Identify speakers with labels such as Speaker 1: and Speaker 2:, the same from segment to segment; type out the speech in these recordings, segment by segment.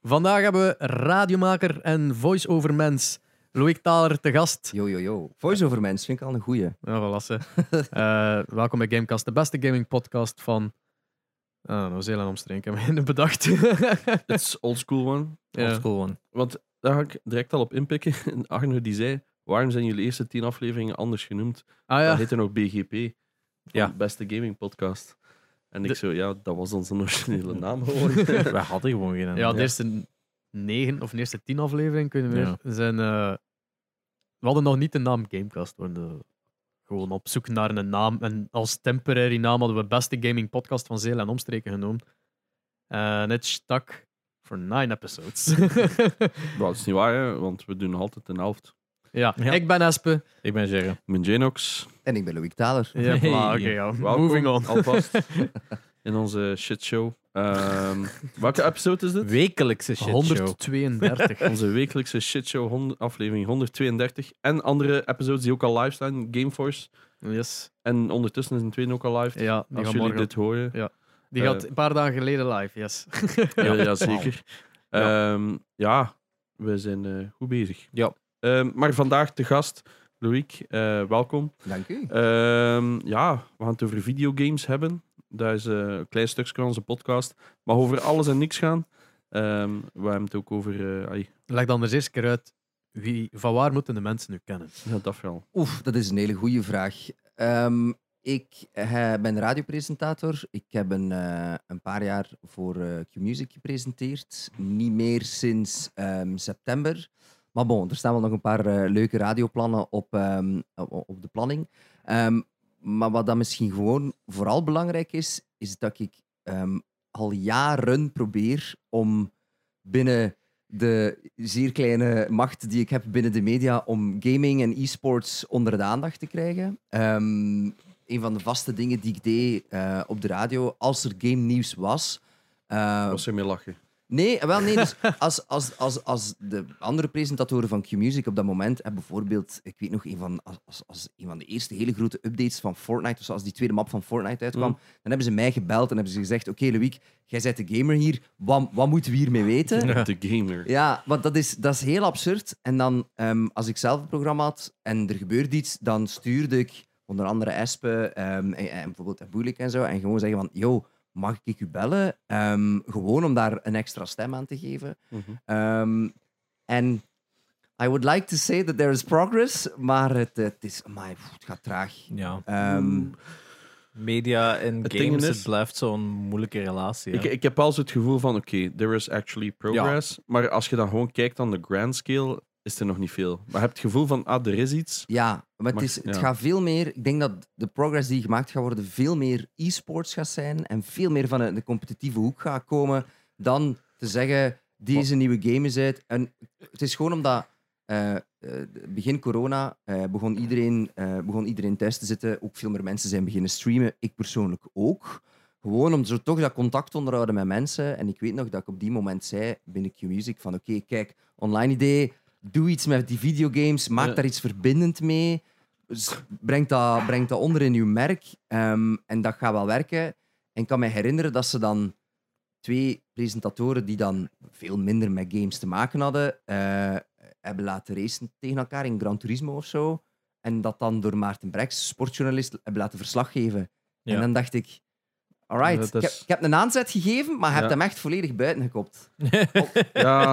Speaker 1: Vandaag hebben we radiomaker en voice-over mens Loïc Taler te gast.
Speaker 2: Yo, yo, yo. Voice-over mens vind ik al een goeie.
Speaker 1: Ja, voilà, ze. Eh, welkom bij Gamecast, de beste gaming podcast van Ah, Nieuw-Zeeland en omstreken. Ik heb me bedacht.
Speaker 3: Het is oldschool one.
Speaker 1: ja.
Speaker 3: Want daar ga ik direct al op inpikken. En Arno die zei, waarom zijn jullie eerste tien afleveringen anders genoemd?
Speaker 1: Ah
Speaker 3: Dat
Speaker 1: ja,
Speaker 3: heette nog BGP.
Speaker 4: Ja.
Speaker 3: Ja. Beste gaming podcast. En ik
Speaker 1: De-
Speaker 3: zo, ja, dat was onze originele naam geworden.
Speaker 4: We hadden gewoon geen.
Speaker 1: ja, de eerste negen of de eerste tien afleveringen kunnen we
Speaker 4: Ja.
Speaker 1: zijn. eh, we hadden nog niet de naam Gamecast. We waren, eh, gewoon op zoek naar een naam. En als temporary naam hadden we beste gaming podcast van Zeeland en omstreken genoemd. En het stak voor nine episodes.
Speaker 3: Maar dat is niet waar, hè, want we doen altijd een helft.
Speaker 1: ja,
Speaker 4: Ja.
Speaker 1: ik ben Espe.
Speaker 4: Ik ben Jerry.
Speaker 3: Mijn Janox,
Speaker 2: En ik ben Louis Taler.
Speaker 1: Ja,
Speaker 4: Hey.
Speaker 1: voilà, oké, ja.
Speaker 3: Welkom,
Speaker 1: Moving on.
Speaker 3: alvast. in onze shitshow. Ehm welke episode is dit?
Speaker 4: Wekelijkse shit.
Speaker 1: 132.
Speaker 3: Onze wekelijkse shitshow, hond- aflevering 132. En andere episodes die ook al live staan, Gameforce.
Speaker 1: Yes.
Speaker 3: En ondertussen is een tweede ook al live.
Speaker 1: Ja, die gaat
Speaker 3: Als jullie
Speaker 1: morgen.
Speaker 3: dit horen,
Speaker 1: Die
Speaker 3: eh,
Speaker 1: gaat een paar dagen geleden live, yes.
Speaker 3: Ja, ja zeker. Ja. ja, we zijn eh, goed bezig.
Speaker 4: Ja.
Speaker 3: Ehm, maar vandaag te gast, Loïc, eh, welkom.
Speaker 2: Dank u.
Speaker 3: Ehm, ja, we gaan het over videogames hebben. Dat is eh, een klein stukje van onze podcast. Maar over alles en niks gaan. Ehm, we hebben het ook over... eh, ai,
Speaker 1: Leg dan eens eerst een keer uit. Wie, van waar moeten de mensen nu kennen?
Speaker 3: ja, dat verhaal.
Speaker 2: Oef, dat is een hele goede vraag. Ehm, ik eh, ben radiopresentator. Ik heb een, eh, een paar jaar voor eh, Q-Music gepresenteerd. Niet meer sinds ehm, september. Maar bon, er staan wel nog een paar eh, leuke radioplannen op, ehm, op, op de planning. Ehm, maar wat dan misschien gewoon vooral belangrijk is, is dat ik ehm, al jaren probeer om binnen de zeer kleine macht die ik heb binnen de media om gaming en e-sports onder de aandacht te krijgen. Ehm, een van de vaste dingen die ik deed eh, op de radio, als er game nieuws was. eh,
Speaker 3: Was er mee lachen?
Speaker 2: Nee, wel nee. Dus als, als, als, als de andere presentatoren van Q-Music op dat moment, en bijvoorbeeld, ik weet nog, een van, als- als, als een van de eerste hele grote updates van Fortnite, dus als die tweede map van Fortnite uitkwam,
Speaker 3: Mm.
Speaker 2: dan hebben ze mij gebeld en hebben ze gezegd: Oké, Loïc, jij bent de gamer hier, wat, wat moeten we hiermee weten?
Speaker 3: De gamer.
Speaker 2: Ja, want dat is, dat is heel absurd. En dan, ehm, als ik zelf een programma had en er gebeurt iets, dan stuurde ik onder andere Espen ehm, en, en bijvoorbeeld Boelik en zo. En gewoon zeggen van, yo, mag ik u bellen? Ehm, gewoon om daar een extra stem aan te geven.
Speaker 3: Mhm.
Speaker 2: Ehm, en I would like to say that there is progress, maar het, het is, amai, pff, het gaat traag.
Speaker 4: Ja.
Speaker 2: Ehm,
Speaker 4: Eh, Media en
Speaker 3: Het ding
Speaker 4: games,
Speaker 3: is-
Speaker 4: het blijft zo'n moeilijke relatie. hè.
Speaker 3: Ik, ik heb wel eens het gevoel van, oké, there is actually progress. Maar als je dan gewoon kijkt aan de grand scale, is er nog niet veel. Maar je hebt het gevoel van, ah, er is iets.
Speaker 2: Ja, maar het,
Speaker 3: Maar-
Speaker 2: is, het
Speaker 3: ja.
Speaker 2: gaat veel meer. Ik denk dat de progress die gemaakt gaat worden, veel meer e-sports gaat zijn en veel meer van een, de competitieve hoek gaat komen dan te zeggen: deze nieuwe game is uit. En het is gewoon omdat eh, eh, begin corona eh, begon, iedereen, eh, begon iedereen thuis te zitten. Ook veel meer mensen zijn beginnen streamen. Ik persoonlijk ook. Gewoon om zo toch dat contact te onderhouden met mensen. En ik weet nog dat ik op die moment zei binnen Q-Music van oké, kijk, online idee, doe iets met die videogames, maak
Speaker 3: Ja.
Speaker 2: daar iets verbindend mee. S- Breng dat, breng dat onder in uw merk. Ehm, en dat gaat wel werken. En ik kan me herinneren dat ze dan twee presentatoren die dan veel minder met games te maken hadden, eh, hebben laten racen tegen elkaar in Gran Turismo of zo. En dat dan door Maarten Brex, sportjournalist, hebben laten verslag geven.
Speaker 4: Ja.
Speaker 2: En dan dacht ik, alright,
Speaker 3: Dat
Speaker 2: ik, heb,
Speaker 3: is-
Speaker 2: ik heb een aanzet gegeven, maar je hebt
Speaker 3: Ja.
Speaker 2: hem echt volledig buiten gekopt.
Speaker 3: Ja,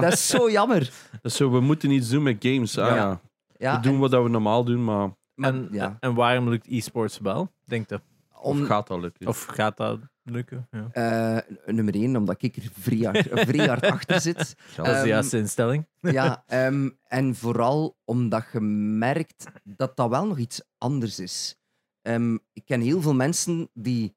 Speaker 2: Dat is zo jammer.
Speaker 3: Dus zo, we moeten iets doen met games. Ah,
Speaker 2: Ja.
Speaker 3: ja.
Speaker 2: Ja,
Speaker 3: we doen
Speaker 2: en-
Speaker 3: wat dat we normaal doen, maar of
Speaker 2: maar-
Speaker 4: en,
Speaker 2: ja,
Speaker 4: en waarom lukt e-sports wel? Denk je?
Speaker 2: om,
Speaker 3: gaat dat lukken?
Speaker 4: Of gaat dat lukken? Ja.
Speaker 2: eh, nummer één, omdat ik er vrij hard, vrij hard achter zit.
Speaker 3: Gaat
Speaker 4: Dat is
Speaker 2: Ehm,
Speaker 4: de juiste instelling.
Speaker 2: Ja, ehm, en vooral omdat je merkt dat dat wel nog iets anders is. Ehm, ik ken heel veel mensen die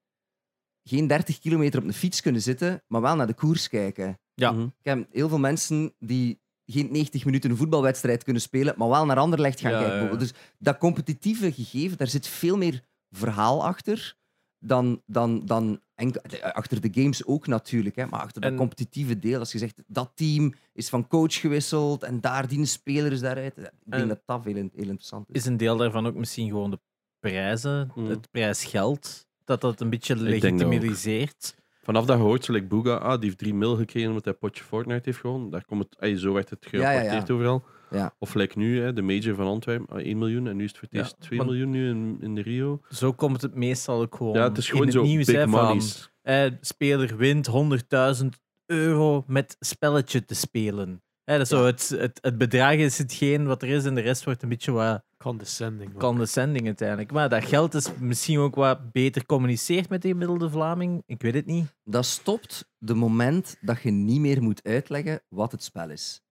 Speaker 2: geen 30 kilometer op een fiets kunnen zitten, maar wel naar de koers kijken.
Speaker 4: ja.
Speaker 3: Mhm.
Speaker 2: Ik ken heel veel mensen die geen 90 minuten een voetbalwedstrijd kunnen spelen, maar wel naar Anderlecht gaan
Speaker 4: Ja,
Speaker 2: kijken.
Speaker 4: ja, ja.
Speaker 2: bijvoorbeeld. Dus dat competitieve gegeven, daar zit veel meer verhaal achter dan, dan, dan enkel, de- achter de games ook natuurlijk, hè, maar achter dat
Speaker 4: En-
Speaker 2: competitieve deel. Als je zegt, dat team is van coach gewisseld en daar die speler is daaruit. Ik denk
Speaker 4: En-
Speaker 2: dat dat heel, heel interessant is.
Speaker 4: Is een deel daarvan ook misschien gewoon de prijzen,
Speaker 3: Mm.
Speaker 4: het prijsgeld, dat dat een beetje
Speaker 3: denk dat ook.
Speaker 4: legitimiseert?
Speaker 3: Vanaf dat je hoort, zo like Booga, ah, die heeft 3 mil gekregen omdat hij een potje Fortnite heeft gewonnen. Daar komt het, ey, zo werd het
Speaker 2: ja, ja.
Speaker 3: gerapporteerd overal.
Speaker 2: Ja.
Speaker 3: Of like nu, hè, de major van Antwerpen, ah, 1 miljoen. En nu is het voor het
Speaker 4: Ja,
Speaker 3: eerst 2
Speaker 4: want-
Speaker 3: miljoen nu in, in de Rio.
Speaker 4: Zo komt het meestal ook gewoon.
Speaker 3: Ja, het is
Speaker 4: in
Speaker 3: gewoon zo
Speaker 4: nieuws,
Speaker 3: big
Speaker 4: hè, van,
Speaker 3: monies.
Speaker 4: eh, speler wint 100.000 euro met spelletje te spelen. Hè, dat is zo, het, het, het bedrag is hetgeen wat er is en de rest wordt een beetje wat
Speaker 1: Condescending. man.
Speaker 4: condescending uiteindelijk. Maar dat geld is misschien ook wat beter communiceerd met de gemiddelde Vlaming. Ik weet het niet.
Speaker 2: Dat stopt de moment dat je niet meer moet uitleggen wat het spel is.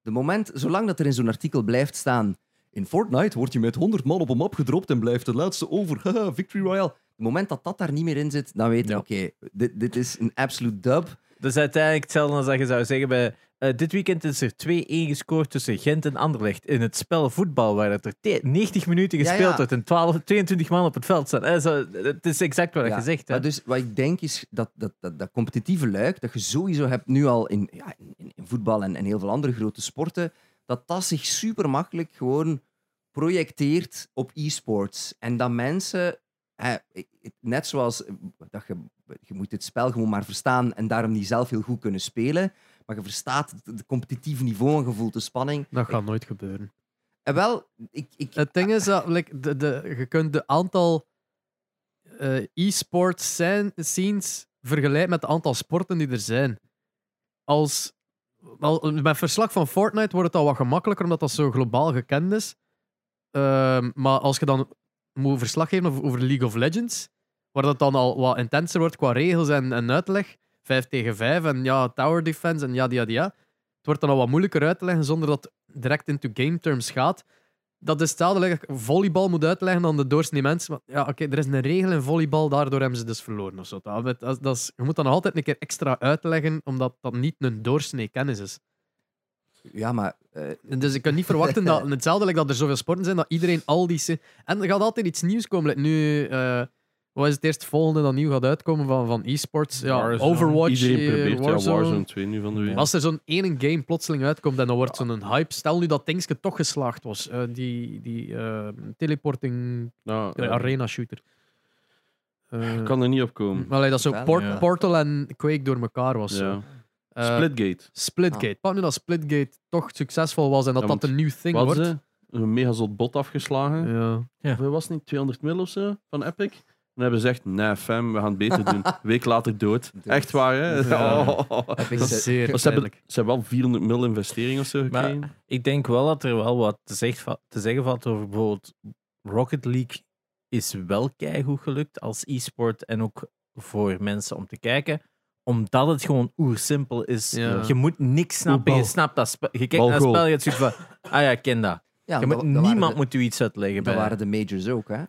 Speaker 2: De moment, zolang dat er in zo'n artikel blijft staan. In Fortnite wordt je met 100 man op een map gedropt en blijft de laatste over. Haha, Victory Royale. Het moment dat dat daar niet meer in zit, dan weet je,
Speaker 4: Ja.
Speaker 2: oké, dit, dit is een absolute dub.
Speaker 4: Dat is uiteindelijk hetzelfde als dat je zou zeggen bij... eh, dit weekend is er 2-1 gescoord tussen Gent en Anderlecht in het spel voetbal, waar het er te- 90 minuten
Speaker 2: Ja,
Speaker 4: gespeeld
Speaker 2: ja.
Speaker 4: wordt en 12, 22 man op het veld staan. Eh, zo, het is exact wat
Speaker 2: Ja,
Speaker 4: je zegt.
Speaker 2: maar
Speaker 4: hè.
Speaker 2: dus wat ik denk is dat dat, dat dat competitieve luik dat je sowieso hebt nu al in, ja, in, in voetbal en, en heel veel andere grote sporten, dat dat zich super makkelijk gewoon projecteert op e-sports. En dat mensen, hè, net zoals eh, dat je, je moet dit spel gewoon maar verstaan en daarom niet zelf heel goed kunnen spelen, maar je verstaat het, het competitieve niveau en je voelt de spanning.
Speaker 1: Dat gaat nooit gebeuren.
Speaker 2: En wel, ik, ik,
Speaker 1: Het ding is dat like, de, de, je kunt de aantal eh e-sport scen- scenes vergelijken met het aantal sporten die er zijn. Als, al, met verslag van Fortnite wordt het al wat gemakkelijker, omdat dat zo globaal gekend is. Ehm, maar als je dan moet verslag geven over, over League of Legends, waar dat dan al wat intenser wordt qua regels en, en uitleg, 5 tegen 5 en ja, tower defense en ja, ja, ja. Het wordt dan al wat moeilijker uit te leggen zonder dat het direct into game terms gaat dat is hetzelfde dat ik volleybal moet uitleggen aan de doorsnee mens. Maar ja, oké, er is een regel in volleybal, daardoor hebben ze dus verloren of zo. Dat, dat, dat is, je moet dan altijd een keer extra uitleggen, omdat dat niet een doorsnee kennis is.
Speaker 2: ja, maar eh,
Speaker 1: En Dus ik kan niet verwachten dat, hetzelfde like dat er zoveel sporten zijn, dat iedereen al die... se- En er gaat altijd iets nieuws komen. Like nu, eh, wat is het eerst volgende dat nieuw gaat uitkomen van, van e-sports? Ja,
Speaker 4: Warzone.
Speaker 1: Overwatch,
Speaker 3: Iedereen
Speaker 1: eh,
Speaker 3: probeert
Speaker 1: Warzone.
Speaker 3: Ja, Warzone 2 nu van de week.
Speaker 1: Als er zo'n ene game plotseling uitkomt en dan wordt zo'n hype... Stel nu dat Dingske toch geslaagd was, eh, die, die eh, teleporting
Speaker 3: Nou,
Speaker 1: ja,
Speaker 3: eh,
Speaker 1: arena shooter. Eh,
Speaker 3: ik kan er niet op komen.
Speaker 1: allee, dat zo
Speaker 2: Vertel,
Speaker 1: Port-
Speaker 4: ja.
Speaker 1: Portal en Quake door elkaar was. zo.
Speaker 3: Ja.
Speaker 1: Eh,
Speaker 3: Splitgate.
Speaker 1: Splitgate. Pak nu dat Splitgate toch succesvol was en dat
Speaker 3: Ja,
Speaker 1: dat
Speaker 3: want
Speaker 1: een nieuw thing
Speaker 3: Wat
Speaker 1: wordt.
Speaker 3: ze? Een mega zot bot afgeslagen.
Speaker 1: Ja.
Speaker 3: Hoeveel was het niet? 200 mil of zo van Epic. En hebben ze gezegd, nee fam, we gaan het beter doen. Een week later dood.
Speaker 2: Dood.
Speaker 3: Echt waar, hè?
Speaker 1: Ja.
Speaker 3: Oh.
Speaker 2: heb ik
Speaker 1: Dat
Speaker 2: ze-
Speaker 1: is zeer
Speaker 3: Maar Ze, hebben,
Speaker 1: pijnlijk.
Speaker 3: ze hebben wel 400 mil investering of zo gekregen.
Speaker 4: Ik denk wel dat er wel wat te, zeg- te zeggen valt over bijvoorbeeld Rocket League is wel keigoed gelukt als e-sport en ook voor mensen om te kijken omdat het gewoon oersimpel is.
Speaker 1: Ja.
Speaker 4: Je moet niks snappen.
Speaker 3: Voetbal.
Speaker 4: Je snapt dat spel. Je kijkt
Speaker 3: Bal,
Speaker 4: naar het
Speaker 3: goal.
Speaker 4: spel en je hebt zoiets van... Ah ja, ik ken dat.
Speaker 2: ja, dat-
Speaker 4: Je moet,
Speaker 2: dat waren
Speaker 4: niemand
Speaker 2: de-
Speaker 4: moet u iets uitleggen.
Speaker 2: Dat
Speaker 4: bij.
Speaker 2: waren de majors ook, hè?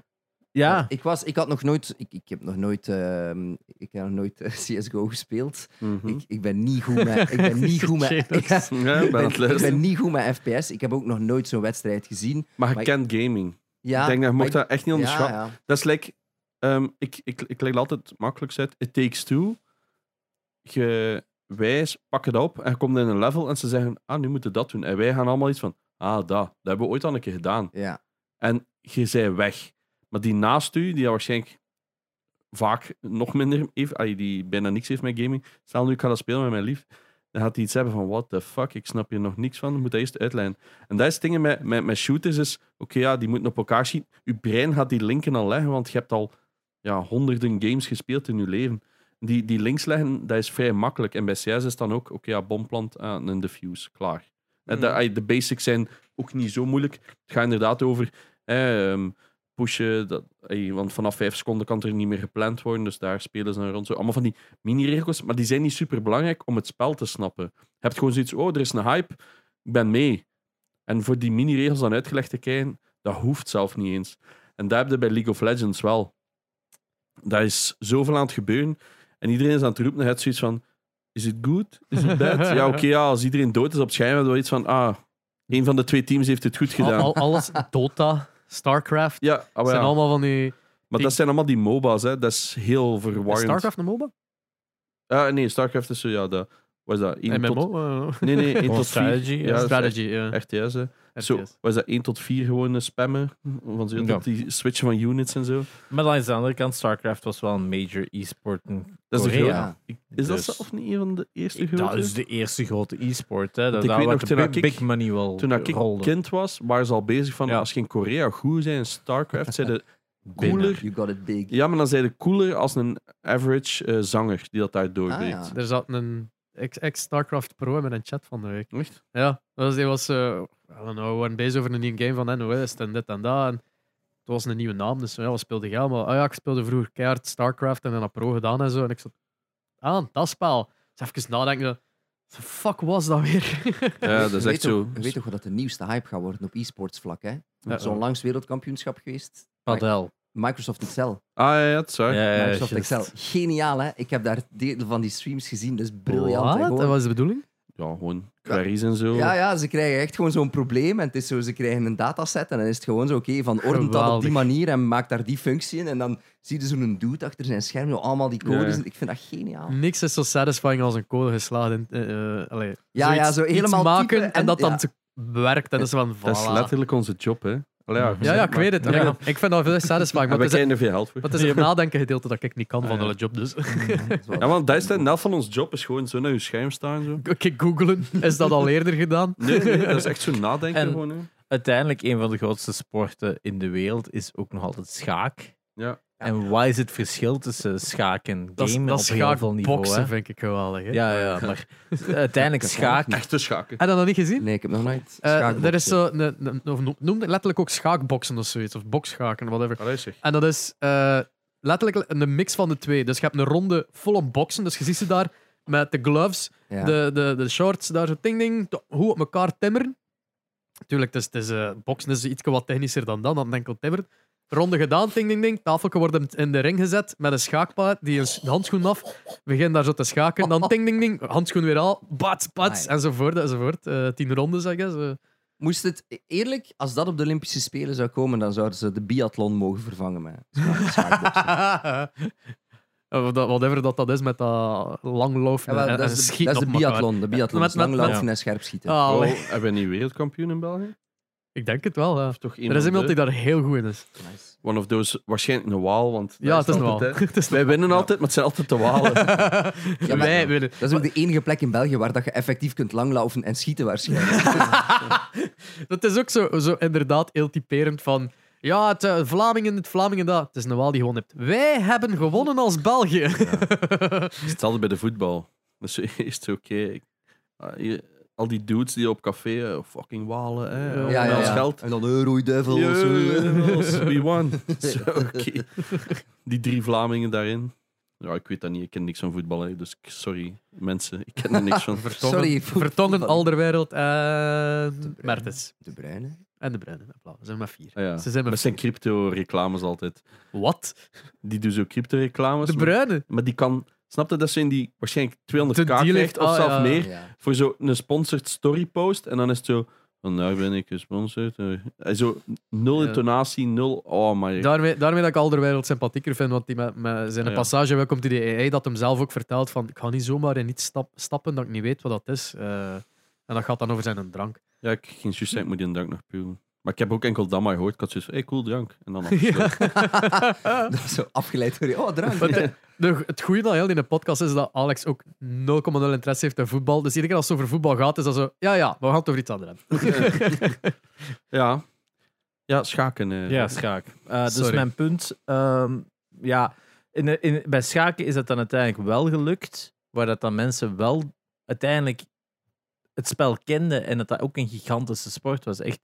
Speaker 4: Ja.
Speaker 2: Ik, was, ik had nog nooit, ik, ik heb nog nooit, ehm, ik heb nog nooit eh, CSGO gespeeld.
Speaker 3: Mhm.
Speaker 2: Ik, ik ben niet goed met, ik ben niet goed met,
Speaker 1: Shit, dat
Speaker 2: ik,
Speaker 3: Ja, ik ben aan het
Speaker 2: ben, ik ben
Speaker 3: luisteren.
Speaker 2: niet goed met FPS. Ik heb ook nog nooit zo'n wedstrijd gezien.
Speaker 3: Maar
Speaker 2: maar
Speaker 3: je
Speaker 2: ik-
Speaker 3: kent gaming.
Speaker 2: Ja,
Speaker 3: ik denk dat
Speaker 2: maar
Speaker 3: je mocht dat echt niet onderschatten.
Speaker 2: Ja, ja.
Speaker 3: Dat is like, ehm, ik, ik, ik leg het altijd makkelijk uit. It takes two. Je, wij pakken dat op en je komt in een level en ze zeggen, ah, nu moeten we dat doen. En wij gaan allemaal iets van, ah, dat. Dat hebben we ooit al een keer gedaan.
Speaker 2: Ja.
Speaker 3: En je zij weg. Maar die naast u, die dat waarschijnlijk vaak nog minder heeft, allee, die bijna niks heeft met gaming. Stel nu, ik ga dat spelen met mijn lief. Dan gaat hij iets hebben van, what the fuck, ik snap hier nog niks van. Ik moet dat eerst uitlijnen. En dat is het ding met, met, met shooters, is, oké, ja, die moeten op elkaar schieten. Uw brein gaat die linken al leggen, want je hebt al ja, honderden games gespeeld in je leven. Die, die links leggen, dat is vrij makkelijk. En bij CS is dan ook, oké, ja, bomplant eh, aan en defuse, klaar. En de, allee, de basics zijn ook niet zo moeilijk. Het gaat inderdaad over hè, ehm, pushen. Dat, ey, want vanaf vijf seconden kan het er niet meer gepland worden. Dus daar spelen ze dan rond. Zo. Allemaal van die mini-regels. Maar die zijn niet super belangrijk om het spel te snappen. Je hebt gewoon zoiets. Oh, er is een hype. Ik ben mee. En voor die mini-regels dan uitgelegd te krijgen, dat hoeft zelf niet eens. En dat heb je bij League of Legends wel. Daar is zoveel aan het gebeuren. En iedereen is aan het roepen. En je hebt zoiets van: is het goed? Is het bad? ja, oké, ja, als iedereen dood is op het schijn, hebben we iets van: ah, een van de twee teams heeft het goed gedaan.
Speaker 1: Al, al- alles, Dota, Starcraft,
Speaker 3: Ja, ah, wel
Speaker 1: zijn
Speaker 3: ja.
Speaker 1: allemaal van die...
Speaker 3: maar dat zijn allemaal die MOBA's, hè. dat is heel verwarrend.
Speaker 1: Starcraft en MOBA?
Speaker 3: Ah, nee, StarCraft is zo, ja, dat. was dat? één
Speaker 1: MMO?
Speaker 3: tot-
Speaker 1: eh,
Speaker 3: Nee, nee, 1
Speaker 4: Gewoon
Speaker 3: tot 4.
Speaker 4: strategy, ja.
Speaker 3: Ja,
Speaker 1: strategy, ja.
Speaker 3: RTS, hè.
Speaker 1: RTS.
Speaker 3: Zo, was dat 1 tot 4 gewoon eh, spammen? Van zo,
Speaker 4: Ja.
Speaker 3: tot die switchen van units en zo.
Speaker 4: Maar dan is de andere kant, StarCraft was wel een major e-sport. in
Speaker 3: Dat is, de
Speaker 4: Korea.
Speaker 3: grote-
Speaker 2: Ja.
Speaker 3: Ik- is dat
Speaker 4: Dus-
Speaker 3: zelf niet een van de eerste grote?
Speaker 4: Dat is de eerste grote e-sport. Hè. Dat
Speaker 3: ik
Speaker 4: daar
Speaker 3: weet
Speaker 4: waar
Speaker 3: nog,
Speaker 4: de
Speaker 3: toen
Speaker 4: big,
Speaker 3: dat ik-
Speaker 4: big money wel
Speaker 3: Toen dat ik
Speaker 4: rolde.
Speaker 3: kind was, waren ze al bezig van
Speaker 4: Ja.
Speaker 3: als je in Korea goed zijn in StarCraft, zijn de
Speaker 4: Binnen.
Speaker 3: cooler.
Speaker 2: You got it big.
Speaker 3: Ja, maar dan zijn de cooler als een average eh, zanger die dat daar doorbreekt.
Speaker 2: Ah,
Speaker 1: Er zat een ex-StarCraft Pro met een chat van de week.
Speaker 3: Echt?
Speaker 1: Ja, dat was, die was, eh, I don't know, we waren bezig over een nieuwe game van NOS en dit en dat. En het was een nieuwe naam, dus ja, wat speelde jij allemaal? Ah ja, ik speelde vroeger keihard StarCraft en dan dat pro gedaan en zo. En ik zat, ah, dat spel. Dus even nadenken, the fuck was dat weer?
Speaker 3: Ja,
Speaker 2: Weet-
Speaker 3: dat is
Speaker 2: weet
Speaker 3: echt
Speaker 2: toch-
Speaker 3: zo.
Speaker 2: Je weet toch wel dat de nieuwste hype gaat worden op e-sports vlak, hè?
Speaker 1: Uh-oh.
Speaker 2: Er is onlangs wereldkampioenschap geweest.
Speaker 4: Padel.
Speaker 2: Microsoft Excel.
Speaker 3: Ah ja, ja, dat is waar.
Speaker 2: Microsoft
Speaker 4: juist.
Speaker 2: Excel. Geniaal, hè? Ik heb daar deel van die streams gezien. Dat is briljant. hè,
Speaker 1: Wat?
Speaker 2: gewoon.
Speaker 1: Dat was de bedoeling?
Speaker 3: Ja, gewoon queries en zo.
Speaker 2: Ja, ja, ze krijgen echt gewoon zo'n probleem. En het is zo, ze krijgen een dataset en dan is het gewoon zo, oké, van ordent dat op
Speaker 1: Geweldig.
Speaker 2: die manier en maak daar die functie in. En dan zie je zo'n dude achter zijn scherm, zo allemaal die codes.
Speaker 3: Ja.
Speaker 2: en Ik vind dat geniaal.
Speaker 1: Niks is zo satisfying als een code geslaagd. In, eh, eh, allee,
Speaker 2: Ja, ja,
Speaker 1: zoiets-
Speaker 2: zo
Speaker 1: iets
Speaker 2: helemaal
Speaker 1: maken
Speaker 2: typen
Speaker 1: en,
Speaker 2: en-
Speaker 1: dat
Speaker 2: ja.
Speaker 1: dan te- werkt. Dat is van, voilà.
Speaker 3: Dat is letterlijk onze job, hè. Allee, ja,
Speaker 1: Ja, ja, ik weet het.
Speaker 3: Maar,
Speaker 1: Ik- Ik vind dat veel satisfying, maar
Speaker 3: maar we
Speaker 1: het is,
Speaker 3: krijgen er veel geld voor.
Speaker 1: het is het nadenken gedeelte dat ik niet kan van
Speaker 3: Ah, ja.
Speaker 1: de job, dus...
Speaker 2: Dat is wel-
Speaker 3: Ja, want dat is het, de helft van ons job is gewoon zo naar je scherm staan. Zo.
Speaker 1: Oké, googelen. Is dat al eerder gedaan?
Speaker 3: Nee, nee, dat is echt zo nadenken
Speaker 4: En-
Speaker 3: gewoon. Hè.
Speaker 4: Uiteindelijk, een van de grootste sporten in de wereld is ook nog altijd schaak.
Speaker 3: Ja.
Speaker 4: En wat is het verschil tussen schaak en
Speaker 1: Dat is,
Speaker 4: gamen
Speaker 1: dat
Speaker 4: op
Speaker 1: is
Speaker 4: heel
Speaker 1: schaak
Speaker 4: veel niveau?
Speaker 1: boksen,
Speaker 4: hè?
Speaker 1: vind ik geweldig. Hè?
Speaker 4: Ja, ja, maar uiteindelijk schaak.
Speaker 3: Echte schaken.
Speaker 1: Heb je dat niet gezien?
Speaker 2: Nee, ik heb nog nooit
Speaker 1: Eh,
Speaker 2: schaakbord
Speaker 1: er is
Speaker 2: gezien.
Speaker 1: zo, een, een- of noem- noem het letterlijk ook schaakboksen of zoiets, of bokschaken, whatever.
Speaker 3: Allee, zeg.
Speaker 1: En dat is eh, letterlijk een mix van de twee. Dus je hebt een ronde vol op boksen, dus je ziet ze daar met de gloves,
Speaker 2: Ja.
Speaker 1: de, de, de shorts, daar zo ting ding, to- hoe op elkaar timmeren. Tuurlijk, het is, het is, eh, boksen is iets wat technischer dan dat, dan enkel timmeren. Ronde gedaan, ding ding ding. Tafeltje wordt in de ring gezet met een schaakpaard, die een s- handschoen af. Begin daar zo te schaken, dan ding ding ding. Handschoen weer al, bats, bats,
Speaker 2: Amai.
Speaker 1: enzovoort, enzovoort. Eh, tien ronden, zeg je.
Speaker 2: Moest het eerlijk, als dat op de Olympische Spelen zou komen, dan zouden ze de biathlon mogen vervangen met schaak- schaakboksen.
Speaker 1: Of Eh, dat- Whatever dat dat is met dat langlopen
Speaker 2: Ja, wel,
Speaker 1: en,
Speaker 2: dat
Speaker 1: en
Speaker 2: is de,
Speaker 1: schieten
Speaker 2: dat is
Speaker 1: op
Speaker 2: de
Speaker 1: elkaar.
Speaker 2: biathlon. De biathlon
Speaker 1: Met-
Speaker 2: is
Speaker 1: met-
Speaker 2: langlaufen
Speaker 4: met-
Speaker 2: en scherp schieten.
Speaker 1: Ah,
Speaker 3: Oh,
Speaker 1: allee.
Speaker 3: hebben we niet wereldkampioen in België?
Speaker 1: Ik denk het wel. ja.
Speaker 3: Of toch
Speaker 1: Er is iemand die daar heel goed in is.
Speaker 2: Nice.
Speaker 3: One of those, waarschijnlijk een waal, want...
Speaker 1: Ja,
Speaker 3: dat
Speaker 1: het is wel.
Speaker 3: altijd, hè.
Speaker 1: Het is
Speaker 3: Wij winnen
Speaker 1: Ja.
Speaker 3: altijd, maar het zijn altijd de walen.
Speaker 2: Ja, maar-
Speaker 1: Wij winnen.
Speaker 2: Dat is ook de enige plek in België waar dat je effectief kunt langlaufen en schieten waarschijnlijk.
Speaker 1: Dat is ook zo, zo inderdaad heel typerend van... Ja, het eh, Vlamingen, het Vlamingen, dat. Het is een Waal die gewonnen hebt. Wij hebben gewonnen als België.
Speaker 3: Hetzelfde bij de voetbal. Dat is eerst oké. Ik- ah, hier, Al die dudes die op café eh, fucking walen, hè.
Speaker 1: Ja,
Speaker 3: allemaal
Speaker 2: Ja, ja,
Speaker 3: als
Speaker 2: ja.
Speaker 3: geld.
Speaker 2: En dan eh, Euro Devils.
Speaker 3: Yes, we won. Zo, oké. Die drie Vlamingen daarin. Ja, ik weet dat niet. Ik ken niks van voetbal, hè, dus ik- sorry mensen. Ik ken er niks van.
Speaker 1: Vertongen,
Speaker 2: Sorry, voet-
Speaker 1: Vertongen,
Speaker 2: voetbal.
Speaker 1: Alderwereld en Mertens.
Speaker 2: De Bruyne.
Speaker 1: En de Bruinen. Ze zijn maar vier.
Speaker 3: Ah, ja.
Speaker 1: Ze zijn maar
Speaker 3: Dat zijn crypto-reclames altijd.
Speaker 1: Wat?
Speaker 3: Die doen zo crypto-reclames.
Speaker 1: De
Speaker 3: maar-
Speaker 1: Bruinen?
Speaker 3: Maar die kan... Snap je? Dat zijn die waarschijnlijk 200k
Speaker 1: De deal
Speaker 3: krijgt,
Speaker 1: heeft-
Speaker 3: of
Speaker 1: ah,
Speaker 3: zelfs
Speaker 1: ja.
Speaker 3: meer.
Speaker 2: Ja.
Speaker 3: voor zo'n sponsored story post. En dan is het zo. Vandaag ben ik gesponsord. eh. En Zo nul
Speaker 1: Ja.
Speaker 3: intonatie, nul. Oh, maar.
Speaker 1: Daarmee, daarmee dat ik Alderwereld sympathieker vind, want die met, met zijn
Speaker 3: Ja.
Speaker 1: passage welkom to the AI, dat hem zelf ook vertelt van ik ga niet zomaar in iets stap, stappen dat ik niet weet wat dat is. Eh, en dat gaat dan over zijn drank.
Speaker 3: Ja, ik ging juist zeggen, ik moet die drank nog puwen. Maar ik heb ook enkel dat maar gehoord. Ik had zoiets van, hey, cool drank. En dan afgesloten.
Speaker 2: Dat is zo afgeleid door je. Oh, drank.
Speaker 1: Want, eh, de- het goede aan heel die podcast is dat Alex ook 0,0 interesse heeft in voetbal. Dus iedere keer als het over voetbal gaat, is dat zo, ja, ja, maar we gaan het over iets anders hebben.
Speaker 3: ja. Ja, schaken. eh.
Speaker 4: Ja, schaak. Eh, dus
Speaker 1: Sorry.
Speaker 4: mijn punt, ehm, ja, in, in, bij schaken is dat dan uiteindelijk wel gelukt, waar dat dan mensen wel uiteindelijk het spel kenden en dat dat ook een gigantische sport was. Echt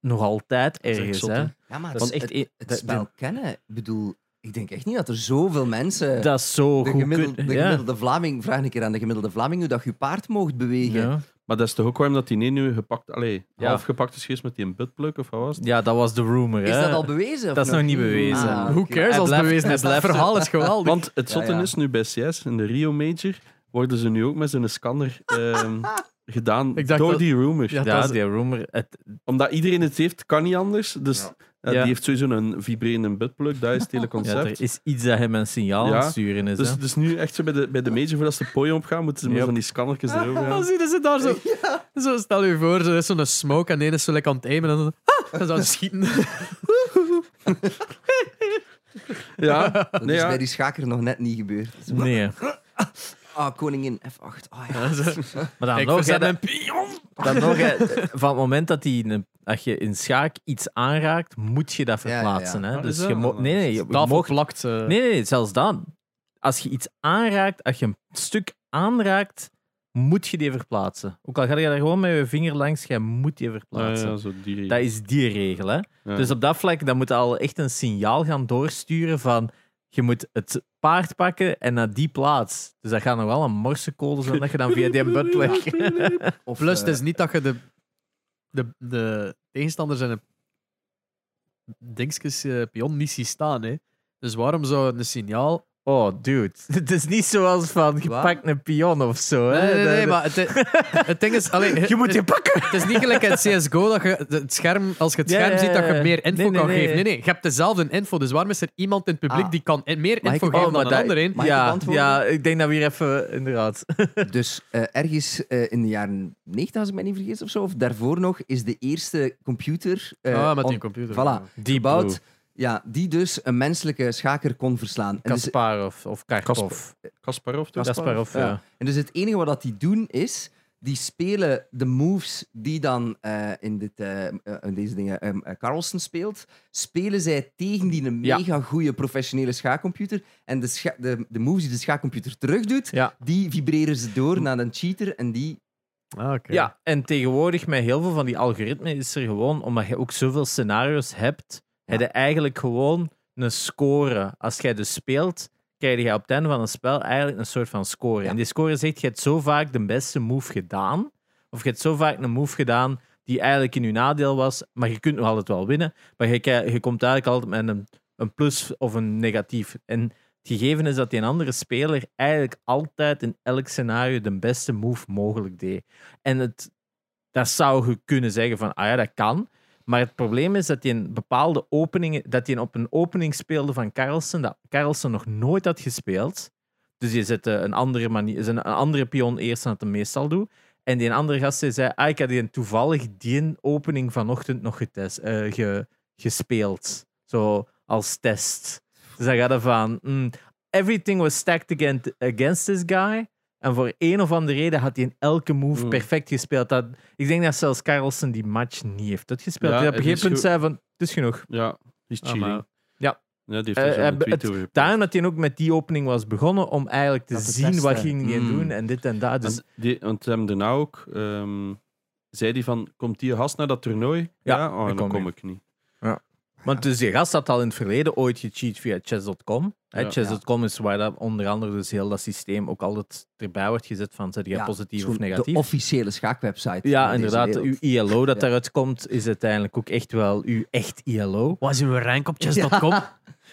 Speaker 4: nog altijd
Speaker 3: is echt
Speaker 4: ergens,
Speaker 3: zot,
Speaker 4: hè.
Speaker 3: hè.
Speaker 2: Ja, maar
Speaker 4: Dat is
Speaker 2: het,
Speaker 4: echt...
Speaker 2: het, het
Speaker 4: dat-
Speaker 2: spel kennen. Ik bedoel, ik denk echt niet dat er zoveel mensen...
Speaker 4: Dat is zo
Speaker 2: de
Speaker 4: goed.
Speaker 2: gemiddelde,
Speaker 4: kun-
Speaker 2: de
Speaker 4: ja.
Speaker 2: gemiddelde Vlaming, vraag een keer aan de gemiddelde Vlaming hoe dat je paard mocht bewegen.
Speaker 4: Ja.
Speaker 3: Maar dat is toch ook waarom dat die nee nu gepakt, allee,
Speaker 4: Ja.
Speaker 3: half gepakt is geweest met die buttplug of wat was het?
Speaker 4: ja, dat was de rumor,
Speaker 2: Is
Speaker 4: hè.
Speaker 2: dat al bewezen? of
Speaker 4: dat is nog niet bewezen.
Speaker 2: Ah,
Speaker 1: Who
Speaker 2: oké.
Speaker 1: cares
Speaker 4: Hij
Speaker 1: als het
Speaker 4: blijft-
Speaker 1: bewezen
Speaker 4: hij
Speaker 1: is? Dat
Speaker 4: blijft-
Speaker 1: verhaal is geweldig.
Speaker 3: Want het
Speaker 2: Ja,
Speaker 3: zotte
Speaker 2: ja.
Speaker 3: is nu bij CS, in de Rio Major, worden ze nu ook met zo'n scanner ehm, gedaan
Speaker 1: Ik dacht
Speaker 3: door
Speaker 1: dat-
Speaker 3: die rumors.
Speaker 1: Ja,
Speaker 4: ja,
Speaker 1: dat is-
Speaker 4: die rumor. Het,
Speaker 3: Omdat iedereen het heeft, kan niet anders. Dus Ja,
Speaker 4: Ja.
Speaker 3: Die heeft sowieso een vibrerende buttplug, dat is het hele
Speaker 4: Ja,
Speaker 3: concept.
Speaker 4: er is iets dat hem een signaal aan
Speaker 3: Ja,
Speaker 4: het sturen is.
Speaker 3: dus,
Speaker 4: hè.
Speaker 3: dus nu echt zo bij de, bij de major, voordat ze de pooi opgaan, moeten ze maar
Speaker 4: Yep.
Speaker 3: van die scannertjes erover
Speaker 1: Dan
Speaker 3: gaan.
Speaker 1: zitten ze daar zo. zo stel je voor, er is zo'n smoke en de ene is zo lekker aan het aimen en dan. Ah, en zo aan het schieten.
Speaker 3: Ja,
Speaker 2: Dat
Speaker 3: nee,
Speaker 2: is dus
Speaker 3: ja.
Speaker 2: bij die schaker nog net niet gebeurd.
Speaker 4: Nee,
Speaker 2: Ah, koningin F8. Ah ja.
Speaker 1: En zo,
Speaker 4: maar dan
Speaker 1: ik
Speaker 4: nog, hè,
Speaker 1: verzet
Speaker 4: dat-
Speaker 1: mijn pion.
Speaker 4: dan nog hè,
Speaker 2: eh,
Speaker 4: van het moment dat die een- als je in schaak iets aanraakt, moet je dat
Speaker 2: Ja, ja, ja.
Speaker 4: verplaatsen.
Speaker 3: Ah,
Speaker 4: Hè? Dus
Speaker 3: is
Speaker 4: je
Speaker 3: dat?
Speaker 4: mo- nee, nee, je, je
Speaker 1: Tafel
Speaker 4: mag
Speaker 1: plakt. eh,
Speaker 4: Nee, nee, zelfs dan. Als je iets aanraakt, als je een stuk aanraakt, moet je die verplaatsen. Ook al ga je daar gewoon met je vinger langs, jij moet die
Speaker 3: Ja,
Speaker 4: verplaatsen.
Speaker 3: ja, zo die
Speaker 4: Dat is die regel, hè.
Speaker 3: Ja.
Speaker 4: Dus op dat vlak, dan moet je al echt een signaal gaan doorsturen van... Je moet het paard pakken en naar die plaats. Dus dat gaat nog wel een morsecode zijn dat je dan via die butt legt.
Speaker 2: Of,
Speaker 1: Plus, het
Speaker 2: eh,
Speaker 1: is niet dat je de, de, de tegenstander zijn dingetjes eh, pion niet ziet staan. Hè. Dus waarom zou een signaal.
Speaker 4: Oh, dude. Het is niet zoals van, je
Speaker 2: Wat?
Speaker 4: pakt een pion of zo. Hè?
Speaker 1: Nee, nee, nee,
Speaker 4: Dat-
Speaker 1: maar het, het ding is. Allee,
Speaker 4: Je moet die pakken!
Speaker 1: Het is niet gelijk in CSGO dat je het scherm, als je het
Speaker 4: Ja,
Speaker 1: scherm
Speaker 4: ja, ja,
Speaker 1: ziet, dat je
Speaker 4: ja.
Speaker 1: meer info
Speaker 4: Nee, nee,
Speaker 1: kan
Speaker 4: nee,
Speaker 1: geven. Nee,
Speaker 4: nee.
Speaker 1: nee, je hebt dezelfde info. Dus waarom is er iemand in het publiek
Speaker 2: Ah.
Speaker 1: die kan in- meer
Speaker 2: Mag ik-
Speaker 1: info
Speaker 2: oh,
Speaker 1: geven
Speaker 4: maar
Speaker 1: dan een
Speaker 4: dat-
Speaker 1: ander een?
Speaker 2: Mag ik
Speaker 4: ja,
Speaker 2: antwoorden?
Speaker 4: ja, ik denk dat we hier even, inderdaad.
Speaker 2: Dus eh, ergens eh, in de jaren 90, als ik me niet vergis of zo, of daarvoor nog, is de eerste computer. eh,
Speaker 1: ah, met die
Speaker 2: on-
Speaker 1: computer.
Speaker 2: Voilà.
Speaker 4: Die
Speaker 2: gebouwd, ja, die dus een menselijke schaker kon verslaan. En dus,
Speaker 4: Kasparov of Karpov.
Speaker 3: Kasparov toch?
Speaker 4: Kasparov,
Speaker 2: ja.
Speaker 4: ja.
Speaker 2: en dus het enige wat dat die doen is. Die spelen de moves die dan eh, in, dit, eh, eh, in deze dingen ehm, eh, Carlsen speelt. Spelen zij tegen die een
Speaker 4: Ja.
Speaker 2: mega goede professionele schaakcomputer. En de, scha- de, de moves die de schaakcomputer terugdoet,
Speaker 4: Ja.
Speaker 2: die vibreren ze door naar een cheater. En die
Speaker 1: Ah, oké.
Speaker 4: Ja, en tegenwoordig met heel veel van die algoritmen is er gewoon, omdat je ook zoveel scenario's hebt,
Speaker 2: Ja.
Speaker 4: heb je eigenlijk gewoon een score. Als jij dus speelt, krijg je op het einde van een spel eigenlijk een soort van score.
Speaker 2: Ja.
Speaker 4: En die score zegt, je hebt zo vaak de beste move gedaan, of je hebt zo vaak een move gedaan die eigenlijk in je nadeel was, maar je kunt nog altijd wel winnen, maar je, krijg- je komt eigenlijk altijd met een, een plus of een negatief. En het gegeven is dat die andere speler eigenlijk altijd in elk scenario de beste move mogelijk deed. En het, dat zou je kunnen zeggen van, ah ja, dat kan. Maar het probleem is dat hij een bepaalde openingen, dat hij op een opening speelde van Carlsen, dat Carlsen nog nooit had gespeeld. Dus je zette een andere, manier, een andere pion eerst dan dat hij meestal doet. En die andere gast die zei, ah, ik had die een toevallig die opening vanochtend nog getest, eh, ge- gespeeld. Zo als test. Dus dan gaat er van, mm, everything was stacked against, against this guy. En voor een of andere reden had hij in elke move
Speaker 3: Mm.
Speaker 4: perfect gespeeld. Dat, ik denk dat zelfs Carlsen die match niet heeft uitgespeeld.
Speaker 3: Ja,
Speaker 4: Die op een
Speaker 3: het is
Speaker 4: gegeven punt
Speaker 3: ge-
Speaker 4: zei van, het is genoeg.
Speaker 3: Ja, die is
Speaker 1: Ah,
Speaker 3: cheating.
Speaker 1: maar-
Speaker 4: Ja.
Speaker 3: Ja, die heeft dus
Speaker 4: Eh,
Speaker 3: er zo een
Speaker 4: eh,
Speaker 3: tweet
Speaker 4: het-
Speaker 3: over gepost.
Speaker 4: Daarom dat hij ook met die opening was begonnen, om eigenlijk te
Speaker 2: Dat te
Speaker 4: zien
Speaker 2: testen.
Speaker 4: wat ging hij
Speaker 2: Mm.
Speaker 4: doen en dit en dat. Dus
Speaker 3: Want, die, want ze hebben daarna ook... ehm, zei die van, komt die gast naar dat toernooi?
Speaker 4: Ja,
Speaker 3: oh,
Speaker 4: ik
Speaker 3: dan
Speaker 4: kom
Speaker 3: kom ik niet.
Speaker 4: Want dus die gast had al in het verleden ooit gecheat via chess.com. Hè,
Speaker 3: Ja.
Speaker 4: chess.com is waar dat onder andere dus heel dat systeem ook altijd erbij wordt gezet van zet jij
Speaker 2: Ja,
Speaker 4: positief
Speaker 2: Zo'n-
Speaker 4: of negatief.
Speaker 2: De officiële schaakwebsite.
Speaker 4: ja,
Speaker 2: van deze
Speaker 4: inderdaad. Uw
Speaker 2: wereld.
Speaker 4: ILO dat
Speaker 2: Ja.
Speaker 4: daaruit komt, is uiteindelijk ook echt wel uw echt ILO.
Speaker 1: Wat is uw rank op chess.com?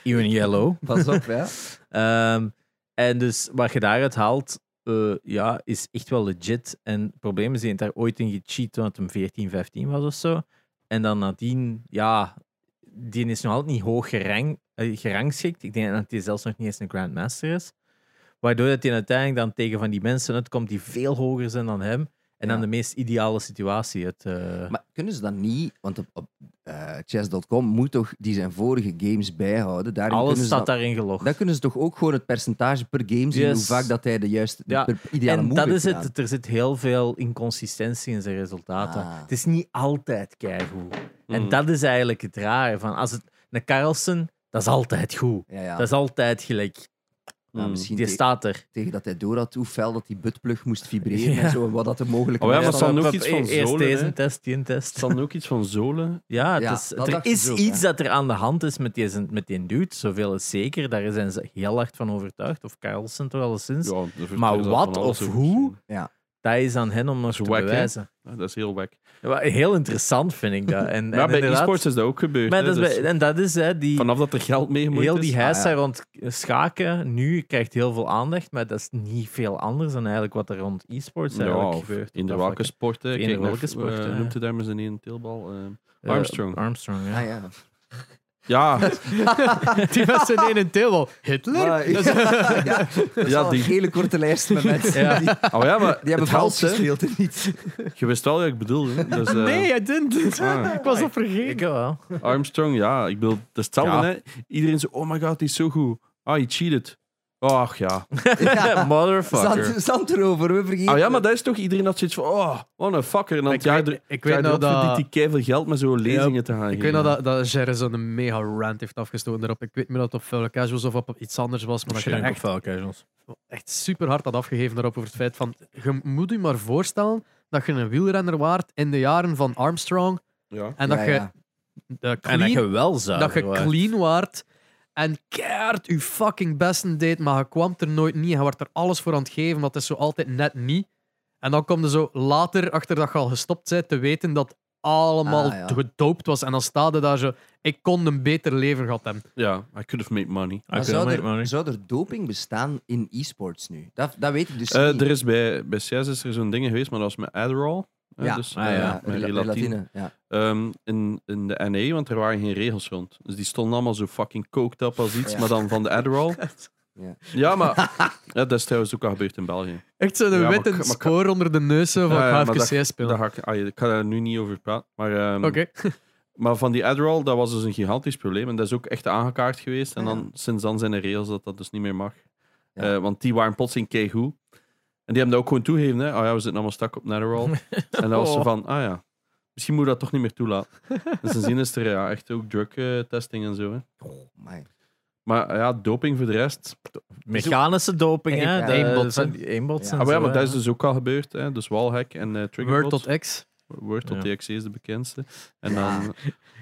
Speaker 4: Uw ILO.
Speaker 2: Pas op, ja.
Speaker 4: Ehm, en dus wat je daaruit haalt, eh, ja, is echt wel legit. En het probleem is, hij heeft daar ooit in gecheat toen het hem 14, 15 was of zo. En dan nadien, ja, die is nog altijd niet hoog gerang, eh, gerangschikt. Ik denk dat hij zelfs nog niet eens een Grandmaster is. Waardoor dat hij uiteindelijk dan tegen van die mensen uitkomt die veel hoger zijn dan hem. En dan
Speaker 2: Ja.
Speaker 4: de meest ideale situatie. Het, eh,
Speaker 2: Maar kunnen ze dan niet, want op, op eh, chess.com moet toch die zijn vorige games bijhouden. Daarin
Speaker 4: alles
Speaker 2: kunnen ze
Speaker 4: staat
Speaker 2: dan,
Speaker 4: daarin gelogd.
Speaker 2: dan kunnen ze toch ook gewoon het percentage per game zien,
Speaker 4: Yes.
Speaker 2: hoe vaak dat hij de juiste, de
Speaker 4: Ja,
Speaker 2: per- ideale
Speaker 4: En
Speaker 2: move
Speaker 4: dat is
Speaker 2: heeft gedaan.
Speaker 4: het. Er zit heel veel inconsistentie in zijn resultaten.
Speaker 2: Ah.
Speaker 4: Het is niet altijd keigoed. En
Speaker 3: Mhm.
Speaker 4: dat is eigenlijk het rare. Van als het, een Carlsen, dat is altijd goed.
Speaker 2: Ja, ja.
Speaker 4: Dat is altijd gelijk.
Speaker 2: Ja,
Speaker 3: Mm.
Speaker 2: misschien
Speaker 4: Die
Speaker 2: te-
Speaker 4: staat er.
Speaker 2: tegen dat hij door had hoe fel dat die buttplug moest vibreren
Speaker 4: Ja.
Speaker 2: en zo, en wat dat de mogelijke
Speaker 3: Oh ja, maar
Speaker 4: Er
Speaker 2: weerstand
Speaker 3: zal
Speaker 4: staat
Speaker 3: ook
Speaker 4: op-
Speaker 3: iets van
Speaker 4: Eerst
Speaker 3: zolen,
Speaker 4: deze
Speaker 3: hè?
Speaker 4: test, die een test.
Speaker 3: Is dan ook iets van zolen?
Speaker 4: Ja, het
Speaker 2: Ja,
Speaker 4: is,
Speaker 2: dat
Speaker 4: er
Speaker 2: dacht ik
Speaker 4: is
Speaker 2: dus ook,
Speaker 4: iets
Speaker 2: hè.
Speaker 4: dat er aan de hand is met die, met die dude. Zoveel is zeker. Daar zijn ze heel hard van overtuigd. Of Carlsen toch alleszins.
Speaker 3: Ja, er
Speaker 4: Maar
Speaker 3: vertelt van
Speaker 4: wat
Speaker 3: alles
Speaker 4: of
Speaker 3: over
Speaker 4: hoe?
Speaker 3: zolen.
Speaker 4: Dat is aan hen om nog te
Speaker 3: is wack, hè?
Speaker 4: bewijzen.
Speaker 3: Ja, dat is heel wack.
Speaker 4: Ja, Heel interessant vind ik dat. En,
Speaker 3: maar
Speaker 4: en
Speaker 3: bij
Speaker 4: inderdaad-
Speaker 3: e-sports is dat ook gebeurd.
Speaker 4: Maar
Speaker 3: hè,
Speaker 4: dat is
Speaker 3: dus
Speaker 4: bij- en dat is hè, die,
Speaker 3: Vanaf dat er geld mee moet
Speaker 4: heel
Speaker 3: is.
Speaker 4: die heisa
Speaker 2: Ah, ja.
Speaker 4: rond schaken nu krijgt heel veel aandacht, maar dat is niet veel anders dan eigenlijk wat er rond e-sports
Speaker 3: Ja,
Speaker 4: eigenlijk
Speaker 3: of
Speaker 4: gebeurt.
Speaker 3: in de
Speaker 4: Dat
Speaker 3: welke
Speaker 4: vlak,
Speaker 3: sporten?
Speaker 4: In de
Speaker 3: Kijk naar,
Speaker 4: welke sporten,
Speaker 3: eh,
Speaker 4: ja.
Speaker 3: Noemt u daar maar zijn een teelbal. eh,
Speaker 4: hè. Eh,
Speaker 3: Armstrong.
Speaker 4: Armstrong, ja.
Speaker 2: Ah, ja.
Speaker 3: Ja, Ah,
Speaker 1: Die mensen in een deel wel. Hitler?
Speaker 2: Maar- eh,
Speaker 1: Dat is-
Speaker 2: ja, dat is
Speaker 3: Ja,
Speaker 2: wel
Speaker 3: die-
Speaker 2: een hele korte lijst met mensen.
Speaker 1: Ja.
Speaker 2: Die,
Speaker 3: oh ja maar
Speaker 2: die hebben
Speaker 3: het
Speaker 2: vals
Speaker 3: helpt, hè.
Speaker 2: gespeeld en niet.
Speaker 3: Je wist wel wat ik bedoelde. hè. Dus, eh,
Speaker 1: Nee, hij didn't.
Speaker 3: Ah.
Speaker 1: Ik was al vergeten.
Speaker 4: Ik wel.
Speaker 3: Armstrong, ja. Ik bedoel, het is hetzelfde,
Speaker 1: Ja.
Speaker 3: hè. Iedereen zo, oh my god, die is zo goed. Ah, hij cheated. Ach ja.
Speaker 2: Ja.
Speaker 4: Motherfucker.
Speaker 2: Zand, zand erover, we vergeten.
Speaker 3: Ah ja, maar dat is toch iedereen dat zoiets van, oh, what a fucker. En dan
Speaker 1: Ik
Speaker 3: het jaar
Speaker 1: weet-
Speaker 3: er-
Speaker 1: ik
Speaker 3: het jaar
Speaker 1: weet nou
Speaker 3: erop verdient
Speaker 1: dat...
Speaker 3: hij keiveel geld met zo'n lezingen te gaan
Speaker 1: Ik weet nou dat, dat Jerry zo'n mega rant heeft afgestoten daarop. Ik weet niet meer dat het op Fellow Casuals of op iets anders was, maar dat je echt, echt super hard had afgegeven daarop over het feit van... Je moet je maar voorstellen dat je een wielrenner waart in de jaren van Armstrong
Speaker 3: Ja.
Speaker 1: en dat
Speaker 2: Ja,
Speaker 1: je
Speaker 2: ja.
Speaker 1: eh,
Speaker 4: En dat
Speaker 1: clean
Speaker 4: je wel zou.
Speaker 1: dat je clean waart en keihard je fucking besten deed, maar je kwam er nooit niet. Je werd er alles voor aan het geven, maar het is zo altijd net niet. En dan kom je zo later, achter dat je al gestopt bent, te weten dat allemaal
Speaker 2: Ah, ja.
Speaker 1: gedoopt was. En dan staat je daar zo, ik kon een beter leven gehad hebben.
Speaker 3: Ja, I could have made money.
Speaker 2: Maar zou, er, zou er doping bestaan in e-sports nu? Dat, dat weet ik dus
Speaker 3: Eh,
Speaker 2: niet.
Speaker 3: er is bij, bij CS is er zo'n ding geweest, maar dat was met Adderall. hè,
Speaker 2: Ja.
Speaker 3: dus,
Speaker 4: Ah,
Speaker 3: eh,
Speaker 4: ja.
Speaker 3: met
Speaker 2: rela-
Speaker 3: relatine.
Speaker 2: relatine, Ja.
Speaker 3: Ehm, in, in de NE, want er waren geen regels rond. Dus die stonden allemaal zo fucking coked up als iets,
Speaker 2: Ja.
Speaker 3: maar dan van de Adderall.
Speaker 2: Ja.
Speaker 3: Ja, maar ja, dat is trouwens ook al gebeurd in België.
Speaker 1: Echt zo'n
Speaker 3: Ja, maar
Speaker 1: witte
Speaker 3: ik- maar ik-
Speaker 1: spoor onder de neus zo van
Speaker 3: Ja, ja,
Speaker 1: ga
Speaker 3: maar
Speaker 1: even CS spelen.
Speaker 3: Daar ga ik, ah, ja, ik ga daar nu niet over praten. Maar, ehm,
Speaker 1: Oké.
Speaker 3: maar van die Adderall, dat was dus een gigantisch probleem. En dat is ook echt aangekaart geweest. En dan, sinds dan zijn er regels dat dat dus niet meer mag.
Speaker 2: Ja.
Speaker 3: Eh, want die waren plotseling keigoed. En die hebben dat ook gewoon toegegeven. Hè? Oh ja, we zitten allemaal stak op Adderall. en dat was zo
Speaker 4: Oh.
Speaker 3: van, ah ja, misschien moet je dat toch niet meer toelaten. Dus sindsdien is er ja, echt ook drug eh, testing en zo. Hè?
Speaker 2: Oh, my.
Speaker 3: Maar ja, doping voor de rest.
Speaker 4: Mechanische doping, hè?
Speaker 2: Ja,
Speaker 4: de-
Speaker 1: eenbotsen.
Speaker 4: van die eenbotsen
Speaker 3: Ah,
Speaker 4: en
Speaker 3: maar ja,
Speaker 4: zo,
Speaker 3: maar dat
Speaker 4: hè.
Speaker 3: is dus ook al gebeurd. Hè? Dus Walhack en eh
Speaker 1: Word
Speaker 3: Triggerbot.
Speaker 1: tot X.
Speaker 3: Word.txt is de bekendste. En
Speaker 2: Ja.
Speaker 3: dan,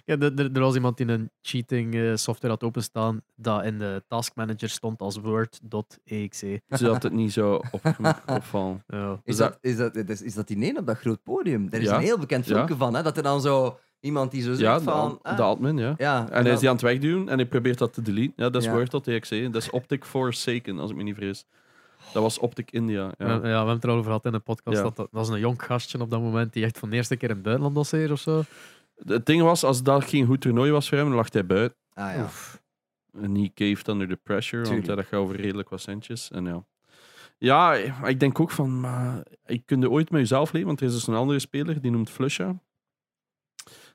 Speaker 1: Ja, er, er- er was iemand die een cheating eh, software had openstaan dat in de taskmanager stond als word.exe.
Speaker 3: zodat het niet zo op, opvallen.
Speaker 1: Ja.
Speaker 2: Is,
Speaker 3: Dus
Speaker 2: dat, is, dat, is, is dat die neen op dat groot podium? Daar is
Speaker 3: Ja.
Speaker 2: een heel bekend
Speaker 3: Ja.
Speaker 2: filmpje van, hè? dat er dan zo iemand die zo zegt
Speaker 3: Ja, de,
Speaker 2: van...
Speaker 3: ad-
Speaker 2: ah,
Speaker 3: de admin, ja.
Speaker 2: ja,
Speaker 3: En hij is die aan het wegduwen en hij probeert dat te deleten. Ja, dat is
Speaker 2: Ja.
Speaker 3: Word.txt. Dat is Optic Forsaken, als ik me niet vergis. Dat was Optic India.
Speaker 1: Ja. ja,
Speaker 3: Ja.
Speaker 1: we hebben het erover gehad in de podcast.
Speaker 3: Ja.
Speaker 1: Dat, dat was een jong gastje op dat moment die echt van de eerste keer in het buitenland was hier of zo.
Speaker 3: Het ding was, als dat geen goed toernooi was voor hem, dan lag hij buiten.
Speaker 2: Ah, ja.
Speaker 3: En he caved under the pressure, want ja,
Speaker 2: Tuurlijk.
Speaker 3: dat gaat over redelijk wat centjes. En ja. ja, maar ik denk ook van, maar ik kunde ooit met jezelf leven, want er is dus een andere speler, die noemt Flusha.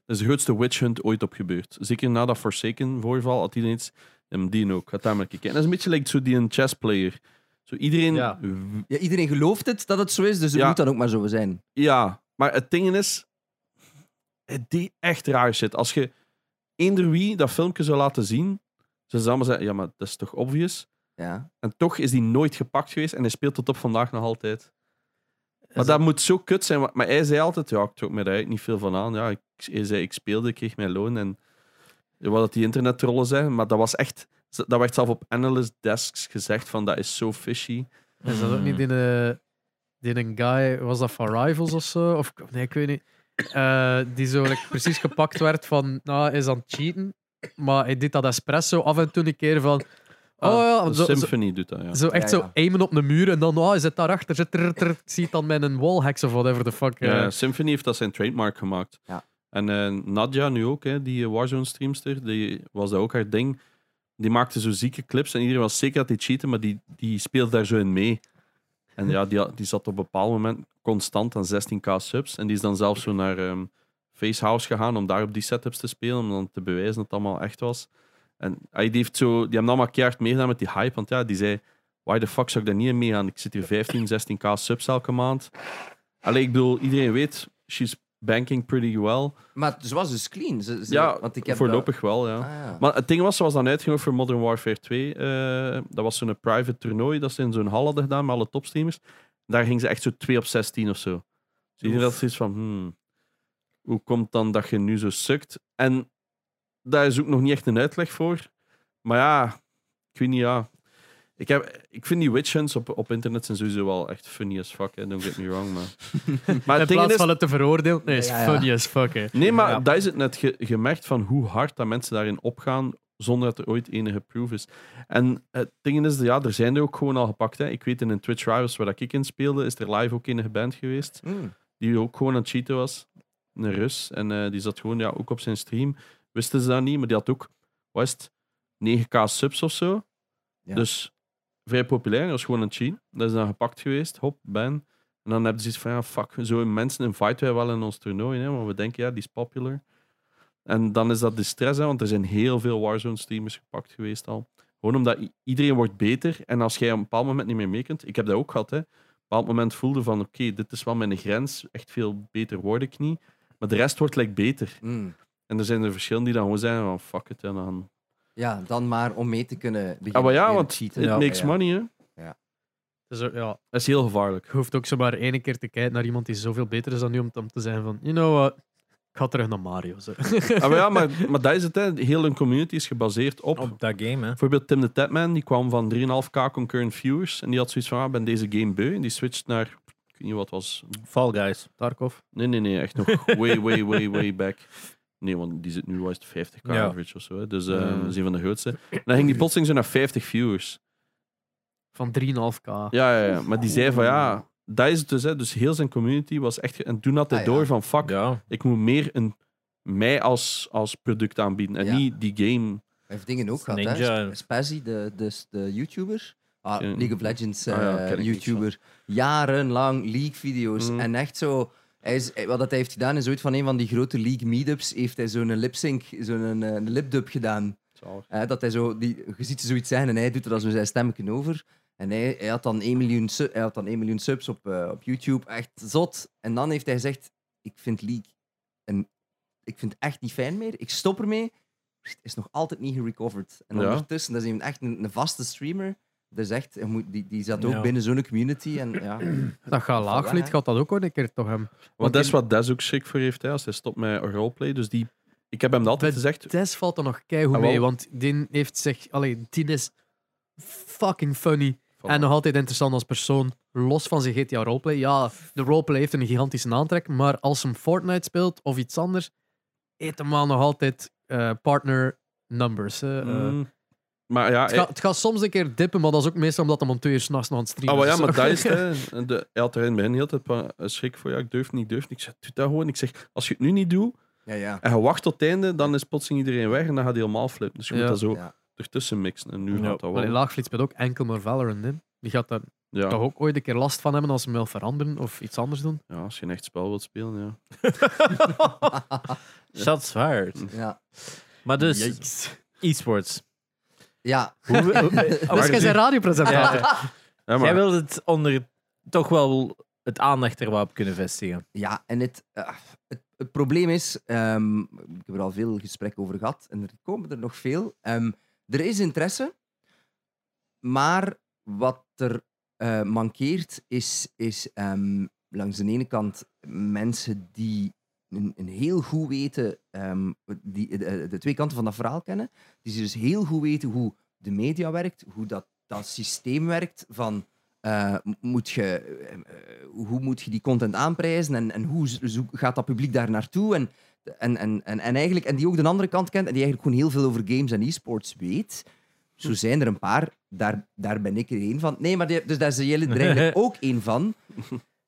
Speaker 3: Dat is de grootste witch hunt ooit op gebeurd. Zeker na dat Forsaken voorval had iedereen iets, hem die ook, gaat daar maar kijken. En dat is een beetje like zo die een chess player. Zo iedereen,
Speaker 1: Ja.
Speaker 3: ja.
Speaker 2: Ja, iedereen gelooft het dat het zo is, dus het
Speaker 3: Ja.
Speaker 2: moet dan ook maar zo zijn.
Speaker 3: maar het ding is, het die echt raar shit. Als je eender wie dat filmpje zou laten zien, ze zouden allemaal zeggen, ja, maar dat is toch obvious?
Speaker 2: Ja.
Speaker 3: En toch is die nooit gepakt geweest en hij speelt tot op vandaag nog altijd. Maar
Speaker 4: Is
Speaker 3: dat moet zo kut zijn. want- Maar hij zei altijd, ja, ik trok me daar eigenlijk niet veel van aan. Ja, ik, hij zei, ik speelde, ik kreeg mijn loon. En wat dat die internetrollen zijn, maar dat was echt... Dat werd zelf op analyst desks gezegd van, dat is zo fishy.
Speaker 1: Is dat ook
Speaker 4: Mm.
Speaker 1: niet in een, die een guy, was dat van Rivals of zo? Of, nee, ik weet niet. Eh, die zo like, precies gepakt werd van, nou, hij is aan het cheaten. Maar hij deed dat espresso af en toe een keer van... Oh ja,
Speaker 3: de
Speaker 1: zo- zo-
Speaker 3: Symphony doet dat, ja.
Speaker 1: Zo echt
Speaker 2: Ja,
Speaker 1: zo
Speaker 2: ja.
Speaker 1: aimen op de muur en dan, oh, hij zit daarachter, zit er, er, ik zie het dan met een wallhex of whatever the fuck.
Speaker 3: Ja,
Speaker 1: eh.
Speaker 3: Symphony heeft dat zijn trademark gemaakt.
Speaker 2: Ja.
Speaker 3: En eh, Nadja nu ook, hè, die eh, Warzone-streamster, die was dat ook haar ding. Die maakte zo zieke clips en iedereen was zeker dat hij cheaten, maar die, die speelde daar zo in mee. En ja, die, had- die zat op een bepaald moment constant aan 16k subs. En die is dan zelfs zo naar ehm, Facehouse gegaan om daar op die setups te spelen, om dan te bewijzen dat het allemaal echt was. En hij die heeft zo, die hebben allemaal keihard meegedaan met die hype, want ja, die zei, why the fuck zou ik daar niet in meegaan? Ik zit hier 15, 16k subs elke maand. Allee, ik bedoel, iedereen weet, she's banking pretty well.
Speaker 2: Maar ze was dus clean. Ze, ze-
Speaker 3: ja,
Speaker 2: want ik heb
Speaker 3: voorlopig wel, ja.
Speaker 2: dat- ah, ja.
Speaker 3: Maar het ding was, ze was dan uitgenodigd voor Modern Warfare 2. eh, dat was zo'n private toernooi dat ze in zo'n hal hadden gedaan met alle topstreamers. Daar ging ze echt zo 2 op 16 of zo. Dus iedereen had zoiets van, hmm, hoe komt dan dat je nu zo sukt? En daar is ook nog niet echt een uitleg voor. Maar ja, ik weet niet, ja. Ik, heb, ik vind die witch hunts op, op internet zijn sowieso wel echt funny as fuck, hè. don't get me wrong. Maar, maar
Speaker 1: in
Speaker 3: het ding
Speaker 1: plaats
Speaker 3: is,
Speaker 1: van het te veroordelen, nee, is
Speaker 2: Ja, ja.
Speaker 1: funny as fuck. hè.
Speaker 3: Nee, maar
Speaker 1: Ja.
Speaker 3: dat is het net. Je, je merkt van hoe hard dat mensen daarin opgaan zonder dat er ooit enige proof is. En het ding is, ja, er zijn er ook gewoon al gepakt. Hè. Ik weet in een Twitch Rivals waar dat ik in speelde, is er live ook enige band geweest
Speaker 2: Hmm.
Speaker 3: die ook gewoon aan het cheaten was. Een Rus. En eh, die zat gewoon ja, ook op zijn stream wisten ze dat niet, maar die had ook, wat is het, 9k subs of zo.
Speaker 2: Ja.
Speaker 3: Dus vrij populair, dat was gewoon een cheat. Dat is dan gepakt geweest, hop, ben. En dan hebben ze zoiets van, ja, fuck, zo mensen inviten wij wel in ons toernooi, hè, want we denken, ja, die is popular. En dan is dat de stress, hè, want er zijn heel veel Warzone-streamers gepakt geweest al. Gewoon omdat i- iedereen wordt beter. En als jij op een bepaald moment niet meer mee kunt... Ik heb dat ook gehad, hè. Op een bepaald moment voelde van, oké, dit is wel mijn grens. Echt veel beter word ik niet. Maar de rest wordt like, beter.
Speaker 2: Mm.
Speaker 3: En er zijn er verschillen die dan gewoon zijn van, fuck it. En dan...
Speaker 2: Ja, dan maar om mee te kunnen beginnen.
Speaker 3: Ah, maar ja,
Speaker 2: leren
Speaker 3: want it
Speaker 2: cheaten.
Speaker 3: makes
Speaker 2: Ja.
Speaker 3: money, hè.
Speaker 1: Dus, eh, ja,
Speaker 3: Dat is heel gevaarlijk.
Speaker 1: je hoeft ook zomaar één keer te kijken naar iemand die zoveel beter is dan u om, om te zeggen van, you know what, ik ga terug naar Mario. Zo.
Speaker 3: Ah, maar ja, maar, maar dat is het, hè. Heel een community is gebaseerd op...
Speaker 4: Op dat game, hè.
Speaker 3: Bijvoorbeeld Tim the Tapman, die kwam van 3,5k concurrent viewers. En die had zoiets van, ah, ik ben deze game beu. En die switcht naar... Ik weet niet wat het was,
Speaker 4: Fall Guys.
Speaker 1: Tarkov.
Speaker 3: Nee, nee, nee, echt nog way, way, way, way back. Nee, want die zit nu wel eens 50k
Speaker 4: Ja.
Speaker 3: average of zo. Hè. Dus eh,
Speaker 2: Mm.
Speaker 3: dat is een van de grootste. En dan ging die plotseling zo naar 50 viewers.
Speaker 1: Van Dus 3,5k.
Speaker 3: Ja, ja, ja. Maar die zei van ja, dat is het dus. Hè. Dus heel zijn community was echt. ge- En toen had hij
Speaker 2: Ah, ja.
Speaker 3: door van fuck,
Speaker 4: Ja.
Speaker 3: ik moet meer een, mij als, als product aanbieden. En
Speaker 2: Ja.
Speaker 3: niet die game.
Speaker 2: Hij heeft dingen ook gehad,
Speaker 4: Ninja.
Speaker 2: hè? Sp- Spazzy, de, de, de YouTuber. Ah,
Speaker 3: Ja.
Speaker 2: League of Legends
Speaker 3: Ah ja,
Speaker 2: eh,
Speaker 3: ken ik niet
Speaker 2: YouTuber. Jarenlang League-video's.
Speaker 3: Mhm.
Speaker 2: En echt zo. Hij is, hij- wat dat hij heeft gedaan is ooit van een van die grote League meetups. Heeft hij zo'n lip-sync, zo'n eh, lip-dub gedaan. Hè, dat hij zo, die, je ziet ze zoiets zeggen en hij doet er dan zo zijn stemmetje over. En hij, hij, had dan 1 miljoen su- hij had dan 1 miljoen subs op, eh, op YouTube. Echt zot. En dan heeft hij gezegd, ik vind League een, ik vind het echt niet fijn meer. Ik stop ermee. Het is nog altijd niet gerecoverd. En
Speaker 3: Ja.
Speaker 2: ondertussen, dat is iemand echt een, een vaste streamer. Dat is echt, je moet- die, die zat ook
Speaker 4: Ja.
Speaker 2: binnen zo'n community. En, ja.
Speaker 1: Dat gaat
Speaker 2: Voilà,
Speaker 1: laagvliet,
Speaker 2: hè.
Speaker 1: gaat dat ook wel een keer toch hem.
Speaker 3: Want
Speaker 1: Want
Speaker 3: dat is
Speaker 1: in-
Speaker 3: wat Des ook schrik voor heeft. Hè, als hij stopt met roleplay. Dus die, ik heb hem dat altijd
Speaker 1: Met
Speaker 3: gezegd.
Speaker 1: Des valt er nog keigoed
Speaker 3: Ah, wel.
Speaker 1: mee, want die heeft zich... Allee, die is fucking funny.
Speaker 3: Voilà.
Speaker 1: En nog altijd interessant als persoon, los van zijn GTA roleplay. Ja, de roleplay heeft een gigantische aantrek, maar als hem Fortnite speelt of iets anders, eet hem wel nog altijd eh, partner numbers. hè. Eh,
Speaker 3: Mm. Maar ja,
Speaker 1: het, gaat, het gaat soms een keer dippen, maar dat is ook meestal omdat de monteur s'nachts nog aan het
Speaker 3: Ah,
Speaker 1: streamen
Speaker 3: maar ja,
Speaker 1: is.
Speaker 3: maar dat is het. hè. De, hij had er in het begin heel de tijd van, eh, schrik voor. Ja, ik durf niet, durf niet. Ik zeg, doe dat gewoon. Ik zeg, als je het nu niet doet
Speaker 2: Ja, ja.
Speaker 3: en je wacht tot het einde, dan is plotseling iedereen weg en dan gaat hij helemaal flippen. Dus je
Speaker 1: Ja.
Speaker 3: moet dat zo
Speaker 2: Ja.
Speaker 3: ertussen mixen. En nu
Speaker 4: Ja.
Speaker 3: gaat dat
Speaker 1: Allee,
Speaker 3: wel.
Speaker 1: Laagvliet speelt ook enkel maar Valorant. Hè. Die gaat daar
Speaker 3: Ja,
Speaker 1: toch ook ooit een keer last van hebben als ze hem wil veranderen of iets anders doen.
Speaker 3: ja, als je een echt spel wilt spelen, ja.
Speaker 4: Shots fired.
Speaker 2: ja.
Speaker 4: Maar dus, e-sports.
Speaker 2: ja.
Speaker 4: Hoe, hoe- hoe-
Speaker 1: Dus
Speaker 3: Maar
Speaker 1: jij
Speaker 3: die-
Speaker 1: zijn radiopresentator.
Speaker 4: Ja.
Speaker 3: Ja, maar,
Speaker 4: Jij wil het onder toch wel het aandacht er wel op kunnen vestigen.
Speaker 2: Ja, en het, eh, het, het probleem is, ehm, ik heb er al veel gesprekken over gehad en er komen er nog veel. Ehm, er is interesse, maar wat er eh, mankeert is, is ehm, langs de ene kant mensen die een, een heel goed weten, ehm, die de, de twee kanten van dat verhaal kennen, die ze dus heel goed weten hoe de media werkt, hoe dat, dat systeem werkt van eh, m- moet je, eh, eh, hoe moet je die content aanprijzen en, en hoe z- zo- gaat dat publiek daar naartoe? En, en, en, en, en, eigenlijk, en die ook de andere kant kent en die eigenlijk gewoon heel veel over games en e-sports weet. Zo zijn er een paar, daar, daar ben ik er één van. Nee, maar die- dus daar is jullie er eigenlijk ook één van.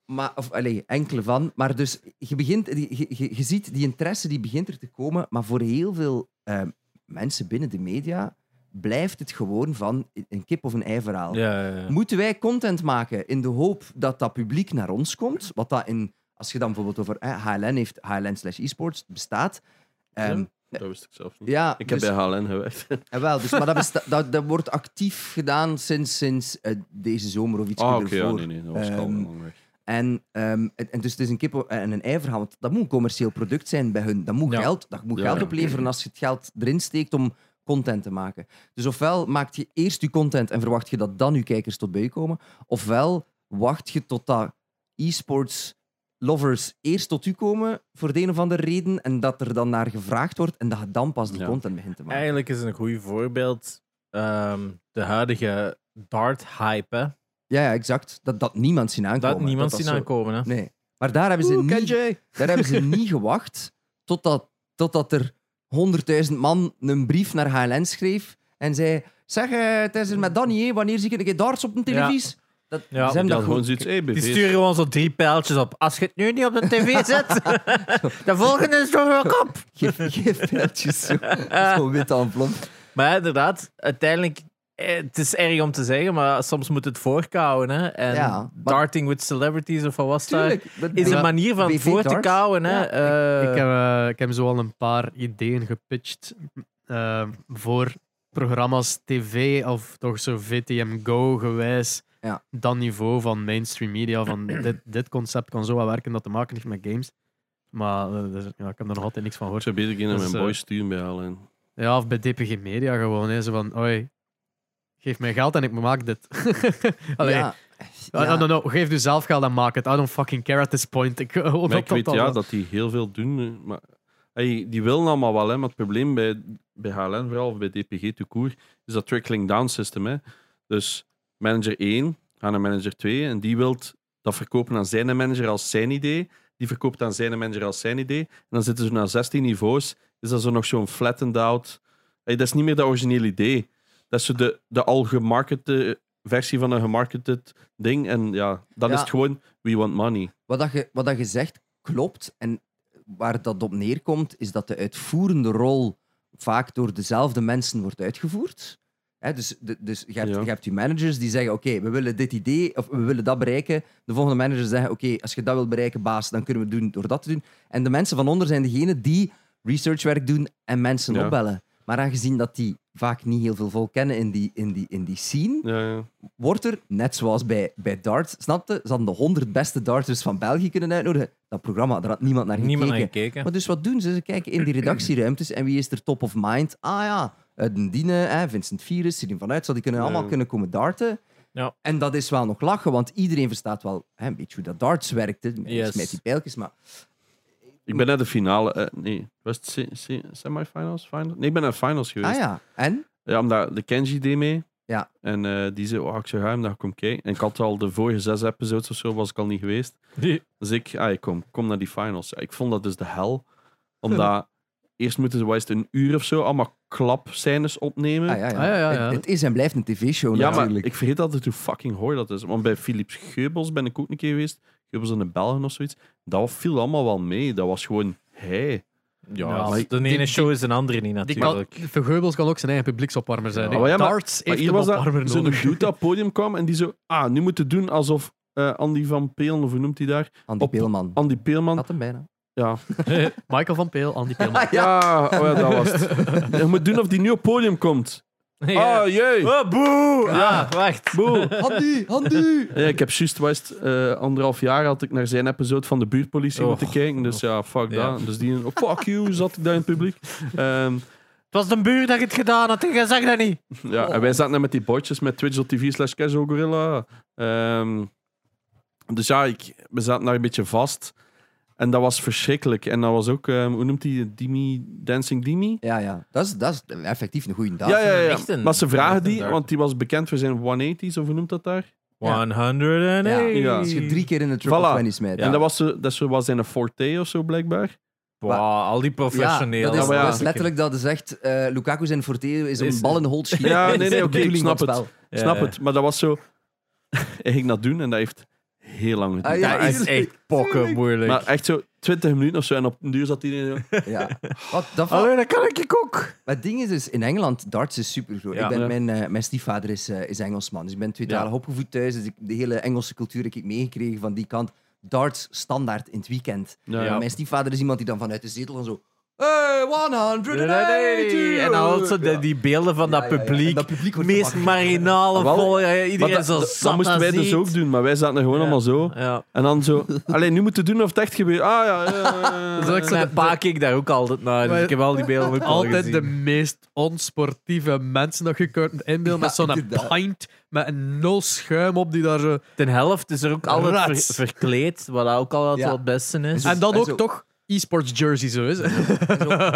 Speaker 2: Maar, of allee, enkele van. Maar dus je, begint, je, je, je ziet die interesse die begint er te komen, maar voor heel veel eh, mensen binnen de media blijft het gewoon van een kip of een ei verhaal.
Speaker 4: Ja, ja, ja.
Speaker 2: Moeten wij content maken in de hoop dat dat publiek naar ons komt? Wat dat in, als je dan bijvoorbeeld over eh, HLN heeft, HLN slash esports bestaat. Ehm,
Speaker 3: Ja, dat wist ik zelf niet.
Speaker 2: ja,
Speaker 3: Ik heb
Speaker 2: dus-
Speaker 3: bij HLN gewerkt.
Speaker 2: eh, wel, dus, maar dat, besta- dat, dat wordt actief gedaan sinds, sinds eh, deze zomer of iets
Speaker 3: Ah, oké,
Speaker 2: ervoor.
Speaker 3: ja, nee, nee, dat was ik al
Speaker 2: Ehm,
Speaker 3: lang weg.
Speaker 2: En, ehm, en en dus het is een kip en een ei verhaal, want dat moet een commercieel product zijn bij hun. Dat moet
Speaker 4: Ja.
Speaker 2: geld, dat moet
Speaker 3: Ja,
Speaker 2: geld
Speaker 3: ja.
Speaker 2: opleveren als je het geld erin steekt om content te maken. Dus ofwel maak je eerst je content en verwacht je dat dan je kijkers tot bij je komen, ofwel wacht je tot dat e-sports lovers eerst tot u komen voor de een of andere reden en dat er dan naar gevraagd wordt en dat je dan pas die
Speaker 3: Ja.
Speaker 2: content begint te maken.
Speaker 4: Eigenlijk is een goed voorbeeld ehm, de huidige Dart-hype. hè.
Speaker 2: Ja, ja, exact. Dat, dat niemand zien aankomen.
Speaker 4: Dat niemand zien
Speaker 2: zo-
Speaker 4: aankomen. Hè?
Speaker 2: Nee. Maar daar hebben ze
Speaker 1: Oeh,
Speaker 2: niet...
Speaker 1: KJ.
Speaker 2: Daar hebben ze niet gewacht totdat, totdat er 100.000 man een brief naar HLN schreef en zei: Zeg, eh, het is er met Danny, hè, wanneer zie ik een keer darts op de televisie? Dat,
Speaker 4: Ja,
Speaker 2: ze hebben
Speaker 3: dan
Speaker 2: dat
Speaker 3: gewoon
Speaker 2: goed.
Speaker 3: zoiets, hey,
Speaker 4: Die
Speaker 3: BV's.
Speaker 4: sturen gewoon zo drie pijltjes op. Als je het nu niet op de tv zet, de volgende is toch wel kop.
Speaker 2: Geef, geef pijltjes zo. Zo'n wit envelop.
Speaker 4: Maar ja, inderdaad, uiteindelijk, eh, het is erg om te zeggen, maar soms moet het voorkouwen. Hè? En
Speaker 2: Ja, maar-
Speaker 4: darting with celebrities of wat was dat?
Speaker 2: Tuurlijk. dat-
Speaker 4: Is
Speaker 2: dat-
Speaker 4: een manier van
Speaker 2: BV
Speaker 4: voor te
Speaker 2: darts?
Speaker 4: kouwen. Hè?
Speaker 2: Ja,
Speaker 4: Eh,
Speaker 1: Ik heb, eh, ik heb zo al een paar ideeën gepitcht eh, voor programma's tv of toch zo VTM Go gewijs.
Speaker 2: Ja.
Speaker 1: Dat niveau van mainstream media, van dit, dit concept kan zo wel werken dat te maken heeft met games. Maar eh, dus, ja, ik heb er nog altijd niks van gehoord.
Speaker 3: Ik zou beter kinderen
Speaker 1: Dat is,
Speaker 3: mijn
Speaker 1: eh,
Speaker 3: boys sturen bij halen.
Speaker 1: Ja, of bij DPG Media gewoon. Hè, zo van, oi, geef mij geld en ik maak dit. Allee,
Speaker 2: Ja.
Speaker 1: ah,
Speaker 2: Ja.
Speaker 1: no, no, no, geef u zelf geld en maak het. I don't fucking care at this point. Ik, gewoon
Speaker 3: Maar
Speaker 1: op
Speaker 3: ik weet
Speaker 1: dat
Speaker 3: ja,
Speaker 1: alles.
Speaker 3: dat die heel veel doen. eh, Maar, hey, die willen allemaal wel, hè, maar het probleem bij, bij HLN vooral, of bij DPG toekoer, is dat trickling-down systeem. Hè. Dus manager 1 gaat naar manager 2 en die wil dat verkopen aan zijn manager als zijn idee. Die verkoopt aan zijn manager als zijn idee. En dan zitten ze na 16 niveaus, is dat zo nog zo'n flattened out. Hey, dat is niet meer dat originele idee. Dat is zo de, de al gemarkete versie van een gemarketed ding. En ja, dan
Speaker 2: Ja.
Speaker 3: is het gewoon, we want money.
Speaker 2: Wat, dat je, wat dat je zegt klopt. En waar dat op neerkomt, is dat de uitvoerende rol vaak door dezelfde mensen wordt uitgevoerd. Hè, dus de- dus je, hebt,
Speaker 3: Ja.
Speaker 2: je hebt je managers die zeggen: Oké, we willen dit idee of we willen dat bereiken. De volgende managers zeggen: Oké, als je dat wil bereiken, baas, dan kunnen we het doen door dat te doen. En de mensen van onder zijn degenen die researchwerk doen en mensen
Speaker 3: Ja.
Speaker 2: opbellen. Maar aangezien dat die vaak niet heel veel volk kennen in die, in die, in die scene,
Speaker 3: Ja, ja.
Speaker 2: wordt er, net zoals bij, bij darts, snapte, ze hadden de 100 beste darters van België kunnen uitnodigen. Dat programma, daar had niemand naar gekeken.
Speaker 4: niemand naar gekeken.
Speaker 2: Maar dus wat doen ze? Ze kijken in die redactieruimtes en wie is er top of mind? Ah ja, eh, Den Diene, hè, Vincent Virus, Sidin van Uitzal, die kunnen allemaal
Speaker 3: Ja.
Speaker 2: kunnen komen darten.
Speaker 4: Ja.
Speaker 2: En dat is wel nog lachen, want iedereen verstaat wel hè, een beetje hoe dat darts werkt. hè, Met,
Speaker 4: Yes.
Speaker 2: met die pijltjes, maar
Speaker 3: Ik ben naar de finale. eh, nee, was het se- se- semifinals? Final? Nee, ik ben naar de finals geweest.
Speaker 2: ah ja, en?
Speaker 3: Ja, omdat de Kenji deed mee.
Speaker 2: Ja.
Speaker 3: En eh, die zei, oh, ik zou ruim naar kom kijken. En ik had al de vorige zes episodes of zo, was ik al niet geweest. Dus ik, ah, ik kom, kom naar die finals. Ja, Ik vond dat dus de hel. Omdat eerst moeten ze wel eens een uur of zo allemaal klapscènes opnemen.
Speaker 2: Ah, ja, ja.
Speaker 1: Ah, ja, ja, ja.
Speaker 2: Het, het is en blijft een tv-show
Speaker 3: Ja, maar
Speaker 2: natuurlijk.
Speaker 3: ik vergeet altijd hoe fucking hoor dat is. Want bij Philips Geubels ben ik ook een keer geweest. Geubels in de Belgen of zoiets. Dat viel allemaal wel mee. Dat was gewoon, hey.
Speaker 4: Ja,
Speaker 1: Ja,
Speaker 4: als
Speaker 1: die-
Speaker 4: de ene
Speaker 1: die-
Speaker 4: show is de andere niet
Speaker 1: Die kan,
Speaker 4: natuurlijk.
Speaker 1: Vergeubels kan ook zijn eigen publieksopwarmer zijn.
Speaker 3: Ja,
Speaker 1: hè.
Speaker 3: maar ja, maar-
Speaker 1: Darts
Speaker 3: Maar
Speaker 1: heeft
Speaker 3: hier
Speaker 1: een
Speaker 3: was
Speaker 1: opwarmer
Speaker 3: dat zo'n
Speaker 1: nodig.
Speaker 3: dude dat op het podium kwam en die zo... Ah, nu moeten doen alsof eh, Andy van Peel, of hoe noemt hij daar?
Speaker 2: Andy
Speaker 3: op-
Speaker 2: Peelman.
Speaker 3: Andy Peelman.
Speaker 2: Had hem bijna.
Speaker 3: Ja.
Speaker 1: Michael van Peel, Andy Peelman.
Speaker 2: Ah, ja.
Speaker 3: Ja, oh ja, dat was het. Je moet doen of die nu op het podium komt.
Speaker 4: Ja.
Speaker 3: Ah, jee.
Speaker 4: Oh, boe! Ah, wacht.
Speaker 3: Boe.
Speaker 2: Andy, Andy!
Speaker 3: Ja, ik heb juist West eh, anderhalf jaar had ik naar zijn episode van de buurtpolitie
Speaker 4: Oh,
Speaker 3: moeten kijken. Dus ja, fuck
Speaker 4: Ja.
Speaker 3: dat. Dus die... oh, fuck you, zat ik daar in het publiek. Ehm,
Speaker 4: Het was de buur dat het gedaan had en jij zag dat niet.
Speaker 3: Ja, en wij zaten daar met die bordjes met twitch.tv slash casual gorilla. Ehm, dus ja, ik, we zaten daar een beetje vast. En dat was verschrikkelijk. En dat was ook, ehm, hoe noemt die, Dimi, Dancing Dimi?
Speaker 2: Ja, ja. Dat is, dat is effectief een goede dag.
Speaker 3: ja, ja, ja.
Speaker 4: echt een-
Speaker 3: maar ze vragen
Speaker 4: echt een
Speaker 3: die,
Speaker 4: dart.
Speaker 3: want die was bekend voor zijn 180's, of hoe noemt dat daar?
Speaker 4: 108.
Speaker 2: Ja.
Speaker 3: Ja.
Speaker 2: Als je drie keer in de triple
Speaker 3: Voilà.
Speaker 2: 20 smijt.
Speaker 3: En dat was, zo- dat is zo- was zijn forte of zo, blijkbaar.
Speaker 4: Wow, al die
Speaker 2: Ja,
Speaker 4: professioneel.
Speaker 2: dat is,
Speaker 3: maar ja.
Speaker 2: dat is letterlijk dat ze zegt, eh, Lukaku zijn forte is
Speaker 4: Is-
Speaker 2: een bal in de hol te schieten.
Speaker 3: Ja,
Speaker 2: Dat is
Speaker 3: nee, nee,
Speaker 2: de
Speaker 3: oké, ik
Speaker 2: bedoeling van
Speaker 3: snap
Speaker 2: spel.
Speaker 3: Snap het? Maar dat was zo... Hij ging dat doen en dat heeft heel lang geduurd.
Speaker 2: Ah, ja,
Speaker 3: Maar
Speaker 4: Dat
Speaker 3: echt-
Speaker 4: is echt pokken moeilijk.
Speaker 3: maar echt zo 20 minuten of zo. En op een duur zat iedereen zo...
Speaker 2: Ja. Wat, dat valt-
Speaker 4: Alleen dat kan ik ook.
Speaker 2: Maar het ding is, dus, in Engeland, darts is super groot.
Speaker 4: Ja.
Speaker 2: ik ben,
Speaker 3: Ja.
Speaker 2: mijn, eh, mijn stiefvader is, eh, is Engelsman, dus ik ben tweetalig opgevoed thuis. Dus ik, de hele Engelse cultuur heb ik meegekregen van die kant. Darts standaard in het weekend.
Speaker 3: Ja.
Speaker 2: Maar Mijn stiefvader is iemand die dan vanuit de zetel van zo... Hey, 180!
Speaker 4: En al zo de-
Speaker 2: Ja.
Speaker 4: die beelden van
Speaker 2: Ja,
Speaker 4: dat
Speaker 2: ja, ja. En
Speaker 4: publiek.
Speaker 2: dat publiek wordt
Speaker 4: meest
Speaker 2: wakker.
Speaker 4: marginale
Speaker 3: Wel,
Speaker 4: vol. ja,
Speaker 3: Maar
Speaker 4: Iedereen
Speaker 3: dat-
Speaker 4: zo
Speaker 3: dat-
Speaker 4: zat
Speaker 3: dat moesten wij dus
Speaker 4: ziet.
Speaker 3: ook doen, maar wij zaten er gewoon allemaal zo.
Speaker 4: Ja.
Speaker 3: En dan zo, alleen nu moeten doen of het echt gebeurt. Ah ja, ja, ja, ja.
Speaker 4: Dus ik mijn pa keek daar ook altijd naar. Dus
Speaker 1: Maar-
Speaker 4: ik heb al die beelden ook al
Speaker 1: Altijd de
Speaker 4: gezien.
Speaker 1: meest onsportieve mensen dat je kunt inbeelden. met
Speaker 2: Ja,
Speaker 1: zo'n
Speaker 2: inderdaad.
Speaker 1: pint met een nul schuim op die daar zo...
Speaker 4: Ten helft is er ook altijd ver-
Speaker 1: Rats.
Speaker 4: verkleed. Wat ook altijd
Speaker 2: Ja. Dus
Speaker 4: wat het beste is.
Speaker 2: En
Speaker 1: En dan
Speaker 2: zo-
Speaker 1: ook toch e-sports jersey zo is.
Speaker 2: Zo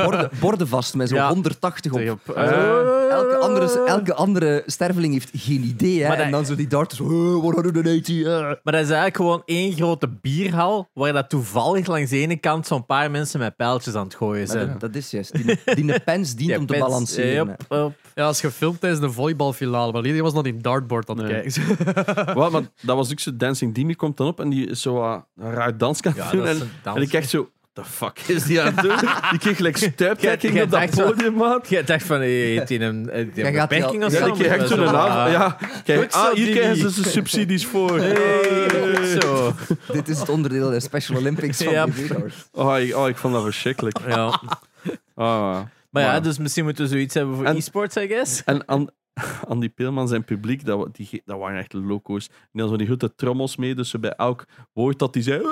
Speaker 2: borden, borden vast met zo'n
Speaker 1: Ja.
Speaker 2: 180 op.
Speaker 1: Tegen op-
Speaker 3: Eh,
Speaker 2: Elke andere, elke andere sterveling heeft geen idee. Hè?
Speaker 4: Maar dat-
Speaker 2: En dan zo die darters. "Eh, 180. eh."
Speaker 4: Maar dat is eigenlijk gewoon één grote bierhal waar dat toevallig langs de ene kant zo'n paar mensen met pijltjes aan het gooien
Speaker 2: Maar
Speaker 4: zijn.
Speaker 2: dat, dat is juist. Die, die pens dient
Speaker 4: Ja,
Speaker 2: om te
Speaker 4: pens.
Speaker 2: balanceren.
Speaker 4: Yep, yep.
Speaker 1: Ja, als gefilmd tijdens de volleybalfinale, maar iedereen was dan in dartboard aan het
Speaker 3: Nee.
Speaker 1: kijken.
Speaker 3: Wat, maar dat was ook zo, Dancing Demi komt dan op en die is zo eh, een raar dans kan
Speaker 4: Ja,
Speaker 3: doen.
Speaker 4: dat is
Speaker 3: En,
Speaker 4: een dans.
Speaker 3: en ik echt zo, what the fuck is die aan het doen? Die kreeg gelijk stuiptrekking
Speaker 4: Jij-
Speaker 3: op
Speaker 4: jij
Speaker 3: dat
Speaker 4: dacht zo-
Speaker 3: podium, man.
Speaker 4: Je dacht van, hey, heeft hij een, heeft hij
Speaker 2: Jij
Speaker 4: een
Speaker 2: gaat die
Speaker 4: beperking
Speaker 2: al-
Speaker 4: of
Speaker 3: Ja,
Speaker 4: zo?
Speaker 3: die kreeg echt
Speaker 4: Zo,
Speaker 3: zo'n avond.
Speaker 4: ah,
Speaker 3: Ja, kijk,
Speaker 4: Goed zo,
Speaker 3: ah, hier
Speaker 4: Dimi.
Speaker 3: krijgen ze de subsidies voor.
Speaker 4: hey,
Speaker 3: Hey.
Speaker 4: goed zo.
Speaker 2: Dit is het onderdeel der Special Olympics van
Speaker 4: Ja.
Speaker 2: de Weergaard.
Speaker 3: Oh, ik, oh, ik vond dat verschrikkelijk.
Speaker 4: Ja.
Speaker 3: Ah.
Speaker 4: Maar ja,
Speaker 3: Maar-
Speaker 4: dus misschien moeten we zoiets hebben voor
Speaker 3: En-
Speaker 4: e-sports, I guess.
Speaker 3: En An- Andy Peelman, zijn publiek, dat, wa- die, ge- dat waren echt loco's. En dan zo die grote trommels mee, dus zo bij elk woord dat hij zei...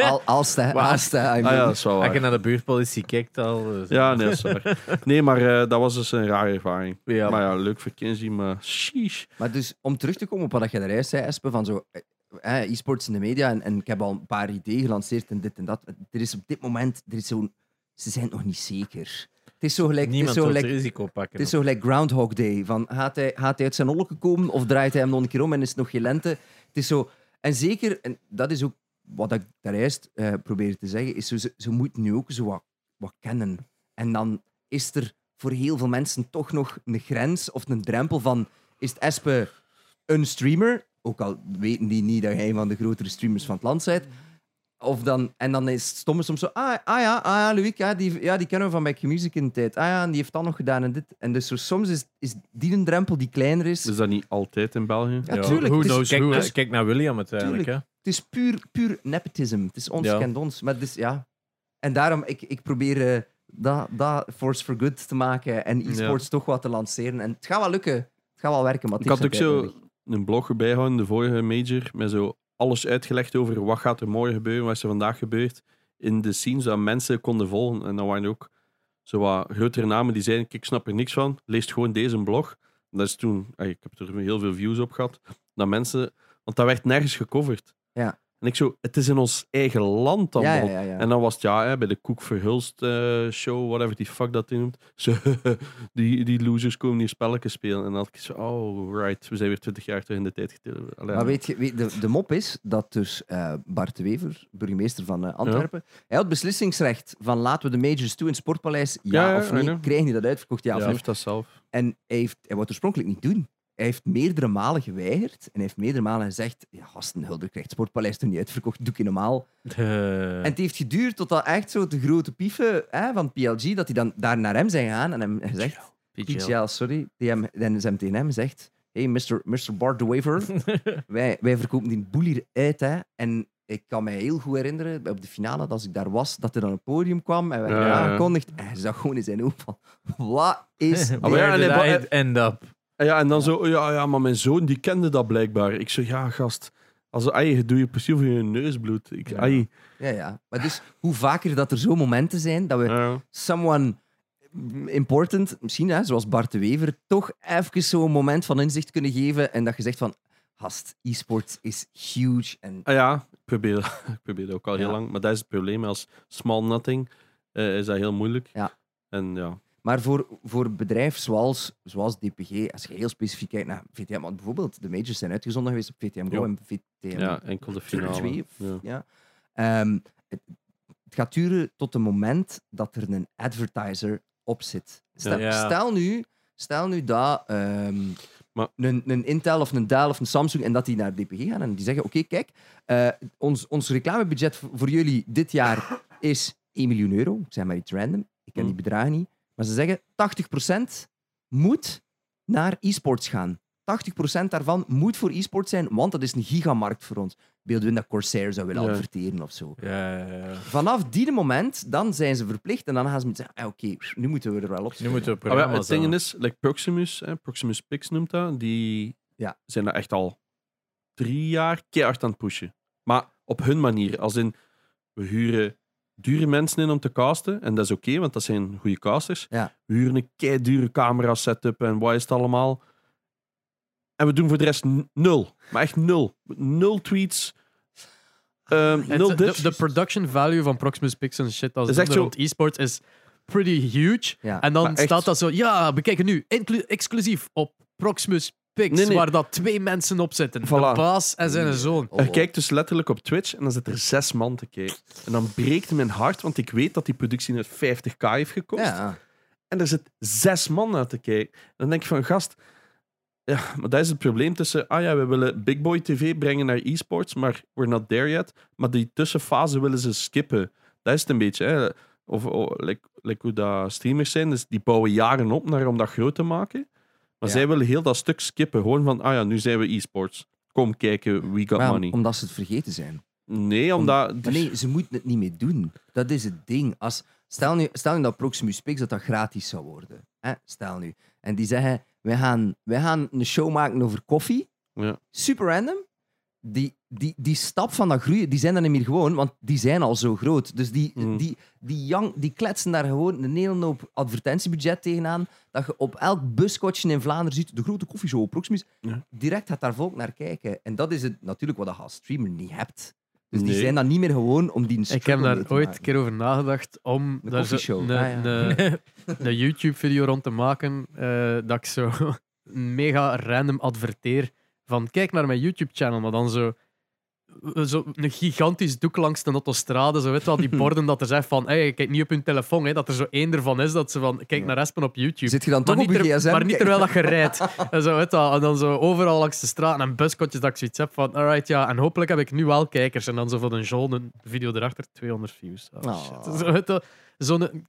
Speaker 2: Al, als de, als de, I mean.
Speaker 3: ah ja, dat is wel
Speaker 4: Als je
Speaker 3: waar.
Speaker 4: naar de buurtpolitie kijkt al. dus-
Speaker 3: Ja, nee, dat is waar. Nee, maar eh, dat was dus een rare ervaring.
Speaker 4: Ja.
Speaker 3: Maar ja, leuk voor Kinsey, maar sheesh.
Speaker 2: Maar dus om terug te komen op wat je daar juist zei, Espen, van zo eh, eh, e-sports in de media. En, en ik heb al een paar ideeën gelanceerd en dit en dat. Er is op dit moment, er is zo'n, ze zijn het nog niet zeker. Het is zo gelijk, het is
Speaker 4: Niemand
Speaker 2: zo
Speaker 4: wil
Speaker 2: gelijk,
Speaker 4: het risico pakken.
Speaker 2: het is zo gelijk Groundhog Day. Van, gaat, hij, gaat hij uit zijn olken komen of draait hij hem nog een keer om en is het nog geen lente? Het is zo, en zeker, en dat is ook wat ik daar juist eh, probeer te zeggen, is zo, ze, ze moeten nu ook zo wat, wat kennen. En dan is er voor heel veel mensen toch nog een grens of een drempel van is het Espe een streamer? Ook al weten die niet dat jij een van de grotere streamers van het land bent. Of dan, en dan is het stomme soms zo, ah, ah ja, ah ja, Louis, ja, die, ja, die kennen we van Back Music in de tijd. Ah ja, en die heeft dat nog gedaan en dit. En dus zo, soms is, is die een drempel die kleiner is.
Speaker 3: Is dat niet altijd in België?
Speaker 2: Ja, tuurlijk.
Speaker 1: Who
Speaker 2: Het is,
Speaker 1: knows
Speaker 2: dus-
Speaker 4: Kijk,
Speaker 1: who,
Speaker 4: naar-
Speaker 1: hè.
Speaker 4: kijk naar William uiteindelijk. Hè?
Speaker 2: het is puur, puur nepotisme. Het is ons
Speaker 4: Ja.
Speaker 2: kent ons. Maar het is, ja. En daarom, ik, ik probeer eh, dat, dat Force for Good te maken en e-sports toch wat te lanceren. En het gaat wel lukken. Het gaat wel werken, maar het
Speaker 3: Ik had
Speaker 2: heeft
Speaker 3: ook
Speaker 2: zijn tijd
Speaker 3: zo een blog erbij gehouden, de vorige major, met zo alles uitgelegd over wat gaat er morgen gebeuren, wat is er vandaag gebeurd in de scene, zodat mensen konden volgen. En dan waren er ook zo wat grotere namen die zeiden, ik snap er niks van, lees gewoon deze blog. En dat is toen, ah, ik heb er heel veel views op gehad, dat mensen, want dat werd nergens gecoverd.
Speaker 2: Ja.
Speaker 3: En ik zo, het is in ons eigen land dan
Speaker 2: nodig.
Speaker 3: wel.
Speaker 2: Ja, ja, ja. ja.
Speaker 3: En dan was het ja, hè, bij de Koek Verhulst eh, show, whatever die fuck dat die noemt. Ze, die, die losers komen hier spelletjes spelen. En dan had ik zo, oh right, we zijn weer 20 jaar terug in de tijd getild. Allee,
Speaker 2: Maar weet je, weet- de, de mop is dat dus eh, Bart de Wever, burgemeester van eh, Antwerpen, hij had beslissingsrecht van laten we de majors toe in het Sportpaleis, ja,
Speaker 3: Ja, ja,
Speaker 2: of
Speaker 3: I
Speaker 2: nee,
Speaker 3: know.
Speaker 2: krijgen die dat uitverkocht, ja,
Speaker 3: ja,
Speaker 2: of nee.
Speaker 3: heeft dat zelf.
Speaker 2: En hij, heeft, hij wou het oorspronkelijk niet doen. Hij heeft meerdere malen geweigerd en hij heeft meerdere malen gezegd, ja, gasten, Hulder krijgt het Sportpaleis toen niet uitverkocht, doe ik normaal.
Speaker 4: Eh,
Speaker 2: En het heeft geduurd tot dat echt zo de grote pieven hè, van PLG, dat die dan daar naar hem zijn gegaan en hem gezegd... PGL, sorry. Die hem, dan is hem tegen hem zegt... Hey, Mr. Mr. Bart de Waver. wij, wij verkopen die boel hier uit, hè. En ik kan mij heel goed herinneren, op de finale, dat als ik daar was, dat hij dan op het podium kwam en werd
Speaker 3: Ja,
Speaker 2: hier
Speaker 3: ja.
Speaker 2: aangekondigd. En hij zag gewoon in zijn ogen van... Wat is dit?
Speaker 3: Ah, maar ja,
Speaker 4: Where
Speaker 3: nee,
Speaker 4: did
Speaker 3: maar-
Speaker 4: I end up?
Speaker 3: En ja, en dan zo, oh, ja, ja, maar mijn zoon die kende dat blijkbaar. Ik zo, ja gast, als ai, doe je precies voor je neusbloed. Ik,
Speaker 4: Ja.
Speaker 3: ai,
Speaker 2: Ja, ja. Maar dus, hoe vaker dat er zo momenten zijn, dat we
Speaker 3: ja.
Speaker 2: someone important, misschien hè, zoals Bart de Wever, toch even zo'n moment van inzicht kunnen geven en dat je zegt van, gast, e-sports is huge en
Speaker 3: Ah ja, ik probeer, ik probeer dat ook al heel
Speaker 2: Ja.
Speaker 3: lang. Maar dat is het probleem, als small nothing eh, is dat heel moeilijk.
Speaker 2: Ja.
Speaker 3: En ja,
Speaker 2: Maar voor, voor een bedrijf zoals, zoals DPG, als je heel specifiek kijkt naar VTM, want bijvoorbeeld de majors zijn uitgezonden geweest op VTM Go
Speaker 3: Ja.
Speaker 2: en VTM
Speaker 3: ja enkel de finale.
Speaker 2: Twee,
Speaker 3: Ja.
Speaker 2: ja. Ehm, het, het gaat duren tot het moment dat er een advertiser op zit. Stel,
Speaker 4: Ja.
Speaker 2: stel nu, stel nu dat ehm,
Speaker 3: Maar-
Speaker 2: een, een Intel of een Dell of een Samsung en dat die naar DPG gaan en die zeggen: Oké, kijk, eh, ons, ons reclamebudget voor, voor jullie dit jaar is 1 miljoen euro. Ik zeg maar iets random, ik ken die
Speaker 3: Mm.
Speaker 2: bedragen niet. Maar ze zeggen: 80% moet naar e-sports gaan. 80% daarvan moet voor e-sport zijn, want dat is een gigamarkt voor ons. Beelden dat Corsair zou willen
Speaker 3: Ja.
Speaker 2: adverteren of zo.
Speaker 4: Ja, ja, ja.
Speaker 2: Vanaf die moment, dan zijn ze verplicht en dan gaan ze moeten zeggen, ah, oké, nu moeten we er wel op
Speaker 4: Nu moeten we
Speaker 3: Ah, maar ja,
Speaker 4: programma's
Speaker 3: het ding
Speaker 4: aan.
Speaker 3: is, like Proximus, hè, Proximus Pix noemt dat, die
Speaker 2: Ja.
Speaker 3: zijn daar echt al drie jaar keihard aan het pushen. Maar op hun manier. Als in, we huren dure mensen in om te casten. En dat is oké, want dat zijn goede casters.
Speaker 2: Ja.
Speaker 3: We huren een keidure camera setup en wat is het allemaal. En we doen voor de rest n- nul. Maar echt nul. Nul tweets. Ehm,
Speaker 1: Het-
Speaker 3: nul
Speaker 1: de,
Speaker 3: ditch.
Speaker 1: de production value van Proximus Pixel en shit als
Speaker 3: Is echt
Speaker 1: het
Speaker 3: zo-
Speaker 1: rond e-sports is pretty huge.
Speaker 2: Ja.
Speaker 1: En dan
Speaker 3: Maar echt-
Speaker 1: staat dat zo, ja, we kijken nu inclu- exclusief op Proximus Pix,
Speaker 3: Nee, nee.
Speaker 1: waar dat twee mensen op zitten. De
Speaker 3: Voilà.
Speaker 1: baas en zijn zoon.
Speaker 2: Oh.
Speaker 3: Er kijkt dus letterlijk op Twitch en dan zit er zes man te kijken. En dan breekt mijn hart, want ik weet dat die productie net 50k heeft gekost.
Speaker 2: Ja.
Speaker 3: En er zit zes man naar te kijken. Dan denk je van, gast... Ja, maar dat is het probleem tussen... Ah ja, we willen Big Boy TV brengen naar e-sports, maar we're not there yet. Maar die tussenfase willen ze skippen. Dat is het een beetje, hè. Of, of like, like hoe dat streamers zijn, dus die bouwen jaren op naar, om dat groot te maken. Maar
Speaker 2: Ja.
Speaker 3: zij willen heel dat stuk skippen. Gewoon van, ah ja, nu zijn we e-sports. Kom kijken, we got
Speaker 2: Maar
Speaker 3: money.
Speaker 2: omdat ze het vergeten zijn.
Speaker 3: Nee, omdat... dus
Speaker 2: Maar nee, ze moeten het niet meer doen. Dat is het ding. Als, stel, nu, stel nu dat Proximus Pix dat dat gratis zou worden. Hè? Stel nu. En die zeggen, wij gaan, wij gaan een show maken over koffie.
Speaker 3: Ja.
Speaker 2: Super random. Die, die, die stap van dat groeien, die zijn er niet meer gewoon, want die zijn al zo groot. Dus die,
Speaker 3: Mhm.
Speaker 2: die, die, jang, die kletsen daar gewoon een hele hoop advertentiebudget tegenaan. Dat je op elk buskotje in Vlaanderen ziet, de grote koffieshow Proximus.
Speaker 3: Ja.
Speaker 2: Direct gaat daar volk naar kijken. En dat is het, natuurlijk wat je als streamer niet hebt. Dus die
Speaker 3: Nee.
Speaker 2: zijn dan niet meer gewoon om die
Speaker 1: Ik heb
Speaker 2: struggle mee
Speaker 1: daar
Speaker 2: te
Speaker 1: ooit
Speaker 2: maken.
Speaker 1: een keer over nagedacht om
Speaker 2: Een
Speaker 1: daar zo
Speaker 2: koffieshow.
Speaker 1: een-
Speaker 2: Ah, ja.
Speaker 1: een- eh, een YouTube-video rond te maken eh, dat ik zo een mega random adverteer van kijk naar mijn YouTube-channel, maar dan zo, eh, zo een gigantisch doek langs de autostrade, zo weet je wel, die borden dat er zijn van hey, kijk niet op hun telefoon, hè, dat er zo één ervan is dat ze van kijk naar Espen op YouTube.
Speaker 2: Zit je dan
Speaker 1: maar
Speaker 2: toch op
Speaker 1: niet,
Speaker 2: je
Speaker 1: ter-
Speaker 2: gsm?
Speaker 1: maar niet
Speaker 2: Kijk,
Speaker 1: terwijl dat je rijdt. En, zo, weet je wel. en dan zo overal langs de straat en buskotjes dat ik zoiets heb van alright, ja, en hopelijk heb ik nu wel kijkers. En dan zo van een John, een video erachter, 200 views. Oh,
Speaker 2: Oh.
Speaker 1: shit. Zo, weet je wel. Zo'n-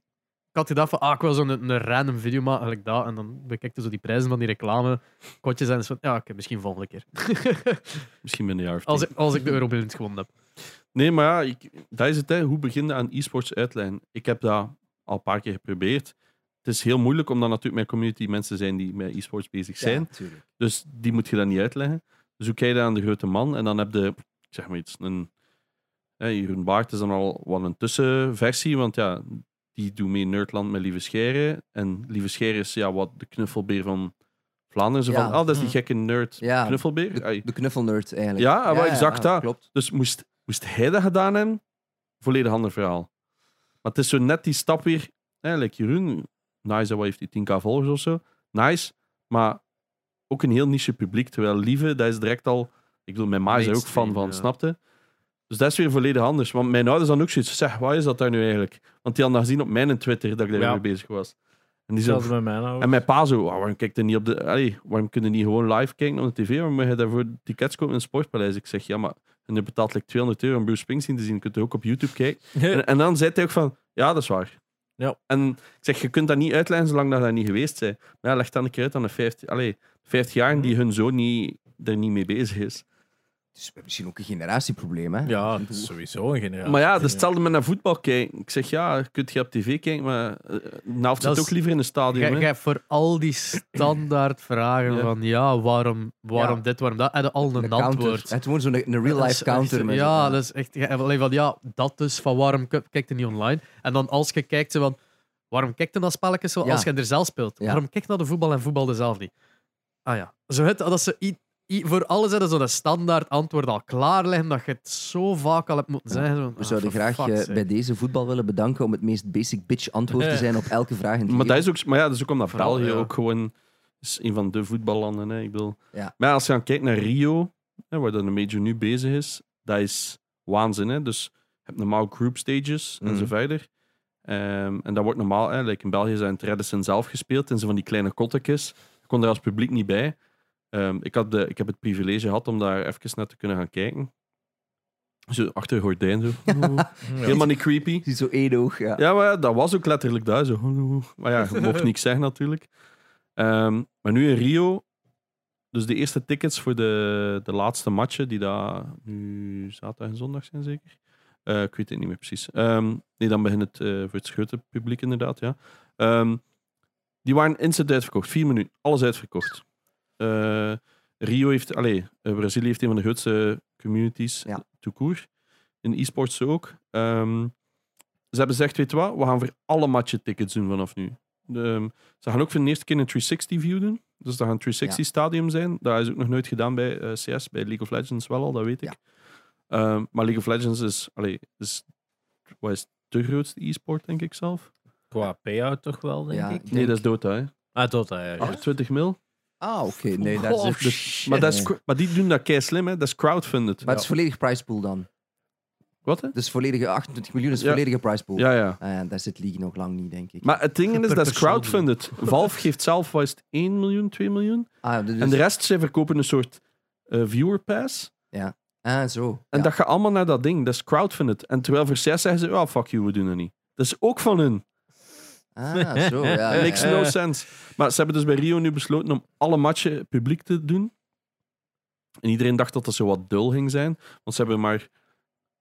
Speaker 1: ik had gedacht van, ah, ik wil zo'n een random video maken, eigenlijk dat. En dan bekijkte zo die prijzen van die reclame, kotjes en zo van, ja, oké, misschien volgende keer.
Speaker 3: Misschien ben je
Speaker 1: als, ik, als ik de Euroblind gewonnen heb.
Speaker 3: Nee, maar ja, ik, dat is het. Hè. Hoe begin je aan e-sports uitlijn? Ik heb dat al een paar keer geprobeerd. Het is heel moeilijk, omdat natuurlijk mijn community mensen zijn die met e-sports bezig zijn.
Speaker 2: Ja, tuurlijk.
Speaker 3: Dus die moet je dan niet uitleggen. Dus hoe kijk je aan de grote man? En dan heb je, ik zeg maar iets, een... Hè, Jeroen Baart is dan al wel een tussenversie, want ja, die doet mee Nerdland met Lieve Scheire. En Lieve Scheire is ja, wat de knuffelbeer van Vlaanderen. Zo
Speaker 2: Ja.
Speaker 3: van, oh, dat is die gekke nerd
Speaker 2: Ja.
Speaker 3: knuffelbeer. Ai.
Speaker 2: De, de knuffelnerd eigenlijk.
Speaker 3: Ja, maar exact dat.
Speaker 2: Klopt.
Speaker 3: Dus moest, moest hij dat gedaan hebben, volledig ander verhaal. Maar het is zo net die stap weer. Eigenlijk, Jeroen, nice, wat heeft die 10k volgers of zo. Nice, maar ook een heel niche publiek. Terwijl Lieve, dat is direct al. Ik bedoel, mijn ma is er ook fan
Speaker 1: Mainstream,
Speaker 3: van,
Speaker 1: ja.
Speaker 3: snapte? Dus dat is weer volledig anders. Want mijn ouders dan ook zoiets. Zeg, wat is dat daar nu eigenlijk? Want die hadden dat gezien op mijn Twitter dat ik daarmee
Speaker 4: Ja.
Speaker 3: bezig was. En die zo,
Speaker 4: Zelfs met mijn ouders.
Speaker 3: en mijn pa zo, "Ah, waarom kijkt hij niet op de... Allee, waarom kunnen die niet gewoon live kijken op de tv? Waarom moet je daarvoor tickets kopen in het sportpaleis? Ik zeg, ja, maar... En je betaalt like 200 euro om Bruce Springsteen te zien. Je kunt het ook op YouTube kijken. En, en dan zei hij ook van, ja, dat is waar.
Speaker 4: Ja.
Speaker 3: En ik zeg, je kunt dat niet uitleggen zolang dat, dat niet geweest is. Maar ja, leg dan een keer uit aan de 50... Allee, 50 jaar die hun zoon niet, er niet mee bezig is.
Speaker 2: Dus we hebben misschien ook een generatieprobleem, hè?
Speaker 4: Ja, het is sowieso een generatie.
Speaker 3: maar ja, dat is hetzelfde met naar voetbal kijken. Ik zeg, ja, je kunt je op tv kijken, maar eh, een helft
Speaker 1: Dat
Speaker 3: zit
Speaker 1: is-
Speaker 3: ook liever in een stadion.
Speaker 1: Jij
Speaker 3: hè.
Speaker 1: jij hebt voor al die standaard vragen
Speaker 3: Ja.
Speaker 1: van, ja, waarom, waarom
Speaker 2: Ja.
Speaker 1: dit, waarom dat, en al een,
Speaker 2: Een counter.
Speaker 1: antwoord.
Speaker 2: Het wordt zo'n een
Speaker 1: Dat is
Speaker 2: real-life
Speaker 1: echt
Speaker 2: counter.
Speaker 1: zo-
Speaker 2: met
Speaker 1: ja,
Speaker 2: zo'n-
Speaker 1: dat is echt. ja, alleen van ja, dat dus van waarom k- kijkt je niet online? En dan als je kijkt, zo van waarom kijkt je dat spelletje zo
Speaker 2: Ja.
Speaker 1: als je er zelf speelt?
Speaker 2: Ja.
Speaker 1: Waarom kijkt je naar de voetbal en voetbal zelf niet? Ah ja, zo het, dat ze i- i- voor alles hebben ze zo'n standaard antwoord al klaar liggen dat je het zo vaak al hebt moeten zeggen. Zo van,
Speaker 2: We
Speaker 1: ah,
Speaker 2: zouden
Speaker 1: for
Speaker 2: graag
Speaker 1: fuck's
Speaker 2: eh,
Speaker 1: sake.
Speaker 2: bij deze voetbal willen bedanken om het meest basic bitch antwoord te
Speaker 4: Ja.
Speaker 2: zijn op elke vraag in het
Speaker 3: Maar, dat
Speaker 2: leven.
Speaker 3: is ook, maar ja, dat is ook omdat
Speaker 1: Vooral,
Speaker 3: België
Speaker 1: ja.
Speaker 3: ook gewoon is een van de voetballanden. Hè, ik bedoel.
Speaker 2: Ja.
Speaker 3: Maar als je dan kijkt naar Rio, hè, waar dan de major nu bezig is, dat is waanzin. Hè? Dus je hebt normaal group stages en
Speaker 2: Mhm.
Speaker 3: zo verder. Ehm, en dat wordt normaal, hè, like in België zijn het Redison zelf gespeeld en zo van die kleine kottekjes. Ik kon er als publiek niet bij. Ehm, ik, had de, ik heb het privilege gehad om daar even naar te kunnen gaan kijken. Zo achter een gordijn, zo. Helemaal niet creepy.
Speaker 2: Ziet zo één oog. Ja.
Speaker 3: Ja, maar ja, dat was ook letterlijk daar. Zo. hallo. Maar ja, je mocht niks zeggen natuurlijk. Ehm, maar nu in Rio, dus de eerste tickets voor de, de laatste matchen, die daar nu zaterdag en zondag zijn zeker. Eh, ik weet het niet meer precies. Ehm, nee, dan begint het eh, voor het grote publiek inderdaad, ja. Ehm, die waren instant uitverkocht. Vier minuten, alles uitverkocht. Eh, Rio heeft, allee, eh, Brazilië heeft een van de grootste communities, eh,
Speaker 2: Ja.
Speaker 3: tout court. In e-sports ook. Ehm, ze hebben gezegd, weet je wat, we gaan voor alle matchen tickets doen vanaf nu. De- ehm, ze gaan ook voor de eerste keer een 360 view doen. Dus dat gaat een 360 stadium zijn. Dat is ook nog nooit gedaan bij eh, CS, bij League of Legends wel al, dat weet ik. Ehm, maar League of Legends is, allee, is, wat is de grootste e-sport, denk ik zelf?
Speaker 4: Qua payout toch wel, denk
Speaker 2: Ja,
Speaker 4: ik.
Speaker 2: ik
Speaker 3: Nee,
Speaker 2: denk-
Speaker 3: dat is Dota, hè?
Speaker 4: Ah, tot ja. ja.
Speaker 3: 28 mil.
Speaker 2: Ah, oké. Nee, dat is
Speaker 3: Goh,
Speaker 2: echt-
Speaker 3: dus- maar, dat is, cr- maar die doen dat kei slim, hè? Dat is crowdfunded.
Speaker 2: Maar het is volledig prize pool dan.
Speaker 3: Wat, hè?
Speaker 2: Dus volledige 28 miljoen is
Speaker 3: Ja.
Speaker 2: volledige prize pool.
Speaker 3: Ja, ja.
Speaker 2: Ah ja, daar zit League nog lang niet, denk ik.
Speaker 3: Maar het ding is,
Speaker 1: Per
Speaker 3: dat is
Speaker 1: persoon.
Speaker 3: crowdfunded. Valve geeft zelf, wat is het, 1 miljoen, 2 miljoen?
Speaker 2: ah, dus,
Speaker 3: En de rest, ze verkopen een soort eh, viewer pass.
Speaker 2: ah, zo.
Speaker 3: En
Speaker 2: Ja.
Speaker 3: dat gaat allemaal naar dat ding. Dat is crowdfunded. En terwijl voor 6 zeggen ze, ja, fuck you, we doen het niet. Dat is ook van hun.
Speaker 2: Ah, zo. Ja, ja,
Speaker 3: Makes
Speaker 2: ja.
Speaker 3: no sense. Maar ze hebben dus bij Rio nu besloten om alle matchen publiek te doen. En iedereen dacht dat dat zo wat dul ging zijn. Want ze hebben maar,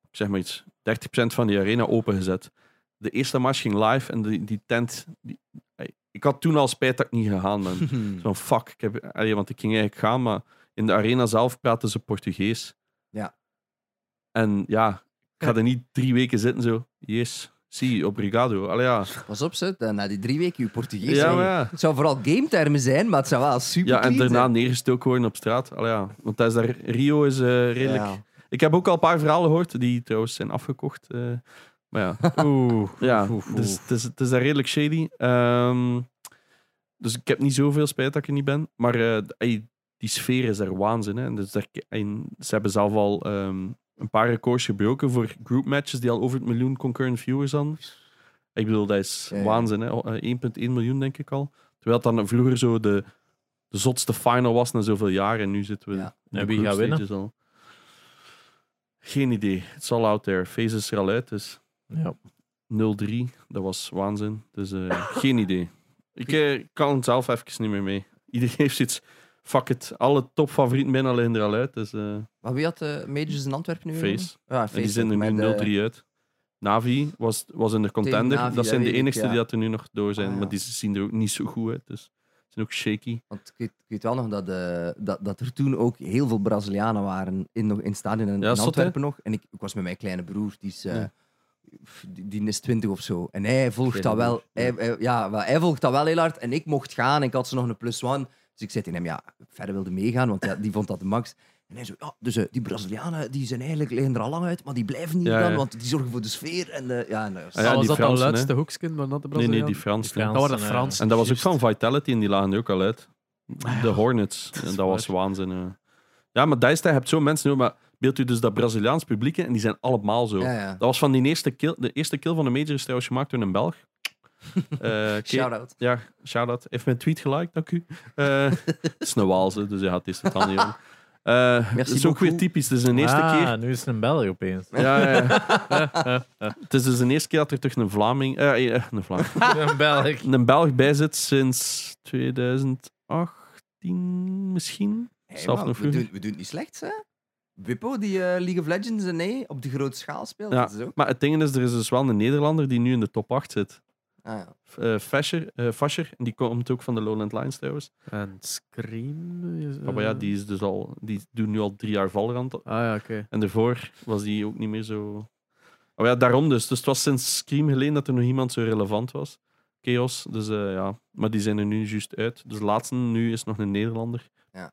Speaker 3: ik zeg maar iets, 30% van die arena opengezet. De eerste match ging live en die, die tent... Die, ik had toen al spijt dat ik niet gegaan ben. Zo'n fuck. Ik heb, allee, want ik ging eigenlijk gaan, maar in de arena zelf praten ze Portugees.
Speaker 2: Ja.
Speaker 3: En ja, ik ga er niet drie weken zitten zo. Yes, zie, obrigado. Allee, ja.
Speaker 2: Pas op, ze. dan Na die drie weken, je Portugees.
Speaker 3: Ja,
Speaker 2: hè.
Speaker 3: maar ja.
Speaker 2: Het zou vooral gametermen zijn, maar het zou wel super
Speaker 3: ja, en
Speaker 2: clean
Speaker 3: daarna
Speaker 2: zijn.
Speaker 3: neergestoken worden op straat. Allee, ja. Want dat is daar, Rio is eh, redelijk...
Speaker 2: Ja.
Speaker 3: Ik heb ook al een paar verhalen gehoord die trouwens zijn afgekocht. eh, maar ja,
Speaker 4: Oeh.
Speaker 3: ja
Speaker 4: Oef, oef, oef.
Speaker 3: dus het is, het is daar redelijk shady. Ehm, dus ik heb niet zoveel spijt dat ik er niet ben. Maar eh, d- ey, die sfeer is daar waanzin. Hè? Dus daar, en ze hebben zelf al ehm, een paar records gebroken voor group matches die al over het miljoen concurrent viewers hadden. Ik bedoel, dat is
Speaker 2: Ja, ja.
Speaker 3: waanzin. hè. O- eh, 1,1 miljoen, denk ik al. Terwijl het dan vroeger zo de, de zotste final was na zoveel jaar. En nu zitten we...
Speaker 2: Ja.
Speaker 3: in
Speaker 4: En
Speaker 3: de
Speaker 4: wie gaat
Speaker 3: groepstages Al. Geen idee. It's all out there. Face is er al uit, dus...
Speaker 4: Ja.
Speaker 3: 0-3, dat was waanzin. Dus eh, geen idee. Ik eh, kan zelf even niet meer mee. Iedereen heeft zoiets. Fuck it. Alle topfavorieten bijna liggen er al uit. Dus eh,
Speaker 2: Maar wie had de Majors in Antwerpen nu?
Speaker 3: Face.
Speaker 2: gewonnen? Ja, Face.
Speaker 3: en die zijn er
Speaker 2: met,
Speaker 3: nu
Speaker 2: eh,
Speaker 3: 0-3 uit. Navi was, was in de contender.
Speaker 2: Navi,
Speaker 3: dat zijn
Speaker 2: dat weet
Speaker 3: de
Speaker 2: ik,
Speaker 3: enigste
Speaker 2: ja.
Speaker 3: die dat er nu nog door zijn.
Speaker 2: Ah, ja.
Speaker 3: Maar die zien er ook niet zo goed uit. Dus ze zijn ook shaky.
Speaker 2: Want ik weet, ik weet wel nog dat, eh, dat, dat er toen ook heel veel Brazilianen waren in, nog, in het stadion in,
Speaker 3: Ja,
Speaker 2: in
Speaker 3: zot, hè?
Speaker 2: Antwerpen nog. En ik, ik was met mijn kleine broer, die is, eh,
Speaker 3: Ja.
Speaker 2: pff, die, die is 20 of zo. En hij volgt
Speaker 3: Kleine
Speaker 2: dat wel.
Speaker 3: broer,
Speaker 2: Hij,
Speaker 3: ja.
Speaker 2: hij- ja, wel, hij volgt dat wel heel hard. En ik mocht gaan en ik had ze nog een plus one. Dus ik zei tegen hem, ja, verder wilde meegaan, want ja, die vond dat de max. En hij zo, ja, dus eh, die Brazilianen, die zijn eigenlijk, liggen er al lang uit, maar die blijven niet
Speaker 3: Ja,
Speaker 2: dan,
Speaker 3: ja.
Speaker 2: want die zorgen voor de sfeer. En, eh, ja, en, eh,
Speaker 3: Ah ja,
Speaker 1: Ah, was
Speaker 3: die
Speaker 1: dat
Speaker 3: Fransen, hè?
Speaker 1: dan laatste hoekskin? Maar dat de
Speaker 3: Nee, nee, die
Speaker 1: Braziliaan?
Speaker 3: Fransen.
Speaker 4: die Fransen,
Speaker 1: Dat waren de
Speaker 4: eh.
Speaker 1: Fransen.
Speaker 3: En dat was ook
Speaker 1: juist.
Speaker 3: van Vitality en die lagen er ook al uit. De Hornets.
Speaker 1: Dat
Speaker 3: Dat,
Speaker 1: is
Speaker 3: dat was waanzin. ja. Ja, maar daar is het, je hebt zo mensen nodig. Maar beeld u dus dat Braziliaans publiek in en die zijn allemaal zo.
Speaker 2: ja, ja.
Speaker 3: Dat was van die eerste kill. De eerste kill van de major is trouwens gemaakt door een Belg. Eh, Ke-
Speaker 2: Shout-out.
Speaker 3: ja, shout-out. Heeft mijn tweet geliked, dank u. Eh, het is een Waalse, dus hij had deze dan niet om. Eh, Het is ook
Speaker 2: beaucoup.
Speaker 3: weer typisch. Het is een eerste
Speaker 4: ah,
Speaker 3: keer.
Speaker 4: nu is het een Belg opeens.
Speaker 3: Ja, ja, ja. het is dus de eerste keer dat er toch een Vlaming, eh, eh, een, Vlaming
Speaker 4: een Belg.
Speaker 3: een Belg bij zit sinds 2018 misschien.
Speaker 2: Hey,
Speaker 3: Zelf
Speaker 2: man,
Speaker 3: nog
Speaker 2: we,
Speaker 3: vroeger.
Speaker 2: doen, we doen het niet slecht, hè? Wippo, die eh, League of Legends en nee, op de grote schaal speelt.
Speaker 3: Ja.
Speaker 2: Dat is ook.
Speaker 3: Maar het ding is, er is dus wel een Nederlander die nu in de top 8 zit.
Speaker 2: Ah, ja.
Speaker 3: Eh Fasher, eh, Fasher, en die komt ook van de Lowland Lions trouwens.
Speaker 1: En Scream? Is,
Speaker 3: Ja, maar ja,
Speaker 1: eh,
Speaker 3: die, is dus al, die doet nu al drie jaar Valorant.
Speaker 1: Ah ja, oké.
Speaker 3: En daarvoor was die ook niet meer zo... Oh ja, daarom dus. Dus het was sinds Scream geleden dat er nog iemand zo relevant was. Chaos, dus eh, ja. Maar die zijn er nu juist uit. Dus de laatste nu is nog een Nederlander.
Speaker 2: Ja.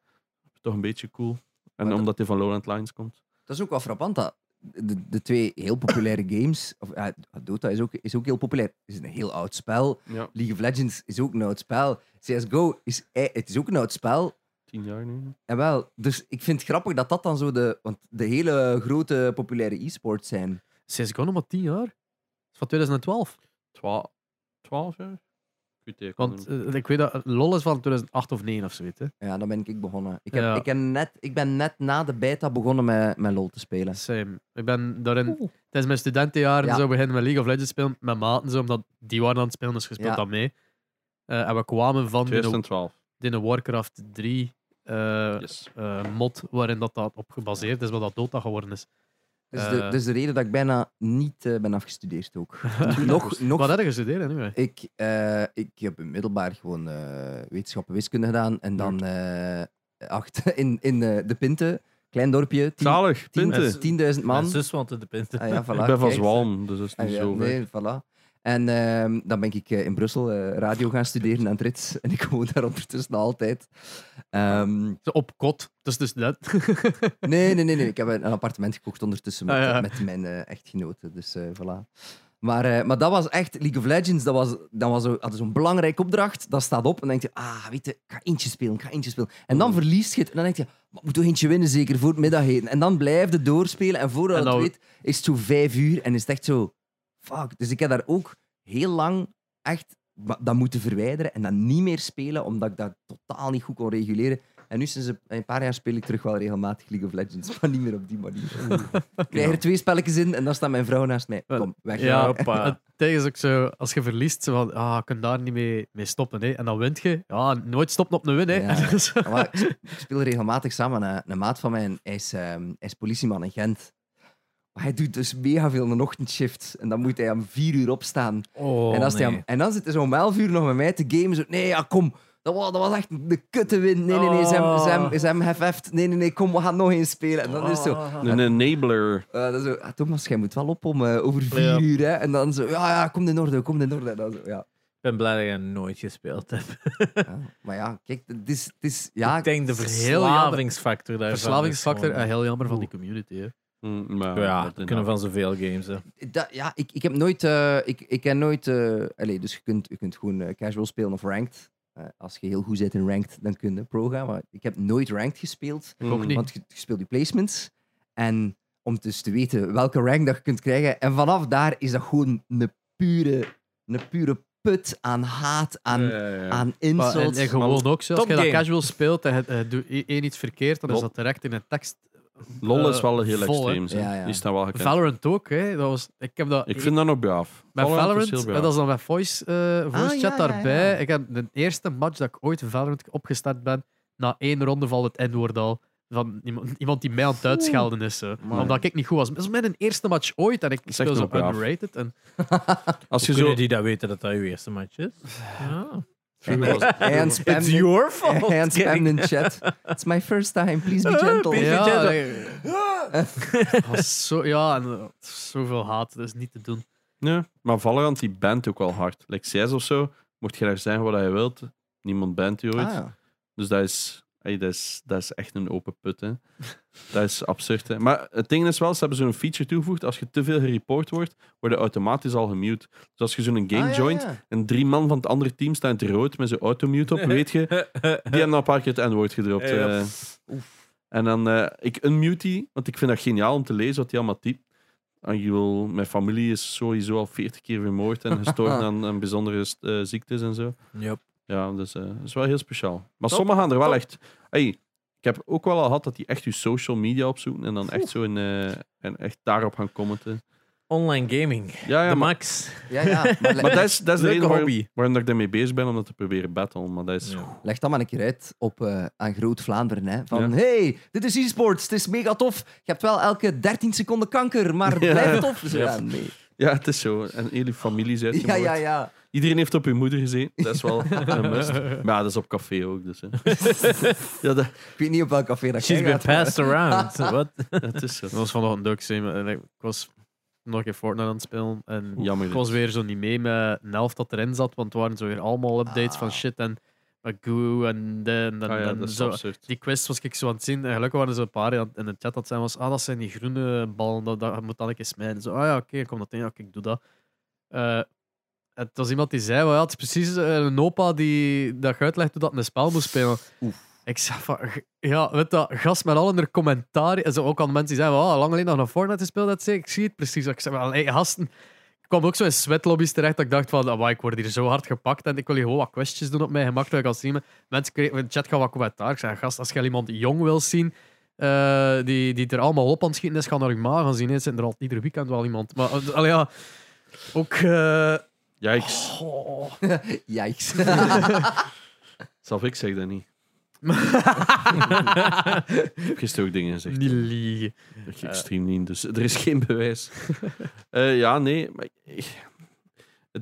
Speaker 3: Toch een beetje cool. En
Speaker 2: Maar dat-
Speaker 3: omdat hij van Lowland Lines komt.
Speaker 2: Dat is ook wel frappant. Dat de, de twee heel populaire games. Of, ja, Dota is ook, is ook heel populair. Het is een heel oud spel.
Speaker 3: Ja.
Speaker 2: League of Legends is ook een oud spel. CSGO is, eh, het is ook een oud spel.
Speaker 3: Tien jaar nu.
Speaker 2: En wel, dus ik vind het grappig dat dat dan zo de. Want de hele grote populaire e-sports zijn.
Speaker 1: CSGO nog maar 10 jaar? Is van 2012.
Speaker 3: Twa twaalf jaar? Goed, ik kan
Speaker 1: Want
Speaker 3: hem-
Speaker 2: Mm.
Speaker 1: eh, ik weet dat LOL is van 2008 of 9 of zoiets. Hè?
Speaker 2: Ja, dan ben ik begonnen. Ik, heb,
Speaker 1: Ja.
Speaker 2: ik, heb net, ik ben net na de beta begonnen met, met LOL te spelen.
Speaker 1: Same. Dus, ehm, Ik ben daarin tijdens mijn studentenjaren
Speaker 2: Ja.
Speaker 1: zo beginnen met League of Legends spelen met maten, zo, omdat die waren aan het spelen, dus gespeeld
Speaker 2: Ja.
Speaker 1: dat mee. Eh, en we kwamen van de,
Speaker 3: 2012.
Speaker 1: de Warcraft 3 eh,
Speaker 3: Yes.
Speaker 1: eh, mod waarin dat, dat op gebaseerd is, wat dat Dota geworden is.
Speaker 2: Dat is, de,
Speaker 1: Eh.
Speaker 2: dat is de reden dat ik bijna niet eh, ben afgestudeerd ook. nog, nog,
Speaker 1: Wat heb je gestudeerd hè, nu? hè?
Speaker 2: ik, eh, ik heb in middelbaar gewoon eh wetenschappen wiskunde gedaan. En dan eh acht, in, in eh, de Pinte, klein dorpje, tien-
Speaker 3: Zalig,
Speaker 2: tien-
Speaker 3: punten.
Speaker 4: Mensen-
Speaker 3: Ik
Speaker 2: 10.000 man.
Speaker 4: Mijn zus woont in de pinten.
Speaker 2: Ah, ja, voilà,
Speaker 3: ben van
Speaker 2: kijk.
Speaker 3: Zwalm, dus dat is niet
Speaker 2: Ah, ja,
Speaker 3: zo ver.
Speaker 2: nee, voilà. En ehm, dan ben ik eh, in Brussel eh, radio gaan studeren aan het Rits. En ik woon daar ondertussen altijd. Ehm,
Speaker 1: Zo op kot. Dus, dus dat.
Speaker 2: nee, nee, nee, nee. Ik heb een een appartement gekocht ondertussen met,
Speaker 1: Ah, ja.
Speaker 2: met mijn eh, echtgenote. Dus eh, voilà. Maar, eh, maar dat was echt League of Legends. Dat was, dat was zo- hadden zo'n belangrijke opdracht. Dat staat op en dan denk je, ah, weet je, ik ga eentje spelen, ik ga eentje spelen. En
Speaker 1: Mm.
Speaker 2: dan verlies je het. En dan denk je, maar ik moet toch eentje winnen zeker voor het middageten. En dan blijf je doorspelen. En voordat
Speaker 1: En nou
Speaker 2: je het
Speaker 1: dan-
Speaker 2: weet, is het zo vijf uur en is het echt zo, fuck. Dus ik heb daar ook heel lang echt wa- dat moeten verwijderen en dat niet meer spelen, omdat ik dat totaal niet goed kon reguleren. En nu sinds een- een paar jaar speel ik terug wel regelmatig League of Legends, maar niet meer op die manier. Ik krijg er twee spelletjes in en dan staat mijn vrouw naast mij.
Speaker 1: Wel,
Speaker 2: Kom, weg.
Speaker 1: Ja,
Speaker 4: Hoppa.
Speaker 1: het ding is ook zo, als je verliest, zo van, ah, ik kan daar niet mee, mee stoppen. Hè. En dan wint je. Ja, nooit stoppen op een win. Hè.
Speaker 2: Ja, ja.
Speaker 1: Dus-
Speaker 2: Maar ik sp- ik speel regelmatig samen met een- een maat van mij. en Hij is, ehm, hij is politieman in Gent. Maar hij doet dus mega veel een ochtendshift. En dan moet hij om vier uur opstaan.
Speaker 4: Oh,
Speaker 2: en, als hij
Speaker 4: nee.
Speaker 2: om- en dan zit hij zo om 11 uur nog met mij te gamen. Zo, nee, ja, kom. Dat was, dat was echt de kutte win. Nee, nee, nee. Sam, Sam, Sam heft. Nee, nee, nee. Kom, we gaan nog eens spelen. En dan is het
Speaker 4: Oh.
Speaker 2: zo.
Speaker 3: Een enabler.
Speaker 2: eh, dat is zo ah, Thomas, jij moet wel op om eh, over vier
Speaker 1: Ja.
Speaker 2: uur. Hè. En dan zo. Ja, ja, kom in orde. Kom in orde. En dan zo, ja.
Speaker 4: Ik ben blij dat je nooit gespeeld hebt.
Speaker 2: ja. Maar ja, kijk, het is. Het is ja,
Speaker 4: ik denk de
Speaker 1: het is heel jammer.
Speaker 4: verslavingsfactor daarvan. is
Speaker 1: Verslavingsfactor,
Speaker 4: gewoon-
Speaker 1: eh, heel jammer van die community. Hè.
Speaker 3: Mm, maar
Speaker 4: Ja,
Speaker 3: dat
Speaker 4: dat kunnen van zoveel games. Hè.
Speaker 2: Dat- ja, ik, ik heb nooit. eh, ik, ik heb nooit. eh, allee, dus je kunt, je kunt gewoon eh, casual spelen of ranked. Eh, als je heel goed zit in ranked, dan kun je pro gaan. Maar ik heb nooit ranked gespeeld.
Speaker 1: Ik ook
Speaker 3: Mm.
Speaker 1: niet.
Speaker 2: Want je, je speelt je placements. En om dus te weten welke rank dat je kunt krijgen. En vanaf daar is dat gewoon een pure, een pure put aan haat, aan,
Speaker 3: Ja, ja,
Speaker 2: aan
Speaker 3: ja.
Speaker 1: Maar, en,
Speaker 2: insults.
Speaker 1: en gewoon ook zo, als
Speaker 4: Top
Speaker 1: je dat
Speaker 4: game.
Speaker 1: casual speelt en je eh, doet i- één iets verkeerd, dan is
Speaker 3: Lol.
Speaker 1: dat direct in een tekst.
Speaker 3: LOL is
Speaker 1: eh,
Speaker 3: wel heel
Speaker 1: vol, hè.
Speaker 3: extreem. hè.
Speaker 2: Ja, ja.
Speaker 3: Die staan wel gekend.
Speaker 1: Valorant ook, hè. Dat was, ik heb dat
Speaker 3: Ik vind dat nog braaf.
Speaker 1: Bij Valorant,
Speaker 3: is heel
Speaker 1: eh,
Speaker 3: braaf.
Speaker 1: dat is dan met voice, eh, voice
Speaker 2: Ah,
Speaker 1: chat
Speaker 2: ja, ja,
Speaker 1: daarbij.
Speaker 2: ja.
Speaker 1: Ik heb de eerste match dat ik ooit in Valorant opgestart ben, na één ronde valt het N-woord al. Van iemand, iemand die mij aan het uitschelden is. hè.
Speaker 2: Amai.
Speaker 1: Omdat ik niet goed was. Dat is mijn eerste match ooit en ik
Speaker 3: is
Speaker 1: speel
Speaker 3: echt
Speaker 1: zo
Speaker 3: nog braaf.
Speaker 1: unrated. En,
Speaker 3: Als je
Speaker 4: Kunnen
Speaker 3: zo...
Speaker 4: die dat weten dat dat uw eerste match is?
Speaker 2: Hij aan spam
Speaker 4: It's
Speaker 2: in-
Speaker 4: your
Speaker 2: hij aan
Speaker 4: fault.
Speaker 2: spam in chat. It's my first time. Please be gentle.
Speaker 4: please be
Speaker 1: ja,
Speaker 4: gentle.
Speaker 1: nee. Dat was zo, ja, en, eh, zoveel haat, dat is niet te doen.
Speaker 3: Ja, maar Valorant, die bent ook wel hard. Like CS of zo, mocht je daar zijn wat je wilt. Niemand bent je ooit.
Speaker 2: Ah, ja.
Speaker 3: Dus dat is, ey, dat, is, dat is echt een open put. Hè. dat is absurd. Hè. Maar het ding is wel, ze hebben zo'n feature toegevoegd. Als je te veel gereport wordt, worden automatisch al gemute. Dus als je zo'n game
Speaker 2: Ah, ja,
Speaker 3: joint
Speaker 2: ja.
Speaker 3: en drie man van het andere team staan in het rood met zo'n automute op, weet je, die hebben al een paar keer het N-woord gedropt.
Speaker 4: Ja.
Speaker 3: eh. En dan, eh, ik unmute die, want ik vind dat geniaal om te lezen wat die allemaal typt. En je wil, mijn familie is sowieso al 40 keer vermoord en gestorven aan, aan bijzondere eh, ziektes en zo.
Speaker 4: Yep.
Speaker 3: Ja, dus eh, dat is wel heel speciaal. Maar sommigen gaan er wel echt... Hey, ik heb ook wel al gehad dat die echt je social media opzoeken en dan echt zo in, eh, en echt daarop gaan commenten.
Speaker 4: Online gaming.
Speaker 3: Ja, ja
Speaker 4: de
Speaker 3: maar,
Speaker 4: max.
Speaker 2: ja, ja. Maar, le-
Speaker 3: maar dat is, dat is de
Speaker 4: Leuke
Speaker 3: reden waarom,
Speaker 4: hobby.
Speaker 3: waarom dat ik daarmee bezig ben, om dat te proberen battlen. Maar dat is...
Speaker 4: Ja.
Speaker 2: Leg dat maar een keer uit op, eh, aan Groot Vlaanderen. Hè? Van
Speaker 3: Ja.
Speaker 2: hey, dit is e-sports, het is mega tof. Je hebt wel elke 13 seconden kanker, maar het
Speaker 3: Ja.
Speaker 2: blijft tof. Zo,
Speaker 3: Ja.
Speaker 2: ja, nee.
Speaker 3: Ja, het is zo. En hele families
Speaker 2: ja,
Speaker 3: uitgemoord.
Speaker 2: ja, ja.
Speaker 3: Iedereen heeft op hun moeder gezien. Dat is wel een must. Maar ja, dat is op café ook. Dus, hè. ja, dat,
Speaker 2: Ik weet niet op welk café dat
Speaker 4: She's
Speaker 2: jij
Speaker 4: been
Speaker 2: gaat, maar-
Speaker 4: passed around. Wat?
Speaker 3: dat is zo.
Speaker 1: Dat was vanochtend ook same. En Ik ik was nog een keer Fortnite aan het spelen. En
Speaker 3: Jammer
Speaker 1: ik
Speaker 3: dit.
Speaker 1: was weer zo niet mee met een helft dat erin zat, want het waren zo weer allemaal updates van
Speaker 2: Ah.
Speaker 1: shit en met Goo en de- en,
Speaker 3: Ah
Speaker 1: en,
Speaker 3: ja,
Speaker 1: en
Speaker 3: dat is
Speaker 1: zo.
Speaker 3: absurd.
Speaker 1: Die quest was ik zo aan het zien. En gelukkig waren er zo'n paar die aan- in de chat dat zijn was. Ah, dat zijn die groene ballen, dat, dat moet dan een keer smijten. Zo, ah ja, oké, kom dat in. Ja, oké, ik doe dat. Eh, het was iemand die zei, "Wel ja, het is precies eh, een opa die dat je uitlegt hoe dat een spel moet spelen. Ik zei van, g- ja, weet dat, gast met al in haar commentaar. En zo ook aan de mensen die zeiden, oh, lang alleen nog naar Fortnite gespeeld, dat zei ik. zie het precies. Ik zei, hey, gasten. Ik kwam ook zo in sweatlobby's terecht dat ik dacht van, amai, ik word hier zo hard gepakt en ik wil hier gewoon wat questjes doen op mijn gemak, dat ik als streamen. Mensen kregen in de chat gaan wat commentaar. Ik zei, gast, als je iemand jong wil zien, eh, die, die er allemaal op aan het schieten is, ga naar je ma gaan zien. Er zit er al ieder weekend wel iemand. Maar, eh, allee, ja, ook... eh,
Speaker 3: Jijks.
Speaker 1: oh.
Speaker 2: Yikes.
Speaker 3: Zelf ik zeg dat niet. ik heb gisteren ook dingen gezegd.
Speaker 1: Niet liegen.
Speaker 3: Ik
Speaker 2: Eh,
Speaker 3: extreem niet, dus er is geen bewijs. Eh, ja, nee. Maar, ik-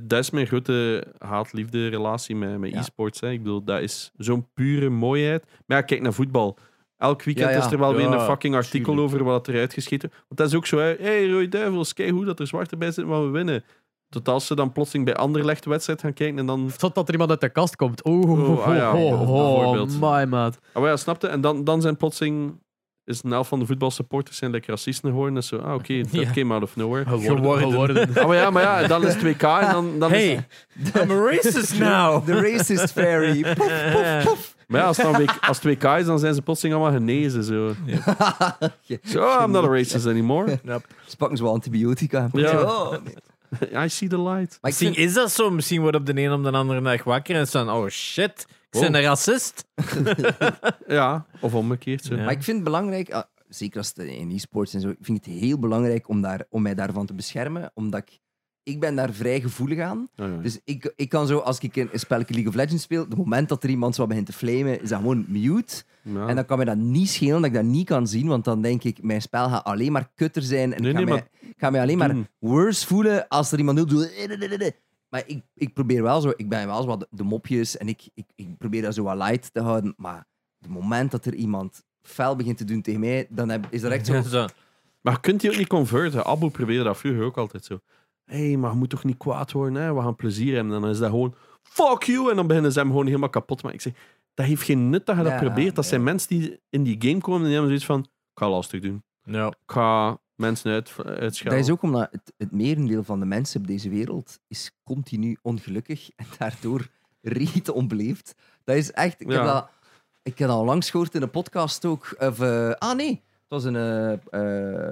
Speaker 3: dat is mijn grote haat-liefde relatie met, met
Speaker 2: Ja.
Speaker 3: e-sports. Hè. Ik bedoel, dat is zo'n pure mooiheid. Maar ja, kijk naar voetbal. Elk weekend
Speaker 2: Ja, ja.
Speaker 3: is er wel weer
Speaker 4: Ja,
Speaker 3: een fucking artikel over wat er uitgeschieten. Want dat is ook zo. Hé, hey, Roy Duivel, kijk hoe dat er zwart erbij zit, maar we winnen. Tot als ze dan plotseling bij Anderlecht wedstrijd gaan kijken en dan...
Speaker 1: Tot dat er iemand uit de kast komt. Oeh, oh,
Speaker 3: Oh, ah ja,
Speaker 1: oh, oh,
Speaker 3: bijvoorbeeld.
Speaker 1: my maat.
Speaker 3: Ah, ja, snapte? En dan, dan zijn plotseling... Is een elf van de voetbalsupporters zijn lekker racisten geworden en zo. Ah, oké, that
Speaker 4: Ja.
Speaker 3: came out of nowhere.
Speaker 4: Geworden.
Speaker 3: Ah, maar ja, maar ja, dan is het WK en dan, dan is...
Speaker 4: Hey, I'm a racist now.
Speaker 2: The racist fairy. Poef, poef, poef.
Speaker 3: Maar ja, als het, dan WK, als het WK is, dan zijn ze plotseling allemaal genezen. Zo,
Speaker 2: Ja.
Speaker 3: so, I'm not a racist anymore.
Speaker 2: Ze pakken ze wel antibiotica.
Speaker 3: Ja.
Speaker 2: Oh, nee.
Speaker 3: I see the light.
Speaker 2: Maar ik
Speaker 4: Misschien
Speaker 2: vind,
Speaker 4: is dat zo. Misschien wordt op de een of de andere dag wakker en staan, oh shit, ik ben
Speaker 3: Wow.
Speaker 4: een racist.
Speaker 3: Ja, of omgekeerd. Zo.
Speaker 4: Ja.
Speaker 2: maar ik vind het belangrijk, ah, zeker als het in e-sports en zo, ik vind het heel belangrijk om, daar, om mij daarvan te beschermen, omdat ik, ik ben daar vrij gevoelig aan.
Speaker 3: Ah, ja.
Speaker 2: Dus ik, ik kan zo, als ik een, een spelletje League of Legends speel, het moment dat er iemand zo begint te flamen, is dat gewoon mute.
Speaker 3: Ja.
Speaker 2: En dan kan mij dat niet schelen dat ik dat niet kan zien, want dan denk ik, mijn spel gaat alleen maar kutter zijn en
Speaker 3: Nee,
Speaker 2: ik, ga
Speaker 3: nee,
Speaker 2: mij, ik ga mij alleen
Speaker 3: doen.
Speaker 2: maar worse voelen als er iemand doet. Maar ik, ik probeer wel zo, ik ben wel zo wat de mopjes en ik, ik, ik probeer dat zo wat light te houden, maar het moment dat er iemand fel begint te doen tegen mij, dan heb, is dat echt zo...
Speaker 4: Zo.
Speaker 3: Maar kunt hij ook niet converten? Abu probeerde dat vroeger ook altijd zo. Hé, hey, maar je moet toch niet kwaad worden, hè? we gaan plezier hebben. En dan is dat gewoon, fuck you! En dan beginnen ze hem gewoon helemaal kapot te maken. Ik zeg, dat heeft geen nut dat je
Speaker 2: Ja,
Speaker 3: dat probeert. Dat
Speaker 2: nee.
Speaker 3: zijn mensen die in die game komen en die hebben zoiets van, ik ga lastig doen.
Speaker 4: Ja.
Speaker 3: Ik ga mensen uit,
Speaker 2: Dat
Speaker 3: uitschelden.
Speaker 2: is ook omdat het, het merendeel van de mensen op deze wereld is continu ongelukkig en daardoor reet onbeleefd. Dat is echt... Ik, heb,
Speaker 3: Ja.
Speaker 2: dat, ik heb dat al langs gehoord in een podcast ook. Of, eh, ah nee, het was een, eh,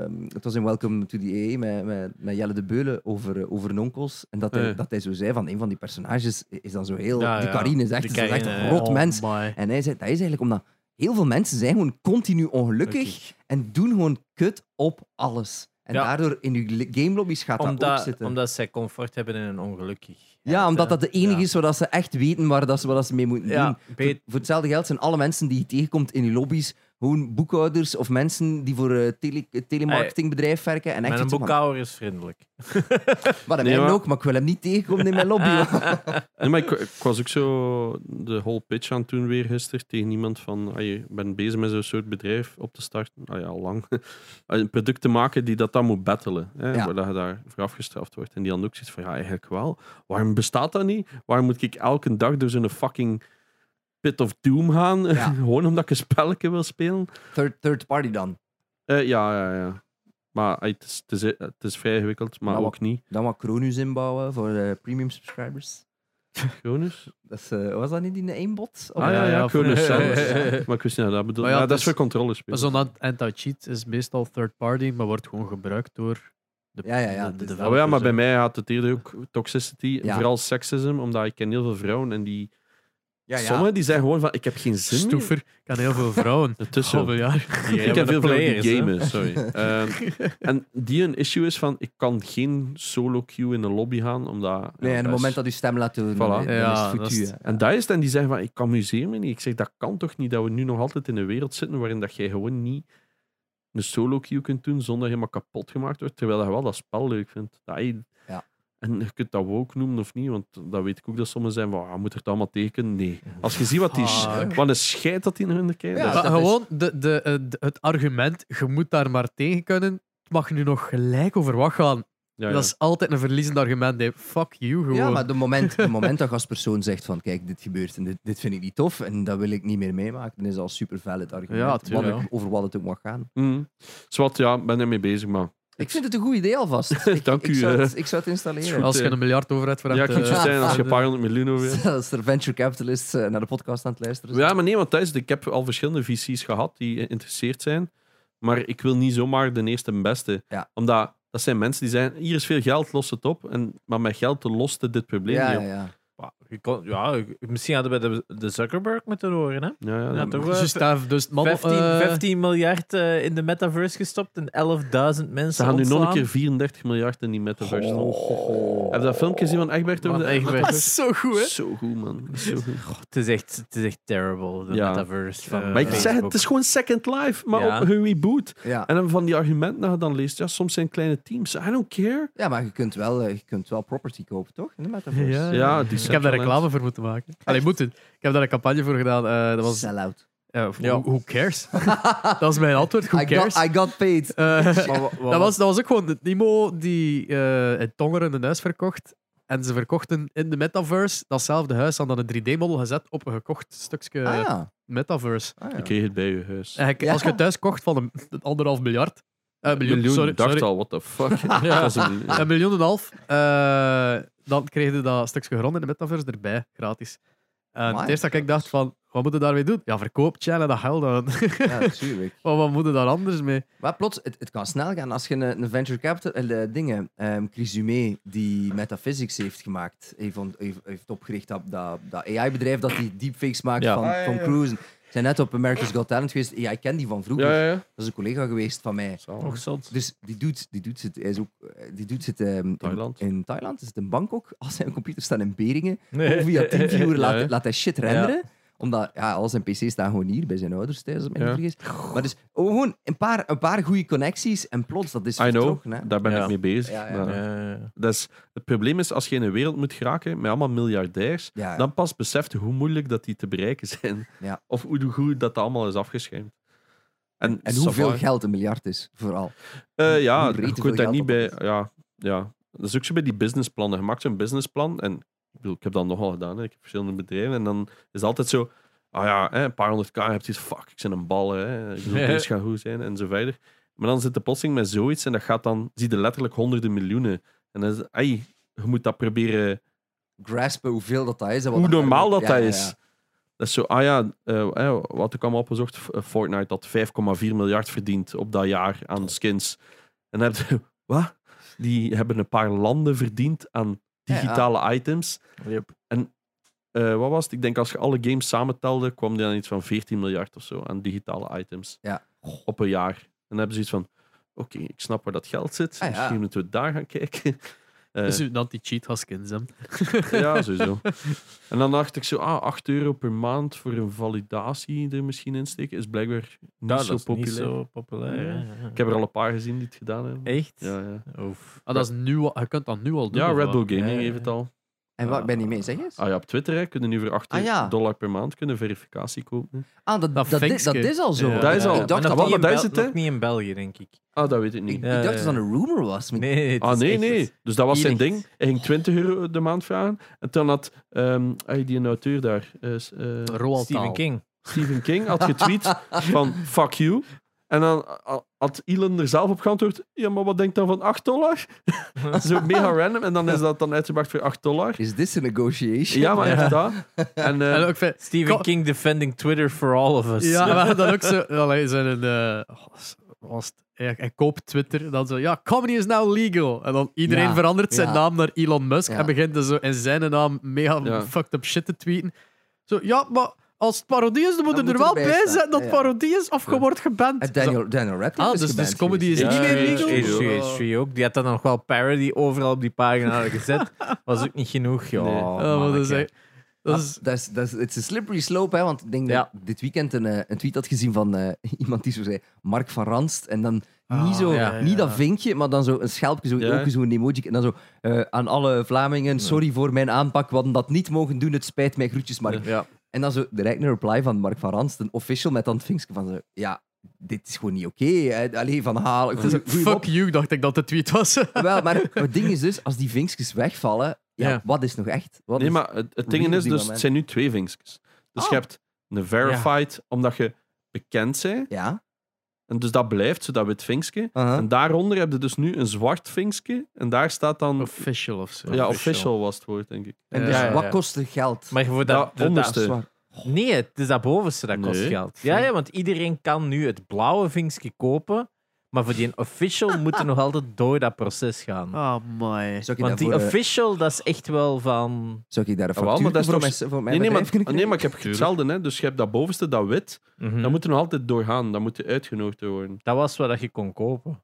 Speaker 2: eh, het was een Welcome to the EA met, met, met Jelle de Beulen over, eh, over nonkels. En dat hij,
Speaker 3: Eh.
Speaker 2: dat hij zo zei van een van die personages is dan zo heel...
Speaker 4: Ja,
Speaker 2: de
Speaker 4: ja.
Speaker 2: Karine is echt,
Speaker 4: Die
Speaker 2: is echt
Speaker 4: Karine,
Speaker 2: een rot
Speaker 1: Oh
Speaker 2: mens.
Speaker 1: my.
Speaker 2: En hij zei, dat is eigenlijk omdat heel veel mensen zijn gewoon continu ongelukkig en doen gewoon kut op alles. En
Speaker 4: Ja.
Speaker 2: daardoor in uw li- game lobby's gaat dat ook
Speaker 4: Omdat,
Speaker 2: zitten.
Speaker 4: omdat zij comfort hebben in een ongelukkig.
Speaker 2: ja, omdat dat de enige
Speaker 4: ja.
Speaker 2: is waar dat ze echt weten waar dat ze, wat dat ze mee moeten doen.
Speaker 4: Ja,
Speaker 2: Voor,
Speaker 4: beter.
Speaker 2: voor hetzelfde geld zijn alle mensen die je tegenkomt in je lobby's gewoon boekhouders of mensen die voor een tele, eh, telemarketingbedrijf werken. En echt
Speaker 4: Mijn
Speaker 2: zitten van,
Speaker 4: boekhouder is vriendelijk.
Speaker 2: Wat, dat
Speaker 3: Nee,
Speaker 2: mij
Speaker 3: maar-
Speaker 2: ook, maar ik wil hem niet tegenkomen in mijn lobby.
Speaker 3: Nee, maar ik, ik was ook zo de whole pitch aan toen weer gisteren tegen iemand van, ah, je bent bezig met zo'n soort bedrijf op te starten, ah ja, al lang, een product te maken die dat dan moet battelen, hè,
Speaker 2: Ja.
Speaker 3: waar dat je daar voor afgestraft wordt. En die dan ook zoiets van, ja, eigenlijk wel. Waarom bestaat dat niet? Waarom moet ik elke dag door zo'n fucking pit of doom gaan,
Speaker 2: Ja.
Speaker 3: gewoon omdat ik een spelletje wil spelen?
Speaker 2: Third, third party dan.
Speaker 3: Eh, ja, ja, ja. Maar ah, het, is, het, is, het is vrij ingewikkeld, maar
Speaker 2: Maar wat-
Speaker 3: ook niet.
Speaker 2: Dan wat Cronus inbouwen voor eh, premium subscribers.
Speaker 3: Cronus?
Speaker 2: Dat is, eh, was dat niet in de aimbot? Of-
Speaker 3: Ah ja,
Speaker 1: ja,
Speaker 3: ja,
Speaker 1: voor-
Speaker 3: Cronus zelfs. Maar ik wist niet dat dat bedoelde.
Speaker 1: Maar ja,
Speaker 3: Ja,
Speaker 1: het
Speaker 3: dat is
Speaker 1: is-
Speaker 3: voor controlespelen.
Speaker 1: Maar Zo'n anti-cheat is meestal third party, maar wordt gewoon gebruikt door de
Speaker 2: Ja, ja, ja,
Speaker 1: de-
Speaker 2: dus
Speaker 1: de
Speaker 2: dat-
Speaker 3: Oh Ja, Ah, maar, ja, maar
Speaker 1: developers,
Speaker 3: bij
Speaker 1: hè.
Speaker 3: mij had het eerder ook toxicity,
Speaker 2: Ja.
Speaker 3: vooral seksisme, omdat ik ken heel veel vrouwen en die...
Speaker 2: ja, ja.
Speaker 3: Sommigen die zijn gewoon van, ik heb geen zin meer.
Speaker 1: Stoever. Oh, Ik ken heel veel vrouwen.
Speaker 3: Het is zo.
Speaker 1: Halve jaar.
Speaker 4: Die
Speaker 3: ik
Speaker 4: hebben
Speaker 3: heb
Speaker 4: de
Speaker 3: heel veel die
Speaker 4: players, hè.
Speaker 3: gamen, sorry. Ehm, en die een issue is van, ik kan geen solo queue in de lobby gaan, omdat... ja,
Speaker 2: Nee, en het
Speaker 3: dat is-
Speaker 2: moment dat je stem laat doen,
Speaker 3: Voilà.
Speaker 2: dan, dan
Speaker 1: Ja,
Speaker 2: is het
Speaker 1: dat
Speaker 2: foutu.
Speaker 1: is-
Speaker 2: hè.
Speaker 3: En dat is het, en die zeggen van, ik amuseer me niet. Ik zeg, dat kan toch niet dat we nu nog altijd in een wereld zitten waarin dat jij gewoon niet een solo queue kunt doen zonder helemaal kapot gemaakt wordt, terwijl je wel dat spel leuk vindt. Dat je-
Speaker 2: Ja.
Speaker 3: En je kunt dat ook noemen of niet, want dat weet ik ook dat sommigen zijn van, ah, moet er het allemaal tekenen? Nee. Als je ziet wat, die, sch-
Speaker 1: Fuck.
Speaker 3: wat een scheid dat die in hun kijkt.
Speaker 2: Ja,
Speaker 3: dat-
Speaker 1: Maar
Speaker 2: dat is-
Speaker 1: gewoon de, de, eh, de- het argument, je moet daar maar tegen kunnen, het mag nu nog gelijk over wat gaan.
Speaker 3: ja, ja.
Speaker 1: Dat is altijd een verliezend argument. hè. Fuck you, gewoon.
Speaker 2: Ja, maar de moment, de moment dat je als persoon zegt van kijk, dit gebeurt en dit, dit vind ik niet tof en dat wil ik niet meer meemaken, dan is dat al super valid argument
Speaker 1: Ja,
Speaker 2: wat
Speaker 1: tuurlijk.
Speaker 2: het- over wat het ook mag gaan.
Speaker 3: Mm. Zwat, ja, ben ermee bezig, maar...
Speaker 2: Ik vind het een goed idee alvast. Ik,
Speaker 3: Dank
Speaker 2: ik
Speaker 3: u,
Speaker 2: Zou het,
Speaker 3: eh.
Speaker 2: ik zou het installeren.
Speaker 1: Als je
Speaker 3: eh,
Speaker 1: een miljard over hebt voor
Speaker 3: ja,
Speaker 1: hem
Speaker 3: ik
Speaker 1: te-
Speaker 3: kan zo zijn als je een paar honderd miljoen over hebt.
Speaker 2: Als er venture capitalists eh, naar de podcast aan het luisteren zijn.
Speaker 3: Dus Ja, maar nee, want thuis, ik heb al verschillende VC's gehad die geïnteresseerd zijn. Maar ik wil niet zomaar de eerste en beste.
Speaker 2: Ja.
Speaker 3: Omdat dat zijn mensen die zijn, hier is veel geld, los het op. En, maar met geld lost het dit probleem
Speaker 2: ja,
Speaker 3: niet
Speaker 2: ja,
Speaker 3: op.
Speaker 2: ja.
Speaker 4: Ja, je kon- ja, je- misschien hadden we de, de Zuckerberg moeten horen. Hè?
Speaker 3: Ja, ja,
Speaker 4: Ja,
Speaker 3: dat-
Speaker 4: toch?
Speaker 1: Juist daar, dus het man,
Speaker 4: 15,
Speaker 1: eh,
Speaker 4: 15 miljard eh, in de metaverse gestopt en 11.000 mensen.
Speaker 3: Ze gaan nu nog een
Speaker 4: ontslaan.
Speaker 3: keer 34 miljard in die metaverse. doen.
Speaker 2: Oh.
Speaker 3: Heb je dat filmpje gezien van Egbert? over
Speaker 4: Man,
Speaker 3: de-
Speaker 4: echt weg.
Speaker 1: Dat is zo goed, hè?
Speaker 3: Zo goed, man. Zo goed.
Speaker 4: Het is echt, het is echt terrible, de
Speaker 3: Ja.
Speaker 4: metaverse. eh, Van
Speaker 1: Maar
Speaker 3: Maar ik
Speaker 1: Ja.
Speaker 3: zeg het, het is gewoon Second Life, maar
Speaker 4: Ja.
Speaker 3: op hun reboot.
Speaker 2: Ja.
Speaker 3: En dan van die argumenten dat je dan leest, ja, soms zijn kleine teams. I don't care.
Speaker 2: ja, maar je kunt, wel, eh, je kunt wel property kopen, toch? In de metaverse.
Speaker 1: Ja.
Speaker 3: Ja, die
Speaker 1: Ik heb daar
Speaker 3: Decentraland.
Speaker 1: reclame voor moeten maken. Allee, moet het. Ik heb daar een campagne voor gedaan. eh, dat was
Speaker 2: Sell out.
Speaker 1: Ja,
Speaker 4: Ja.
Speaker 1: Who, who cares? dat is mijn antwoord. Who
Speaker 2: I
Speaker 1: cares?
Speaker 2: got, I got paid.
Speaker 1: Eh,
Speaker 4: Maar wa- wa-
Speaker 1: dat, was, dat was ook gewoon de Nemo die eh het Tongeren een huis verkocht. En ze verkochten in de metaverse datzelfde huis aan dan een 3D-model gezet op een gekocht stukje
Speaker 2: Ah, ja.
Speaker 1: metaverse.
Speaker 2: Ah, ja.
Speaker 3: Ik kreeg het bij je huis.
Speaker 1: En je-
Speaker 2: Ja.
Speaker 1: Als je het thuis kocht van een, een anderhalf miljard. eh, miljoen,
Speaker 3: miljoen
Speaker 1: sorry,
Speaker 3: dacht
Speaker 1: sorry.
Speaker 3: al, what the fuck. Dat was een-
Speaker 1: Een miljoen en een half. eh, dan kreeg je dat stukje grond in de metaverse erbij, gratis. En
Speaker 2: Amai.
Speaker 1: het eerste dat ik dacht van, wat moeten we daarmee doen? Ja, verkoop channel dat geld dan.
Speaker 2: ja, natuurlijk.
Speaker 1: wat, wat moeten we daar anders mee?
Speaker 2: Maar plots, het, het kan snel gaan als je een, een venture capital... eh, dingen, ehm Chris Dumais, die Metaphysics heeft gemaakt, heeft, ont- heeft, heeft opgericht dat, dat, dat AI-bedrijf dat die deepfakes maakt
Speaker 4: Ja.
Speaker 2: van,
Speaker 3: Ah, ja,
Speaker 2: van
Speaker 3: ja.
Speaker 2: Cruise. Ze zijn net op America's Got Talent geweest. Ja, ik ken die van vroeger.
Speaker 3: Ja, ja, ja.
Speaker 2: Dat is een collega geweest van mij.
Speaker 3: Zalig.
Speaker 4: Nog zot.
Speaker 2: Dus die doet, die doet het, hij is ook, eh, die doet het ehm, in-
Speaker 3: Thailand.
Speaker 2: In, Thailand, is het in Bangkok. Als zijn computer staat in Beringen,
Speaker 4: Nee.
Speaker 2: of via TeamViewer laat,
Speaker 3: Ja, hè?
Speaker 2: laat hij shit renderen. Omdat ja, al zijn pc's staan gewoon hier bij zijn ouders thuis, als ik me niet
Speaker 3: Ja.
Speaker 2: vergis. Maar dus oh, gewoon een paar, een paar goede connecties en plots, dat is
Speaker 3: I know,
Speaker 2: vertrokken. Hè?
Speaker 3: daar ben
Speaker 4: Ja.
Speaker 3: ik mee bezig.
Speaker 2: Ja, ja.
Speaker 3: Maar
Speaker 4: Eh,
Speaker 3: Dat is, het probleem is, als je in een wereld moet geraken met allemaal miljardairs,
Speaker 2: Ja,
Speaker 3: dan pas beseft je hoe moeilijk dat die te bereiken zijn.
Speaker 2: Ja.
Speaker 3: Of hoe goed dat, dat allemaal is afgeschermd. En,
Speaker 2: en
Speaker 3: ça
Speaker 2: hoeveel
Speaker 3: va.
Speaker 2: geld een miljard is, vooral.
Speaker 3: Eh, ja,
Speaker 2: hoe breed
Speaker 3: je
Speaker 2: te
Speaker 3: kunt
Speaker 2: veel
Speaker 3: daar niet
Speaker 2: geld
Speaker 3: bij.
Speaker 2: dat
Speaker 3: Ja, ja, dat is ook zo bij die businessplannen. Je maakt zo'n businessplan en ik, bedoel, ik heb dat nogal gedaan. Hè. Ik heb verschillende bedrijven en dan is het altijd zo. Ah ja, hè, een paar honderd k heb je hebt zoiets, fuck, ik zit een bal, hè. Ik bedoel, deze gaat goed zijn en zo verder. Maar dan zit de plotseling met zoiets en dat gaat dan, zie je letterlijk honderden miljoenen. En dan is het, ai, je moet dat proberen
Speaker 2: Graspen hoeveel dat, dat is. en wat
Speaker 3: hoe
Speaker 2: daar-
Speaker 3: normaal dat
Speaker 2: Ja,
Speaker 3: dat
Speaker 2: ja,
Speaker 3: is.
Speaker 2: ja.
Speaker 3: Dat is zo, ah ja, eh, eh, wat ik allemaal opgezocht, F- eh, Fortnite dat 5,4 miljard verdient op dat jaar aan skins. En dan heb je, wat? Die hebben een paar landen verdiend aan
Speaker 2: Ja, ja.
Speaker 3: digitale items.
Speaker 4: yep.
Speaker 3: Eh, wat was het? Ik denk als je alle games samentelde, kwam die aan iets van 14 miljard of zo aan digitale items.
Speaker 2: Ja.
Speaker 3: Op een jaar. En dan hebben ze iets van, oké, ik snap waar dat geld zit.
Speaker 2: Ah, ja.
Speaker 3: Misschien moeten we daar gaan kijken. Eh,
Speaker 1: Dus dan die cheat haskins, hè.
Speaker 3: ja, sowieso. En dan dacht ik zo, ah, 8 euro per maand voor een validatie er misschien in steken, is blijkbaar niet
Speaker 4: Ja,
Speaker 3: zo
Speaker 4: dat is
Speaker 3: populair.
Speaker 4: niet zo populair.
Speaker 3: Ja.
Speaker 4: hè.
Speaker 3: Ik heb er al een paar gezien die het gedaan hebben.
Speaker 4: Echt?
Speaker 3: Ja, ja.
Speaker 4: Oef.
Speaker 1: Ah, dat is nu, al- je kunt dat nu al doen.
Speaker 3: ja
Speaker 1: of
Speaker 3: Red
Speaker 1: wat?
Speaker 3: Bull Gaming
Speaker 4: Ja, ja,
Speaker 3: heeft het al.
Speaker 2: En wat, ik ben niet mee, zeg eens.
Speaker 3: Ah ja, op Twitter hè, kunnen nu voor 8
Speaker 2: Ah, ja.
Speaker 3: dollar per maand kunnen verificatie kopen.
Speaker 2: Ah, dat,
Speaker 1: Dat
Speaker 2: dat, is,
Speaker 1: vinkske.
Speaker 2: dat is al zo.
Speaker 1: Ja.
Speaker 3: Dat is al-
Speaker 2: Ik
Speaker 4: Maar
Speaker 2: dacht dat
Speaker 3: dat
Speaker 4: nog
Speaker 3: was-
Speaker 4: niet in
Speaker 3: daar is
Speaker 4: Bel-
Speaker 3: het, hè?
Speaker 4: nog niet in België, denk ik.
Speaker 3: Ah, dat weet ik
Speaker 2: ik
Speaker 3: niet.
Speaker 4: Ja,
Speaker 2: dacht dat
Speaker 4: ja.
Speaker 2: het een rumor was. maar-
Speaker 4: Nee, het
Speaker 3: Ah
Speaker 4: is
Speaker 3: nee,
Speaker 4: echt-
Speaker 3: nee. Dus dat was zijn
Speaker 4: Hier
Speaker 3: ding. Hij ging 20 euro de maand vragen. En toen had ehm, ah, die auteur daar, eh, s- eh,
Speaker 1: Roald
Speaker 4: Stephen
Speaker 1: Dahl.
Speaker 4: King.
Speaker 3: Stephen King had getweet van fuck you. En dan had Elon er zelf op geantwoord, ja, maar wat denkt dan van 8 dollar? Zo mega random. En dan is dat dan uitgebracht voor 8 dollar.
Speaker 2: Is this a negotiation?
Speaker 3: Ja, maar echt dat. En, eh,
Speaker 1: En ook fijn-
Speaker 4: Stephen
Speaker 1: Ko-
Speaker 4: King defending Twitter for all of us.
Speaker 1: Ja, maar dat ook zo. Allee, zijn een, eh, was- was het- hij, hij koopt Twitter. Dan zo, ja, comedy is now legal. En dan iedereen
Speaker 2: Ja,
Speaker 1: verandert zijn
Speaker 2: ja.
Speaker 1: naam naar Elon Musk.
Speaker 2: Ja.
Speaker 1: En begint dan zo in zijn naam mega
Speaker 3: Ja.
Speaker 1: fucked up shit te tweeten. Zo, ja, maar als het parodie is, dan moet
Speaker 2: Dan
Speaker 1: je er
Speaker 2: moet
Speaker 1: wel
Speaker 2: erbij
Speaker 1: bij
Speaker 2: staan.
Speaker 1: zijn dat het
Speaker 2: Ja.
Speaker 1: parodie is, of je
Speaker 3: Ja.
Speaker 1: wordt geband.
Speaker 2: En
Speaker 1: Zo-
Speaker 2: Daniel, Daniel Radcliffe
Speaker 1: Ah,
Speaker 2: is
Speaker 1: dus- dus
Speaker 2: geband
Speaker 1: comedy
Speaker 2: geweest.
Speaker 1: is niet
Speaker 3: Ja,
Speaker 1: meer
Speaker 3: ja,
Speaker 1: legal.
Speaker 3: ja, ja.
Speaker 4: H3, H3 ook. Die had dan nog wel parody overal op die pagina gezet. Was ook niet genoeg. Ja,
Speaker 3: Nee. Oh,
Speaker 1: Ja, maar dat is
Speaker 4: manneke.
Speaker 2: eh,
Speaker 1: echt- dat is-
Speaker 2: Ah, Dat is, dat is, het is een slippery slope, hè, want ik denk dat ik dit weekend een, eh, een tweet had gezien van eh, iemand die zo zei, Mark van Ranst, en dan niet,
Speaker 1: Ah,
Speaker 2: zo,
Speaker 1: ja, ja,
Speaker 2: niet dat
Speaker 1: ja.
Speaker 2: vinkje, maar dan zo een schelpje, zo,
Speaker 3: Ja.
Speaker 2: ook zo'n emoji, en dan zo, eh, aan alle Vlamingen, sorry voor mijn aanpak, we hadden dat niet mogen doen, het spijt mij, groetjes Mark.
Speaker 4: Ja.
Speaker 2: En dan zo direct een reply van Mark van Ranst, een official, met dan het vinkje van, zo, ja, dit is gewoon niet oké, hè. alleen van halen,
Speaker 1: dat is
Speaker 2: goeie,
Speaker 1: ook fuck you, dacht ik dat de tweet was.
Speaker 2: Wel, maar het ding is dus, als die vinkjes wegvallen, ja,
Speaker 1: Ja.
Speaker 2: wat is nog echt? Wat
Speaker 3: nee,
Speaker 2: is-
Speaker 3: maar het, het ding
Speaker 2: Real
Speaker 3: is,
Speaker 2: die
Speaker 3: dus,
Speaker 2: moment.
Speaker 3: het zijn nu twee vinkjes. Dus
Speaker 2: Ah.
Speaker 3: je hebt een verified, omdat je bekend bent.
Speaker 2: Ja?
Speaker 3: En dus dat blijft, zo dat wit vinkje.
Speaker 2: Uh-huh.
Speaker 3: En daaronder heb je dus nu een zwart vinkje. En daar staat dan...
Speaker 1: Official of zo.
Speaker 3: ja, official was het woord, denk ik.
Speaker 2: En
Speaker 1: Ja,
Speaker 2: dus,
Speaker 4: ja, ja.
Speaker 2: wat kost het geld?
Speaker 4: Maar
Speaker 3: Dat
Speaker 4: voor dat, dat-
Speaker 3: onderste.
Speaker 2: Zwaar.
Speaker 4: Nee, het is dat bovenste dat kost
Speaker 3: Nee.
Speaker 4: geld. Ja, ja, want iedereen kan nu het blauwe vinkje kopen. Maar voor die een official moet er nog altijd door dat proces gaan.
Speaker 1: Ah, mooi.
Speaker 2: Zou ik,
Speaker 4: Want die
Speaker 2: daarvoor, eh,
Speaker 4: official, dat is echt wel van...
Speaker 2: zou ik daar een
Speaker 3: Ah, wel, maar
Speaker 2: factuur
Speaker 3: dat is
Speaker 2: voor,
Speaker 3: toch-
Speaker 2: mijn, voor mijn
Speaker 3: Nee, nee, maar,
Speaker 2: bedrijf kunnen
Speaker 3: nee, maar ik heb hetzelfde. Hè? Dus je hebt dat bovenste, dat wit.
Speaker 4: Mhm.
Speaker 3: Dan moet er nog altijd doorgaan. Dan moet je uitgenodigd worden.
Speaker 4: Dat was wat dat je kon kopen.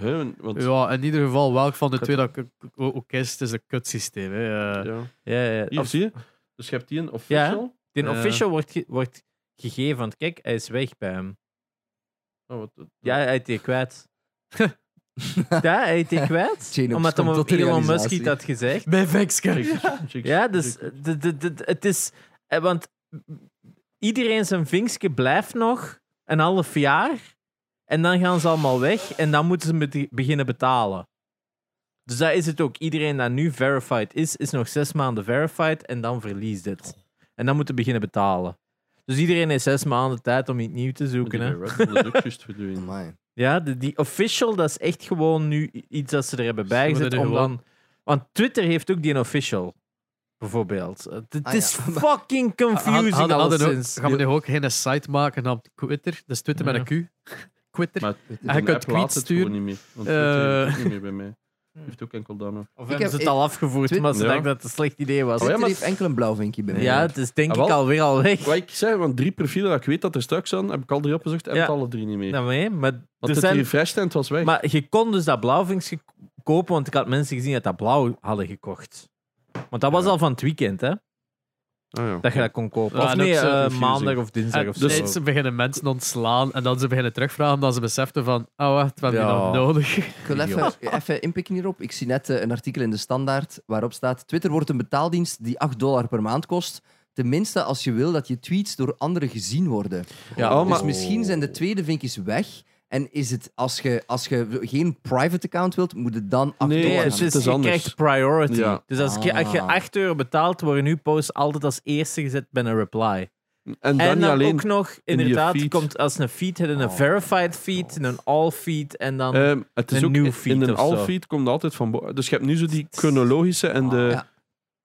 Speaker 3: Hè, want,
Speaker 1: Ja, in ieder geval, welk van de twee dat ik ook ook is, het is een kutsysteem. Hè. Eh,
Speaker 3: ja.
Speaker 4: Ja, ja.
Speaker 3: Hier,
Speaker 4: Of-
Speaker 3: zie je? Dus je hebt die een official.
Speaker 4: die
Speaker 1: Ja.
Speaker 4: official wordt, ge- wordt gegeven, want kijk, hij is weg bij hem.
Speaker 3: Oh, wat- wat-
Speaker 4: Ja, hij heeft die kwijt. ja, hij heeft die kwijt.
Speaker 2: Genox
Speaker 4: Omdat
Speaker 2: komt
Speaker 4: hem
Speaker 2: tot de
Speaker 4: Elon Musk
Speaker 2: realisatie.
Speaker 4: het had gezegd.
Speaker 1: Mijn vinkske.
Speaker 3: Chicks, chicks,
Speaker 4: Ja, dus
Speaker 3: chicks.
Speaker 4: de- de- de- het is... eh, Want iedereen zijn vinkje blijft nog een half jaar. En dan gaan ze allemaal weg en dan moeten ze met- beginnen betalen. Dus dat is het ook. Iedereen dat nu verified is, is nog zes maanden verified en dan verliest het. En dan moeten beginnen betalen. Dus iedereen heeft zes maanden tijd om iets nieuws te zoeken. Hè?
Speaker 3: Red Bull is ook juist voor doen.
Speaker 2: Amai.
Speaker 4: Ja, de- die official, dat is echt gewoon nu i- iets dat ze er hebben
Speaker 1: Ze hebben
Speaker 4: bijgezet.
Speaker 1: er
Speaker 4: Om
Speaker 1: gewoon-
Speaker 4: dan, want Twitter heeft ook die official, bijvoorbeeld. Het het
Speaker 2: Ah,
Speaker 4: is
Speaker 2: ja.
Speaker 4: fucking confusing
Speaker 1: Hadden- hadden ook-
Speaker 4: alleszins.
Speaker 1: Gaan we nu ook geen site maken naam Twitter? Dus Twitter met een Q. Twitter.
Speaker 3: Maar
Speaker 1: Hij
Speaker 3: De
Speaker 1: kan
Speaker 3: app laat
Speaker 1: tweets
Speaker 3: het gewoon
Speaker 1: sturen.
Speaker 3: niet meer. Want
Speaker 1: Eh.
Speaker 3: Twitter doet het niet meer bij mij. Heeft ook enkel download.
Speaker 4: Of
Speaker 2: Ik
Speaker 4: hebben
Speaker 2: heb-
Speaker 4: ze het
Speaker 2: ik-
Speaker 4: al afgevoerd,
Speaker 2: Twitter-
Speaker 4: maar ze
Speaker 3: Ja.
Speaker 4: dachten dat het een slecht idee
Speaker 3: Oh
Speaker 4: was.
Speaker 3: ja,
Speaker 2: Twitter
Speaker 3: maar-
Speaker 2: heeft enkel een blauw vinkje bij mij.
Speaker 4: Ja, het is denk
Speaker 3: Ah,
Speaker 4: ik
Speaker 3: wel.
Speaker 4: alweer al weg.
Speaker 3: Wat ik zei, want drie profielen dat ik weet dat er straks zijn, heb ik al drie opgezocht en
Speaker 4: Ja.
Speaker 3: het alle drie niet meer.
Speaker 4: Nou, nee, maar,
Speaker 3: want
Speaker 4: er
Speaker 3: het
Speaker 4: zijn,
Speaker 3: refresh tent was weg.
Speaker 4: maar je kon dus dat blauwvinkje kopen, want ik had mensen gezien dat dat blauw hadden gekocht. Want dat was
Speaker 3: Ja.
Speaker 4: al van het weekend, hè?
Speaker 3: Ah, ja.
Speaker 4: Dat je dat kon kopen.
Speaker 1: Ja,
Speaker 4: of
Speaker 1: en
Speaker 4: nee,
Speaker 1: ook zo
Speaker 4: eh,
Speaker 3: confusing.
Speaker 4: maandag of dinsdag
Speaker 1: En
Speaker 4: of zo.
Speaker 1: nee, dus ze beginnen mensen ontslaan en dan ze beginnen terugvragen omdat ze beseften van, oh wacht, we hebben die
Speaker 4: Ja.
Speaker 1: nog nodig.
Speaker 2: Ik wil even, even inpikken hierop. Ik zie net eh, een artikel in de Standaard waarop staat: Twitter wordt een betaaldienst die 8 dollar per maand kost. Tenminste, als je wil dat je tweets door anderen gezien worden.
Speaker 3: Ja, oh,
Speaker 2: dus
Speaker 3: maar-
Speaker 2: misschien zijn de tweede vinkjes weg. En is het als je, als je geen private account wilt, moet het dan 8
Speaker 3: Nee,
Speaker 4: Nee,
Speaker 2: dollar
Speaker 4: het
Speaker 3: het
Speaker 2: gaan.
Speaker 4: is,
Speaker 3: is
Speaker 4: je
Speaker 3: anders.
Speaker 4: krijgt priority.
Speaker 3: Ja.
Speaker 4: Dus als, je, als je
Speaker 2: Ah.
Speaker 4: 8 euro betaalt, worden uw posts altijd als eerste gezet bij een reply.
Speaker 3: En dan
Speaker 4: En,
Speaker 3: niet
Speaker 4: dan
Speaker 3: alleen.
Speaker 4: ook nog,
Speaker 3: in je
Speaker 4: inderdaad,
Speaker 3: feed.
Speaker 4: komt als een feed, hebben een
Speaker 2: Oh.
Speaker 4: verified feed, een all feed en dan...
Speaker 3: ehm, het is
Speaker 4: een
Speaker 3: ook
Speaker 4: nieuw
Speaker 3: in-
Speaker 4: feed
Speaker 3: in een
Speaker 4: of zo.
Speaker 3: all-feed komt altijd van boven. Dus je hebt nu zo die chronologische en de.
Speaker 4: Ah,
Speaker 2: Ja.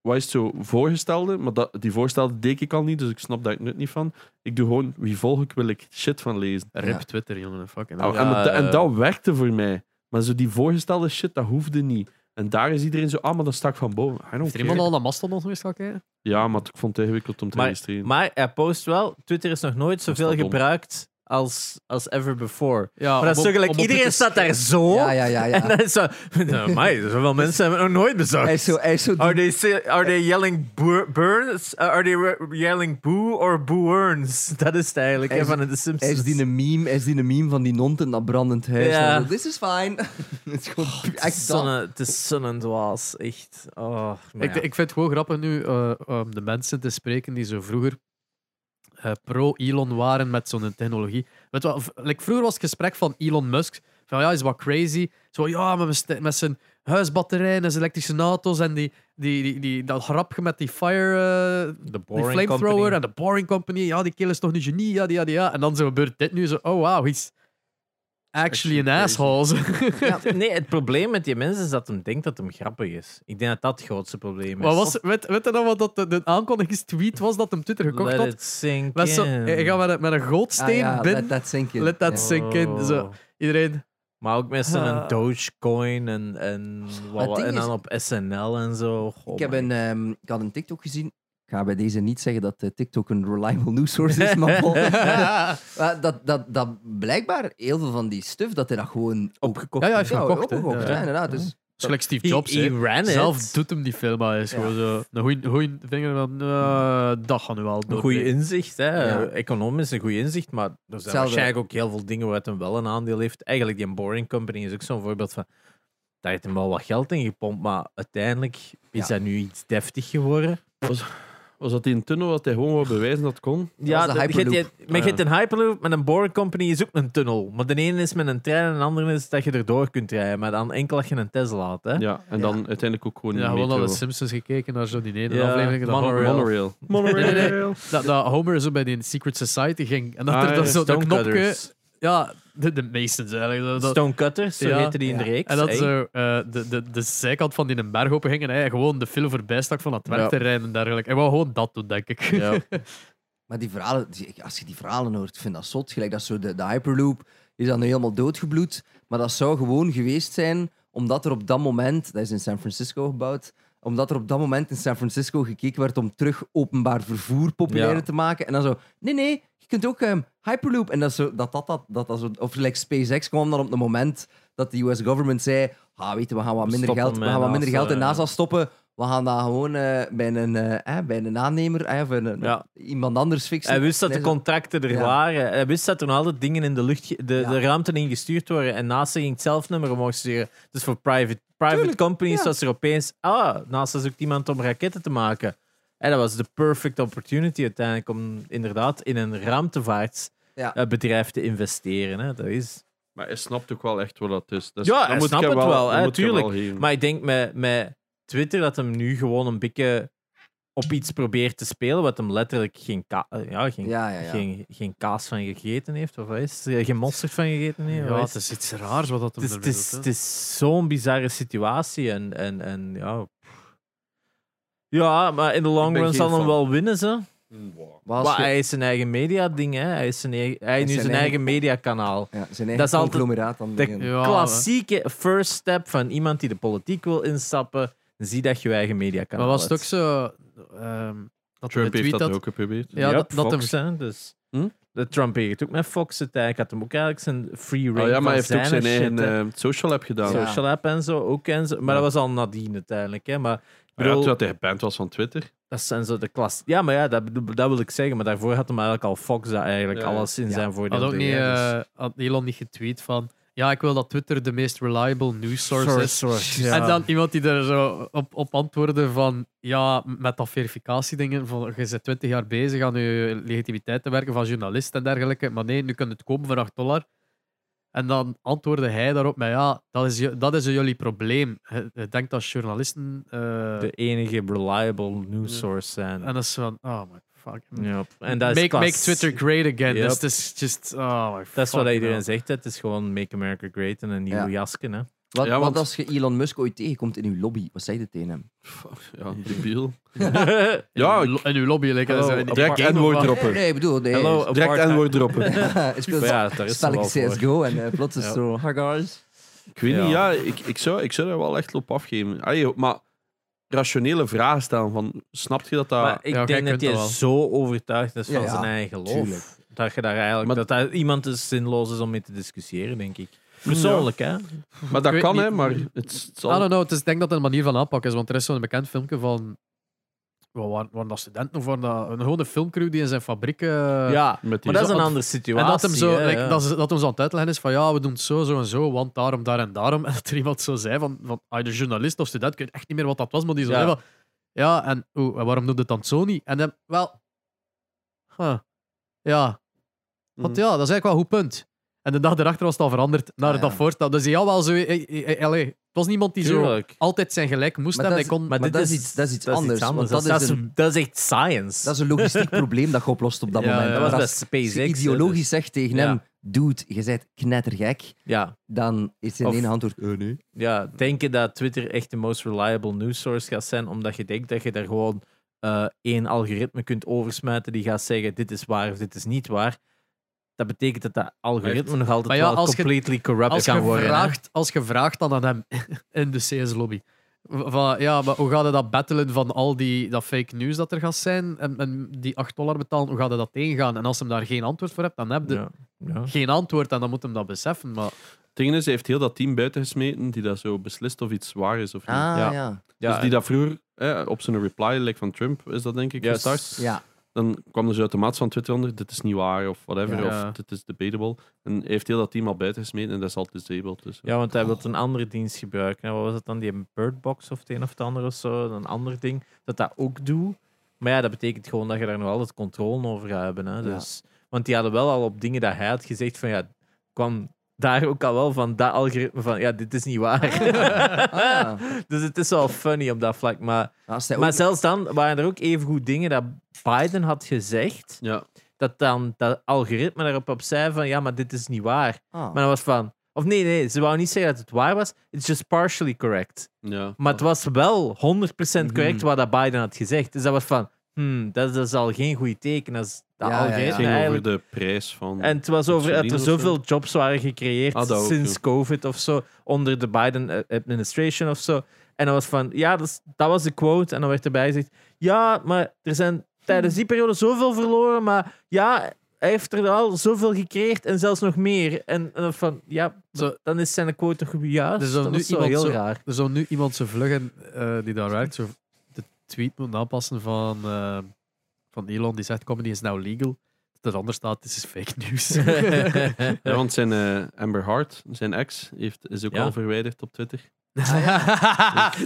Speaker 3: Wat is het zo voorgestelde? Maar dat, die voorstelde deed ik al niet, dus ik snap daar ik nut niet van. Ik doe gewoon wie volg ik, wil ik shit van lezen.
Speaker 1: Rip
Speaker 2: Ja.
Speaker 1: Twitter, jongen. Fucking
Speaker 3: Nou,
Speaker 1: hell.
Speaker 3: en,
Speaker 4: Ja,
Speaker 3: dat- en
Speaker 4: eh.
Speaker 3: dat werkte voor mij. Maar zo die voorgestelde shit, dat hoefde niet. En daar is iedereen zo, ah, maar dat stak van boven. I don't
Speaker 1: Heeft er iemand
Speaker 3: care.
Speaker 1: al naar Mastodon geweest gaan kijken?
Speaker 3: Ja, maar ik vond het ingewikkeld om te registreren.
Speaker 4: maar hij post wel, Twitter is nog nooit
Speaker 3: is
Speaker 4: zoveel
Speaker 3: wel dom.
Speaker 4: gebruikt als, als ever before.
Speaker 1: Ja,
Speaker 4: Maar dat is zo gelijk, iedereen staat daar zo.
Speaker 2: Ja, ja, ja. ja.
Speaker 4: En dan is zo, nou, amai, zoveel mensen hebben het nog nooit bezocht.
Speaker 2: Hij is zo, hij is zo
Speaker 4: Are they say, are they yelling bur- burns? Uh, are they re- yelling boo or booerns? Dat is het eigenlijk
Speaker 2: Hij
Speaker 4: hè,
Speaker 2: is-
Speaker 4: van de Simpsons.
Speaker 2: Hij is die een meme, hij is die een meme van die nont in dat brandend huis.
Speaker 4: Ja.
Speaker 2: En zo, This is fine. het is
Speaker 1: Oh,
Speaker 2: gewoon pu-
Speaker 4: Het is
Speaker 2: echt dat. Ah,
Speaker 4: zonne- het is zonnendwaas, echt. Oh, maar
Speaker 1: Ik,
Speaker 4: ja.
Speaker 1: ik vind het gewoon grappig nu eh, om de mensen te spreken die zo vroeger eh, pro-Elon waren met zo'n technologie. Weet je wat, v- like, vroeger was het gesprek van Elon Musk van ja, is wat crazy. Zo ja, met, mijn ste- met zijn huisbatterijen en zijn elektrische auto's en die, die, die, die, dat grapje met die fire, eh,
Speaker 4: de
Speaker 1: die flamethrower en de Boring Company. Ja, die kill is toch een genie, ja, ja, ja. En dan zo gebeurt dit nu zo, oh wow, he's actually an asshole. zo.
Speaker 4: Nee, het probleem met die mensen is dat hem denkt dat hem grappig is. Ik denk dat dat het grootste probleem is.
Speaker 1: Wat was, weet, weet je nog wat dat de, de aankondigingstweet was dat hem Twitter gekocht
Speaker 4: Let
Speaker 1: had?
Speaker 4: it sink
Speaker 1: Met zo, eh,
Speaker 4: in.
Speaker 1: ik ga met een, met een
Speaker 2: Ah,
Speaker 1: gootsteen
Speaker 2: ja,
Speaker 1: binnen.
Speaker 2: let that sink in.
Speaker 1: Let that
Speaker 2: Ja.
Speaker 1: sink in. Zo,
Speaker 4: Oh.
Speaker 1: iedereen.
Speaker 4: Maar ook met zo'n
Speaker 1: Ah.
Speaker 4: Dogecoin en, en,
Speaker 2: Maar
Speaker 4: wat,
Speaker 2: het
Speaker 4: wat-
Speaker 2: ding
Speaker 4: en dan
Speaker 2: is-
Speaker 4: op SNL en zo. Oh Goh,
Speaker 2: Ik, heb
Speaker 4: man.
Speaker 2: een, ehm, ik had een TikTok gezien. Ik ga bij deze niet zeggen dat eh, TikTok een reliable news source is, maar bon. Maar dat, dat, dat blijkbaar heel veel van die stuff, dat hij dat gewoon
Speaker 4: opgekocht.
Speaker 1: Ja, ja, hij heeft
Speaker 2: Ja,
Speaker 1: gekocht. hè.
Speaker 2: opgekocht,
Speaker 1: Ja.
Speaker 2: ja, inderdaad. Dus,
Speaker 1: Dat is gelijk Steve
Speaker 4: He-
Speaker 1: Jobs.
Speaker 4: he
Speaker 1: hè.
Speaker 4: ran it.
Speaker 1: Zelf doet hem die film. Hij is
Speaker 2: Ja.
Speaker 1: gewoon zo een goede vinger van. eh, dat gaan we wel
Speaker 4: Een
Speaker 1: doen.
Speaker 4: goede inzicht, hè.
Speaker 2: Ja.
Speaker 4: Economisch een goede inzicht, maar er zijn
Speaker 2: Hetzelfde.
Speaker 4: waarschijnlijk ook heel veel dingen waar het hem wel een aandeel heeft. Eigenlijk, die Boring Company is ook zo'n voorbeeld van... Daar heeft hem wel wat geld in gepompt, maar uiteindelijk is
Speaker 2: Ja.
Speaker 4: dat nu iets deftig geworden.
Speaker 3: Was dat die een tunnel dat hij gewoon wou bewijzen dat het kon?
Speaker 2: was de
Speaker 4: dat- je hebt- je
Speaker 2: Hyperloop.
Speaker 4: hebt- Maar je hebt een Hyperloop, met een Boring Company is ook een tunnel. Maar de ene is met een trein en de andere is dat je erdoor kunt rijden. Maar dan enkel als je een Tesla had, hè.
Speaker 3: Ja, en dan uiteindelijk ook gewoon
Speaker 1: Ja,
Speaker 3: een
Speaker 1: gewoon naar de
Speaker 3: metro.
Speaker 1: Simpsons gekeken naar zo'n ene
Speaker 4: Ja,
Speaker 1: aflevering. Dat,
Speaker 4: Monorail.
Speaker 1: Homer-
Speaker 3: Monorail.
Speaker 1: Nee, nee, nee. dat, dat Homer zo bij die Secret Society ging. En dat
Speaker 3: Ah,
Speaker 1: er dan
Speaker 3: ja,
Speaker 1: zo dat knopje.
Speaker 4: Stonecutters.
Speaker 1: Ja, de, de Masons eigenlijk. Dat, dat-
Speaker 4: Stonecutters, zo
Speaker 1: Ja.
Speaker 4: heette die in de
Speaker 2: Ja.
Speaker 4: reeks.
Speaker 1: en dat
Speaker 4: hè.
Speaker 1: zo eh, de, de, de zijkant van die een berg open ging en hij gewoon de film voorbij stak van het werkterrein en dergelijke. Hij wou gewoon dat doen, denk ik.
Speaker 4: Ja.
Speaker 2: maar die verhalen, die- als je die verhalen hoort, ik vind dat zot. Gelijk dat zo de, de Hyperloop is dan helemaal doodgebloed. Maar dat zou gewoon geweest zijn omdat er op dat moment, dat is in San Francisco gebouwd, omdat er op dat moment in San Francisco gekeken werd om terug openbaar vervoer populairder
Speaker 4: Ja.
Speaker 2: te maken. En dan zo, nee, nee, je kunt ook ehm, Hyperloop. En dat zo, dat, dat, dat, dat, dat zo, of like SpaceX kwam dan op het moment dat de US government zei, ah, weet je, we gaan wat
Speaker 4: We
Speaker 2: minder
Speaker 4: stoppen
Speaker 2: geld, we
Speaker 4: met
Speaker 2: gaan wat minder
Speaker 4: NASA,
Speaker 2: geld in
Speaker 4: ja.
Speaker 2: NASA stoppen. We gaan dat gewoon eh, bij, een, eh, eh, bij een aannemer eh, of een,
Speaker 4: Ja.
Speaker 2: iemand anders fixen.
Speaker 4: Hij wist dat
Speaker 2: Nee,
Speaker 4: de
Speaker 2: zo-
Speaker 4: contracten er
Speaker 2: Ja.
Speaker 4: waren. Hij wist dat er nog altijd dingen in de lucht, ge- de,
Speaker 2: Ja.
Speaker 4: de ruimte in gestuurd worden. En NASA ging het zelfnummer omhoog sturen. Dus voor private, private companies
Speaker 2: ja.
Speaker 4: was er opeens. Ah, NASA zoekt iemand om raketten te maken. En dat was de perfect opportunity uiteindelijk om inderdaad in een
Speaker 2: Ja.
Speaker 4: ruimtevaartbedrijf te investeren. Hè. Dat is...
Speaker 3: Maar hij snapt ook wel echt wat dat is. Dus
Speaker 4: Ja,
Speaker 3: dat
Speaker 4: hij
Speaker 3: moet ik
Speaker 4: snapt
Speaker 3: hem
Speaker 4: het wel,
Speaker 3: dat
Speaker 4: hè,
Speaker 3: moet ik hem
Speaker 4: tuurlijk.
Speaker 3: wel geven.
Speaker 4: Maar ik denk met, met Twitter dat hem nu gewoon een beetje op iets probeert te spelen wat hem letterlijk geen, ka- eh, ja, geen,
Speaker 2: Ja, ja, ja.
Speaker 4: Geen, geen kaas van gegeten heeft. Of wat is het? Eh, Geen mosterd van gegeten heeft.
Speaker 1: Ja,
Speaker 4: wat
Speaker 1: het is iets raars wat dat
Speaker 4: Het is, het is, het is zo'n bizarre situatie. En, en, en ja. pff. Ja, maar in de
Speaker 3: Ik
Speaker 4: long
Speaker 3: ben
Speaker 4: run
Speaker 3: geen
Speaker 4: zal hem
Speaker 3: fan.
Speaker 4: wel winnen, ze.
Speaker 2: Maar als
Speaker 4: Maar
Speaker 2: je-
Speaker 4: hij is zijn eigen media-ding, hè. Hij is, zijn ei- hij heeft nu
Speaker 2: zijn
Speaker 4: zijn
Speaker 2: eigen-
Speaker 4: eigen mediakanaal.
Speaker 2: ja, zijn eigen
Speaker 4: dat is altijd-
Speaker 2: conglomeraat aan het
Speaker 4: de-
Speaker 2: begin.
Speaker 1: ja,
Speaker 4: Klassieke first step van iemand die de politiek wil instappen. Zie dat je je eigen
Speaker 1: Maar
Speaker 4: mediakanaal
Speaker 1: was het ook
Speaker 4: hebt.
Speaker 1: zo... ehm, dat
Speaker 3: Trump
Speaker 1: hij een
Speaker 3: heeft
Speaker 1: tweet
Speaker 3: dat,
Speaker 1: had-
Speaker 3: ook geprobeerd.
Speaker 1: Ja, dat, dat hem
Speaker 4: Fox, hè, dus.
Speaker 3: Hm?
Speaker 4: De Trump heeft ook met Fox het eigenlijk. Had hem ook eigenlijk zijn free reign
Speaker 3: Ah, ja,
Speaker 4: van
Speaker 3: maar hij heeft ook zijn
Speaker 4: shit,
Speaker 3: eigen
Speaker 4: hè.
Speaker 3: eh, social app gedaan.
Speaker 2: Ja.
Speaker 3: Ja.
Speaker 4: social app en zo. Ook en zo. Maar
Speaker 3: Ja.
Speaker 4: dat was al nadien uiteindelijk, hè. Maar ik
Speaker 3: Ja,
Speaker 4: bedoel,
Speaker 3: toen dat hij geband was van Twitter.
Speaker 4: Dat zijn zo de klas. Ja, maar ja, dat, bedoel- dat wil ik zeggen. Maar daarvoor had hem eigenlijk al Fox dat eigenlijk
Speaker 3: Ja, ja.
Speaker 4: alles in
Speaker 2: Ja.
Speaker 4: zijn voordeel.
Speaker 1: Had ook
Speaker 4: deed,
Speaker 1: niet,
Speaker 4: hè, dus-
Speaker 1: eh, had Elon niet getweet van... Ja, ik wil dat Twitter de meest reliable news source
Speaker 4: Source,
Speaker 1: is.
Speaker 4: source, ja.
Speaker 1: En dan iemand die er zo op, op antwoordde van... Ja, met dat verificatiedingen. Van, je bent 20 jaar bezig aan je legitimiteit te werken van journalist en dergelijke. Maar nee, nu kan het komen van 8 dollar. En dan antwoordde hij daarop met... Ja, dat is, je- dat is jullie probleem. Je, je denkt dat journalisten... eh,
Speaker 4: Dus de enige reliable news source zijn.
Speaker 1: en dat is van... Oh my fuck.
Speaker 4: Ja. En dat is
Speaker 1: make, make
Speaker 4: klas-
Speaker 1: Twitter great again.
Speaker 4: Yep.
Speaker 1: Dat is just... Oh my
Speaker 4: Dat is wat
Speaker 1: fucking
Speaker 4: iedereen
Speaker 1: hell.
Speaker 4: zegt. hè. Het is gewoon Make America Great en een nieuwe
Speaker 2: Ja.
Speaker 4: jasken. Hè.
Speaker 2: Wat,
Speaker 3: Ja, want-
Speaker 2: wat als je Elon Musk ooit tegenkomt in uw lobby? Wat zei je tegen hem?
Speaker 3: Ja, debiel.
Speaker 4: Dus
Speaker 1: In
Speaker 3: Ja,
Speaker 1: uw lo- in uw lobby. Like,
Speaker 4: Hallo,
Speaker 1: zo in die
Speaker 3: Direct
Speaker 1: parken
Speaker 3: N-woord
Speaker 1: van-
Speaker 2: Nee,
Speaker 3: droppen.
Speaker 2: nee, ik bedoel... Nee.
Speaker 4: Hello,
Speaker 3: Direct
Speaker 4: apartheid.
Speaker 3: N-woord droppen.
Speaker 2: het speelt
Speaker 4: Ja, daar is ze wel
Speaker 2: spelletje
Speaker 4: voor.
Speaker 2: CSGO en eh, plots is het zo... Hi guys.
Speaker 3: Ik weet
Speaker 4: Ja.
Speaker 3: niet, ja, ik, ik, zou, ik zou daar wel echt op afgeven. Allee, maar rationele vragen stellen van, snapt je dat dat...
Speaker 4: Maar ik
Speaker 1: Ja, jij
Speaker 4: denk dat
Speaker 1: kunt dat
Speaker 4: hij
Speaker 1: wel.
Speaker 4: zo overtuigd is van
Speaker 2: Ja,
Speaker 4: zijn eigen geloof.
Speaker 2: tuurlijk.
Speaker 4: Dat je daar eigenlijk...
Speaker 3: Maar-
Speaker 4: dat daar iemand is zinloos is om mee te discussiëren, denk ik. Persoonlijk, hè.
Speaker 1: Eh,
Speaker 3: maar
Speaker 1: ik
Speaker 3: dat
Speaker 1: weet
Speaker 3: kan,
Speaker 1: niet.
Speaker 3: hè, maar het s- het zal...
Speaker 4: Ah,
Speaker 1: I don't know, het is, ik denk dat het een manier van aanpak is, want er is zo'n bekend filmpje van... Waar waren, waren dat studenten of waren dat... Een gewone filmcrew die in zijn fabriek... eh,
Speaker 4: ja,
Speaker 3: Met die
Speaker 1: zo-
Speaker 4: maar dat is een
Speaker 1: want-
Speaker 4: andere situatie.
Speaker 1: En dat hem, zo,
Speaker 4: hè,
Speaker 1: like,
Speaker 4: ja.
Speaker 1: dat, ze- dat hem zo aan het uitleggen is van ja, we doen het zo, zo en zo, want daarom, daar en daarom. En dat er iemand zo zei van, van ah, de journalist of student, ik weet echt niet meer wat dat was, maar die zo
Speaker 4: Ja.
Speaker 1: zei van ja, en oeh, en waarom doet het dan zo niet? En dan, wel... Huh, ja. Want
Speaker 3: Mhm.
Speaker 1: ja, dat is eigenlijk wel een goed punt. En de dag erachter was het al veranderd naar
Speaker 2: Mm. Ah,
Speaker 1: dat
Speaker 2: ja.
Speaker 1: voorstel. Dus hij had wel zo... eh, eh, eh, allee, het was niemand die zo
Speaker 4: Tuurlijk.
Speaker 1: altijd zijn gelijk moest
Speaker 2: Maar
Speaker 1: hebben.
Speaker 2: dat
Speaker 1: Hij kon,
Speaker 2: Maar dit is iets- dat is iets anders, want
Speaker 4: Dat,
Speaker 2: dat
Speaker 4: is
Speaker 2: is
Speaker 4: dat is echt science.
Speaker 2: Dat is een logistiek probleem dat je oplost op dat
Speaker 1: Ja,
Speaker 2: moment.
Speaker 1: ja.
Speaker 4: Dat
Speaker 1: was
Speaker 4: was
Speaker 2: Maar
Speaker 4: best
Speaker 2: als
Speaker 4: SpaceX. dus-
Speaker 2: je ideologisch zegt tegen
Speaker 4: Ja.
Speaker 2: hem... Dude, je bent knettergek.
Speaker 4: Ja,
Speaker 2: Dan is zijn
Speaker 4: Of-
Speaker 2: ene antwoord... Eh, nee.
Speaker 4: ja, denken dat Twitter echt de most reliable news source gaat zijn, omdat je denkt dat je daar gewoon eh, één algoritme kunt oversmijten die gaat zeggen dit is waar of dit is niet waar. Dat betekent dat dat algoritme nog altijd
Speaker 1: Maar ja,
Speaker 4: wel
Speaker 1: als je-
Speaker 4: completely corrupt
Speaker 1: als,
Speaker 4: kan
Speaker 1: je
Speaker 4: worden. hè.
Speaker 1: vraagt, als je vraagt dan aan hem in de CS-lobby. Van, ja, maar hoe gaat je dat battelen van al die dat fake news dat er gaat zijn? En, en die 8 dollar betalen, hoe gaat je dat tegengaan? En als hem daar geen antwoord voor hebt, dan heb je
Speaker 4: Ja, ja.
Speaker 1: geen antwoord en dan moet hem dat beseffen. Maar
Speaker 3: Het ding is, hij heeft heel dat team buiten gesmeten die dat zo beslist of iets waar is of niet.
Speaker 2: Ah, ja.
Speaker 4: Ja.
Speaker 2: Ja.
Speaker 4: Ja,
Speaker 3: dus die dat vroeger, hè, op zijn reply like van Trump, is dat denk ik
Speaker 4: ja,
Speaker 3: gestart.
Speaker 4: s-
Speaker 3: Dan kwam dus er zo automatisch van Twitter onder, dit is niet waar of whatever,
Speaker 1: Ja. Ja.
Speaker 3: of dit is debatable. En hij heeft heel dat team al buiten gesmeten en dat is al disabled. Dus,
Speaker 4: Ja, want hij wil een andere dienst gebruiken. Wat was dat dan? Die Birdbox of het een of het ander of zo? Een ander ding. Dat dat ook doet. Maar ja, dat betekent gewoon dat je daar nog altijd controle over gaat hebben. Hè?
Speaker 2: Ja.
Speaker 4: Dus, Want die hadden wel al op dingen dat hij had gezegd van ja, kwam daar ook al wel van dat algoritme van ja, dit is niet waar.
Speaker 2: Ah, ja.
Speaker 4: dus het is wel funny op dat vlak. Maar,
Speaker 2: Nou, Als hij
Speaker 4: maar
Speaker 2: ook-
Speaker 4: zelfs dan waren er ook evengoed dingen dat Biden had gezegd.
Speaker 3: ja.
Speaker 4: Dat dan dat algoritme daarop op zei van ja, maar dit is niet waar.
Speaker 2: Ah.
Speaker 4: Maar dat was van. Of nee, nee, ze wou niet zeggen dat het waar was. It's just partially correct.
Speaker 3: ja.
Speaker 4: Maar het was wel 100% correct
Speaker 1: Mhm.
Speaker 4: wat dat Biden had gezegd. Dus dat was van. Hmm, dat is al geen goed teken. Als dat
Speaker 2: Ja, ja, ja.
Speaker 4: algoritme
Speaker 3: Het ging over
Speaker 4: eigenlijk-
Speaker 3: de prijs van...
Speaker 4: En het was over dat er
Speaker 3: Insuline of zo.
Speaker 4: zoveel jobs waren gecreëerd
Speaker 3: Ah, dat ook,
Speaker 4: sinds
Speaker 3: ja.
Speaker 4: COVID of zo. Onder de Biden eh, administration of zo. En dat was van. Ja, dat, is- dat was de quote. En dan werd erbij gezegd. Ja, maar er zijn tijdens die periode zoveel verloren. Maar ja. Hij heeft er al zoveel gecreëerd en zelfs nog meer. En, en dan van, ja,
Speaker 1: zo,
Speaker 4: dan is zijn quote toch juist.
Speaker 1: Dus dan
Speaker 4: dat
Speaker 1: nu
Speaker 4: is wel
Speaker 1: iemand
Speaker 4: heel
Speaker 1: zo-
Speaker 4: raar.
Speaker 1: er zou nu iemand zijn vluggen eh, die daar werkt, zo de tweet moet aanpassen van, eh, van Elon die zegt: comedy is now legal. Dat er anders staat: dit is fake news.
Speaker 3: Ja, want zijn eh, Amber Hart, zijn ex, heeft, is ook
Speaker 4: Ja.
Speaker 3: al verwijderd op Twitter.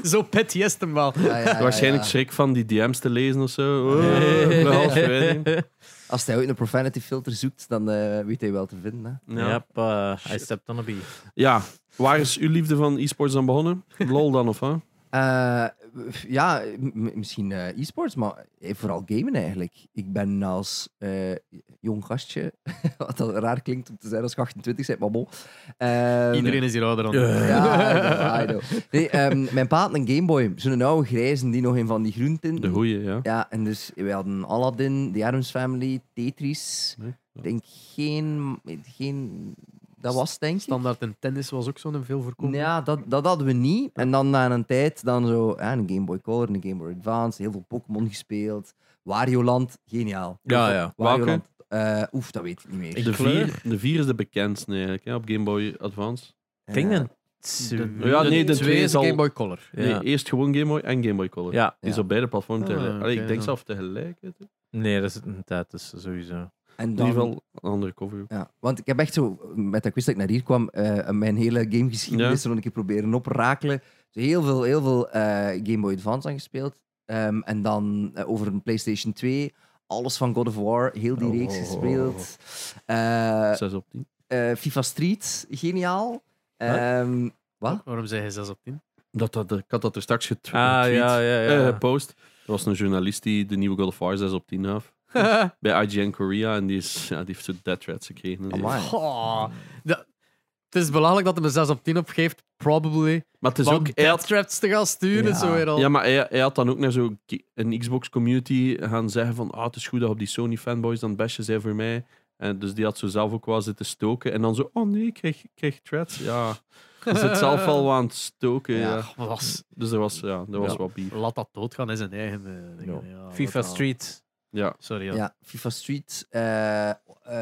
Speaker 1: Zo pet yes hem wel.
Speaker 2: Ja, ja, ja,
Speaker 3: Waarschijnlijk
Speaker 2: ja.
Speaker 3: schrik van die DM's te lezen of zo. Oh,
Speaker 2: Nee.
Speaker 3: wel afwijding.
Speaker 2: Als hij ooit een profanity filter zoekt, dan eh, weet hij wel te vinden. Hè.
Speaker 3: ja.
Speaker 4: Yep, eh, I stepped on a bee.
Speaker 3: Ja, waar is uw liefde van e-sports dan begonnen? LOL dan, of wat?
Speaker 2: Eh, w- ja, m- misschien eh, e-sports, maar eh, vooral gamen eigenlijk. Ik ben als eh, jong gastje, wat dat raar klinkt om te zijn als je 28 bent, maar bon. Ehm,
Speaker 1: Iedereen is hier ouder dan.
Speaker 2: Ja, I know, I know. Nee, ehm, mijn pa had een Gameboy, zo'n oude grijze die nog een van die groenten.
Speaker 3: De goeie, ja.
Speaker 2: Ja, en dus we hadden Aladdin, The Adams Family, Tetris.
Speaker 3: Nee,
Speaker 2: Ik denk geen, geen... Dat was het, denk ik.
Speaker 1: Standaard en tennis was ook zo'n veel voorkomende.
Speaker 2: Ja, dat, dat hadden we niet. En dan na een tijd dan zo ja, een Game Boy Color, een Game Boy Advance, heel veel Pokémon gespeeld. Wario Land, geniaal.
Speaker 4: Ja, ja.
Speaker 2: Wario
Speaker 3: Welke?
Speaker 2: Land, eh, oef, dat weet ik niet meer.
Speaker 4: Ik
Speaker 3: De
Speaker 4: kleur.
Speaker 3: vier, de vier is de bekendste eigenlijk, hè, op Game Boy Advance.
Speaker 4: Ik denk
Speaker 2: Eh,
Speaker 4: dat twee-
Speaker 3: Ja, nee, de
Speaker 1: Twee
Speaker 3: twee
Speaker 1: is
Speaker 3: is al-
Speaker 1: Game Boy Color.
Speaker 4: Ja.
Speaker 3: Nee, eerst gewoon Game Boy en Game Boy Color.
Speaker 4: Ja,
Speaker 3: Die is
Speaker 2: Ja.
Speaker 3: op beide platformen
Speaker 1: Ah,
Speaker 3: tegelijk. Allee,
Speaker 1: oké,
Speaker 3: ik denk
Speaker 1: ja.
Speaker 3: zelf tegelijk. hè. In
Speaker 4: nee, dat is een tijd, dus sowieso.
Speaker 2: En
Speaker 3: ieder
Speaker 2: dan,
Speaker 3: geval een andere cover.
Speaker 2: Ja, want ik heb echt zo, met dat quiz dat ik naar hier kwam, eh, mijn hele gamegeschiedenis
Speaker 3: Ja.
Speaker 2: er nog een keer proberen oprakelen. Dus heel veel, heel veel eh, Game Boy Advance aangespeeld. Ehm, en dan eh, over een PlayStation 2, alles van God of War, heel die
Speaker 4: Oh.
Speaker 2: reeks gespeeld. Eh,
Speaker 3: 6 op 10.
Speaker 2: eh, FIFA Street, geniaal.
Speaker 4: Wat?
Speaker 2: Ehm, wat?
Speaker 1: Waarom zei hij 6 op 10?
Speaker 3: Dat, dat, ik had dat er straks getweet. eh,
Speaker 4: Ah, ja, ja, ja.
Speaker 3: gepost. Er was een journalist die de nieuwe God of War 6 op 10 gaf. Bij IGN Korea. En die, is, ja, die heeft zo death threats gekregen. en zo.
Speaker 2: Amai.
Speaker 1: Goh, dat- het is belachelijk dat hij me 6 op 10 opgeeft, probably.
Speaker 3: Maar het is
Speaker 1: Maar
Speaker 3: ook...
Speaker 1: om
Speaker 3: hij had-
Speaker 1: death traps te gaan sturen,
Speaker 2: Ja.
Speaker 1: zo weer al.
Speaker 3: Ja, maar hij, hij had dan ook naar zo'n ki- een Xbox-community gaan zeggen van ah, het is goed dat op die Sony-fanboys dan bestje zijn voor mij. En dus die had zo zelf ook wel zitten stoken. En dan zo, oh nee, ik krijg, ik krijg threats. Ja, ze zit zelf al wel aan het stoken.
Speaker 2: Ja.
Speaker 3: Ja.
Speaker 1: Ach, maar was,
Speaker 3: Dus er was, ja, er was
Speaker 1: Ja.
Speaker 3: wat bier.
Speaker 1: laat dat doodgaan in zijn eigen... eh, dingen. Ja, laat
Speaker 4: FIFA
Speaker 1: dat-
Speaker 4: Street.
Speaker 3: Ja.
Speaker 1: Sorry, ja.
Speaker 2: Ja. FIFA Street. eh, eh,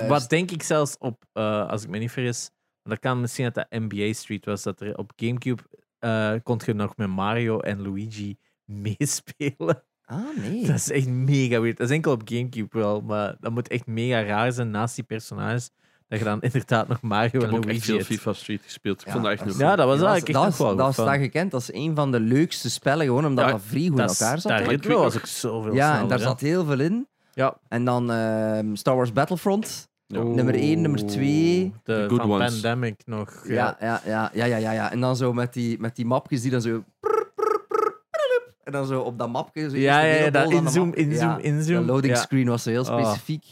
Speaker 4: Wat denk ik zelfs op, eh, als ik me niet vergis, dat kan misschien dat dat NBA Street was, dat er op Gamecube eh kon je nog met Mario en Luigi meespelen.
Speaker 2: Ah, nee.
Speaker 4: Dat is echt mega weird. Dat is enkel op Gamecube wel, maar dat moet echt mega raar zijn naast die personages, dat je dan inderdaad nog Mario
Speaker 3: Ik heb
Speaker 4: en
Speaker 3: ook echt
Speaker 4: Luigi
Speaker 3: veel
Speaker 4: hebt.
Speaker 3: FIFA Street gespeeld. Ik
Speaker 2: Ja,
Speaker 3: vond dat echt
Speaker 2: dat
Speaker 3: nog
Speaker 2: is-
Speaker 4: Ja, dat was
Speaker 2: Ja,
Speaker 4: eigenlijk echt
Speaker 2: dat
Speaker 4: nog
Speaker 2: was,
Speaker 4: wel
Speaker 2: dat
Speaker 4: goed
Speaker 2: was
Speaker 4: van.
Speaker 2: daar gekend als een van de leukste spellen, gewoon omdat
Speaker 3: Ja,
Speaker 2: dat vrij goed in
Speaker 4: Dat is-
Speaker 2: elkaar zat.
Speaker 4: Daar
Speaker 2: hè.
Speaker 4: ritme was ook zoveel
Speaker 2: Ja, en
Speaker 4: sneller,
Speaker 2: daar
Speaker 4: hè.
Speaker 2: zat heel veel in.
Speaker 4: Ja.
Speaker 2: En dan ehm, Star Wars Battlefront.
Speaker 3: Ja.
Speaker 2: Nummer één, nummer twee.
Speaker 4: De
Speaker 3: good
Speaker 4: van
Speaker 3: ones.
Speaker 4: Pandemic nog.
Speaker 2: Ja, ja, ja, ja, ja, ja, ja. En dan zo met die, met die mapjes die dan zo... prr, prr, prr, prr, En dan zo op dat mapje. Zo eerst
Speaker 4: Ja,
Speaker 2: een
Speaker 4: ja, ja,
Speaker 2: hele
Speaker 4: dat
Speaker 2: bol aan de
Speaker 4: inzoom,
Speaker 2: map.
Speaker 4: inzoom,
Speaker 2: Ja.
Speaker 4: inzoom.
Speaker 2: De loading
Speaker 4: Ja.
Speaker 2: screen was zo heel
Speaker 4: Ah.
Speaker 2: specifiek.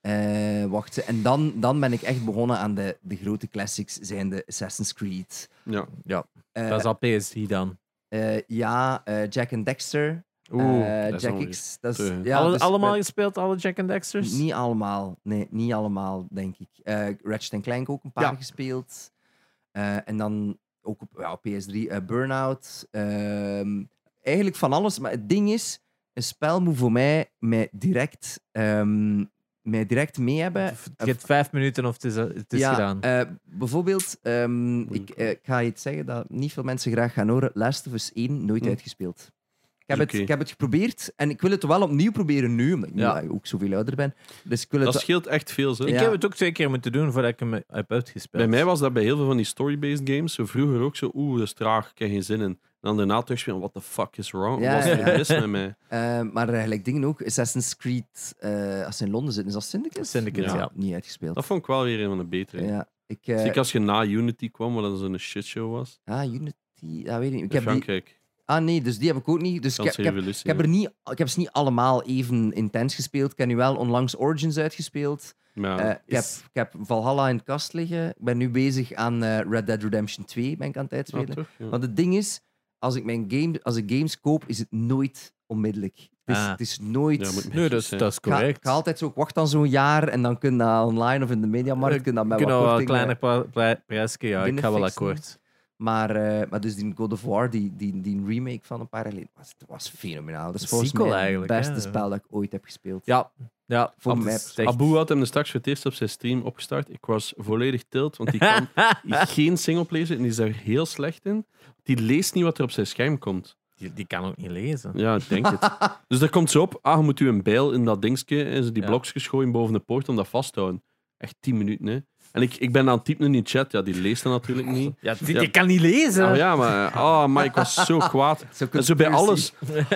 Speaker 2: Eh, wacht, en dan, dan ben ik echt begonnen aan de, de grote classics, zijn de Assassin's Creed.
Speaker 3: Ja.
Speaker 2: Eh,
Speaker 4: Dat is al PS3 dan.
Speaker 2: eh, ja, eh, Jack and Dexter. eh,
Speaker 3: dat is
Speaker 2: Jack
Speaker 3: alweer
Speaker 2: X. Dat is,
Speaker 3: te-
Speaker 2: ja,
Speaker 4: Alle-
Speaker 2: dus
Speaker 4: allemaal
Speaker 2: met-
Speaker 4: gespeeld, alle Jack and Dexters?
Speaker 2: Niet allemaal, nee, niet allemaal, denk ik. Eh Ratchet Clank ook een paar
Speaker 1: Ja.
Speaker 2: gespeeld. Eh, en dan ook op, ja, op PS3 eh, Burnout. Ehm, eigenlijk van alles. Maar het ding is, een spel moet voor mij, mij direct, ehm, mij direct mee hebben.
Speaker 4: Je hebt vijf minuten of het is, het is
Speaker 2: ja,
Speaker 4: gedaan.
Speaker 2: eh, bijvoorbeeld, ehm, ik, eh, ik ga iets zeggen dat niet veel mensen graag gaan horen. Last of Us 1, nooit
Speaker 3: Hm.
Speaker 2: uitgespeeld. Ik heb,
Speaker 3: Is
Speaker 2: het,
Speaker 3: oké.
Speaker 2: ik heb het geprobeerd en ik wil het wel opnieuw proberen nu, omdat ik nu
Speaker 3: Ja.
Speaker 2: ook zoveel ouder ben. Dus ik wil het
Speaker 3: Dat scheelt echt veel. Zo.
Speaker 4: ik
Speaker 2: ja.
Speaker 4: heb het ook twee keer moeten doen voordat ik hem heb uitgespeeld.
Speaker 3: Bij mij was dat bij heel veel van die story-based games. Zo vroeger ook zo, oeh, dat is traag, ik heb geen zin in. En dan daarna terugspelen, what the fuck is wrong?
Speaker 2: Ja,
Speaker 3: Wat is er
Speaker 2: ja.
Speaker 3: mis met mij?
Speaker 2: Eh, maar eigenlijk dingen ook. Assassin's Creed, eh, als ze in Londen zitten, is dat Syndicate?
Speaker 4: Syndicate, ja.
Speaker 2: Niet uitgespeeld.
Speaker 3: Dat vond ik Dus wel weer een van de betere.
Speaker 2: ja, ik, eh,
Speaker 3: Zeker als je na Unity kwam, wat dan zo'n shitshow was.
Speaker 2: ah, Unity, ah, weet ik niet. Ik heb
Speaker 3: In
Speaker 2: die,
Speaker 3: Frankrijk,
Speaker 2: ah nee, dus die heb ik ook niet. Dus ik, heb-
Speaker 3: Franse
Speaker 2: ik heb,
Speaker 3: revolutie.
Speaker 2: ik, heb
Speaker 3: ja.
Speaker 2: er niet, ik heb ze niet allemaal even intens gespeeld. Ik heb nu wel onlangs Origins uitgespeeld.
Speaker 3: Maar
Speaker 2: Eh,
Speaker 3: ja, Ah,
Speaker 2: ik, heb,
Speaker 4: is-
Speaker 2: ik heb Valhalla in de kast liggen. Ik ben nu bezig aan eh, Red Dead Redemption 2, ben ik aan het
Speaker 3: ah,
Speaker 2: uitspelen.
Speaker 3: toch, ja.
Speaker 2: Want het ding is, als ik, mijn game, als ik games koop, is het nooit onmiddellijk. Het is,
Speaker 4: Ah.
Speaker 2: het is nooit...
Speaker 3: Ja, moet me-
Speaker 4: Nee, dat is, dat is
Speaker 2: Ik ga,
Speaker 4: correct.
Speaker 2: ik ga altijd zo, ik wacht dan zo'n jaar en dan kun je dat online of in de mediamarkt kun je dat met
Speaker 4: Eh, Kunnen we
Speaker 2: wat
Speaker 4: wel een
Speaker 2: korting,
Speaker 4: kleiner pra- pra- prijsje? Ja, ik ga wel
Speaker 2: binnenfixen.
Speaker 4: akkoord.
Speaker 2: eh, Maar, eh, maar dus die God of War, die, die, die remake van een paar jaar geleden, was, was fenomenaal. Dat is
Speaker 4: Een
Speaker 2: volgens
Speaker 4: sequel
Speaker 2: mij het
Speaker 4: eigenlijk,
Speaker 2: beste
Speaker 4: hè.
Speaker 2: spel dat ik ooit heb gespeeld.
Speaker 4: Ja, ja.
Speaker 2: Voor
Speaker 4: het
Speaker 2: mij-
Speaker 4: is echt-
Speaker 3: Abu had hem er straks voor het eerst op zijn stream opgestart. Ik was volledig tilt, want die kan geen singleplayer en die is daar heel slecht in. Die leest niet wat er op zijn scherm komt.
Speaker 4: die, die kan ook niet lezen.
Speaker 3: Ja, ik denk het. Dus daar komt ze op. Ah, je moet u een bijl in dat dingetje en ze die
Speaker 4: Ja.
Speaker 3: blokjes gooien boven de poort om dat vast te houden. Echt 10 minuten, hè. En ik, ik ben aan het typen in die chat. Ja, die leest dat natuurlijk niet.
Speaker 4: Ja, Nou, dit-
Speaker 3: Ja.
Speaker 4: ik kan niet lezen.
Speaker 3: Oh ja, maar, ah, maar ik was zo kwaad. En zo bij alles.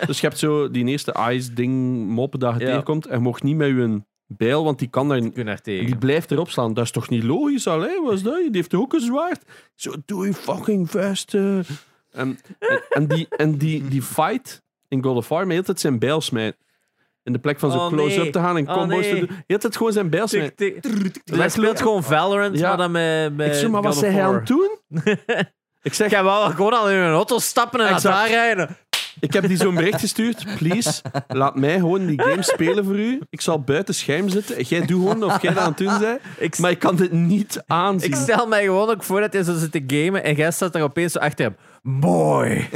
Speaker 3: Dus je hebt zo die eerste ice-ding mop dat je
Speaker 4: Ja.
Speaker 3: tegenkomt. En je mocht niet met je bijl, want die kan daar
Speaker 4: Ik kun daar
Speaker 3: en
Speaker 4: tegen.
Speaker 3: die blijft erop slaan. Dat is toch niet logisch, allee? Wat is dat? Die heeft ook een zwaard. Zo, doe je fucking vest. eh. En, en, en die, en die, die fight in God of War, maar heel de tijd zijn bijl smijt. In de plek van zo
Speaker 4: Oh,
Speaker 3: close-up
Speaker 4: nee.
Speaker 3: te gaan en
Speaker 4: Oh,
Speaker 3: combo's
Speaker 4: nee.
Speaker 3: te doen. Heel de tijd gewoon zijn bijl smijt.
Speaker 4: Tik, tik. Dus hij speelt gewoon Valorant,
Speaker 3: Ja.
Speaker 4: maar dan met, met
Speaker 3: Ik zeg, maar wat
Speaker 4: eh,
Speaker 3: zei
Speaker 4: God of
Speaker 3: hij
Speaker 4: War.
Speaker 3: aan het doen? Ik zeg,
Speaker 4: Ik ga wel gewoon al in een auto stappen en naar
Speaker 3: Exact.
Speaker 4: daar rijden.
Speaker 3: ik heb die zo'n bericht gestuurd. Please, laat mij gewoon die game spelen voor u. Ik zal buiten scherm zitten. Jij doet gewoon of jij dat aan het doen bent.
Speaker 4: Ik,
Speaker 3: Maar ik kan dit niet aanzien.
Speaker 4: ik stel mij gewoon ook voor dat hij zo zit te gamen en jij staat daar opeens zo achter hem. Mooi.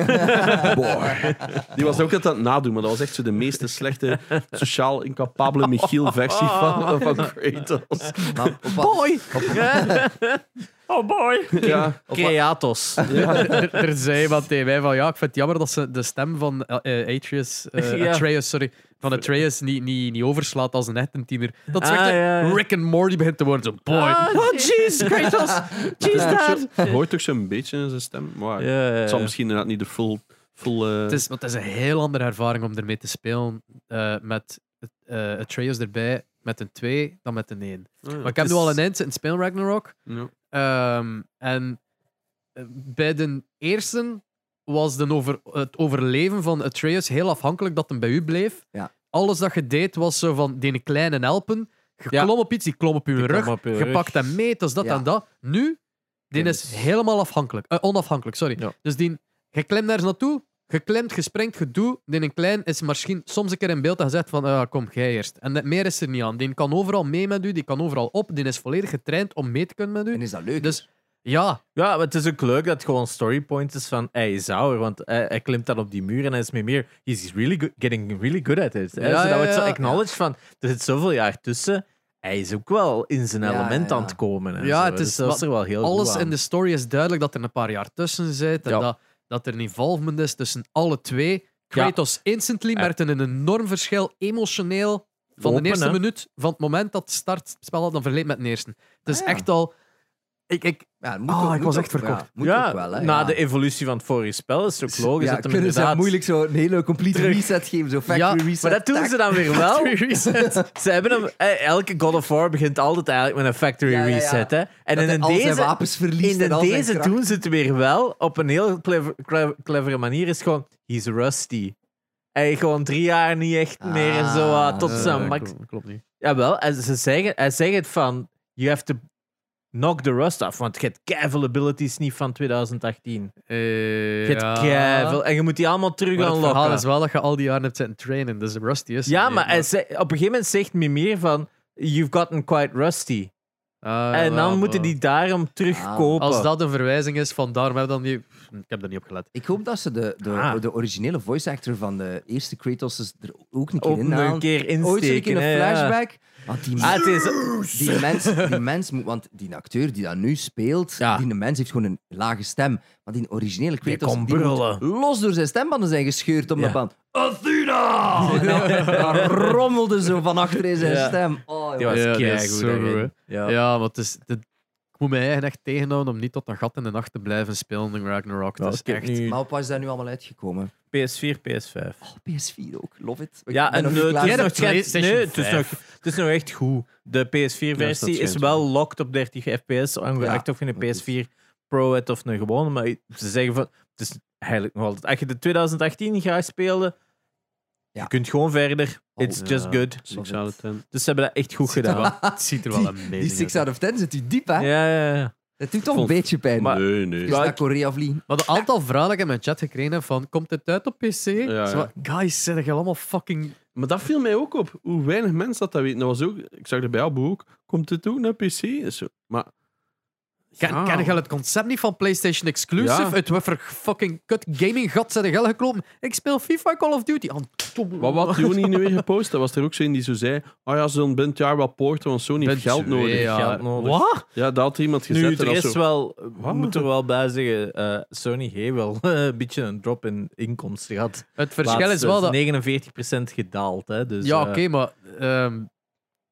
Speaker 3: Die was ook altijd aan het nadoen, maar dat was echt zo de meeste slechte, sociaal incapabele Michiel-versie van, van Kratos.
Speaker 2: Maar op wat-
Speaker 4: Boy. oh boy.
Speaker 3: Ja,
Speaker 4: Creatos.
Speaker 1: Er, er zei wat tegen mij van ja, ik vind het jammer dat ze de stem van eh, eh, Atreus, eh,
Speaker 4: Ja.
Speaker 1: Atreus, sorry, van Atreus niet, niet, niet overslaat als een echte tiener. Dat is
Speaker 4: Ah,
Speaker 1: echt een
Speaker 4: ja, ja.
Speaker 1: Rick and Morty begint te worden. Zo, boy.
Speaker 4: Ah,
Speaker 1: Oh,
Speaker 4: jeez, Kratos. Jeez, dad.
Speaker 3: je hoort toch zo'n beetje in zijn stem. Maar het zal misschien inderdaad niet de full... full eh,
Speaker 1: Het is, want het is een heel andere ervaring om ermee te spelen eh, met eh Atreus erbij, met een 2 dan met een 1. Maar ik heb
Speaker 4: Ah, Het
Speaker 1: nu al
Speaker 4: is-
Speaker 1: een eind in spelen, Ragnarok.
Speaker 3: ja.
Speaker 1: Ehm, en eh, bij de eerste was de over, het overleven van Atreus heel afhankelijk dat hem bij u bleef.
Speaker 2: Ja.
Speaker 1: Alles dat je deed was zo van die kleine helpen. Je
Speaker 4: Ja.
Speaker 1: klom op iets, die klom op uw
Speaker 4: Die klom
Speaker 1: rug.
Speaker 4: op uw
Speaker 1: je
Speaker 4: rug.
Speaker 1: pakt hem mee, dat is dat
Speaker 2: Ja.
Speaker 1: en dat. Nu, die
Speaker 4: Ja,
Speaker 1: is
Speaker 4: dus-
Speaker 1: helemaal afhankelijk. Eh, onafhankelijk, sorry.
Speaker 4: Ja.
Speaker 1: Dus die, je klemt daar eens naartoe, je klemt, je springt, je doet. Die een klein is misschien soms een keer in beeld en zegt van, ah, kom, jij eerst. En dat meer is er niet aan. Die kan overal mee met u, die kan overal op. Die is volledig getraind om mee te kunnen met u.
Speaker 2: En is dat leuk?
Speaker 1: Dus ja,
Speaker 4: Ja, maar het is ook leuk dat het gewoon storypoint is van hij is ouder, want hij, hij klimt dan op die muur en hij is meer meer. He's really good, getting really good at it. hè.
Speaker 1: Ja,
Speaker 4: Zo dat
Speaker 1: ja,
Speaker 4: wordt zo
Speaker 1: ja.
Speaker 4: acknowledged van er zit zoveel jaar tussen. Hij is ook wel in zijn
Speaker 2: Ja,
Speaker 4: element
Speaker 2: ja.
Speaker 4: aan het komen. en
Speaker 1: Ja,
Speaker 4: zo.
Speaker 1: het is
Speaker 4: dus dat
Speaker 1: wat-
Speaker 4: is er wel heel
Speaker 1: alles
Speaker 4: goed aan.
Speaker 1: in de story is duidelijk dat er een paar jaar tussen zit. En
Speaker 4: Ja.
Speaker 1: dat, dat er een involvement is tussen alle twee. Kratos instantly
Speaker 4: Ja.
Speaker 1: merkte een enorm verschil emotioneel van
Speaker 4: Open,
Speaker 1: de eerste
Speaker 4: hè?
Speaker 1: minuut, van het moment dat het start het spel had dan verleed met de eerste. Het is
Speaker 2: Ah, ja.
Speaker 1: echt al... Ik, ik,
Speaker 2: ja, moet
Speaker 1: Ah,
Speaker 2: ook-
Speaker 1: ik
Speaker 2: moet
Speaker 1: was
Speaker 2: ook-
Speaker 1: echt verkocht.
Speaker 2: Ja, moet
Speaker 4: ja,
Speaker 2: ook wel, hè,
Speaker 4: na
Speaker 2: ja.
Speaker 4: de evolutie van het vorige spel is het ook logisch
Speaker 2: ja,
Speaker 4: dat hem
Speaker 2: kunnen ze
Speaker 4: inderdaad...
Speaker 2: moeilijk zo een hele complete
Speaker 4: Terug.
Speaker 2: reset geven, zo factory
Speaker 1: Ja,
Speaker 2: reset.
Speaker 4: Maar dat doen
Speaker 2: tak.
Speaker 4: ze dan weer wel. ze hebben hem, eh, elke God of War begint altijd eigenlijk met een factory
Speaker 2: Ja, ja, ja.
Speaker 4: reset. Hè? En
Speaker 2: Dat hij
Speaker 4: in
Speaker 2: al zijn
Speaker 4: deze,
Speaker 2: wapens verliest
Speaker 4: in
Speaker 2: en al zijn
Speaker 4: deze
Speaker 2: krachten.
Speaker 4: doen ze het weer wel op een heel clever, clever- clevere manier. Is gewoon, he's rusty. Hij gewoon drie jaar niet echt
Speaker 2: Ah,
Speaker 4: meer en zo ah, tot
Speaker 2: eh,
Speaker 4: zijn
Speaker 1: Eh,
Speaker 4: max.
Speaker 1: klopt, klopt niet.
Speaker 4: Jawel, en ze zeggen, hij zegt het van, you have to knock the rust off. Want je hebt keiveel abilities niet van 2018.
Speaker 1: Eh,
Speaker 4: Je hebt keiveel- En je moet die allemaal terug
Speaker 1: Maar het
Speaker 4: unlocken.
Speaker 1: verhaal is wel dat je al die jaren hebt zitten trainen, dus Rusty is...
Speaker 4: Ja,
Speaker 1: niet,
Speaker 4: maar hij zei- op een gegeven moment zegt Mimir van... You've gotten quite rusty.
Speaker 1: Ah,
Speaker 4: en
Speaker 1: wel,
Speaker 4: dan moeten
Speaker 1: wel.
Speaker 4: die daarom terugkopen.
Speaker 1: Als dat een verwijzing is, van daarom hebben we dan die... Ik heb er niet op gelet.
Speaker 2: Ik hoop dat ze de, de,
Speaker 4: Ah.
Speaker 2: de originele voice actor van de eerste Kratos is er ook een keer
Speaker 4: ook
Speaker 2: in
Speaker 4: nog een
Speaker 2: halen.
Speaker 4: keer
Speaker 2: Ooit zo een keer
Speaker 4: insteken.
Speaker 2: een
Speaker 4: hè, ja.
Speaker 2: flashback. Want die,
Speaker 4: Ah, het is...
Speaker 2: die, mens, die mens moet, want die acteur die dat nu speelt,
Speaker 4: Ja.
Speaker 2: die mens heeft gewoon een lage stem. Maar die originele
Speaker 4: Die
Speaker 2: Kratos
Speaker 4: kon
Speaker 2: die moet
Speaker 4: brullen.
Speaker 2: los door zijn stembanden zijn gescheurd om
Speaker 4: Ja.
Speaker 2: de band. Athena! En dan, dan rommelde zo van achter in zijn
Speaker 4: Ja.
Speaker 2: stem. Oh,
Speaker 4: Die was
Speaker 2: jongen.
Speaker 1: Ja, die is
Speaker 4: keigoed
Speaker 1: zo goed,
Speaker 4: daarin. Ja.
Speaker 1: Ja, maar het is... dit- ik moet mijn eigen echt tegenhouden om niet tot een gat in de nacht te blijven spelen in Ragnarok.
Speaker 4: Ja,
Speaker 1: Dat is
Speaker 4: ik heb
Speaker 1: echt...
Speaker 4: nu
Speaker 2: Maar op wat is dat nu allemaal uitgekomen?
Speaker 4: PS4, PS5.
Speaker 2: Oh, PS4 ook, love it. Ik
Speaker 4: Ja,
Speaker 2: ben
Speaker 4: en
Speaker 2: nog
Speaker 4: eh,
Speaker 2: niet
Speaker 4: het
Speaker 2: klaar
Speaker 4: is
Speaker 1: Jij
Speaker 4: nog
Speaker 1: hebt
Speaker 4: geen-
Speaker 1: PlayStation
Speaker 4: nee, het is nog-
Speaker 1: 5.
Speaker 4: het is nog echt goed. De PS4-versie
Speaker 3: Ja, dat
Speaker 4: is
Speaker 3: schijnt
Speaker 4: wel locked op 30 fps, ongeacht
Speaker 2: Ja,
Speaker 4: of je een
Speaker 2: dat is-
Speaker 4: PS4 Pro hebt of een gewone. Maar ze zeggen van, het is eigenlijk nog altijd... Als je de 2018 gaat spelen,
Speaker 2: Ja.
Speaker 4: je kunt gewoon verder. It's
Speaker 1: Oh,
Speaker 4: just
Speaker 1: ja.
Speaker 4: good.
Speaker 3: Six out of ten.
Speaker 4: Dus ze hebben dat echt goed gedaan. Ja,
Speaker 1: Het ziet er wel amazing
Speaker 2: Die 6 out of 10 zit u diep, hè?
Speaker 4: ja, ja.
Speaker 2: Dat doet toch een
Speaker 3: Vond-
Speaker 2: beetje pijn.
Speaker 4: Maar-
Speaker 3: Nee, nee.
Speaker 2: is
Speaker 4: maar
Speaker 2: naar
Speaker 4: ik-
Speaker 2: Korea vliegen.
Speaker 1: Maar de aantal vragen dat ik in mijn chat gekregen heb van komt dit uit op PC?
Speaker 3: ja.
Speaker 1: Zo van, Guys, zijn je allemaal fucking...
Speaker 3: Maar dat viel mij ook op, hoe weinig mensen dat, dat weten. Dat was ook, ik zag er bij Abu ook, komt dit ook naar PC? Is zo. Maar, Ah.
Speaker 1: Ken,
Speaker 3: Ja.
Speaker 1: ken je het concept niet van PlayStation Exclusive?
Speaker 3: Ja.
Speaker 1: Uit wat voor fucking kut gaming gat zijn je geklopen? Ik speel FIFA Call of Duty. Oh, tom-
Speaker 3: wat had Tony nu weer gepost? Dat was er ook zo in die zo zei, oh ja, ze zullen binnen het jaar wel poorten, want Sony heeft
Speaker 1: Bent
Speaker 3: geld
Speaker 1: twee
Speaker 3: nodig.
Speaker 1: jaar.
Speaker 4: Geld nodig.
Speaker 1: Wat?
Speaker 3: Ja, dat had iemand gezet.
Speaker 4: Nu,
Speaker 3: en
Speaker 4: er
Speaker 3: dat
Speaker 4: is
Speaker 3: zo-
Speaker 4: wel,
Speaker 3: Wat?
Speaker 4: moet er wel bij zeggen, eh, Sony heeft wel een beetje een drop in inkomsten gehad.
Speaker 1: Het verschil is
Speaker 4: Laatste
Speaker 1: wel dat...
Speaker 4: 49% gedaald, hè. Dus,
Speaker 1: ja,
Speaker 4: eh,
Speaker 1: oké, maar ehm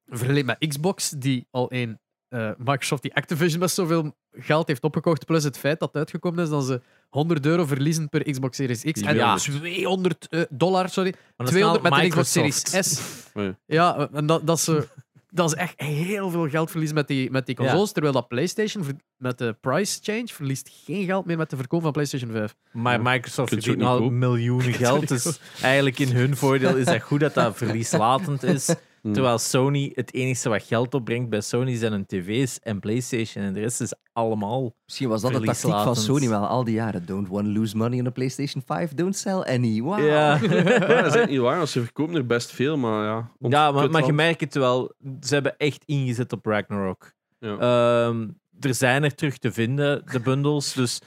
Speaker 1: vergeleken met Xbox, die al een eh, eh, Microsoft die Activision best zoveel geld heeft opgekocht, plus het feit dat het uitgekomen is dat ze 100 euro verliezen per Xbox Series X en
Speaker 3: Ja.
Speaker 1: 200 eh, dollar, sorry,
Speaker 4: Maar dat is
Speaker 1: 200 met
Speaker 4: nou
Speaker 1: de Xbox
Speaker 4: Microsoft.
Speaker 1: Series S.
Speaker 3: Ja.
Speaker 1: Ja, eh, en dat, dat, ze, dat ze echt heel veel geld verliezen met die, met die consoles, terwijl dat PlayStation ver- met de price change verliest geen geld meer met de verkoop van PlayStation 5.
Speaker 4: Maar
Speaker 3: Ja.
Speaker 4: Microsoft
Speaker 3: Kunt ze ook
Speaker 4: verdient
Speaker 3: niet
Speaker 4: al
Speaker 3: kopen.
Speaker 4: miljoenen geld. Dus eigenlijk in hun voordeel is dat goed dat dat verlieslatend is.
Speaker 3: Hmm.
Speaker 4: Terwijl Sony, het enige wat geld opbrengt bij Sony zijn hun tv's en Playstation. En de rest is allemaal...
Speaker 2: Misschien was dat de tactiek van
Speaker 4: Verlieslatend.
Speaker 2: Sony wel al die jaren. Don't want to lose money on a PlayStation 5, don't sell any. Wow.
Speaker 3: Ja,
Speaker 4: Ja,
Speaker 3: dat is echt niet waar. want Ze verkopen er best veel, maar ja. ont-
Speaker 4: ja maar, maar je
Speaker 3: kutland.
Speaker 4: merkt het wel. Ze hebben echt ingezet op Ragnarok.
Speaker 3: Ja.
Speaker 4: Ehm, er zijn er terug te vinden, de bundels. Dus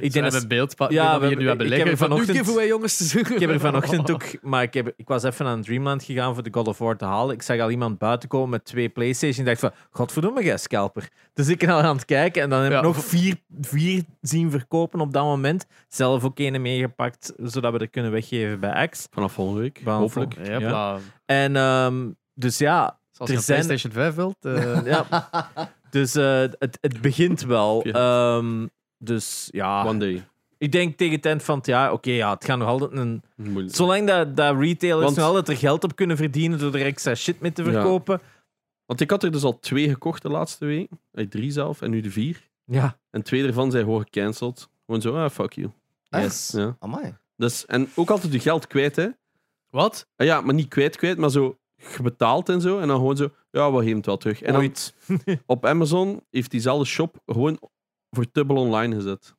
Speaker 4: ik denk dat...
Speaker 1: een beeld pa- dat
Speaker 4: Ja, we
Speaker 1: we hier nu
Speaker 4: hebben-
Speaker 1: hebben
Speaker 4: ik heb
Speaker 1: liggen.
Speaker 4: er
Speaker 1: Van nu
Speaker 4: vanochtend-
Speaker 1: giveaway, jongens.
Speaker 4: Ik heb er vanochtend ook, maar ik, heb, ik was even aan Dreamland gegaan voor de God of War te halen. Ik zag al iemand buiten komen met twee PlayStation. Ik dacht van, godverdomme, jij scalper. Dus ik ben al aan het kijken en dan heb ik
Speaker 1: Ja.
Speaker 4: nog vier, vier zien verkopen op dat moment. Zelf ook ene meegepakt, zodat we dat kunnen weggeven bij Axe.
Speaker 3: Vanaf volgende week,
Speaker 4: Vanaf
Speaker 3: hopelijk.
Speaker 1: Ja,
Speaker 4: Ja.
Speaker 1: bla.
Speaker 4: En ehm, dus ja,
Speaker 1: Dus Als je
Speaker 4: Er
Speaker 1: een
Speaker 4: zijn-
Speaker 1: PlayStation 5 wilt, eh,
Speaker 4: ja. dus eh, het, het begint wel. Ehm, dus ja,
Speaker 3: One day.
Speaker 4: ik denk tegen het eind van het jaar, oké, ja, het gaat nog altijd een
Speaker 3: Moeilijk.
Speaker 4: Zolang dat, dat retailers
Speaker 3: Want-
Speaker 4: nog altijd er geld op kunnen verdienen door er extra shit mee te
Speaker 3: Ja.
Speaker 4: verkopen.
Speaker 3: Want ik had er dus al twee gekocht de laatste week. Eh, Drie zelf en nu de vier.
Speaker 4: Ja.
Speaker 3: En twee ervan zijn gewoon gecanceld. Gewoon zo, ah, fuck you.
Speaker 2: Echt?
Speaker 3: Ja.
Speaker 2: Amai.
Speaker 3: Dus, en ook altijd je geld kwijt, hè.
Speaker 1: wat?
Speaker 3: Ah ja, maar niet kwijt, kwijt, maar zo gebetaald en zo. En dan gewoon zo, ja, we geven het wel terug. En dan
Speaker 4: Ooit.
Speaker 3: op Amazon heeft diezelfde shop gewoon voor dubbel online gezet.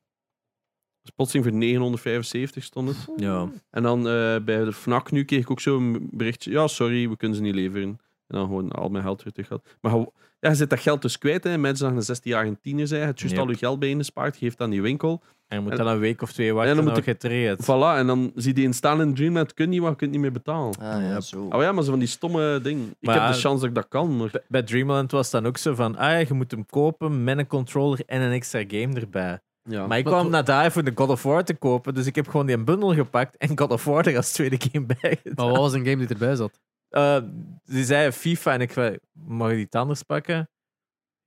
Speaker 3: Spotsing voor 975 stond het.
Speaker 4: Ja.
Speaker 2: Ah,
Speaker 3: En dan eh, bij de FNAC nu kreeg ik ook zo'n berichtje. Ja, sorry, we kunnen ze niet leveren. En dan gewoon al mijn geld weer terug gehad. Maar gewoon- ja, je zit dat geld dus kwijt. Hè. Mensen dat je een 16-jarige tiener zijn. Je hebt juist
Speaker 4: Yep.
Speaker 3: al je geld bijenespaard. Geeft aan die winkel.
Speaker 4: En je moet dan een week of twee wachten
Speaker 3: En dan
Speaker 4: en
Speaker 3: moet
Speaker 4: dan wordt getraind.
Speaker 3: Voilà. En dan zie je een staan in Dreamland. Kun niet, want je kunt niet meer betalen.
Speaker 2: Ah, ja, zo.
Speaker 3: Oh ja, maar zo van die stomme ding. Ik
Speaker 4: Maar
Speaker 3: heb
Speaker 4: ja,
Speaker 3: de chance dat ik dat kan. Maar...
Speaker 4: Bij Dreamland was dan ook zo van, ah ja, je moet hem kopen met een controller en een extra game erbij.
Speaker 3: Ja.
Speaker 4: Maar ik
Speaker 1: Maar
Speaker 4: kwam
Speaker 1: to-
Speaker 4: naar daar voor de God of War te kopen, dus ik heb gewoon die bundel gepakt en God of War er als tweede game bij
Speaker 1: Maar
Speaker 4: gedaan.
Speaker 1: wat was een game die erbij zat?
Speaker 4: Eh, Ze zei FIFA en ik zei, mag je die anders pakken?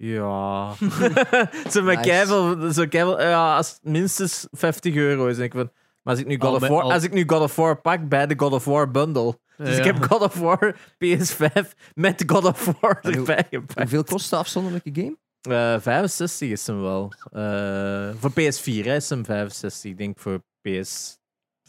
Speaker 4: Ja. zo met
Speaker 2: Nice.
Speaker 4: keivel, zo keivel, ja, als het minstens 50 euro is. En ik van, maar als ik, nu God
Speaker 1: Al
Speaker 4: of
Speaker 1: met
Speaker 4: War,
Speaker 1: al.
Speaker 4: als ik nu God of War pak bij de God of War bundle. Dus ik
Speaker 1: Ja.
Speaker 4: heb God of War PS5 met God of War
Speaker 2: En hoe-
Speaker 4: erbij gepakt.
Speaker 2: Hoeveel kost de afzonderlijke game?
Speaker 4: Eh, 65 is hem wel. Eh, voor PS4 hè, is hem 65. Ik denk voor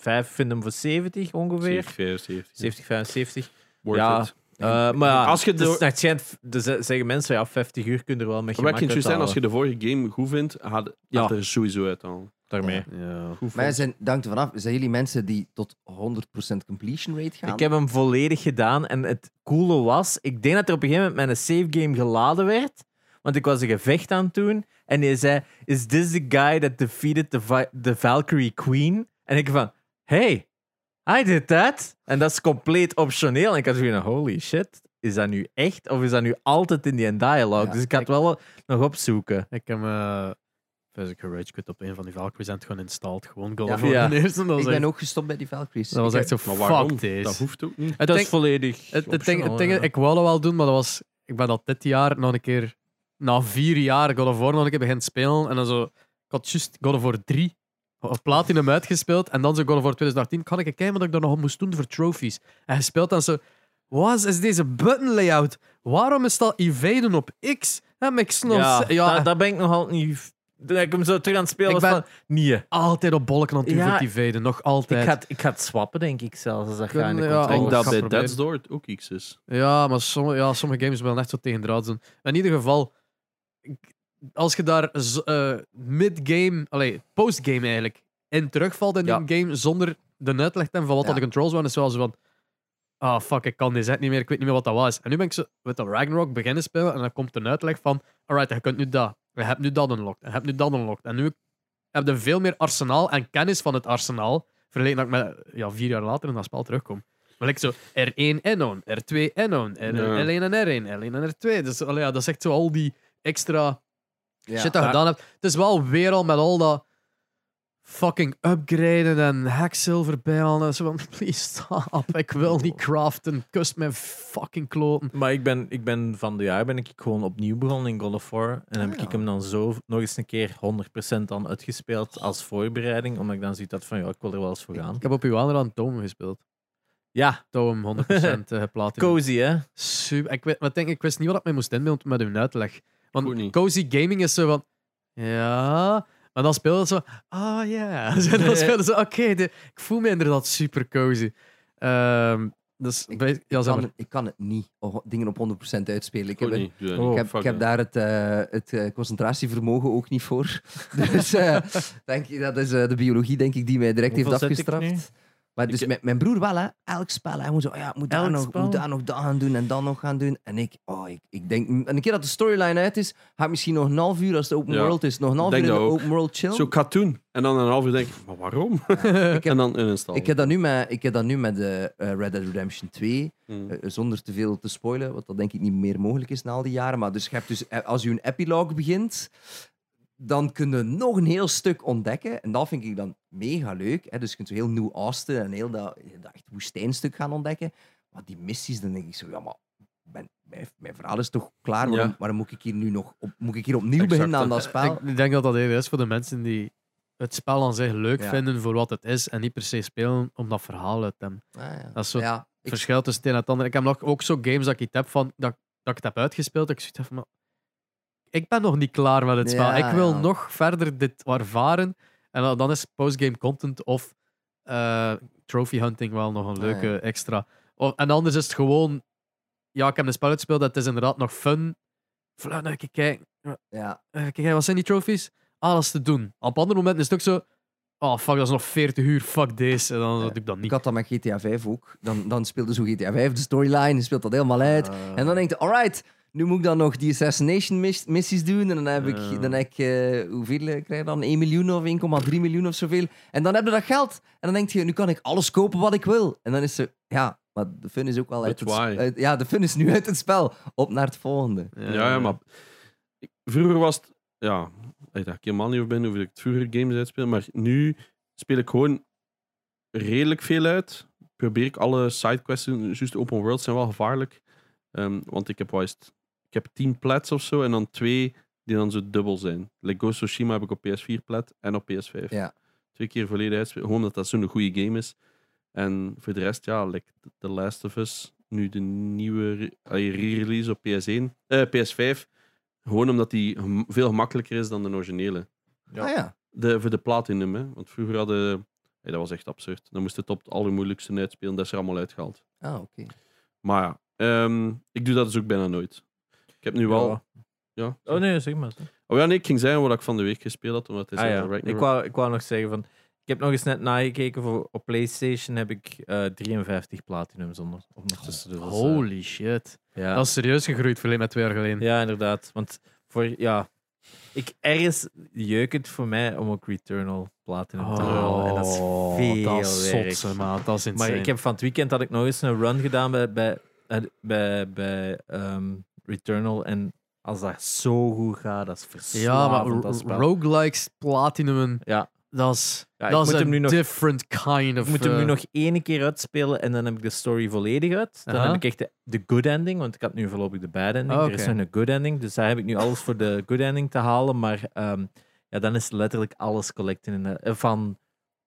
Speaker 4: PS5 vind hem voor 70 ongeveer.
Speaker 3: 75.
Speaker 4: 70, 75.
Speaker 3: Worth
Speaker 4: ja.
Speaker 3: it.
Speaker 4: Eh, maar ja,
Speaker 3: Als je
Speaker 4: het is-
Speaker 3: door-
Speaker 4: nou, het schijnt, er ze- zeggen mensen, ja, 50 uur kun je er wel met
Speaker 3: Maar wat ik
Speaker 4: gemak
Speaker 3: kan zijn, als je
Speaker 4: uithalen.
Speaker 3: de vorige game goed vindt, had
Speaker 4: Ja.
Speaker 3: had er sowieso uit al.
Speaker 4: daarmee.
Speaker 1: Ja.
Speaker 3: Goed
Speaker 2: Maar
Speaker 3: vond.
Speaker 2: zijn, dank ervan af, zijn jullie mensen die tot 100% completion rate gaan?
Speaker 4: Ik heb hem volledig gedaan en het coole was, ik denk dat er op een gegeven moment mijn save game geladen werd, want ik was een gevecht aan het doen en hij zei, is this the guy that defeated the, Vi- the Valkyrie Queen? En ik van, hey, I did that. En dat is compleet optioneel. En ik had zoiets van, holy shit, is dat nu echt of is dat nu altijd in die dialogue?
Speaker 2: Ja,
Speaker 4: dus ik had
Speaker 1: ik-
Speaker 4: wel nog opzoeken.
Speaker 1: Ik heb eh dus ik gerage quit op een van die Valkyries en het gewoon installed. Gewoon God of
Speaker 2: Ja.
Speaker 1: War.
Speaker 4: Ja.
Speaker 1: de eerste. Dat was
Speaker 2: Ik
Speaker 1: echt-
Speaker 2: ben ook gestopt bij die Valkyries.
Speaker 1: Dat was
Speaker 2: Ik
Speaker 1: echt zo,
Speaker 3: Maar waarom?
Speaker 1: fuck
Speaker 3: Dat
Speaker 1: deze.
Speaker 3: hoeft ook niet.
Speaker 1: Het
Speaker 4: dat
Speaker 1: ding-
Speaker 4: is volledig
Speaker 1: het- het ding-
Speaker 4: optioneel,
Speaker 1: het ding-
Speaker 4: ja.
Speaker 1: Ik wou dat wel doen, maar dat was, ik ben dat dit jaar nog een keer, na vier jaar God of War nog een keer beginnen spelen. En dan zo, ik had juist God of War 3 of Platinum uitgespeeld. En dan zo God of War 2018. Kan ik eens kijken wat ik daar nog op moest doen voor trophies? En je speelt dan zo, wat is deze button layout? Waarom is dat evaden op X? Dat makes no
Speaker 4: Ja,
Speaker 1: sense. Ja,
Speaker 4: dat, dat ben ik nog altijd niet. Dat ik hem zo terug aan het spelen
Speaker 1: Ik
Speaker 4: was
Speaker 1: ben-
Speaker 4: van. Nee.
Speaker 1: altijd op bolken aan het doen
Speaker 4: Ja,
Speaker 1: voor het evaden. Nog
Speaker 4: Ik
Speaker 1: altijd.
Speaker 4: ga, het- ik ga het swappen, denk ik zelfs. Als dat
Speaker 1: Kunnen,
Speaker 4: gaat in de
Speaker 1: ja,
Speaker 3: Ik
Speaker 4: controller.
Speaker 1: Oh, ik
Speaker 3: denk dat
Speaker 1: ga
Speaker 3: bij
Speaker 1: proberen.
Speaker 3: Dead's Door het ook iets is.
Speaker 1: Ja, maar sommige, ja, sommige games willen echt zo tegen draad doen. Maar in ieder geval, ik- als je daar z- eh, mid-game, allee, post-game eigenlijk, in terugvalt in
Speaker 3: Ja.
Speaker 1: die game zonder de uitleg te hebben van wat
Speaker 2: Ja.
Speaker 1: dat de controls waren, is wel zo van. Ah, fuck, ik kan deze echt niet meer, ik weet niet meer wat dat was. En nu ben ik zo met dat Ragnarok beginnen spelen en dan komt een uitleg van: alright, je kunt nu dat, je hebt nu dat unlocked, je hebt nu dat unlocked. En nu heb je veel meer arsenaal en kennis van het arsenaal, vergeleken dat ik met, ja, vier jaar later in dat spel terugkom. Maar ik zo R1 en on, R2 en on, R1
Speaker 3: Ja.
Speaker 1: en R1, L1 en R2. Dus allee, ja, dat is echt zo al die extra
Speaker 2: Ja.
Speaker 1: shit dat je gedaan hebt. Het is wel weer al met al dat fucking upgraden en hacksilver bijhalen. En zo van, please stop, ik wil niet craften. Kust mijn fucking kloten.
Speaker 4: Maar ik ben, ik ben van de jaar ben ik gewoon opnieuw begonnen in God of War. En heb
Speaker 2: Ah,
Speaker 4: ik
Speaker 2: ja.
Speaker 4: hem dan zo nog eens een keer 100% dan uitgespeeld als voorbereiding. Omdat ik dan zoiets had van, ja, ik wil er wel eens voor gaan.
Speaker 1: Ik heb op uw aan Tome gespeeld.
Speaker 4: Ja,
Speaker 1: Tome 100% geplaatst.
Speaker 4: cozy hè.
Speaker 1: Super. eh, Ik, weet, maar ik denk, ik wist niet wat ik mij moest inbeelden met hun uitleg.
Speaker 3: Goed
Speaker 1: Want
Speaker 3: niet.
Speaker 1: cozy gaming is zo van... Ja... Maar dan speelde het zo... Ah, ja. Zo, Dan speelde ze... Oké, de- ik voel me inderdaad super cozy. Ehm, dus...
Speaker 2: Ik-
Speaker 1: bij- ja, zeg
Speaker 2: kan,
Speaker 1: maar.
Speaker 2: het- ik kan het niet, oh, dingen op 100% uitspelen. Ik heb,
Speaker 3: Goed
Speaker 2: een-
Speaker 3: niet. Doe dat
Speaker 4: Oh,
Speaker 2: ik
Speaker 3: niet.
Speaker 2: heb,
Speaker 3: Fuck
Speaker 2: ik heb
Speaker 3: dat.
Speaker 2: daar het, eh, het eh, concentratievermogen ook niet voor. dus eh, denk je, dat is eh, de biologie, denk ik, die mij direct heeft
Speaker 4: Hoeveel zet ik
Speaker 2: afgestraft. Maar dus
Speaker 3: Ik-
Speaker 2: mijn, mijn broer wel, hè. Elk spel, hij moet zo, oh ja, ik moet daar,
Speaker 4: Elk
Speaker 2: nog,
Speaker 4: spel?
Speaker 2: moet daar nog dat gaan doen en dan nog gaan doen. En ik, oh, ik, ik denk, en een keer dat de storyline uit is, ga ik misschien nog een half uur, als het open
Speaker 3: Ja.
Speaker 2: world is, nog een half
Speaker 3: Denk
Speaker 2: uur in de
Speaker 3: dat ook.
Speaker 2: open world chill.
Speaker 3: Zo, ik ga het doen. En dan een half uur denk ik, maar waarom?
Speaker 2: ik,
Speaker 3: en
Speaker 2: heb,
Speaker 3: dan uninstallen.
Speaker 2: ik heb dat nu met, ik heb dat nu met de Red Dead Redemption 2.
Speaker 3: Mm.
Speaker 2: Eh, zonder te veel te spoilen, wat dat denk ik niet meer mogelijk is na al die jaren. Maar dus, je hebt dus eh, als je een epilogue begint, dan kun je nog een heel stuk ontdekken. En dat vind ik dan mega leuk. Hè? Dus je kunt zo heel New Austin en heel dat, dat echt woestijnstuk gaan ontdekken. Maar die missies, dan denk ik zo, ja, maar mijn, mijn, mijn verhaal is toch klaar?
Speaker 3: Ja.
Speaker 2: Waarom, waarom moet ik hier nu nog op, moet ik hier opnieuw
Speaker 3: Exact,
Speaker 2: beginnen aan
Speaker 3: hè.
Speaker 2: dat spel?
Speaker 1: Ik denk dat dat even is voor de mensen die het spel aan zich leuk
Speaker 2: Ja.
Speaker 1: vinden voor wat het is en niet per se spelen om dat verhaal uit te hebben.
Speaker 2: Ah, ja.
Speaker 1: Dat is zo-
Speaker 2: ja,
Speaker 1: Het
Speaker 2: ik-
Speaker 1: verschil tussen het een en het ander. Ik heb nog ook zo games dat ik iets heb van dat, dat ik het heb uitgespeeld. Dat ik zoiets heb van, maar ik ben nog niet klaar met het spel.
Speaker 2: Ja,
Speaker 1: ik wil
Speaker 2: ja.
Speaker 1: nog verder dit ervaren. En dan- dan is postgame content of eh, trophy hunting wel nog een
Speaker 2: Ah,
Speaker 1: leuke
Speaker 2: ja.
Speaker 1: extra. Of- en anders is het gewoon, ja, ik heb een spel uitgespeeld. Het is inderdaad nog fun. nou, Vlug naar kijken.
Speaker 2: ja,
Speaker 1: Eh, kijk, hè, wat zijn die trophies? Ah, dat is te doen. Op andere momenten is het ook zo, oh fuck, dat is nog 40 uur, fuck deze. En dan
Speaker 2: Ja.
Speaker 1: doe ik dat
Speaker 2: ik
Speaker 1: niet.
Speaker 2: had dat met GTA 5 ook. Dan, dan speelde zo GTA 5 de storyline, je speelt dat helemaal uit.
Speaker 4: Eh,
Speaker 2: En dan denk je, alright, nu moet ik dan nog die assassination miss- missies doen. En dan heb ik,
Speaker 1: Ja.
Speaker 2: dan heb ik eh, hoeveel eh, krijg je dan? 1 miljoen of 1,3 miljoen of zoveel. En dan heb je dat geld. En dan denk je, nu kan ik alles kopen wat ik wil. En dan is ze, ja, maar de fun is ook wel uit
Speaker 3: But
Speaker 2: het sp-
Speaker 3: why?
Speaker 2: uit- Ja, de fun is nu uit het spel. Op naar het volgende.
Speaker 1: Eh,
Speaker 3: Ja, ja, maar ik- vroeger was het. Ja, ik dacht helemaal niet over ben hoeveel ik het vroeger games uitspeel. Maar nu speel ik gewoon redelijk veel uit. Probeer ik alle sidequests. te doen. Juist de open world zijn wel gevaarlijk. Ehm, want ik heb wel eens t- Ik heb tien plats of zo en dan twee die dan zo dubbel zijn. Like Ghost of Tsushima heb ik op PS4 plat en op PS5.
Speaker 2: Ja.
Speaker 3: Twee keer volledig uitspelen. Gewoon omdat dat zo'n goede game is. En voor de rest, ja, like The Last of Us, nu de nieuwe re- allee, re-release op PS1, eh, PS5. Gewoon omdat die gem- veel gemakkelijker is dan de originele.
Speaker 4: Ja.
Speaker 2: Ah ja.
Speaker 3: De, voor de platinum, hè. Want vroeger hadden... hey, dat was echt absurd. Dan moest het op het allermoeilijkste uitspelen. Dat is er allemaal uitgehaald.
Speaker 2: Ah, oké.
Speaker 3: Maar ja, ehm, ik doe dat dus ook bijna nooit. Ik heb nu wel...
Speaker 4: Ja.
Speaker 3: Ja.
Speaker 4: Oh nee, zeg maar.
Speaker 3: Oh ja, nee, ik ging zeggen wat ik van de week gespeeld had, omdat
Speaker 1: Dus
Speaker 3: het is
Speaker 4: Ah, ja.
Speaker 3: Ragnarok.
Speaker 4: ik, wou, ik wou nog zeggen van. Ik heb nog eens net nagekeken voor op PlayStation heb ik eh 53 platinums onder. Ondertussen. Dus dat is, eh,
Speaker 1: Oh, Holy shit.
Speaker 4: ja.
Speaker 1: Dat is serieus gegroeid verleden met twee jaar geleden.
Speaker 4: ja, inderdaad. Want voor ja, ik ergens jeukt het voor mij om ook Returnal platinum te halen. En dat is veel
Speaker 1: Oh, dat is
Speaker 4: werk.
Speaker 1: zotse, maat. Dat is insane.
Speaker 4: Maar ik heb van het weekend had ik nog eens een run gedaan bij, bij, eh, bij, bij ehm, Returnal. En als dat zo goed gaat, dat is
Speaker 1: ja, maar
Speaker 4: verslavend. dat
Speaker 1: ro-
Speaker 4: spel.
Speaker 1: roguelikes platinumen,
Speaker 4: Ja.
Speaker 1: dat is,
Speaker 4: Ja, ik
Speaker 1: dat is
Speaker 4: moet
Speaker 1: een
Speaker 4: hem nu nog-
Speaker 1: different kind of...
Speaker 4: Ik moet hem
Speaker 1: eh,
Speaker 4: nu nog één keer uitspelen en dan heb ik de story volledig uit. Dan
Speaker 1: Aha.
Speaker 4: heb ik echt de, de good ending, want ik had nu voorlopig de bad ending.
Speaker 1: Ah,
Speaker 4: Er is
Speaker 1: oké.
Speaker 4: nog een good ending, dus daar heb ik nu alles voor de good ending te halen. Maar ehm, ja, dan is letterlijk alles collecten in de- eh, van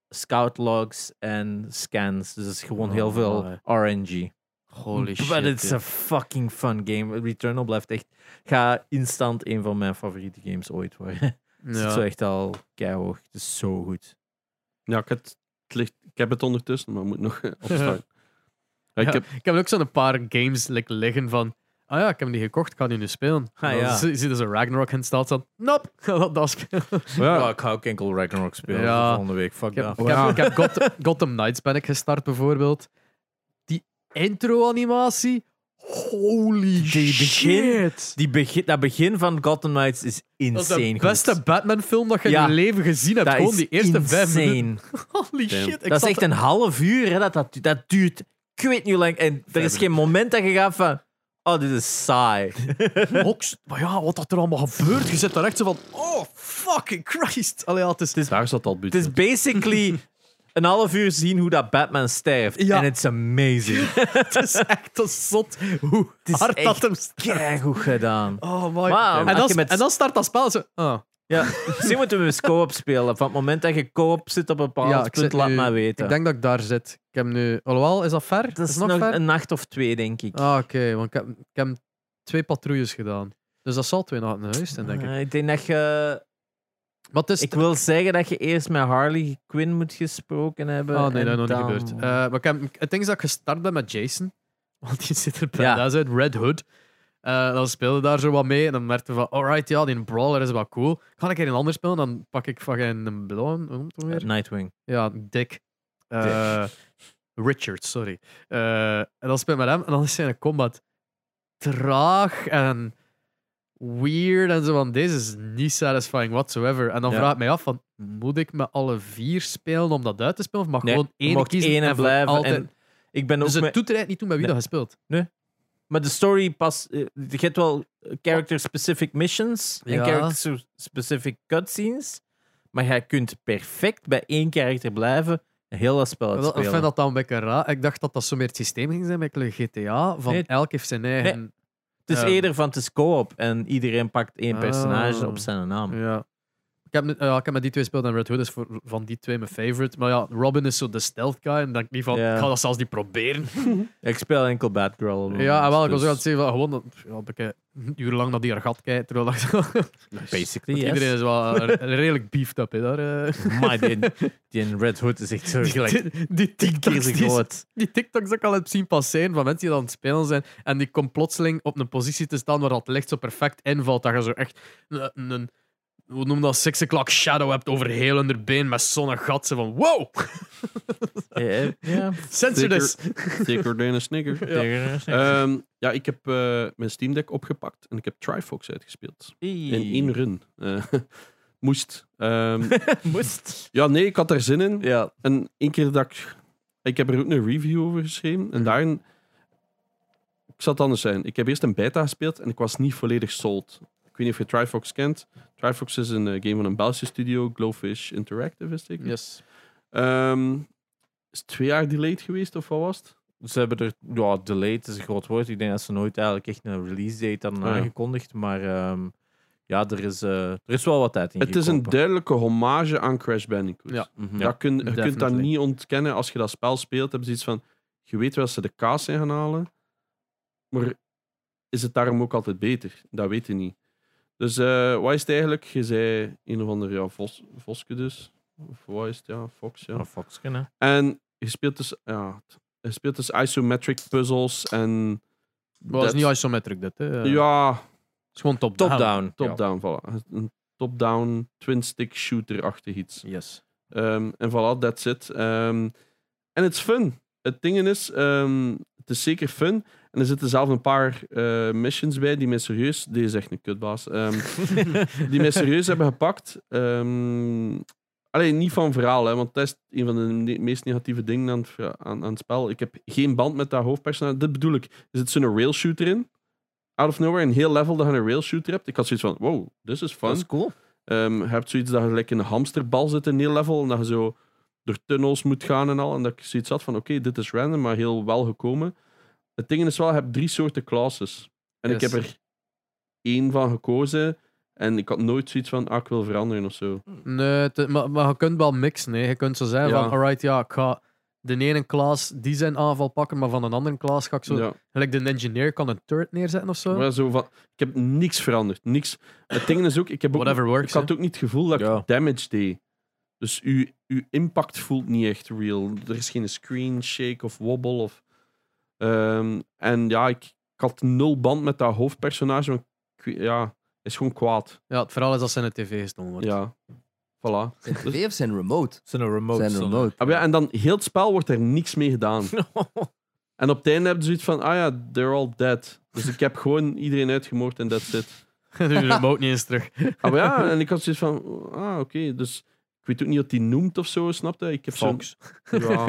Speaker 4: scout logs en scans. Dus dat is gewoon
Speaker 1: Oh,
Speaker 4: heel veel
Speaker 1: my.
Speaker 4: RNG.
Speaker 1: Holy shit.
Speaker 4: But it's
Speaker 1: ja.
Speaker 4: a fucking fun game. Returnal blijft echt... Ga instant een van mijn favoriete games ooit worden. Het zit
Speaker 1: Ja.
Speaker 4: zo echt al keihoog. Het is zo goed.
Speaker 3: Ja, ik, het, het ligt, ik heb het ondertussen, maar moet nog eh, opstaan. Ja, ik
Speaker 1: Ja,
Speaker 3: heb,
Speaker 1: Ik heb ook zo'n paar games like, liggen van... Ah ja, ik heb die gekocht, ik kan die nu spelen.
Speaker 4: Ah,
Speaker 1: En
Speaker 4: ja.
Speaker 1: dan zie zie je zo'n Ragnarok in staat staan. Nope, ik ga dat, dat spelen.
Speaker 3: ja,
Speaker 4: ik ga ook enkel Ragnarok
Speaker 1: spelen voor volgende
Speaker 4: week. Fuck
Speaker 1: Ik heb, ik heb, ik heb Got- Gotham Knights ben ik gestart, bijvoorbeeld. Die intro-animatie... Holy
Speaker 4: Die begin-
Speaker 1: shit.
Speaker 4: Die begin, dat begin van Gotham Knights is
Speaker 1: Dat is
Speaker 4: insane
Speaker 1: de beste
Speaker 4: goed.
Speaker 1: Batman-film dat je
Speaker 4: Ja.
Speaker 1: in je leven gezien hebt.
Speaker 4: Dat
Speaker 1: Gewoon
Speaker 4: is
Speaker 1: die eerste vijf
Speaker 4: insane.
Speaker 1: minuten. Holy
Speaker 3: Damn.
Speaker 1: shit. Ik
Speaker 4: Dat is
Speaker 1: zat-
Speaker 4: echt een half uur. Hè, dat, dat, dat duurt... Ik weet niet hoe lang. En er is geen moment dat je gaat van... oh, dit is saai.
Speaker 1: Hoks, maar ja, wat dat er allemaal gebeurt. Je zit daar echt zo van, oh, fucking Christ. Allee, ja, het is...
Speaker 3: Daar zat al
Speaker 4: Het is
Speaker 3: budget.
Speaker 4: basically een half uur zien hoe dat Batman sterft. En
Speaker 1: Ja.
Speaker 4: it's amazing.
Speaker 1: Het is echt een zot hoe
Speaker 4: is
Speaker 1: hard dat
Speaker 4: echt
Speaker 1: hem staat.
Speaker 4: Kijk goed gedaan.
Speaker 1: Oh my
Speaker 4: Maar
Speaker 1: en,
Speaker 4: als
Speaker 1: dan,
Speaker 4: je met-
Speaker 1: en dan start dat spel. en Zo, ah.
Speaker 4: Ja. Misschien moeten we eens co-op spelen. Van het moment dat je co-op zit op een bepaald
Speaker 1: Ja, ik
Speaker 4: punt,
Speaker 1: zit
Speaker 4: laat
Speaker 1: nu-
Speaker 4: maar weten.
Speaker 1: Ik denk dat ik daar zit. Ik heb nu... Alhoewel, is dat ver?
Speaker 4: dat is
Speaker 1: het
Speaker 4: nog
Speaker 1: ver?
Speaker 4: een nacht of twee, denk ik.
Speaker 1: Ah, oké. want ik heb, ik heb twee patrouilles gedaan. Dus dat zal twee nachten geweest zijn, denk ik.
Speaker 4: Eh, ik denk dat je...
Speaker 1: Maar het is...
Speaker 4: Ik wil zeggen dat je eerst met Harley Quinn moet gesproken hebben.
Speaker 1: Ah, nee,
Speaker 4: en
Speaker 1: dat is nog
Speaker 4: dan-
Speaker 1: niet gebeurd. Eh, maar ik heb, het ding is dat ik gestart ben met Jason. Want die zit er
Speaker 4: Ja.
Speaker 1: badass uit. Red Hood. Eh, dan speelde daar zo wat mee. En dan merkte we van, alright, ja, die brawler is wel cool. Ik ga een keer een ander spelen. Dan pak ik van een blauwe... Hoe noemt het
Speaker 4: Eh,
Speaker 1: weer?
Speaker 4: Nightwing.
Speaker 1: Ja, Dick. Eh, Richard, sorry. Eh, en dan speelt met hem. En dan is zijn combat traag en weird. En zo van, deze is niet satisfying whatsoever. En dan
Speaker 3: Ja.
Speaker 1: vraag ik mij af, van, moet ik met alle vier spelen om dat uit te spelen? Of mag
Speaker 4: Nee,
Speaker 1: gewoon
Speaker 4: je
Speaker 1: één
Speaker 4: mocht
Speaker 1: kiezen
Speaker 4: één
Speaker 1: en voor
Speaker 4: blijven.
Speaker 1: altijd...
Speaker 4: En ik ben
Speaker 1: dus
Speaker 4: ook
Speaker 1: het
Speaker 4: met...
Speaker 1: doet er eigenlijk niet toe met wie
Speaker 4: Nee.
Speaker 1: dat gespeeld.
Speaker 4: Maar de story pas. eh, Je hebt wel character-specific missions en
Speaker 1: Ja.
Speaker 4: character-specific cutscenes. Maar jij kunt perfect bij één karakter blijven. en Heel dat spel
Speaker 1: Wel, Ik
Speaker 4: uitspelen.
Speaker 1: vind dat dan een beetje raar. Ik dacht dat dat zo meer het systeem ging zijn met GTA. Van
Speaker 4: Nee.
Speaker 1: elk heeft zijn eigen...
Speaker 4: het is
Speaker 1: ja.
Speaker 4: eerder van het is co-op en iedereen pakt één
Speaker 1: Ah.
Speaker 4: personage op zijn naam.
Speaker 1: Ja. Ik heb, nu- ja, ik heb met die twee gespeeld en Red Hood is voor, van die twee mijn favorite. Maar ja, Robin is zo de stealth guy. En denk ik niet van,
Speaker 4: Ja.
Speaker 1: ik ga dat zelfs niet proberen.
Speaker 4: Ik speel enkel Batgirl. op het
Speaker 1: ja, en wel, ik
Speaker 4: moment,
Speaker 1: was ook aan het
Speaker 4: dus
Speaker 1: zeggen van, gewoon dat- ja, een beetje een uur lang naar die haar gat kijkt. Terwijl dat,
Speaker 4: Basically, yes.
Speaker 1: Iedereen is wel eh, redelijk beefed up. Hè, daar, eh.
Speaker 4: Maar die, die in Red Hood is echt zo gelijk
Speaker 1: die, die
Speaker 4: tien keer
Speaker 1: TikToks,
Speaker 4: zo
Speaker 1: die,
Speaker 4: groot.
Speaker 1: die TikToks dat ik al heb zien passeren van mensen die dan aan het spelen zijn. En die komt plotseling op een positie te staan waar dat licht zo perfect invalt. Dat je zo echt een, een- een hoe noem je dat, six o'clock shadow hebt over heel hun been met zo'n gat. Ze van, wow,
Speaker 4: Eh, eh, Ja.
Speaker 1: censor this.
Speaker 3: Zeker een snicker. Ehm, ja, ik heb eh, mijn Steam Deck opgepakt en ik heb Trifox uitgespeeld. In één run. Eh, moest. Ehm,
Speaker 4: Moest.
Speaker 3: ja, nee, ik had er zin in.
Speaker 4: Ja.
Speaker 3: En één keer dat ik... Ik heb er ook een review over geschreven.
Speaker 4: Mhm.
Speaker 3: En daarin... Ik zal het anders zijn. Ik heb eerst een beta gespeeld en ik was niet volledig sold. Ik weet niet of je Trifox kent. Trifox is een eh, game van een Belgische studio. Glowfish Interactive is het. zeker?
Speaker 1: Yes.
Speaker 3: Ehm, is het twee jaar delayed geweest of wat was het?
Speaker 4: Ze hebben er, ja, delayed is een groot woord. Ik denk dat ze nooit eigenlijk echt een release date hadden
Speaker 3: Ah, ja.
Speaker 4: aangekondigd. Maar ehm, ja, er is, eh, er is wel wat tijd in.
Speaker 3: Het is een
Speaker 4: gekropen.
Speaker 3: duidelijke hommage aan Crash Bandicoot.
Speaker 1: Ja.
Speaker 4: Mhm.
Speaker 3: dat kun, je kunt dat
Speaker 1: definitely.
Speaker 3: niet ontkennen als je dat spel speelt. Hebben ze iets van, je weet wel dat ze de kaas in gaan halen, maar is het daarom ook altijd beter? Dat weet je niet. Dus eh, wat is het eigenlijk? Je zei een of andere ja, vos, Voske dus. Of wat is het? Ja, Fox. Ja.
Speaker 4: Een Foxken, hè.
Speaker 3: En je speelt dus, ja, je speelt dus isometric puzzles en...
Speaker 1: Maar dat Ah, is niet
Speaker 3: dat- eh,
Speaker 1: isometric, dit. Hè. Het
Speaker 3: Ja,
Speaker 1: is gewoon top-down.
Speaker 4: Top-down.
Speaker 3: top-down, voilà. Een top-down twin-stick shooter-achtig iets.
Speaker 1: Yes.
Speaker 3: Ehm, en voilà, that's it. Ehm, en het is fun. Het ding is, ehm, het is zeker fun. En er zitten zelf een paar eh, missions bij die mij serieus... Deze is echt een kutbaas. Ehm, die mij serieus hebben gepakt. Ehm alleen niet van verhaal, hè, want dat is een van de ne- meest negatieve dingen aan het, vera- aan, aan het spel. Ik heb geen band met dat hoofdpersonage. Dit bedoel ik. Er zit zo'n rail shooter in. Out of nowhere, een heel level dat je een rail shooter hebt. Ik had zoiets van, wow, this is fun.
Speaker 4: Dat is cool.
Speaker 3: Ehm, je hebt zoiets dat je gelijk in een hamsterbal zit in heel level. En dat je zo door tunnels moet gaan en al. En dat ik zoiets had van: oké, dit is random, maar heel wel gekomen. Het ding is wel, je hebt drie soorten classes. En ik
Speaker 1: Yes.
Speaker 3: heb er één van gekozen. En ik had nooit zoiets van: ah, ik wil veranderen of zo.
Speaker 1: Nee, het- maar, maar je kunt wel mixen. Hè. Je kunt zo zeggen
Speaker 3: Ja.
Speaker 1: van, alright, ja, ik ga de ene klas die zijn aanval pakken, maar van een andere klas ga ik zo...
Speaker 3: Ja.
Speaker 1: Gelijk de engineer kan een turret neerzetten of zo.
Speaker 3: Maar zo van, ik heb niks veranderd. Niks. Het ding is ook: ik, heb ook
Speaker 1: Whatever works.
Speaker 3: ik had ook niet het gevoel dat
Speaker 4: Ja.
Speaker 3: ik damage deed. Dus uw, uw impact voelt niet echt real. Er is geen screen shake of wobble. Of, Ehm, en ja, ik, ik had nul band met dat hoofdpersonage. Want ik weet- ja, hij is gewoon kwaad.
Speaker 1: Ja, het verhaal is dat ze in de tv gestolen wordt.
Speaker 3: Ja, voilà. Dus-
Speaker 2: Zijn tv of zijn remote?
Speaker 4: Zijn een remote.
Speaker 2: zijn
Speaker 4: zonne.
Speaker 2: remote.
Speaker 3: Ah, ja, en dan heel het spel wordt er niks mee gedaan. En op het einde hebben ze zoiets van: ah ja, they're all dead. Dus ik heb gewoon iedereen uitgemoord en that's it.
Speaker 1: Doe de remote niet eens terug.
Speaker 3: Ah, maar ja, en ik had zoiets van, ah, oké, dus ik weet ook niet wat die noemt of zo, snap je? Ik heb zo'n-
Speaker 1: Fox.
Speaker 3: Ja,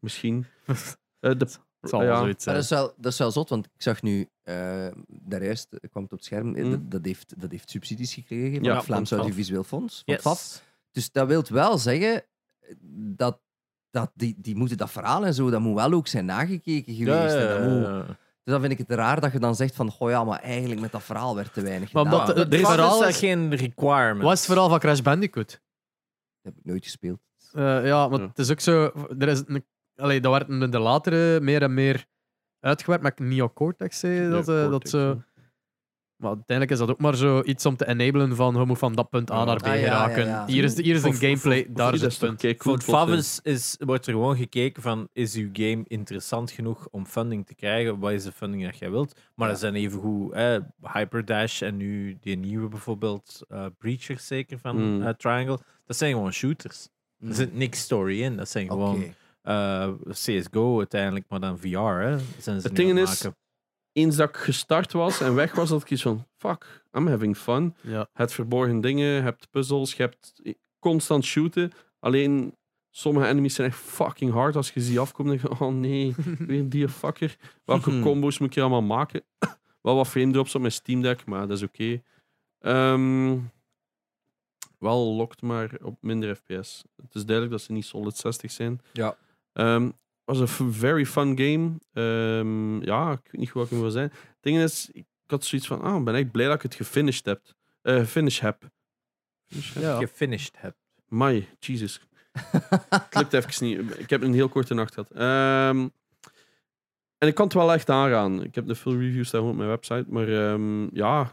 Speaker 3: misschien. Eh, de
Speaker 1: Het zal wel
Speaker 3: Ja.
Speaker 1: zoiets zijn.
Speaker 2: Maar dat, is wel, dat is wel zot, want ik zag nu, eh daarjuist eh, kwam het op het scherm, eh,
Speaker 3: Mm.
Speaker 2: dat, dat heeft, dat heeft subsidies gekregen van
Speaker 3: Ja,
Speaker 2: het Vlaams
Speaker 3: van het
Speaker 2: Audiovisueel Fonds, van
Speaker 4: Yes.
Speaker 2: het FAF. Dus dat wil wel zeggen eh, dat, dat die, die moeten dat verhaal en zo, dat moet wel ook zijn nagekeken geweest.
Speaker 4: Ja, ja,
Speaker 2: en dat
Speaker 4: ja,
Speaker 2: moet-
Speaker 4: ja.
Speaker 2: Dus dan vind ik het raar dat je dan zegt van, goh ja, maar eigenlijk met dat verhaal werd te weinig
Speaker 1: Maar
Speaker 2: gedaan.
Speaker 1: omdat-
Speaker 2: Dat
Speaker 1: Er is
Speaker 4: Vaak is
Speaker 1: verhaal-
Speaker 4: dat geen requirement.
Speaker 1: Wat is het verhaal van Crash Bandicoot?
Speaker 2: heb ik nooit gespeeld.
Speaker 1: Eh, ja, maar
Speaker 3: Ja.
Speaker 1: het is ook zo. Er is een, allee, dat werd in de latere meer en meer uitgewerkt met neocortex. hè, dat, eh, dat
Speaker 3: Neocortex,
Speaker 1: ze,
Speaker 3: ja.
Speaker 1: maar uiteindelijk is dat ook maar zo iets om te enablen van je moet van dat punt A naar B
Speaker 2: Ah, ja, ja,
Speaker 1: geraken.
Speaker 2: ja.
Speaker 1: Hier is, de- hier is een
Speaker 3: Of-
Speaker 1: gameplay,
Speaker 3: of- of-
Speaker 1: daar is
Speaker 3: dat
Speaker 1: het
Speaker 3: is toch
Speaker 1: punt.
Speaker 3: kei cool
Speaker 4: Voor het
Speaker 3: plot,
Speaker 4: FAF
Speaker 3: hè.
Speaker 4: is, is- wordt er gewoon gekeken van, is uw game interessant genoeg om funding te krijgen? Wat is de funding dat jij wilt? Maar er zijn evengoed eh, Hyperdash en nu die nieuwe bijvoorbeeld, eh, Breacher zeker van
Speaker 3: Mm.
Speaker 4: eh, Triangle. Dat zijn gewoon shooters. Er zit niks story in. Dat zijn
Speaker 2: Hmm, Oké.
Speaker 4: gewoon eh, CSGO uiteindelijk, maar dan VR. Hè, zijn ze
Speaker 3: Het
Speaker 4: nu
Speaker 3: ding
Speaker 4: aan
Speaker 3: is-
Speaker 4: maken.
Speaker 3: Eens dat ik gestart was en weg was, had ik iets van: fuck, I'm having fun.
Speaker 1: Ja.
Speaker 3: Je hebt verborgen dingen, je hebt puzzels, je hebt constant shooten. Alleen sommige enemies zijn echt fucking hard. Als je ze ziet afkomen, denk je, oh nee, weer die fucker. Welke combo's moet ik hier allemaal maken? wel wat frame drops op mijn Steam Deck, maar dat is oké. Ehm, wel lokt maar op minder FPS. Het is duidelijk dat ze niet solid 60 zijn.
Speaker 2: Ja.
Speaker 3: Ehm, was een f- very fun game. Ehm, ja, ik weet niet goed wat ik wil zijn. Het ding is, ik had zoiets van, ah, ik ben echt blij dat ik het gefinished heb. Eh gefinished heb. Finish heb?
Speaker 4: Gefinished hebt.
Speaker 3: Mai, Jesus. Het lukt even niet. Ik heb een heel korte nacht gehad. Ehm, en ik kan het wel echt aangaan. Ik heb de veel reviews staan op mijn website. Maar ehm, ja,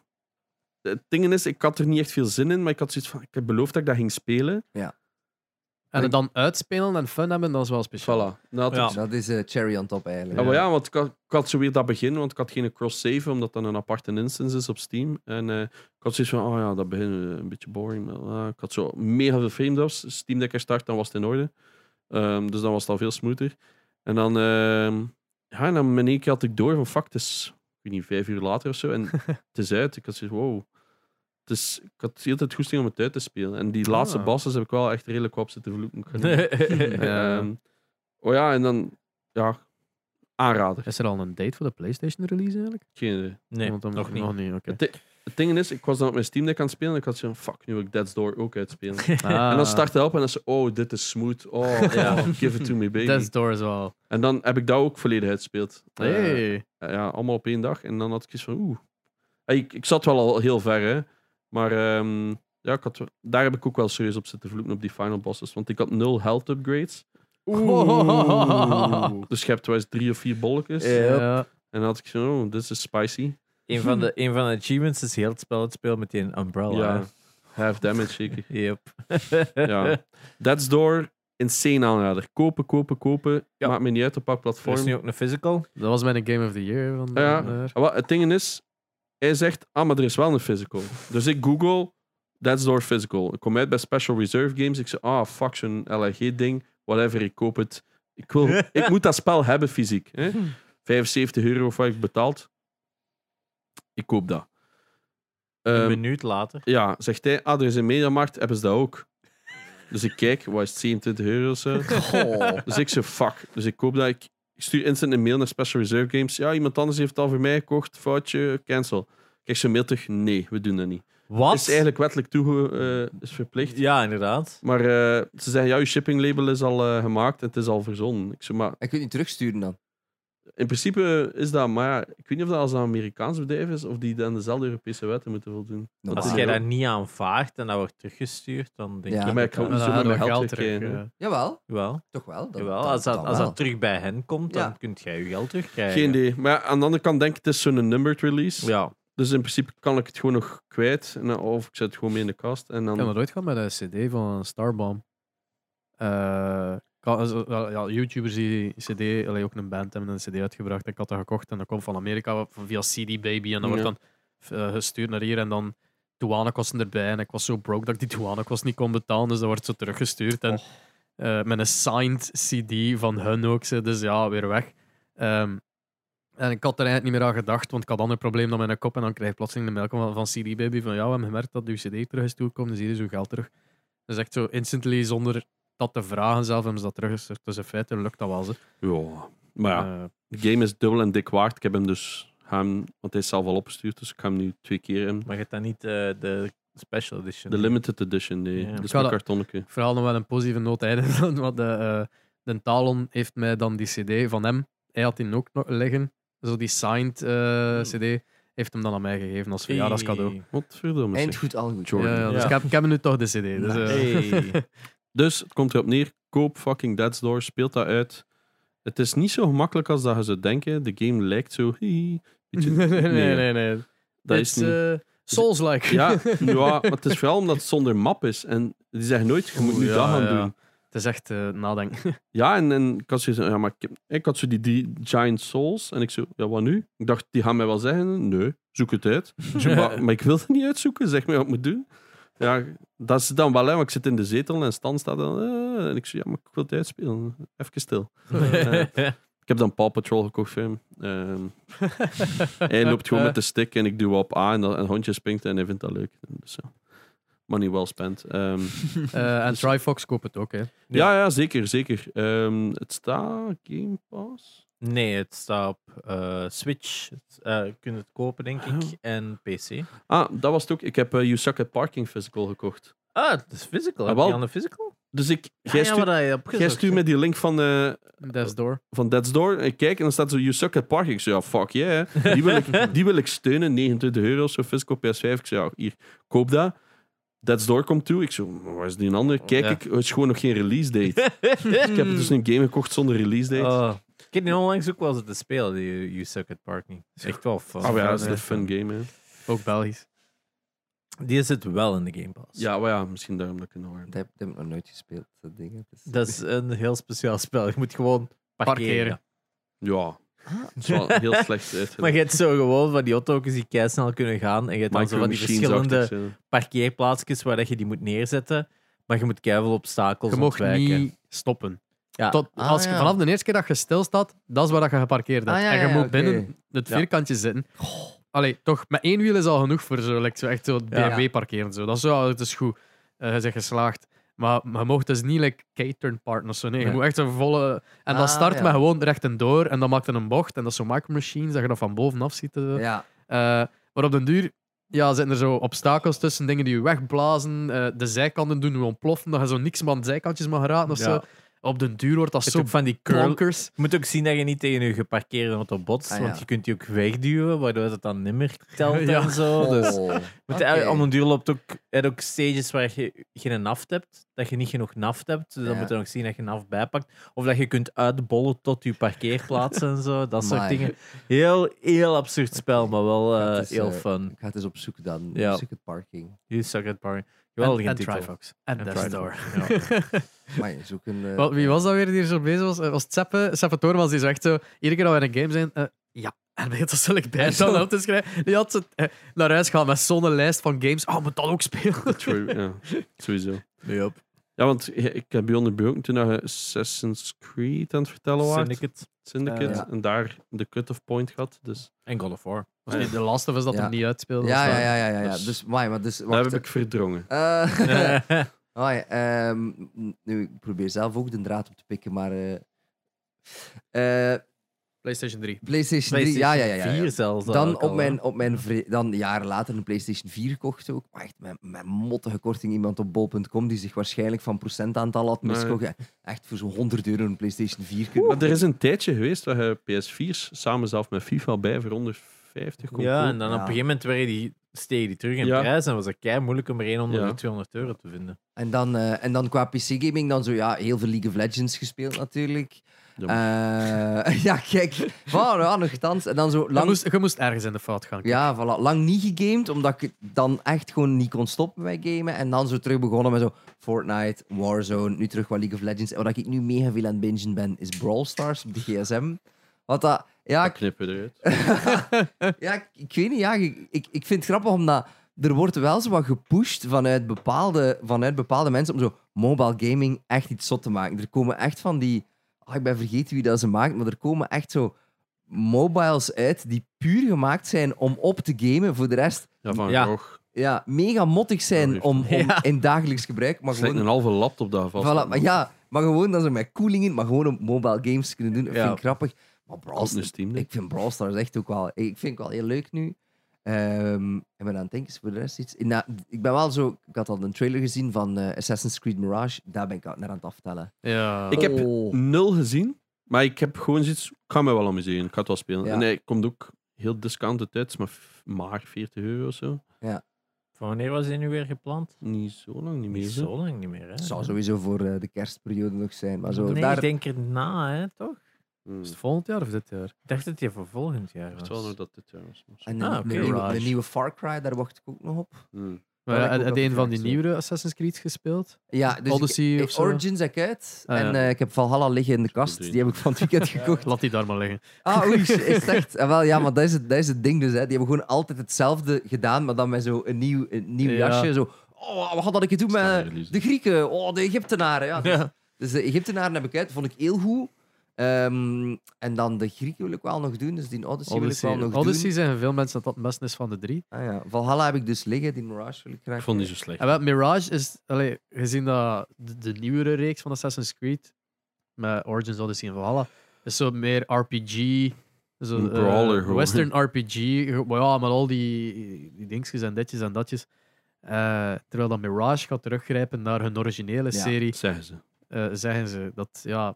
Speaker 3: het ding is, ik had er niet echt veel zin in. Maar ik had zoiets van, ik heb beloofd dat ik dat ging spelen.
Speaker 1: En het dan uitspelen en fun hebben, dat is wel speciaal.
Speaker 3: Voilà. Dan had ik
Speaker 4: Ja.
Speaker 2: Dat is eh, cherry on top eigenlijk.
Speaker 3: Ja, Ah, maar ja, want ik had, ik had zo weer dat begin, want ik had geen cross-save, omdat dat een aparte instance is op Steam. En eh, ik had zoiets van, oh ja, dat begin eh, een beetje boring. Maar, ah, ik had zo mega veel frame drops. Steam Deck herstart, dan was het in orde. Ehm, dus dan was het al veel smoother. En dan, ehm, ja, en dan in één keer had ik door van, fuck, het is, ik weet niet, vijf uur later of zo. En het is uit. Ik had zoiets wow. Het is, ik had heel het goesting om het uit te spelen. En die laatste
Speaker 1: Ah.
Speaker 3: bosses heb ik wel echt redelijk op zitten vloeken. Ik ga niet- Ehm, oh ja, en dan, ja, aanrader.
Speaker 1: Is er al een date voor de PlayStation release eigenlijk?
Speaker 3: Geen idee.
Speaker 4: nee,
Speaker 1: Want dan-
Speaker 4: nog niet.
Speaker 1: Nog niet oké.
Speaker 3: Het ding is, ik was dan op mijn Steam Deck aan het spelen en ik had zoiets van, fuck, nu wil ik Dead's Door ook uitspelen. En
Speaker 1: Ah.
Speaker 3: dan start hij op en dan ze, oh, dit is smooth. Oh,
Speaker 4: Ja.
Speaker 3: oh, give it to me, baby.
Speaker 1: Ah, Death's Door is wel.
Speaker 3: En dan heb ik dat ook volledig uitgespeeld. Eh,
Speaker 1: Hey.
Speaker 3: ja, allemaal op één dag. En dan had ik iets van, oeh. Eh, Ik, ik zat wel al heel ver, hè. Maar ehm, ja, ik had, wel- daar heb ik ook wel serieus op zitten vloeken, op die final bosses. Want ik had nul health upgrades.
Speaker 1: Oeh.
Speaker 3: Dus je hebt wel eens drie of vier bolletjes.
Speaker 1: Ja.
Speaker 3: En dan had ik zo, oh, dit is spicy.
Speaker 4: Een van, de, een van de achievements is heel het spel het speel met die umbrella.
Speaker 3: Ja,
Speaker 4: hè.
Speaker 3: half damage zeker.
Speaker 4: Yep.
Speaker 3: Ja. That's Door, insane aanrader. Kopen, kopen, kopen. Maakt me niet uit op welk
Speaker 4: Er is
Speaker 3: platform.
Speaker 4: nu ook een physical.
Speaker 1: Dat was mijn Game of the Year. Van
Speaker 3: Ja.
Speaker 1: van daar.
Speaker 3: Ah, wel, het ding is, hij zegt, ah, maar er is wel een physical. Dus ik google That's Door physical. Ik kom uit bij Special Reserve Games. Ik zeg, ah, fuck, zo'n LRG-ding. Whatever, ik koop het. Ik, wil, ik moet dat spel hebben fysiek. Hè? 75 euro of wat ik betaald. Ik koop dat.
Speaker 4: een
Speaker 3: Ehm,
Speaker 4: minuut later.
Speaker 3: Ja, zegt hij, ah, er is een mediamarkt, hebben ze dat ook. Dus ik kijk, wat is het, 27 euro of zo?
Speaker 2: Goh.
Speaker 3: Dus ik zei, fuck. Dus ik hoop dat ik... Ik stuur instant een mail naar Special Reserve Games. Ja, iemand anders heeft het al voor mij gekocht, foutje, cancel. Kijk ze een mail terug, nee, we doen dat niet.
Speaker 4: Wat?
Speaker 3: Is eigenlijk wettelijk toege... eh, is verplicht.
Speaker 4: Ja, inderdaad.
Speaker 3: Maar eh, ze zeggen, ja, uw shipping label is al eh, gemaakt en het is al verzonnen. Ik zeg, maar
Speaker 2: En kun je niet terugsturen dan?
Speaker 3: in principe is dat... Maar ja, ik weet niet of dat als een Amerikaans bedrijf is, of die dan dezelfde Europese wetten moeten voldoen.
Speaker 2: Dan
Speaker 3: Dat
Speaker 4: Als
Speaker 3: is
Speaker 4: jij
Speaker 3: wel-
Speaker 4: dat niet aanvaardt en dat wordt teruggestuurd, dan denk
Speaker 2: Ja.
Speaker 4: ik
Speaker 3: Ja, maar ik ga
Speaker 4: dat
Speaker 3: ook niet
Speaker 1: Dan
Speaker 3: zomaar
Speaker 1: hadden we
Speaker 3: mijn geld
Speaker 1: geld
Speaker 3: terugkrijgen.
Speaker 1: terug,
Speaker 3: hè.
Speaker 1: ja.
Speaker 2: Jawel,
Speaker 4: wel.
Speaker 2: toch wel. Dan,
Speaker 4: Jawel,
Speaker 2: dan-
Speaker 4: als dat,
Speaker 2: dan
Speaker 4: als
Speaker 2: wel.
Speaker 4: dat terug bij hen komt,
Speaker 2: Ja.
Speaker 4: dan kunt jij je geld terugkrijgen.
Speaker 3: Geen idee. Maar ja, aan de andere kant denk ik, het is zo'n numbered release.
Speaker 4: Ja.
Speaker 3: Dus in principe kan ik het gewoon nog kwijt. En, dan- of ik zet het gewoon mee in de kast. En dan...
Speaker 1: Ik heb nog nooit gehad met een CD van Starbomb. Eh, ik had- eh, wel, ja, YouTubers die CD, allee, ook een band hebben een CD uitgebracht. Ik had dat gekocht en dat kwam van Amerika via CD Baby. En dat wordt
Speaker 3: Ja.
Speaker 1: dan eh, gestuurd naar hier en dan douanekosten erbij. En ik was zo broke dat ik die douanekosten niet kon betalen, dus dat wordt zo teruggestuurd. En
Speaker 3: Och.
Speaker 1: eh, met een signed CD van hun ook, ze, dus ja, weer weg. Ehm, en ik had er eigenlijk niet meer aan gedacht, want ik had ander probleem dan mijn kop. En dan krijg je plotseling de mail van, van CD Baby van ja, we hebben gemerkt dat uw CD terug is toegekomen, dus hier is uw geld terug. Dus echt zo instantly, zonder dat te vragen zelf, hebben ze dat teruggestuurd. Dus in feite lukt dat wel. Ze.
Speaker 3: Ja. Maar ja,
Speaker 1: Eh,
Speaker 3: de game is dubbel en dik waard. Ik heb hem dus, ga hem, want hij is zelf al opgestuurd, dus ik ga hem nu twee keer in.
Speaker 4: Maar je hebt dan niet eh, de special edition.
Speaker 3: De limited edition, nee.
Speaker 4: Ja.
Speaker 3: Dus
Speaker 1: Ik ga
Speaker 3: een
Speaker 1: dat-
Speaker 3: kartonnetje.
Speaker 1: ik verhaal nog wel een positieve noot eindigen. Want de, eh, de Talon heeft mij dan die CD van hem. Hij had die ook nog liggen. Zo die signed eh, CD. Heeft hem dan aan mij gegeven als verjaardagscadeau.
Speaker 3: Wat verdomme zeg.
Speaker 2: Eind goed, al goed.
Speaker 3: Jordan.
Speaker 1: Ja, ja, dus
Speaker 4: Ja.
Speaker 1: ik heb, ik heb nu toch de CD. Dus, eh,
Speaker 4: Hey.
Speaker 3: Dus het komt erop neer. Koop fucking Dead's Door. Speelt dat uit. Het is niet zo gemakkelijk als dat je zou denken. De game lijkt zo. hihi, beetje-
Speaker 1: nee, nee, nee. nee.
Speaker 3: Dat
Speaker 1: It's,
Speaker 3: is niet.
Speaker 1: eh, Souls-like.
Speaker 3: Ja, ja, maar het is vooral omdat het zonder map is. En die zeggen nooit, je moet
Speaker 1: Oeh,
Speaker 3: nu
Speaker 1: ja,
Speaker 3: dat gaan
Speaker 1: ja.
Speaker 3: doen.
Speaker 1: Het is echt eh, nadenken.
Speaker 3: Ja, en, en ik had zo, ja, maar ik, heb- ik had zo die, die Giant Souls. En ik zo, ja, wat nu? Ik dacht, die gaan mij wel zeggen. Nee, zoek het uit. Ik zo, maar, maar ik wil het niet uitzoeken. Zeg mij wat ik moet doen. Ja, dat is dan wel, hè, want ik zit in de zetel en Stan staat dan. eh, en ik zo, ja, maar ik wil het uitspelen. Even stil. Eh, Ik heb dan Paw Patrol gekocht voor hem. Ehm, hij loopt gewoon met de stick en ik duw op A en dan een hondje springt en hij vindt dat leuk. Dus, ja. Money well spent. Ehm,
Speaker 1: Eh, en Trifox koopt het ook. Hè.
Speaker 3: ja. ja, zeker, zeker. Ehm, het staat Game Pass.
Speaker 4: Nee, het staat op eh, Switch. Het, eh, je kunt het kopen, denk ik.
Speaker 3: Oh.
Speaker 4: En PC.
Speaker 3: Ah, dat was het ook. Ik heb eh You Suck at Parking Physical gekocht.
Speaker 4: Ah, het is physical.
Speaker 3: Ah,
Speaker 4: Heb
Speaker 3: wel.
Speaker 4: je aan de physical?
Speaker 3: Dus ik,
Speaker 4: Ah,
Speaker 3: jij
Speaker 4: ja,
Speaker 3: stuurt-
Speaker 4: wat hij hebt
Speaker 3: jij
Speaker 4: gezocht,
Speaker 3: stuurt
Speaker 4: hè.
Speaker 3: me die link van, eh,
Speaker 1: Death's Door.
Speaker 3: van Dead's Door. Ik kijk en dan staat zo You Suck at Parking. Ik zei, ja, fuck yeah. hè. Die wil ik, die wil ik steunen. 29 euro of zo, Fisco PS5. Ik zei, ja, hier, koop dat. Dead's Door komt toe. Ik zo, waar is die een ander? Kijk
Speaker 4: Oh, Ja.
Speaker 3: ik, het is gewoon nog geen release date. ik heb dus een game gekocht zonder release date.
Speaker 4: Oh. Ik heb die onlangs ook wel zitten spelen, die You- You Suck at Parking. Is Echt wel fun.
Speaker 3: Ah, maar ja, dat is
Speaker 1: Ja.
Speaker 3: een fun game, hè.
Speaker 1: Ook Belgisch.
Speaker 4: Die zit wel in de Game Pass.
Speaker 3: Ja, maar ja, misschien daarom dat ik het nog
Speaker 2: Dat heb, dat heb ik nog nooit gespeeld, dat ding. hè. Dus-
Speaker 4: Dat is een heel speciaal spel. Je moet gewoon parkeren.
Speaker 1: Parkeren.
Speaker 3: Ja, het is wel heel slecht
Speaker 4: Maar
Speaker 3: uitgelegd.
Speaker 4: je hebt zo gewoon van die auto's die kei snel kunnen gaan. En je hebt dan zo van die verschillende parkeerplaatsjes waar dat je die moet neerzetten. Maar je moet keihard obstakels
Speaker 1: Je mocht
Speaker 4: ontwijken.
Speaker 1: niet stoppen.
Speaker 4: Ja.
Speaker 1: Tot,
Speaker 2: Ah,
Speaker 1: als je,
Speaker 2: ja.
Speaker 1: vanaf de eerste keer dat je stilstaat, dat is waar dat je geparkeerd hebt.
Speaker 2: Ah, ja,
Speaker 1: en je
Speaker 2: ja,
Speaker 1: moet
Speaker 2: oké.
Speaker 1: binnen het
Speaker 4: Ja.
Speaker 1: vierkantje zitten. Allee, toch, met één wiel is al genoeg voor zo, like, zo echt zo het
Speaker 4: Ja.
Speaker 1: BMW parkeren. Zo. Dat is, ja, het is goed. Eh, je bent geslaagd. Maar je mocht dus niet like K-turn partners. zo, Nee, je
Speaker 4: Nee.
Speaker 1: moet echt een volle... En dat
Speaker 2: Ah,
Speaker 1: start
Speaker 2: ja.
Speaker 1: met gewoon rechtendoor en dan maakt het een bocht. En dat is zo'n micromachines dat je dan van bovenaf ziet. eh.
Speaker 2: Ja,
Speaker 1: Eh, maar op den duur ja, zitten er zo obstakels tussen, dingen die je wegblazen, eh, de zijkanten doen je ontploffen, dat je zo niks aan de zijkantjes mag raken of
Speaker 4: Ja.
Speaker 1: zo. Op den duur wordt dat
Speaker 4: Je hebt
Speaker 1: zo
Speaker 4: ook van die curl.
Speaker 1: bonkers.
Speaker 4: Je moet ook zien dat je niet tegen je geparkeerde auto botst.
Speaker 2: Ah, ja.
Speaker 4: Want je kunt die ook wegduwen, waardoor het dan nimmer telt
Speaker 1: Ja.
Speaker 4: en zo. Dus
Speaker 2: Oh,
Speaker 4: Want
Speaker 2: oké.
Speaker 4: om een duur loopt ook, je hebt ook stages waar je geen naft hebt, dat je niet genoeg naft hebt. Dus dan
Speaker 2: Ja.
Speaker 4: moet je nog zien dat je naft bijpakt. Of dat je kunt uitbollen tot je parkeerplaats en zo. Dat soort
Speaker 2: Amai.
Speaker 4: dingen. Heel, heel absurd spel, maar wel eh,
Speaker 2: Ja, het is,
Speaker 4: heel
Speaker 2: eh,
Speaker 4: fun.
Speaker 2: Ik ga het eens opzoeken dan.
Speaker 4: Ja.
Speaker 2: Ja. Zoek het parking.
Speaker 4: You suck at parking.
Speaker 1: En,
Speaker 4: Geweldige
Speaker 1: en
Speaker 4: titel.
Speaker 1: Trifox. En
Speaker 4: En
Speaker 1: Death Door.
Speaker 4: Trifox,
Speaker 2: Maar ja, zoek een. eh,
Speaker 1: Wel, Wie was dat weer die er zo bezig was? Eh, Was het Seppe? Seppe Toormans die zo echt zo... Iedere keer dat we in een game zijn... eh, ja, en begint dat zulk bij
Speaker 2: Zo.
Speaker 1: dan op te schrijven. Die had ze eh, naar huis gegaan met zo'n lijst van games. Oh, moet dat ook spelen?
Speaker 3: True, ja, sowieso.
Speaker 4: Yep.
Speaker 3: Ja, want je- ik heb je onderbroken toen je Assassin's Creed aan het vertellen was.
Speaker 4: Syndicate.
Speaker 3: Syndicate.
Speaker 2: Eh, ja.
Speaker 3: En daar de cut-off point gehad. Dus
Speaker 4: En God of War.
Speaker 1: Was niet de Last of Us dat
Speaker 2: Ja.
Speaker 1: hem niet uitspeelde?
Speaker 2: Ja,
Speaker 1: Was
Speaker 2: ja,
Speaker 1: dat-
Speaker 2: ja, ja, ja. ja.
Speaker 3: Dus-
Speaker 2: Dus, maar, maar dus,
Speaker 3: daar
Speaker 2: wacht.
Speaker 3: heb ik verdrongen.
Speaker 2: eh, Hoi, ehm, nu, ik probeer zelf ook de draad op te pikken, maar... eh, eh,
Speaker 1: PlayStation 3.
Speaker 2: PlayStation 3,
Speaker 4: PlayStation
Speaker 2: ja, ja, ja. ja, ja.
Speaker 4: 4 zelfs. al
Speaker 2: Dan,
Speaker 4: ook al,
Speaker 2: op mijn, op mijn vri- dan jaren later een PlayStation 4 kocht ook. Maar echt met, met mottige korting iemand op bol.com die zich waarschijnlijk van procentaantal had
Speaker 3: Nee.
Speaker 2: misgekocht. Ja, Echt voor zo'n 100 euro een PlayStation 4 kunnen.
Speaker 3: Maar er is een tijdje geweest dat je PS4's samen zelf met FIFA bij voor 150 kon
Speaker 4: Ja,
Speaker 3: kopen.
Speaker 4: en dan op
Speaker 2: Ja.
Speaker 4: een gegeven moment werden die, stegen die terug in
Speaker 3: Ja.
Speaker 4: prijs. En was het kei moeilijk om er 100
Speaker 3: Ja.
Speaker 4: of 200 euro te vinden.
Speaker 2: En dan, eh, en dan qua PC-gaming dan zo, ja, heel veel League of Legends gespeeld natuurlijk.
Speaker 3: Ja,
Speaker 2: Eh, ja, kijk. Wow, ja, nogthans. En dan zo
Speaker 1: Je,
Speaker 2: lang...
Speaker 1: moest, je moest ergens in de fout gaan.
Speaker 2: Ja, voilà. Lang niet gegamed, omdat ik het dan echt gewoon niet kon stoppen met gamen. En dan zo terug begonnen met zo Fortnite, Warzone, nu terug wat League of Legends. En wat ik nu mega veel aan het bingen ben, is Brawl Stars op de gsm. Wat dat... Ja,
Speaker 3: dat
Speaker 2: ik,
Speaker 3: knippen we eruit.
Speaker 2: ja, ik, ik weet niet. Ja, ik, ik, ik vind het grappig, omdat er wordt wel zo wat gepusht vanuit bepaalde, vanuit bepaalde mensen om zo mobile gaming echt iets zot te maken. Er komen echt van die... ah, ik ben vergeten wie dat ze maakt, maar er komen echt zo mobiles uit die puur gemaakt zijn om op te gamen. Voor de rest
Speaker 3: Ja, van
Speaker 4: Ja.
Speaker 3: Gogh.
Speaker 2: ja, mega mottig zijn
Speaker 3: Alsjeblieft.
Speaker 2: om, om
Speaker 4: Ja.
Speaker 2: in dagelijks gebruik. Maar
Speaker 3: Slecht een
Speaker 2: gewoon,
Speaker 3: halve laptop daar vast.
Speaker 2: voilà, maar ja, maar gewoon dat ze met koelingen, maar gewoon op mobile games kunnen doen. Dat
Speaker 4: Ja.
Speaker 2: vind ik grappig. Maar Brawl
Speaker 3: Als een
Speaker 2: Stars,
Speaker 3: Steam Deck.
Speaker 2: ik vind Brawl Stars echt ook wel... Ik vind het wel heel leuk nu. Ehm ik ben aan het denken, is voor de rest iets... Nou, ik ben wel zo... Ik had al een trailer gezien van eh, Assassin's Creed Mirage. Daar ben ik al naar aan het aftellen.
Speaker 1: Ja.
Speaker 3: Ik heb-
Speaker 2: Oh.
Speaker 3: nul gezien, maar ik heb gewoon zoiets. Ik ga mij wel amuseren, ik ga het wel spelen.
Speaker 2: Ja.
Speaker 3: En hij komt ook heel discounted uit, het is maar, f- maar 40 euro of zo.
Speaker 4: Van wanneer was die nu weer gepland?
Speaker 3: Niet zo lang, niet meer.
Speaker 4: Niet
Speaker 3: zo.
Speaker 4: zo lang niet
Speaker 1: Ah,
Speaker 4: meer, hè?
Speaker 2: Het zou sowieso voor eh, de kerstperiode nog zijn. Maar zo,
Speaker 4: nee,
Speaker 2: daar,
Speaker 4: ik denk er na, hè, toch?
Speaker 3: Hmm.
Speaker 1: Is het volgend jaar of dit jaar?
Speaker 4: Ik dacht dat die voor volgend jaar
Speaker 3: Ik
Speaker 4: was.
Speaker 3: dacht wel nog dat dit jaar was. maar-
Speaker 2: En een,
Speaker 1: Ah,
Speaker 2: een
Speaker 1: oké.
Speaker 2: nieuwe,
Speaker 1: Mirage.
Speaker 2: een nieuwe Far Cry, daar wacht ik ook nog op.
Speaker 3: Hmm.
Speaker 1: Maar
Speaker 2: heb
Speaker 1: ja,
Speaker 2: ik ook
Speaker 1: heb je
Speaker 2: al
Speaker 1: een van die
Speaker 2: gevraagd, zo.
Speaker 1: nieuwe Assassin's Creed gespeeld?
Speaker 2: Ja, dus ik-
Speaker 1: Odyssey
Speaker 2: ik,
Speaker 1: of zo?
Speaker 2: Origins heb ik uit.
Speaker 1: Ah,
Speaker 2: en
Speaker 1: ja.
Speaker 2: eh, ik heb Valhalla liggen in de kast.
Speaker 3: Drie.
Speaker 2: Die heb ik van het weekend gekocht.
Speaker 1: Laat die daar maar liggen.
Speaker 2: Ah, oei, shit, is het echt? Ah, wel, ja, maar dat is, het, dat is het ding dus. Hè. Die hebben gewoon altijd hetzelfde gedaan, maar dan met zo een nieuw, een nieuw
Speaker 1: Ja.
Speaker 2: jasje. Zo, oh, wat had ik het doen
Speaker 3: Standaard
Speaker 2: met
Speaker 3: illusie.
Speaker 2: de Grieken? Oh, de Egyptenaren. Ja. Dus,
Speaker 4: Ja.
Speaker 2: dus de Egyptenaren heb ik uit, vond ik heel goed. Ehm, en dan de Grieken wil ik wel nog doen, dus die Odyssey, wil ik wel nog
Speaker 1: Odyssey zijn veel mensen dat dat het beste is van de drie.
Speaker 2: doen. Ah, ja. Valhalla heb ik dus liggen, die Mirage wil ik graag.
Speaker 3: Ik vond die zo slecht.
Speaker 1: En wel, Mirage is, allee, gezien dat de, de nieuwere reeks van Assassin's Creed, met Origins, Odyssey en Valhalla, is zo meer RPG, zo,
Speaker 3: Een
Speaker 1: eh,
Speaker 3: brawler gewoon.
Speaker 1: western RPG, ge- maar ja, met al die, die dingetjes en ditjes en datjes. Eh, terwijl dat Mirage gaat teruggrijpen naar hun originele
Speaker 2: Ja.
Speaker 1: serie,
Speaker 3: Zeggen ze.
Speaker 1: eh, zeggen ze dat, ja,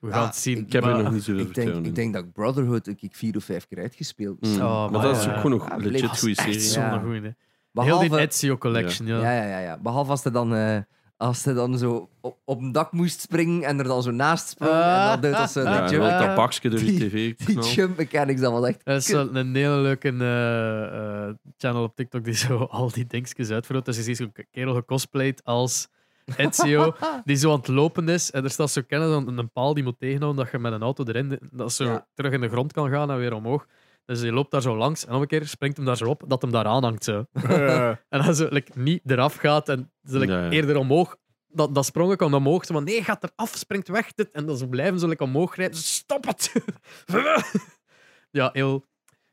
Speaker 1: we
Speaker 2: Ja,
Speaker 1: gaan het zien.
Speaker 2: ik
Speaker 3: Ik heb er
Speaker 1: maar-
Speaker 3: nog niet zoveel
Speaker 2: ik, denk,
Speaker 3: vertrouwen in.
Speaker 2: ik denk dat ik Brotherhood ik, ik vier of vijf keer uitgespeeld.
Speaker 3: Hmm.
Speaker 1: Oh,
Speaker 3: maar,
Speaker 1: maar
Speaker 3: dat
Speaker 1: ja.
Speaker 3: is ook gewoon nog
Speaker 2: Ja,
Speaker 3: een
Speaker 2: bleef
Speaker 3: legit
Speaker 2: als
Speaker 3: goede
Speaker 2: echt
Speaker 3: serie.
Speaker 1: Zo'n
Speaker 2: Ja.
Speaker 1: goeie, hè. Heel
Speaker 2: Behalve-
Speaker 1: die Ezio collection, ja.
Speaker 2: Ja, ja, ja, ja. Behalve als hij dan, eh, als hij dan zo op, op een dak moest springen en er dan zo naast sprong. en dan deed dat zo.
Speaker 1: Ah,
Speaker 3: Ja,
Speaker 1: ah,
Speaker 2: die
Speaker 3: en
Speaker 2: jump,
Speaker 1: ah.
Speaker 3: dat tabaksje door die
Speaker 2: Die-
Speaker 3: tv
Speaker 2: die
Speaker 3: knal.
Speaker 2: jump mechanics, dat was echt...
Speaker 1: Dat is zo een hele leuke eh, eh, channel op TikTok die zo al die dingetjes uitvergroot. Dus je ziet zo'n kerel gecosplayed als Ezio, die zo aan het lopen is. En er staat zo kennen dan een paal die moet tegenhouden dat je met een auto erin, dat zo
Speaker 2: Ja.
Speaker 1: terug in de grond kan gaan en weer omhoog. Dus je loopt daar zo langs en om een keer springt hem daar zo op dat hem daar aanhangt. Zo.
Speaker 4: Eh,
Speaker 1: en dan zo like, niet eraf gaat en zo, like,
Speaker 3: Ja, ja.
Speaker 1: eerder omhoog. Dat, dat sprongen kwam omhoog. Zo van nee, gaat eraf, springt weg. Dit. En dan zo blijven zo like, omhoog rijden. Stop het! ja, heel,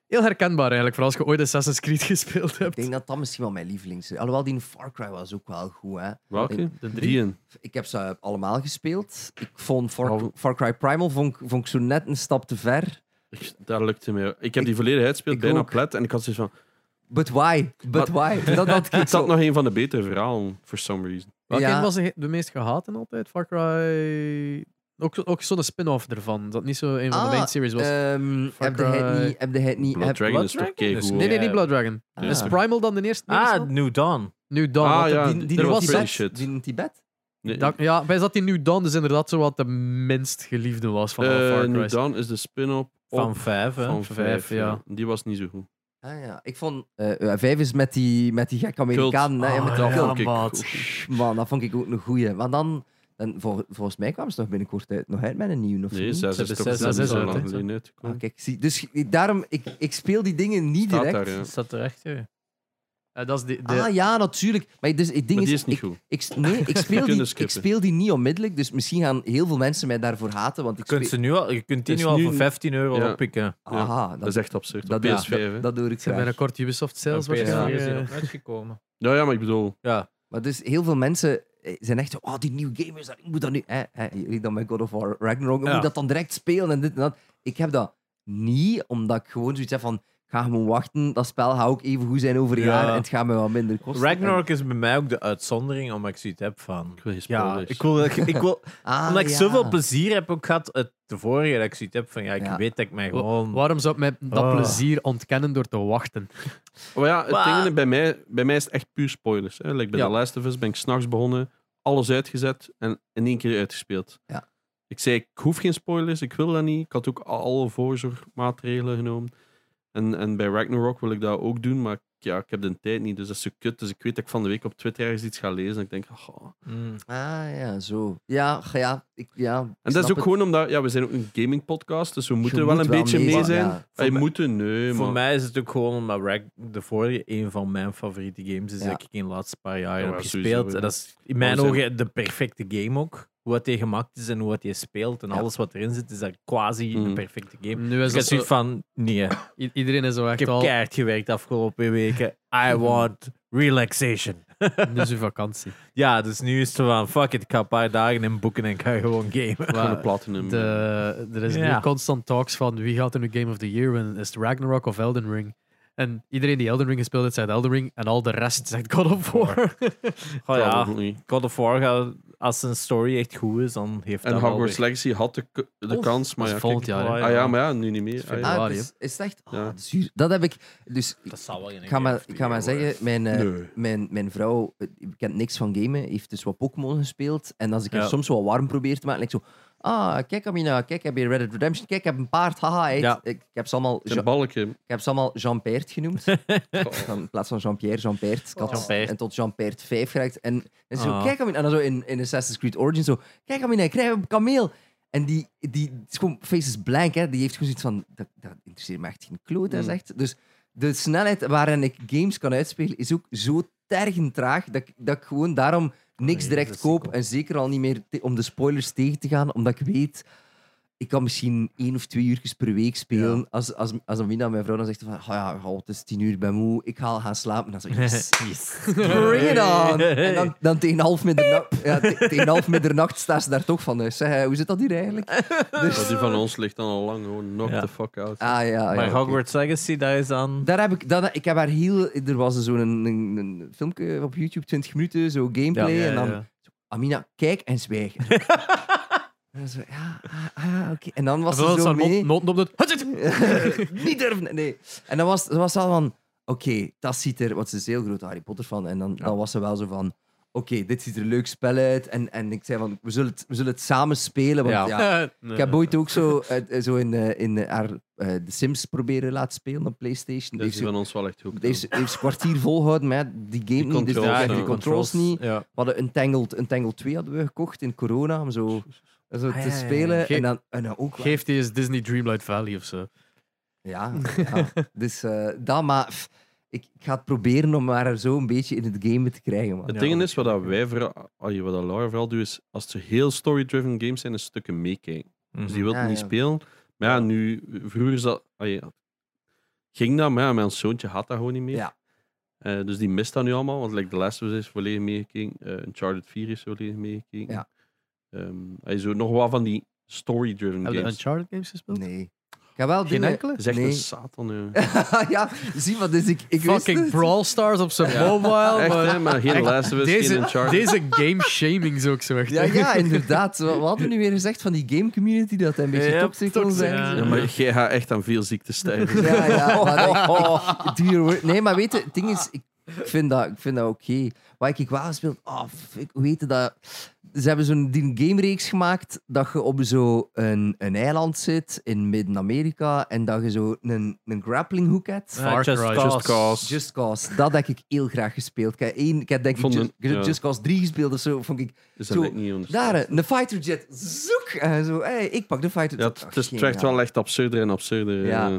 Speaker 1: heel herkenbaar eigenlijk. Voor als je ooit Assassin's Creed gespeeld
Speaker 2: Ik
Speaker 1: hebt.
Speaker 2: denk dat dat misschien wel mijn lievelings is. Alhoewel, die in Far Cry was ook wel goed, hè.
Speaker 3: Welke?
Speaker 1: De drie.
Speaker 3: Die een.
Speaker 2: Ik heb ze allemaal gespeeld. Ik vond Far,
Speaker 3: Oh.
Speaker 2: Far Cry Primal vond, ik- vond ik zo net een stap te ver.
Speaker 3: Ik- Daar lukte mij. Ik heb die volledig uitgespeeld,
Speaker 2: ik
Speaker 3: bijna
Speaker 2: ook.
Speaker 3: plat. En ik had zoiets van...
Speaker 2: But why? But why? Dat had ik
Speaker 3: Het
Speaker 2: zo...
Speaker 3: zat nog een van de betere verhalen, for some reason.
Speaker 1: Welke
Speaker 2: Ja.
Speaker 1: een was de, de meest gehaten altijd? Far Cry... Ook, ook zo'n spin-off ervan. Dat niet zo een van
Speaker 2: Ah,
Speaker 1: de main series was.
Speaker 2: Ehm,
Speaker 1: Far
Speaker 2: heb je het
Speaker 1: Cry.
Speaker 2: niet... Heb je het niet...
Speaker 3: Blood
Speaker 2: heb-
Speaker 3: Dragon
Speaker 4: Blood
Speaker 3: is toch
Speaker 4: Dragon?
Speaker 3: keigoed.
Speaker 4: Dus
Speaker 1: nee, nee,
Speaker 4: ja.
Speaker 1: niet Blood Dragon.
Speaker 2: Ah.
Speaker 1: Is Primal dan de eerste?
Speaker 4: Ah, New Dawn.
Speaker 1: nu dan.
Speaker 3: Ah, ja.
Speaker 2: die, die,
Speaker 3: er
Speaker 2: in
Speaker 3: was
Speaker 2: Tibet?
Speaker 3: crazy shit.
Speaker 2: Die in Tibet?
Speaker 3: Nee,
Speaker 1: Dat, ja, bij zat die nu dan dus inderdaad zo wat de minst geliefde was van alle
Speaker 3: eh,
Speaker 1: Far
Speaker 3: New
Speaker 1: Cry's.
Speaker 3: Dawn is de spin-off
Speaker 4: Van
Speaker 3: op-
Speaker 4: vijf, hè?
Speaker 3: van
Speaker 1: vijf, ja.
Speaker 3: Die was niet zo goed.
Speaker 2: Ah ja, ik vond... eh, eh, vijf is met die, met die gekke Amerikanen. hè,
Speaker 1: Ah,
Speaker 2: met die
Speaker 1: ja,
Speaker 3: dat
Speaker 2: cult.
Speaker 3: vond ik
Speaker 1: maat.
Speaker 3: goed.
Speaker 2: Man, dat vond ik ook een goeie. Maar dan, dan vol- volgens mij kwamen ze nog binnenkort uit, nog uit met een nieuwe of
Speaker 3: Nee,
Speaker 2: niet?
Speaker 3: zes
Speaker 4: Ze
Speaker 3: is
Speaker 4: hebben
Speaker 3: toch
Speaker 4: zes-
Speaker 3: dat is
Speaker 1: zes
Speaker 3: al
Speaker 1: uit,
Speaker 3: lang
Speaker 1: hè?
Speaker 3: geleden
Speaker 2: Ah,
Speaker 3: uitgekomen.
Speaker 2: kijk, zie, dus ik- daarom, ik, ik speel die dingen niet
Speaker 3: Staat
Speaker 2: direct.
Speaker 3: daar, ja.
Speaker 4: Dat staat er echt, hè.
Speaker 1: Eh, dat is die, de,
Speaker 2: Ah ja, natuurlijk. Maar dus, het ding
Speaker 3: Maar die
Speaker 2: is,
Speaker 3: is niet
Speaker 2: ik,
Speaker 3: goed.
Speaker 2: ik- nee, ik speel,
Speaker 3: kunnen
Speaker 2: die, ik
Speaker 3: skippen.
Speaker 2: speel die niet onmiddellijk, dus misschien gaan heel veel mensen mij daarvoor haten. Want
Speaker 4: Je
Speaker 2: ik
Speaker 4: kunt, ze
Speaker 2: speel-
Speaker 4: nu al, je kunt die
Speaker 3: Dus
Speaker 4: nu al
Speaker 3: nu-
Speaker 4: voor 15 euro
Speaker 3: Ja.
Speaker 4: oppikken.
Speaker 3: ja.
Speaker 2: Aha, dat,
Speaker 3: Dat is echt absurd.
Speaker 2: dat
Speaker 3: Op
Speaker 2: doe-
Speaker 3: PS5, hè.
Speaker 2: dat doe ik
Speaker 1: zijn
Speaker 2: graag.
Speaker 1: binnenkort Ubisoft sales
Speaker 4: Op PS4
Speaker 1: waarschijnlijk.
Speaker 4: is die
Speaker 1: eh.
Speaker 4: nog uitgekomen.
Speaker 3: Ja, ja, maar ik bedoel...
Speaker 4: Ja.
Speaker 2: Maar dus heel veel mensen eh, zijn echt zo, oh, die nieuwe game is dat, ik moet dat nu... Hè, hè, jullie dan met God of War Ragnarok, ik
Speaker 4: Ja.
Speaker 2: moet dat dan direct spelen en dit en dat. Ik heb dat niet, omdat ik gewoon zoiets heb van, ik ga gewoon wachten, dat spel gaat ook even goed zijn over een
Speaker 4: Ja.
Speaker 2: jaar en het gaat me wat minder kosten.
Speaker 4: Ragnarok is bij mij ook de uitzondering, omdat ik zoiets heb van...
Speaker 3: Ik wil geen
Speaker 4: Ja,
Speaker 3: spoilers.
Speaker 4: ik wil, ik, ik wil,
Speaker 2: En- Ah,
Speaker 4: omdat ik
Speaker 2: ja.
Speaker 4: zoveel plezier heb ook gehad uit de vorige, dat ik zoiets heb van, ja, ik
Speaker 2: Ja.
Speaker 4: weet dat ik mij
Speaker 1: Wa-
Speaker 4: gewoon...
Speaker 1: eh. Waarom zou ik mij dat
Speaker 4: Ah.
Speaker 1: plezier ontkennen door te wachten?
Speaker 3: Maar ja, het
Speaker 4: Maar-
Speaker 3: ding is, bij mij, bij mij is het echt puur spoilers. Hè. Like bij
Speaker 1: Ja.
Speaker 3: The Last of Us ben ik s'nachts begonnen, alles uitgezet en in één keer uitgespeeld.
Speaker 2: Ja.
Speaker 3: Ik zei, ik hoef geen spoilers, ik wil dat niet. Ik had ook alle voorzorgmaatregelen genomen. En, en bij Ragnarok wil ik dat ook doen, maar ik- ja, ik heb de tijd niet, dus dat is zo kut. Dus ik weet dat ik van de week op Twitter ergens iets ga lezen en ik denk, ah.
Speaker 4: Mm.
Speaker 2: Ah, ja, zo. Ja, ga- ja, ik, ja ik
Speaker 3: En dat
Speaker 2: snap
Speaker 3: is ook
Speaker 2: het.
Speaker 3: gewoon omdat, ja, we zijn ook een gaming podcast, dus we moeten
Speaker 2: Je
Speaker 3: wel
Speaker 2: moet
Speaker 3: een beetje mee,
Speaker 2: meezien,
Speaker 3: zijn.
Speaker 2: ja.
Speaker 3: Wij
Speaker 4: Voor mij-
Speaker 3: moeten, nee,
Speaker 4: Voor
Speaker 3: maar...
Speaker 4: mij is het ook gewoon omdat Rag- de vorige een van mijn favoriete games is
Speaker 2: Ja.
Speaker 4: dat ik in de laatste paar jaar
Speaker 3: Ja,
Speaker 4: heb
Speaker 3: sowieso,
Speaker 4: gespeeld.
Speaker 3: ja.
Speaker 4: En dat is
Speaker 3: Maar
Speaker 4: in mijn
Speaker 3: we zijn-
Speaker 4: ogen de perfecte game ook. Hoe het gemaakt is en hoe het je speelt en
Speaker 2: Ja.
Speaker 4: alles wat erin zit, is dat quasi
Speaker 3: Mm.
Speaker 4: een perfecte game.
Speaker 1: Nu is
Speaker 4: Dus ik
Speaker 1: dat
Speaker 4: had zoiets
Speaker 1: zo,
Speaker 4: van, nee,
Speaker 1: i- iedereen is zo
Speaker 4: ik
Speaker 1: echt
Speaker 4: heb
Speaker 1: al...
Speaker 4: keihard gewerkt de afgelopen weken. I want relaxation.
Speaker 1: Nu is uw vakantie.
Speaker 4: ja, dus nu is het zo van, fuck it, ik ga een paar dagen in boeken en ik ga gewoon gamen.
Speaker 3: Gewoon
Speaker 1: Maar
Speaker 3: de platinum.
Speaker 1: de, oh er is
Speaker 4: Ja.
Speaker 1: nu constant talks van wie gaat er nu Game of the Year winnen. Is het Ragnarok of Elden Ring? En iedereen die Elden Ring gespeeld heeft, zegt Elden Ring. En al de rest zegt God of War.
Speaker 4: Oh ja,
Speaker 3: Probably.
Speaker 4: God of War, gaat- als een story echt goed is, dan heeft
Speaker 3: En
Speaker 4: dat wel
Speaker 3: Hogwarts
Speaker 4: weer-
Speaker 3: Legacy had de, k- de
Speaker 1: Of-
Speaker 3: kans, maar
Speaker 1: dat
Speaker 3: ja,
Speaker 1: is volgend
Speaker 3: kijk.
Speaker 1: jaar. hè.
Speaker 4: Ah,
Speaker 3: Ah ja, maar ja, nu niet meer. Ah, ja.
Speaker 1: februari, hè.
Speaker 2: Ah, het is, is het echt? Ah,
Speaker 3: Ja.
Speaker 2: dat, is zuur. dat heb ik. Dus
Speaker 4: Dat zal wel in
Speaker 2: ik ga maar, ik ga maar zeggen, mijn, eh,
Speaker 3: Nee.
Speaker 2: mijn, mijn vrouw eh, die kent niks van gamen, heeft dus wat Pokémon gespeeld. En als ik haar
Speaker 4: Ja.
Speaker 2: soms wat warm probeer te maken, ik zo... Ah, kijk Amina, kijk, heb je Red Dead Redemption, kijk, ik heb een paard, haha. heet."
Speaker 4: Ja.
Speaker 2: Ik, ik heb ze allemaal,
Speaker 3: Zijn
Speaker 2: Jean,
Speaker 3: balken.
Speaker 2: ik heb ze allemaal Jean-Peert genoemd. Van, in plaats van Jean-Pierre, Jean-Peert. Ik had-
Speaker 4: Jean-Peert.
Speaker 2: En tot Jean-Peert 5 geraakt. En, en zo,
Speaker 4: Ah.
Speaker 2: kijk Amina. En dan zo in, in Assassin's Creed Origins zo... Kijk Amina, ik krijg een kameel. En die, die het is gewoon faces blank, hè. Die heeft gewoon zoiets van... Dat, dat interesseert me echt geen kloot, hè,
Speaker 3: Mm.
Speaker 2: zegt. Dus de snelheid waarin ik games kan uitspelen is ook zo tergend traag dat ik, dat ik gewoon daarom niks
Speaker 4: Nee, dat
Speaker 2: direct
Speaker 4: is
Speaker 2: koop.
Speaker 4: cool.
Speaker 2: En zeker al niet meer te- om de spoilers tegen te gaan, omdat ik weet... Ik kan misschien één of twee uurtjes per week spelen. Als, als, als Amina, mijn vrouw, dan zegt van... Oh ja, goh, het is tien uur, ik ben moe, ik ga al gaan slapen. Dan zo, yes, bring it on! En dan, dan tegen half middernacht, ja, te- tegen half middernacht staat ze daar toch van. Dus, zeg, eh, hoe zit dat hier eigenlijk?
Speaker 3: Dat die van ons ligt dan al lang gewoon knock
Speaker 4: Ja.
Speaker 3: the fuck out.
Speaker 2: Ah ja, ja
Speaker 4: Maar
Speaker 2: oké.
Speaker 4: Hogwarts Legacy, dat is dan...
Speaker 2: Daar heb ik, dat, ik heb haar heel... Er was zo'n een, een, een filmpje op YouTube, 20 minuten, zo gameplay. en dan, Amina, kijk en zwijg. en dan zo, ja, ah, ah, oké. En dan was ze
Speaker 1: Zoals
Speaker 2: zo
Speaker 1: haar
Speaker 2: mee.
Speaker 1: mond- noten op de...
Speaker 2: niet durven. Nee. En dan was, dan was ze al van... Oké, dat ziet er... Want ze is heel groot Harry Potter van. En dan, dan was ze wel zo van... Oké, dit ziet er een leuk spel uit. En, en ik zei van, we zullen het, we zullen het samen spelen. Want, ja. Ik heb ooit ook zo, eh, zo in, eh, in eh, haar, eh, The Sims proberen laten spelen op PlayStation.
Speaker 3: Dat
Speaker 2: Heeft
Speaker 3: is
Speaker 2: ze,
Speaker 3: van ons wel echt goed.
Speaker 2: heeft, ze, heeft ze kwartier volgehouden, maar ja, die game niet. Dus
Speaker 3: controls,
Speaker 2: ja,
Speaker 3: ja.
Speaker 2: die controls niet. We
Speaker 4: Ja.
Speaker 2: hadden Untangled, Untangled 2 hadden we gekocht in corona om zo, zo
Speaker 4: Ah, ja,
Speaker 2: te
Speaker 4: ja, ja.
Speaker 2: spelen.
Speaker 1: Ge-
Speaker 2: En dan, en dan ook wel-
Speaker 1: Geef die eens Disney Dreamlight Valley of zo.
Speaker 2: Ja, ja. dus eh, dat, maar pff, ik, ik ga het proberen om haar zo een beetje in het game te krijgen. Man.
Speaker 3: Het ding is, wat dat wij vooral, allee, wat dat Laura vooral doet, is als ze heel story-driven games zijn, is stukken meekijken.
Speaker 4: Mhm.
Speaker 3: Dus die wil
Speaker 2: Mhm. Ja,
Speaker 3: niet
Speaker 2: ja.
Speaker 3: spelen. Maar ja, nu, vroeger is dat, allee, ging dat, maar ja, mijn zoontje had dat gewoon niet meer.
Speaker 2: Ja.
Speaker 3: Eh, dus die mist dat nu allemaal, want like, The Last of Us is volledig meegekeken, eh, Uncharted 4 is volledig meegekeken.
Speaker 2: Ja.
Speaker 3: Ehm, allee, zo nog wat van die story-driven
Speaker 1: Heb je
Speaker 3: games.
Speaker 1: Uncharted games gespeeld?
Speaker 2: Nee. Ik ga wel
Speaker 1: Geen
Speaker 2: dingen-
Speaker 1: enkele? dus.
Speaker 3: Dat is echt
Speaker 2: Nee.
Speaker 3: een satan, eh. joh.
Speaker 2: ja, zie wat dus ik, ik wist
Speaker 1: Fucking
Speaker 2: het.
Speaker 1: Brawl Stars op zijn
Speaker 2: Oh,
Speaker 1: mobile.
Speaker 3: Echt,
Speaker 1: maar-
Speaker 3: hè, maar geen
Speaker 1: Echt,
Speaker 3: Last of Us, geen
Speaker 1: Deze,
Speaker 3: Uncharted.
Speaker 1: deze game shaming is ook zo echt.
Speaker 2: Ja, ja, inderdaad. Wat wat hadden we nu weer gezegd van die game community dat hij een beetje
Speaker 4: Ja,
Speaker 2: toxic kon
Speaker 1: toxic,
Speaker 2: zijn?
Speaker 1: ja.
Speaker 3: Ja, maar jij gaat echt aan veel ziektes sterven.
Speaker 2: Ja, ja. Maar ik, ik- do your work. Nee, maar weet je, het ding is, ik ik vind dat, ik vind dat oké. Wat ik wel gespeeld, oh, fuck, hoe heet dat? Ze hebben zo'n die gamereeks gemaakt dat je op zo'n een, een eiland zit in Midden-Amerika en dat je zo een, een grappling hook hebt.
Speaker 1: Far
Speaker 4: Just
Speaker 1: Cry.
Speaker 4: Cause.
Speaker 3: Just Cause.
Speaker 2: Just Cause, dat heb ik heel graag gespeeld. Ik heb, één, ik heb denk ik
Speaker 3: Vond
Speaker 2: Just,
Speaker 3: een- ja.
Speaker 2: Just Cause 3 gespeeld of zo. Vond ik,
Speaker 3: Dus
Speaker 2: Zo,
Speaker 3: dat lijkt niet anders.
Speaker 2: daar, hè, een fighter jet, zoek! En zo, hey, ik pak de fighter
Speaker 3: Ja,
Speaker 2: jet.
Speaker 3: het, het is
Speaker 2: Ach,
Speaker 3: het werd
Speaker 2: geniaal.
Speaker 3: wel echt absurder en absurder.
Speaker 2: Ja.
Speaker 3: eh.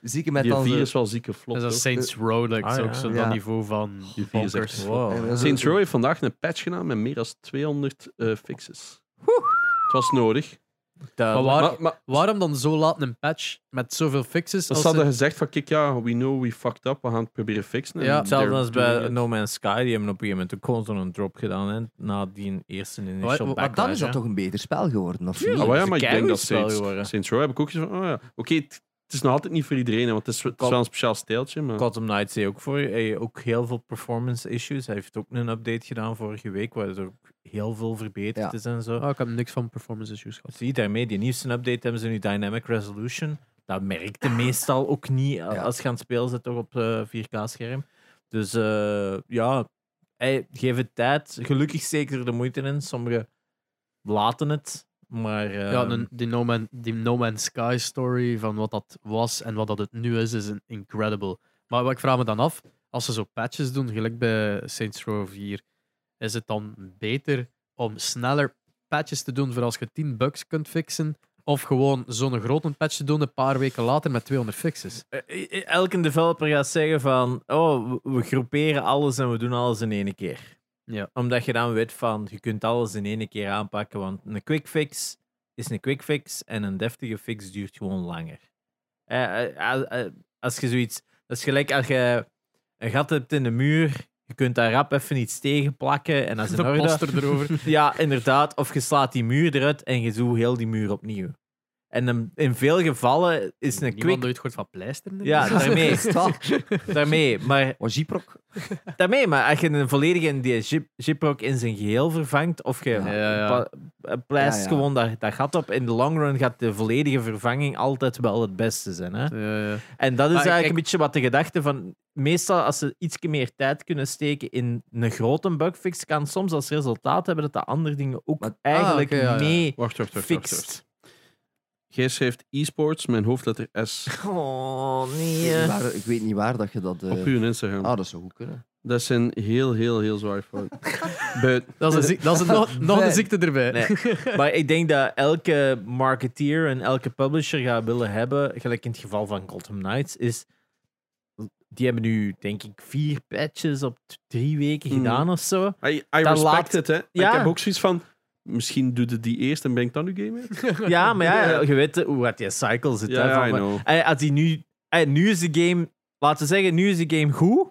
Speaker 2: Zieke met
Speaker 3: die
Speaker 2: dan zo-
Speaker 3: vier is wel zieke
Speaker 1: Dat
Speaker 3: vlot.
Speaker 1: is
Speaker 3: hoor.
Speaker 1: dat Saints Row, dat is
Speaker 4: Ah, ja.
Speaker 1: ook zo
Speaker 2: Ja.
Speaker 1: dat niveau van
Speaker 3: Die vier is echt
Speaker 1: bonkers.
Speaker 3: zo.
Speaker 4: Wow.
Speaker 2: Ja,
Speaker 3: Saints Row heeft vandaag een patch gedaan met meer dan 200 eh, fixes. Het was nodig.
Speaker 1: Maar
Speaker 4: Dat-
Speaker 1: waar-
Speaker 3: Maar, maar
Speaker 1: Waarom dan zo laat een patch met zoveel fixes?
Speaker 3: ze
Speaker 1: Als
Speaker 3: hadden
Speaker 1: ze...
Speaker 3: gezegd van, kijk ja, we know we fucked up, we gaan het proberen fixen. En
Speaker 1: Ja,
Speaker 4: Hetzelfde
Speaker 3: they're
Speaker 4: als bij
Speaker 3: doing it.
Speaker 4: No Man's Sky, die hebben op een gegeven moment ook gewoon zo'n drop gedaan hè, na die eerste initial
Speaker 1: wat-
Speaker 2: Maar
Speaker 4: backlash.
Speaker 2: dan is dat
Speaker 4: hè.
Speaker 2: toch een beter spel geworden, of
Speaker 3: Ja,
Speaker 2: niet?
Speaker 3: maar, Ah, ja,
Speaker 4: Ze
Speaker 3: maar ik
Speaker 4: kennen
Speaker 3: denk dat
Speaker 4: het spel
Speaker 3: Saints,
Speaker 4: geworden.
Speaker 3: Saints Row heb ik ook gezegd van, oh ja, oké, het, het is nog altijd niet voor iedereen, hè, want het is, het is wel een speciaal stijltje, maar...
Speaker 4: Gotham Knights deed ook voor eh, ook heel veel performance issues. Hij heeft ook een update gedaan vorige week, waar er ook heel veel verbeterd
Speaker 2: Ja.
Speaker 4: is en zo.
Speaker 1: Oh, ik heb niks van performance issues gehad.
Speaker 4: Zie, daarmee, die nieuwste update hebben ze nu Dynamic Resolution. Dat merkte meestal ook niet eh,
Speaker 2: Ja.
Speaker 4: als je aan het spelen zit toch op eh, 4K-scherm. Dus eh, ja, ey, geef het tijd. Gelukkig zeker de moeite in. Sommigen laten het, maar... eh,
Speaker 1: Ja, een- die, no Man, die No Man's Sky story van wat dat was en wat dat het nu is, is een- incredible. Maar wat ik vraag me dan af, als ze zo patches doen, gelijk bij Saints Row 4, is het dan beter om sneller patches te doen voor als je 10 bugs kunt fixen, of gewoon zo'n grote patch te doen een paar weken later met 200 fixes?
Speaker 4: eh, eh, Elke developer gaat zeggen van, oh, we- we groeperen alles en we doen alles in één keer.
Speaker 1: Ja.
Speaker 4: Omdat je dan weet van, je kunt alles in één keer aanpakken, want een quick fix is een quick fix en een deftige fix duurt gewoon langer. Eh, eh, eh, eh, als je zoiets, dat is gelijk als je een gat hebt in de muur Je kunt daar rap even iets tegen plakken en dat is
Speaker 1: De
Speaker 4: in orde.
Speaker 1: poster erover.
Speaker 4: Ja, inderdaad. Of je slaat die muur eruit en je doet heel die muur opnieuw. En dan- in veel gevallen is een
Speaker 1: Niemand
Speaker 4: quick...
Speaker 1: nooit gehoord van pleisteren.
Speaker 3: Ah,
Speaker 4: Ja, daarmee.
Speaker 2: Stop.
Speaker 4: daarmee. Maar,
Speaker 2: Oh, Jiprok.
Speaker 4: daarmee. Maar als je een volledige jip- jiprock in zijn geheel vervangt, of je
Speaker 1: Ja, ja.
Speaker 4: pa- eh, pleist
Speaker 2: Ja, ja.
Speaker 4: gewoon dat, dat gat op, in de long run gaat de volledige vervanging altijd wel het beste zijn. Hè?
Speaker 1: Ja, ja.
Speaker 4: En dat is
Speaker 1: Maar ik-
Speaker 4: eigenlijk
Speaker 1: ik-
Speaker 4: een beetje wat de gedachte van... Meestal, als ze iets meer tijd kunnen steken in een grote bugfix, kan soms als resultaat hebben dat de andere dingen ook
Speaker 2: Maar- ah,
Speaker 4: eigenlijk
Speaker 1: oké, ja, ja.
Speaker 4: mee
Speaker 3: Wacht, wacht, wacht. wacht, wacht.
Speaker 4: fixt.
Speaker 3: Jij schrijft e-sports, mijn hoofdletter S,
Speaker 4: Oh,
Speaker 2: Ik weet
Speaker 4: nee.
Speaker 2: niet
Speaker 4: eh.
Speaker 2: waar- Ik weet niet waar dat je dat... eh,
Speaker 3: op uw Instagram.
Speaker 2: Ah, dat zou goed kunnen.
Speaker 3: Dat zijn heel, heel, heel zwaar fouten. Buit.
Speaker 1: Dat is, een ziek- dat is een nog, nog een
Speaker 2: Nee.
Speaker 1: ziekte erbij.
Speaker 4: Nee. Maar ik denk dat elke marketeer en elke publisher gaat willen hebben, gelijk in het geval van Gotham Knights, is... Die hebben nu, denk ik, vier patches op t- drie weken
Speaker 3: Mhm.
Speaker 4: gedaan of zo.
Speaker 3: I, I respect
Speaker 4: laat-
Speaker 3: het, hè.
Speaker 4: Ja.
Speaker 3: Ik heb ook zoiets van... Misschien doet het die eerst en ben ik dan nu gamer?
Speaker 4: Ja, maar ja, je weet hoe hard die cycle zit. hè,
Speaker 3: Ja,
Speaker 4: van-
Speaker 3: I know.
Speaker 4: Hey, Als die nu, hey, nu is de game, laten we zeggen, nu is de game goed.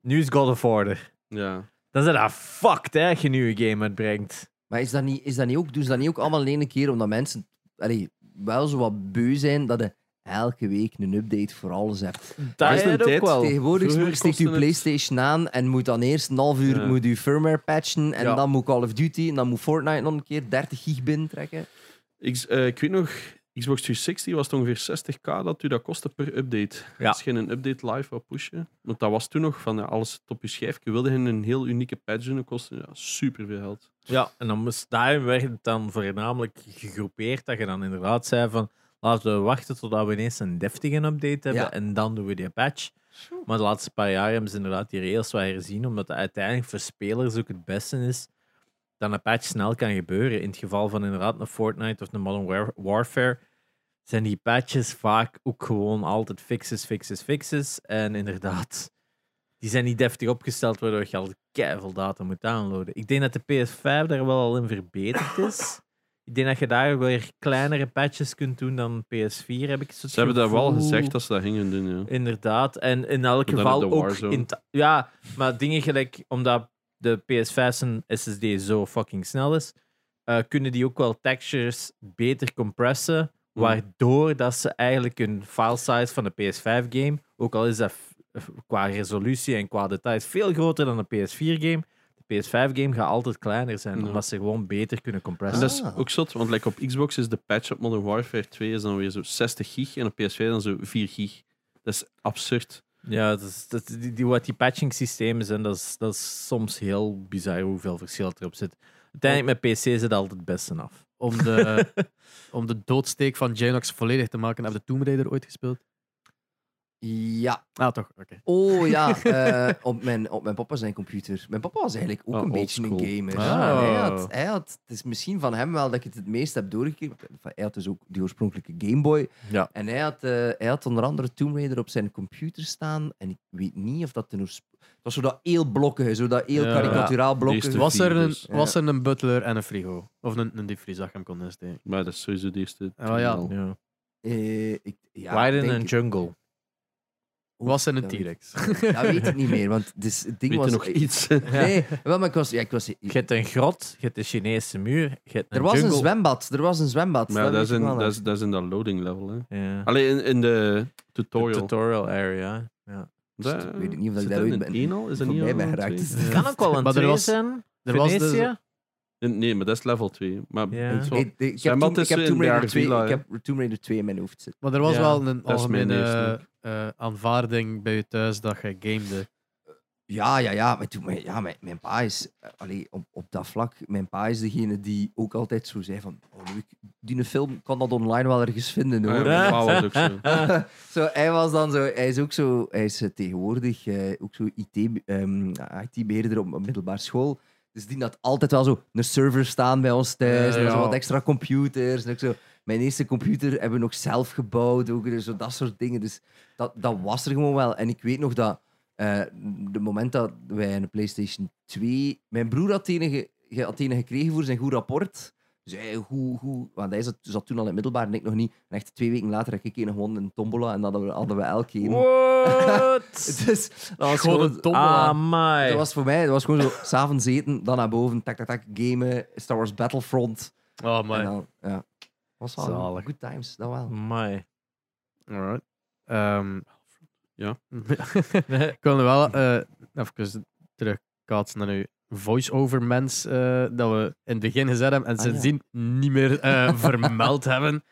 Speaker 4: Nu is God of War er.
Speaker 3: Ja.
Speaker 4: Dan zijn dat fucked, hè, als je een nieuwe game uitbrengt.
Speaker 2: Maar is dat niet, is dat niet ook, doen ze dat niet ook allemaal in één keer omdat mensen allee, wel zo wat beu zijn dat je elke week een update voor alles hebt?
Speaker 4: Dat
Speaker 3: is
Speaker 4: is
Speaker 3: een
Speaker 4: het ook
Speaker 3: tijd
Speaker 4: wel.
Speaker 2: Tegenwoordig
Speaker 3: vroeger
Speaker 2: steekt
Speaker 3: kostte
Speaker 2: je
Speaker 3: het-
Speaker 2: PlayStation aan en moet dan eerst een half uur
Speaker 3: Ja.
Speaker 2: moet je firmware patchen en
Speaker 4: Ja.
Speaker 2: dan moet Call of Duty en dan moet Fortnite nog een keer 30 gig binnentrekken.
Speaker 3: Ik, eh, ik weet nog, Xbox 360 was het ongeveer 60k dat u dat kostte per update.
Speaker 4: Ja.
Speaker 3: Als je een update live wou pushen. Want dat was toen nog van ja, alles zit op je schijfje. Wilde je een heel unieke patch doen, dat kostte ja, superveel geld.
Speaker 4: Ja, en dan moest, daarin werd het dan voornamelijk gegroepeerd dat je dan inderdaad zei van laten we wachten totdat we ineens een deftige update hebben
Speaker 2: Ja.
Speaker 4: en dan doen we die patch. Maar de laatste paar jaar hebben ze inderdaad die rails wel herzien, omdat dat uiteindelijk voor spelers ook het beste is dat een patch snel kan gebeuren. In het geval van inderdaad een Fortnite of een Modern War- Warfare zijn die patches vaak ook gewoon altijd fixes, fixes, fixes. En inderdaad, die zijn niet deftig opgesteld, waardoor je al keiveel data moet downloaden. Ik denk dat de PS5 daar wel al in verbeterd is. Ik denk dat je daar weer kleinere patches kunt doen dan PS4, heb ik zo
Speaker 3: Ze hebben daar wel gezegd dat ze dat gingen doen, ja.
Speaker 4: Inderdaad, en in elk
Speaker 3: Dan
Speaker 4: geval
Speaker 3: heb je de
Speaker 4: ook...
Speaker 3: Warzone.
Speaker 4: In ta- ja, maar dingen gelijk, omdat de PS5 zijn SSD zo fucking snel is, eh, kunnen die ook wel textures beter compressen,
Speaker 3: Hmm.
Speaker 4: waardoor dat ze eigenlijk hun file size van de PS5-game, ook al is dat f- f- qua resolutie en qua details veel groter dan de PS4-game, de PS5-game gaat altijd kleiner zijn,
Speaker 3: Ja.
Speaker 4: omdat ze gewoon beter kunnen
Speaker 3: En
Speaker 4: compressen.
Speaker 3: dat is
Speaker 2: Ah.
Speaker 3: ook zot, want like, op Xbox is de patch op Modern Warfare 2 is dan weer zo 60 gig en op PS5 dan zo 4 gig. Dat is absurd.
Speaker 4: Ja, dat is, dat, die, die, wat die patching systemen zijn, dat is, dat is soms heel bizar hoeveel verschil erop zit. Uiteindelijk met PC zit het altijd het beste af.
Speaker 1: Om, de, om de doodsteek van Janox volledig te maken, heb je Tomb Raider ooit gespeeld?
Speaker 2: Ja.
Speaker 1: Ah, toch? Oké.
Speaker 2: Oh ja, eh, op, mijn, op mijn papa zijn computer. Mijn papa was eigenlijk ook
Speaker 3: Ah,
Speaker 2: een
Speaker 3: old
Speaker 2: beetje
Speaker 3: school.
Speaker 2: een gamer.
Speaker 1: Ah.
Speaker 2: Hij had, hij had, het is misschien van hem wel dat ik het het meest heb doorgekregen. Hij had dus ook die oorspronkelijke Game Boy.
Speaker 4: Ja.
Speaker 2: En hij had, eh, hij had onder andere Tomb Raider op zijn computer staan. En ik weet niet of dat... Een oorsp- het was zo dat heel blokkige, zo dat heel
Speaker 1: Ja.
Speaker 2: karikaturaal
Speaker 3: Die
Speaker 2: blokkige.
Speaker 3: is te
Speaker 1: Was er,
Speaker 3: vier,
Speaker 1: een,
Speaker 3: dus.
Speaker 2: Ja.
Speaker 1: was er een butler en een frigo? Of een, een diepvries dat je hem kon insteken?
Speaker 3: Maar dat is sowieso de eerste.
Speaker 1: Oh ja.
Speaker 3: tien al.
Speaker 4: Ja.
Speaker 2: Eh, ik, ja, ik
Speaker 4: Raiden
Speaker 2: denk
Speaker 4: en
Speaker 2: het.
Speaker 4: Jungle.
Speaker 1: Was er een
Speaker 2: dat weet ik-
Speaker 1: T-Rex?
Speaker 2: Dat weet ik niet meer, want dus, het ding
Speaker 3: Weet
Speaker 2: was...
Speaker 3: je nog iets?
Speaker 2: Nee, wel, maar ik was... Ja, ik was
Speaker 4: Je hebt een grot, je hebt de Chinese muur, je hebt een
Speaker 2: er was dus
Speaker 4: jungle.
Speaker 2: een zwembad. Er was een zwembad.
Speaker 3: Maar
Speaker 2: dat
Speaker 3: dat is,
Speaker 2: weet ik
Speaker 3: in,
Speaker 2: wel nog.
Speaker 3: dat, is, dat is in dat loading level. Hè.
Speaker 4: Ja.
Speaker 3: Alleen in, in de
Speaker 4: De
Speaker 3: tutorial.
Speaker 4: tutorial area. Ja.
Speaker 3: Daar-
Speaker 2: Dus Ik weet niet of ik
Speaker 3: zit
Speaker 2: daar
Speaker 3: dat
Speaker 2: ooit
Speaker 3: in
Speaker 2: ben-
Speaker 3: één al? Is dat niet
Speaker 2: voorbij
Speaker 3: al
Speaker 2: ben
Speaker 3: een
Speaker 2: geraakt.
Speaker 3: twee?
Speaker 2: Dus-
Speaker 4: Kan ook wel een
Speaker 1: Maar er
Speaker 4: twee
Speaker 1: was-
Speaker 4: zijn.
Speaker 1: er was dus- de-
Speaker 4: Venetië?
Speaker 3: Nee, Nee, maar dat is level 2. Maar
Speaker 4: Ja.
Speaker 3: het is wel-
Speaker 2: Ik- ik- ik, heb
Speaker 3: Zwembad
Speaker 2: Tomb- ik
Speaker 3: is
Speaker 2: heb
Speaker 3: in
Speaker 2: Tomb Raider
Speaker 3: daar
Speaker 2: 2,
Speaker 3: villa,
Speaker 2: ik
Speaker 3: hè.
Speaker 2: heb Tomb Raider 2 in mijn hoofd zitten.
Speaker 1: Maar er was
Speaker 4: Ja,
Speaker 1: wel een
Speaker 3: dat is mijn
Speaker 1: algemene
Speaker 3: eerste.
Speaker 1: eh, aanvaarding bij je thuis dat je gamede.
Speaker 2: Ja, ja, ja. Maar toen, mijn- ja, mijn, mijn pa is... eh, allee, op, op dat vlak, mijn pa is degene die ook altijd zo zei van... Oh, Luc, die film kan dat online wel ergens vinden,
Speaker 3: Ah,
Speaker 2: hoor.
Speaker 3: ja, mijn pa was ook zo. Ah,
Speaker 2: zo, hij was dan zo... Hij is ook zo... Hij is eh, tegenwoordig eh, ook zo IT, ehm, IT-beheerder op een middelbare school. Dus die had altijd wel zo een server staan bij ons thuis.
Speaker 1: Ja,
Speaker 2: en zo
Speaker 1: ja.
Speaker 2: wat extra computers. En ook zo, mijn eerste computer hebben we nog zelf gebouwd. Ook, dus zo dat soort dingen. Dus dat, dat was er gewoon wel. En ik weet nog dat... eh de moment dat wij een PlayStation 2... Mijn broer had die ene, ge- ge- had die ene gekregen voor zijn goed rapport. Dus hey, hoe, hoe... Want hij zat, zat toen al in het middelbaar en ik nog niet. En echt twee weken later heb ik een gewonnen in een tombola en dan hadden we, hadden we elk een.
Speaker 4: What?
Speaker 2: Dus dat was
Speaker 1: Gewoon
Speaker 2: gewoon...
Speaker 1: een tombola.
Speaker 4: ah,
Speaker 2: dat
Speaker 4: my.
Speaker 2: was voor mij, dat was gewoon zo, s'avonds eten, dan naar boven, tak, tak, tak, gamen, Star Wars Battlefront.
Speaker 1: Oh,
Speaker 2: En
Speaker 1: man.
Speaker 2: dan, ja. Was wel
Speaker 4: Zalig.
Speaker 2: good times, dat wel.
Speaker 4: My.
Speaker 1: Alright. Ehm,
Speaker 3: Ja.
Speaker 1: ik wil nog wel eh, even terugkaatsen naar uw voice-over mens eh, dat we in het begin gezet hebben en
Speaker 2: Ah,
Speaker 1: sindsdien niet meer eh, vermeld hebben.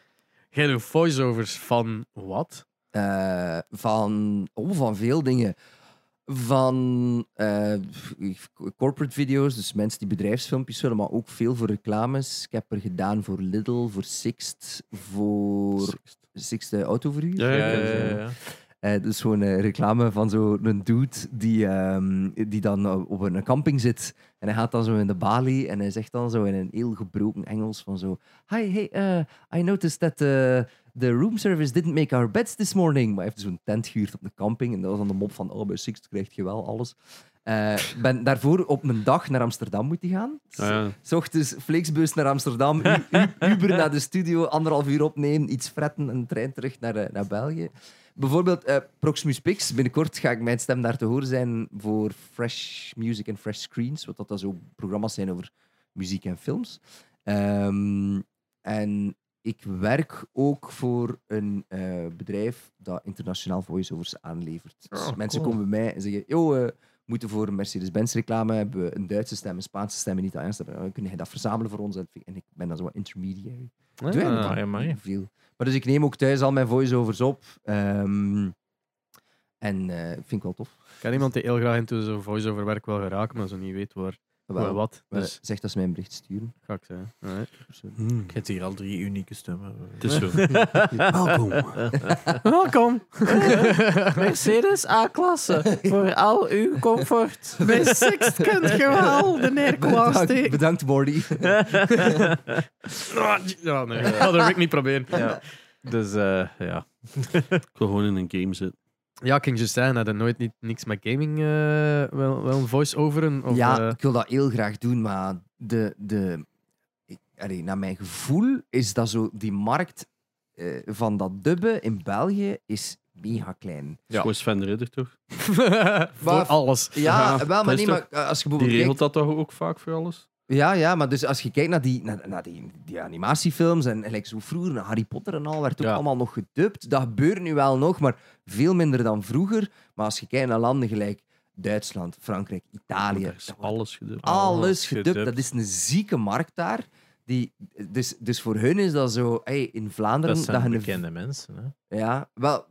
Speaker 1: Jij doet voice-overs van wat?
Speaker 2: Eh, van, oh, van veel dingen. Van eh, corporate video's, dus mensen die bedrijfsfilmpjes willen, maar ook veel voor reclames. Ik heb er gedaan voor Lidl, voor Sixt, voor Sixt eh, Autoverhuur.
Speaker 3: Ja, ja, ja, ja,
Speaker 4: ja.
Speaker 2: Eh, dus gewoon een reclame van zo'n dude die, ehm, die dan op een camping zit. En hij gaat dan zo in de balie en hij zegt dan zo in een heel gebroken Engels van zo... Hi, hey, eh, I noticed that eh, the room service didn't make our beds this morning. Maar hij heeft zo'n tent gehuurd op de camping. En dat was dan de mop van, oh, bij Six krijg je wel alles. Eh, ben daarvoor op mijn dag naar Amsterdam moeten gaan.
Speaker 3: Ah, Ja, ja.
Speaker 2: S ochtends Flixbus naar Amsterdam, u- u- Uber naar de studio, anderhalf uur opnemen, iets fretten en een trein terug naar, eh, naar België. Bijvoorbeeld eh, Proximus Pix. Binnenkort ga ik mijn stem daar te horen zijn voor Fresh Music en Fresh Screens, wat dat dan zo programma's zijn over muziek en films. Ehm, en ik werk ook voor een eh, bedrijf dat internationaal voiceovers aanlevert. Dus
Speaker 3: Oh,
Speaker 2: mensen
Speaker 3: cool.
Speaker 2: komen bij mij en zeggen: Yo, eh, we moeten voor een Mercedes-Benz reclame hebben we een Duitse stem, een Spaanse stem en niet Italiaanse stem. Eh, Kun jij dat verzamelen voor ons? En ik- En ik ben dan zo wat intermediary. Doe jij dat
Speaker 1: Ah,
Speaker 2: dan?
Speaker 4: amai.
Speaker 2: Veel. Maar dus ik neem ook thuis al mijn voiceovers op. Ehm, en eh, vind ik wel tof.
Speaker 1: Ik ken iemand die heel graag in zo'n voice-over werk wil geraken, maar zo niet weet waar, waar
Speaker 2: Wel,
Speaker 1: wat.
Speaker 2: eh,
Speaker 1: Dus
Speaker 2: Zeg dat ze mij een bericht sturen.
Speaker 1: ga ik zeggen. Alright.
Speaker 3: Hmm.
Speaker 4: Ik heb hier al drie unieke stemmen.
Speaker 3: Het is zo.
Speaker 2: Welkom.
Speaker 4: Welkom. Mercedes A-klasse. Voor al uw comfort. Bij Sixt kunt je wel de
Speaker 2: Bedankt, bedankt Morty.
Speaker 1: Ja, nee. Ik ga dat wil ik niet proberen.
Speaker 4: Ja. Dus eh, ja.
Speaker 3: Ik wil gewoon in een game zitten.
Speaker 1: Ja, ik ging je zeggen dat je nooit niet, niks met gaming eh wel, wel een voice-overen. Of,
Speaker 2: ja,
Speaker 1: eh,
Speaker 2: ik wil dat heel graag doen, maar de, de, ik- allee, naar mijn gevoel is dat zo die markt eh, van dat dubben in België is mega klein.
Speaker 1: Ja.
Speaker 3: Voor Sven de Ridder, toch?
Speaker 1: voor
Speaker 2: Maar-
Speaker 1: alles.
Speaker 2: Ja,
Speaker 3: Ja,
Speaker 2: wel,
Speaker 3: dat
Speaker 2: maar,
Speaker 3: is
Speaker 2: nee, maar eh, als je
Speaker 3: Die
Speaker 2: bijvoorbeeld
Speaker 3: regelt
Speaker 2: kijkt,
Speaker 3: dat toch ook vaak voor alles?
Speaker 2: ja, ja, maar dus als je kijkt naar die, naar, naar die, die animatiefilms en gelijk zo vroeger, naar Harry Potter en al, werd ook
Speaker 1: Ja.
Speaker 2: allemaal nog gedubt. Dat gebeurt nu wel nog, maar veel minder dan vroeger. Maar als je kijkt naar landen gelijk Duitsland, Frankrijk, Italië,
Speaker 3: Daar is
Speaker 2: dat
Speaker 3: alles gedubt.
Speaker 2: alles gedubt.
Speaker 4: gedubt.
Speaker 2: Dat is een zieke markt daar. Die, dus, dus voor hun is dat zo... Hey, in Vlaanderen...
Speaker 4: Dat zijn
Speaker 2: je een-
Speaker 4: bekende mensen. Hè?
Speaker 2: Ja, wel...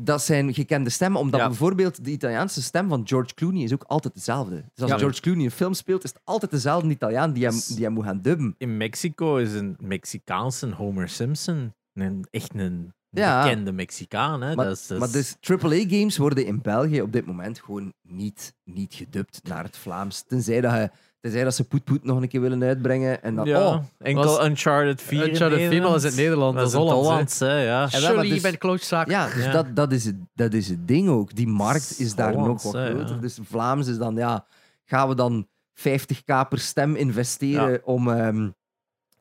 Speaker 2: Dat zijn gekende stemmen, omdat
Speaker 4: Ja.
Speaker 2: bijvoorbeeld de Italiaanse stem van George Clooney is ook altijd dezelfde. Dus als
Speaker 4: Ja.
Speaker 2: George Clooney een film speelt, is het altijd dezelfde Italiaan die hem,
Speaker 4: Dus-
Speaker 2: die hem moet gaan dubben.
Speaker 4: In Mexico is een Mexicaanse Homer Simpson. Een, echt een
Speaker 2: Ja.
Speaker 4: bekende Mexicaan. Hè?
Speaker 2: Maar,
Speaker 4: dat is, dat
Speaker 2: maar
Speaker 4: is-
Speaker 2: dus AAA-games worden in België op dit moment gewoon niet, niet gedubt naar het Vlaams. Tenzij dat, je, tenzij dat ze Poet Poet nog een keer willen uitbrengen. En dan,
Speaker 4: ja,
Speaker 2: oh,
Speaker 4: enkel
Speaker 1: was-
Speaker 4: Uncharted 4 in
Speaker 1: Uncharted 4
Speaker 4: Nederland.
Speaker 1: was in het Nederland,
Speaker 4: Dat is
Speaker 1: dat is
Speaker 4: in het
Speaker 1: Hollands,
Speaker 4: Hollands, hè, ja.
Speaker 2: En wel, maar dus-
Speaker 1: klootzak.
Speaker 2: Ja, dus
Speaker 4: Ja.
Speaker 2: Dat, dat, is het, dat is het ding ook. Die markt is daar
Speaker 4: Hollands,
Speaker 2: nog wat
Speaker 4: hè, ja.
Speaker 2: groter. Dus Vlaams is dan, ja, gaan we dan 50k per stem investeren om. ehm,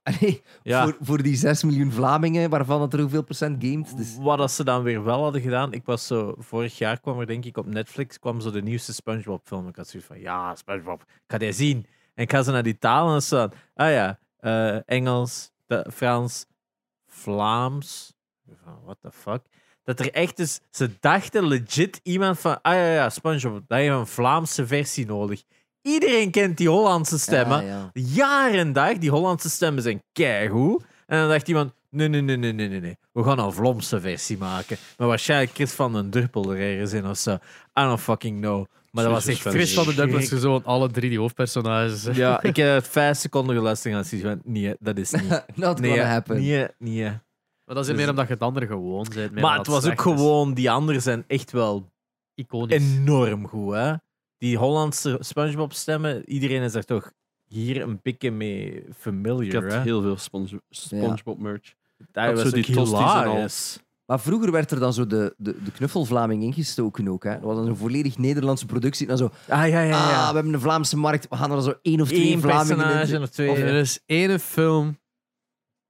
Speaker 2: allee,
Speaker 4: Ja.
Speaker 2: voor, voor die 6 miljoen Vlamingen, waarvan het er hoeveel procent gamet. Dus,
Speaker 4: Wat dat ze dan weer wel hadden gedaan, ik was zo, vorig jaar kwam er denk ik op Netflix, kwam zo de nieuwste Spongebob film. Ik had zoiets van, ja, Spongebob, ik ga die zien. En ik ga ze naar die talen staan. Ah ja, eh, Engels, da- Frans, Vlaams. Van, what the fuck? Dat er echt is, ze dachten legit iemand van, ah ja, ja, Spongebob, daar heb je een Vlaamse versie nodig. Iedereen kent die Hollandse stemmen.
Speaker 2: Ja, ja.
Speaker 4: Jaar en dag, die Hollandse stemmen zijn keigoed. En dan dacht iemand, nee, nee, nee, nee, nee, nee, nee. We gaan een Vlaamse versie maken. Maar waarschijnlijk Chris van den Durpel er ergens in of zo. I don't fucking know. Maar dat was
Speaker 3: Jezus,
Speaker 4: echt
Speaker 3: Sven.
Speaker 1: Chris van de Dubbel is
Speaker 4: schrik.
Speaker 1: gewoon alle drie die hoofdpersonages. hè.
Speaker 4: Ja, ik heb het vijf seconden geluisterd en zoiets van, nee, dat is niet.
Speaker 2: Not
Speaker 4: Nee,
Speaker 2: gonna happen.
Speaker 4: nee, nee.
Speaker 1: Maar dat is meer omdat je het andere gewoon bent. meer
Speaker 4: Maar
Speaker 1: omdat
Speaker 4: het was ook
Speaker 1: slecht is.
Speaker 4: gewoon, die anderen zijn echt wel
Speaker 1: Iconisch.
Speaker 4: enorm goed, hè. Die Hollandse Spongebob-stemmen, iedereen is daar toch hier een pikje mee
Speaker 3: Ik
Speaker 4: familiar,
Speaker 3: heb
Speaker 4: hè.
Speaker 3: heel veel Sponge- SpongeBob merch.
Speaker 4: Dat
Speaker 3: had
Speaker 4: was
Speaker 3: zo die
Speaker 4: ook
Speaker 3: tosties en al.
Speaker 4: hilarisch.
Speaker 2: Maar vroeger werd er dan zo de, de, de knuffelvlaming ingestoken ook. Hè. Dat was dan een volledig Nederlandse productie. Dan zo,
Speaker 4: Ah, ja, ja,
Speaker 2: ah,
Speaker 4: ja.
Speaker 2: we hebben een Vlaamse markt, we gaan er zo één of twee
Speaker 4: Eén
Speaker 2: Vlamingen in.
Speaker 4: personage of twee.
Speaker 1: Of er is één film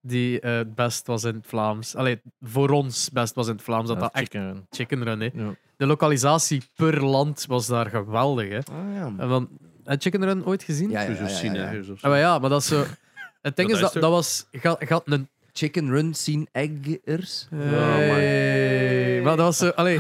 Speaker 1: die eh, het best was in het Vlaams. Allee, voor ons het best was in het Vlaams. Dat dat echt
Speaker 4: chicken.
Speaker 1: Chicken Run, hè.
Speaker 4: Ja.
Speaker 1: De lokalisatie per land was daar geweldig, hè.
Speaker 2: Ah, ja.
Speaker 1: En Want, heb je Chicken Run ooit gezien?
Speaker 2: Ah, Ja, ja,
Speaker 3: Zo
Speaker 2: ja, ja, ja.
Speaker 3: synergies of zo.
Speaker 1: Ah, maar ja, maar dat is zo... Het ding
Speaker 3: Dat
Speaker 1: is,
Speaker 3: is
Speaker 1: dat,
Speaker 3: er.
Speaker 1: dat was... Gaat ga een...
Speaker 2: Chicken Run Scene Eggers.
Speaker 3: my.
Speaker 1: Hey. Maar dat was zo... Allee...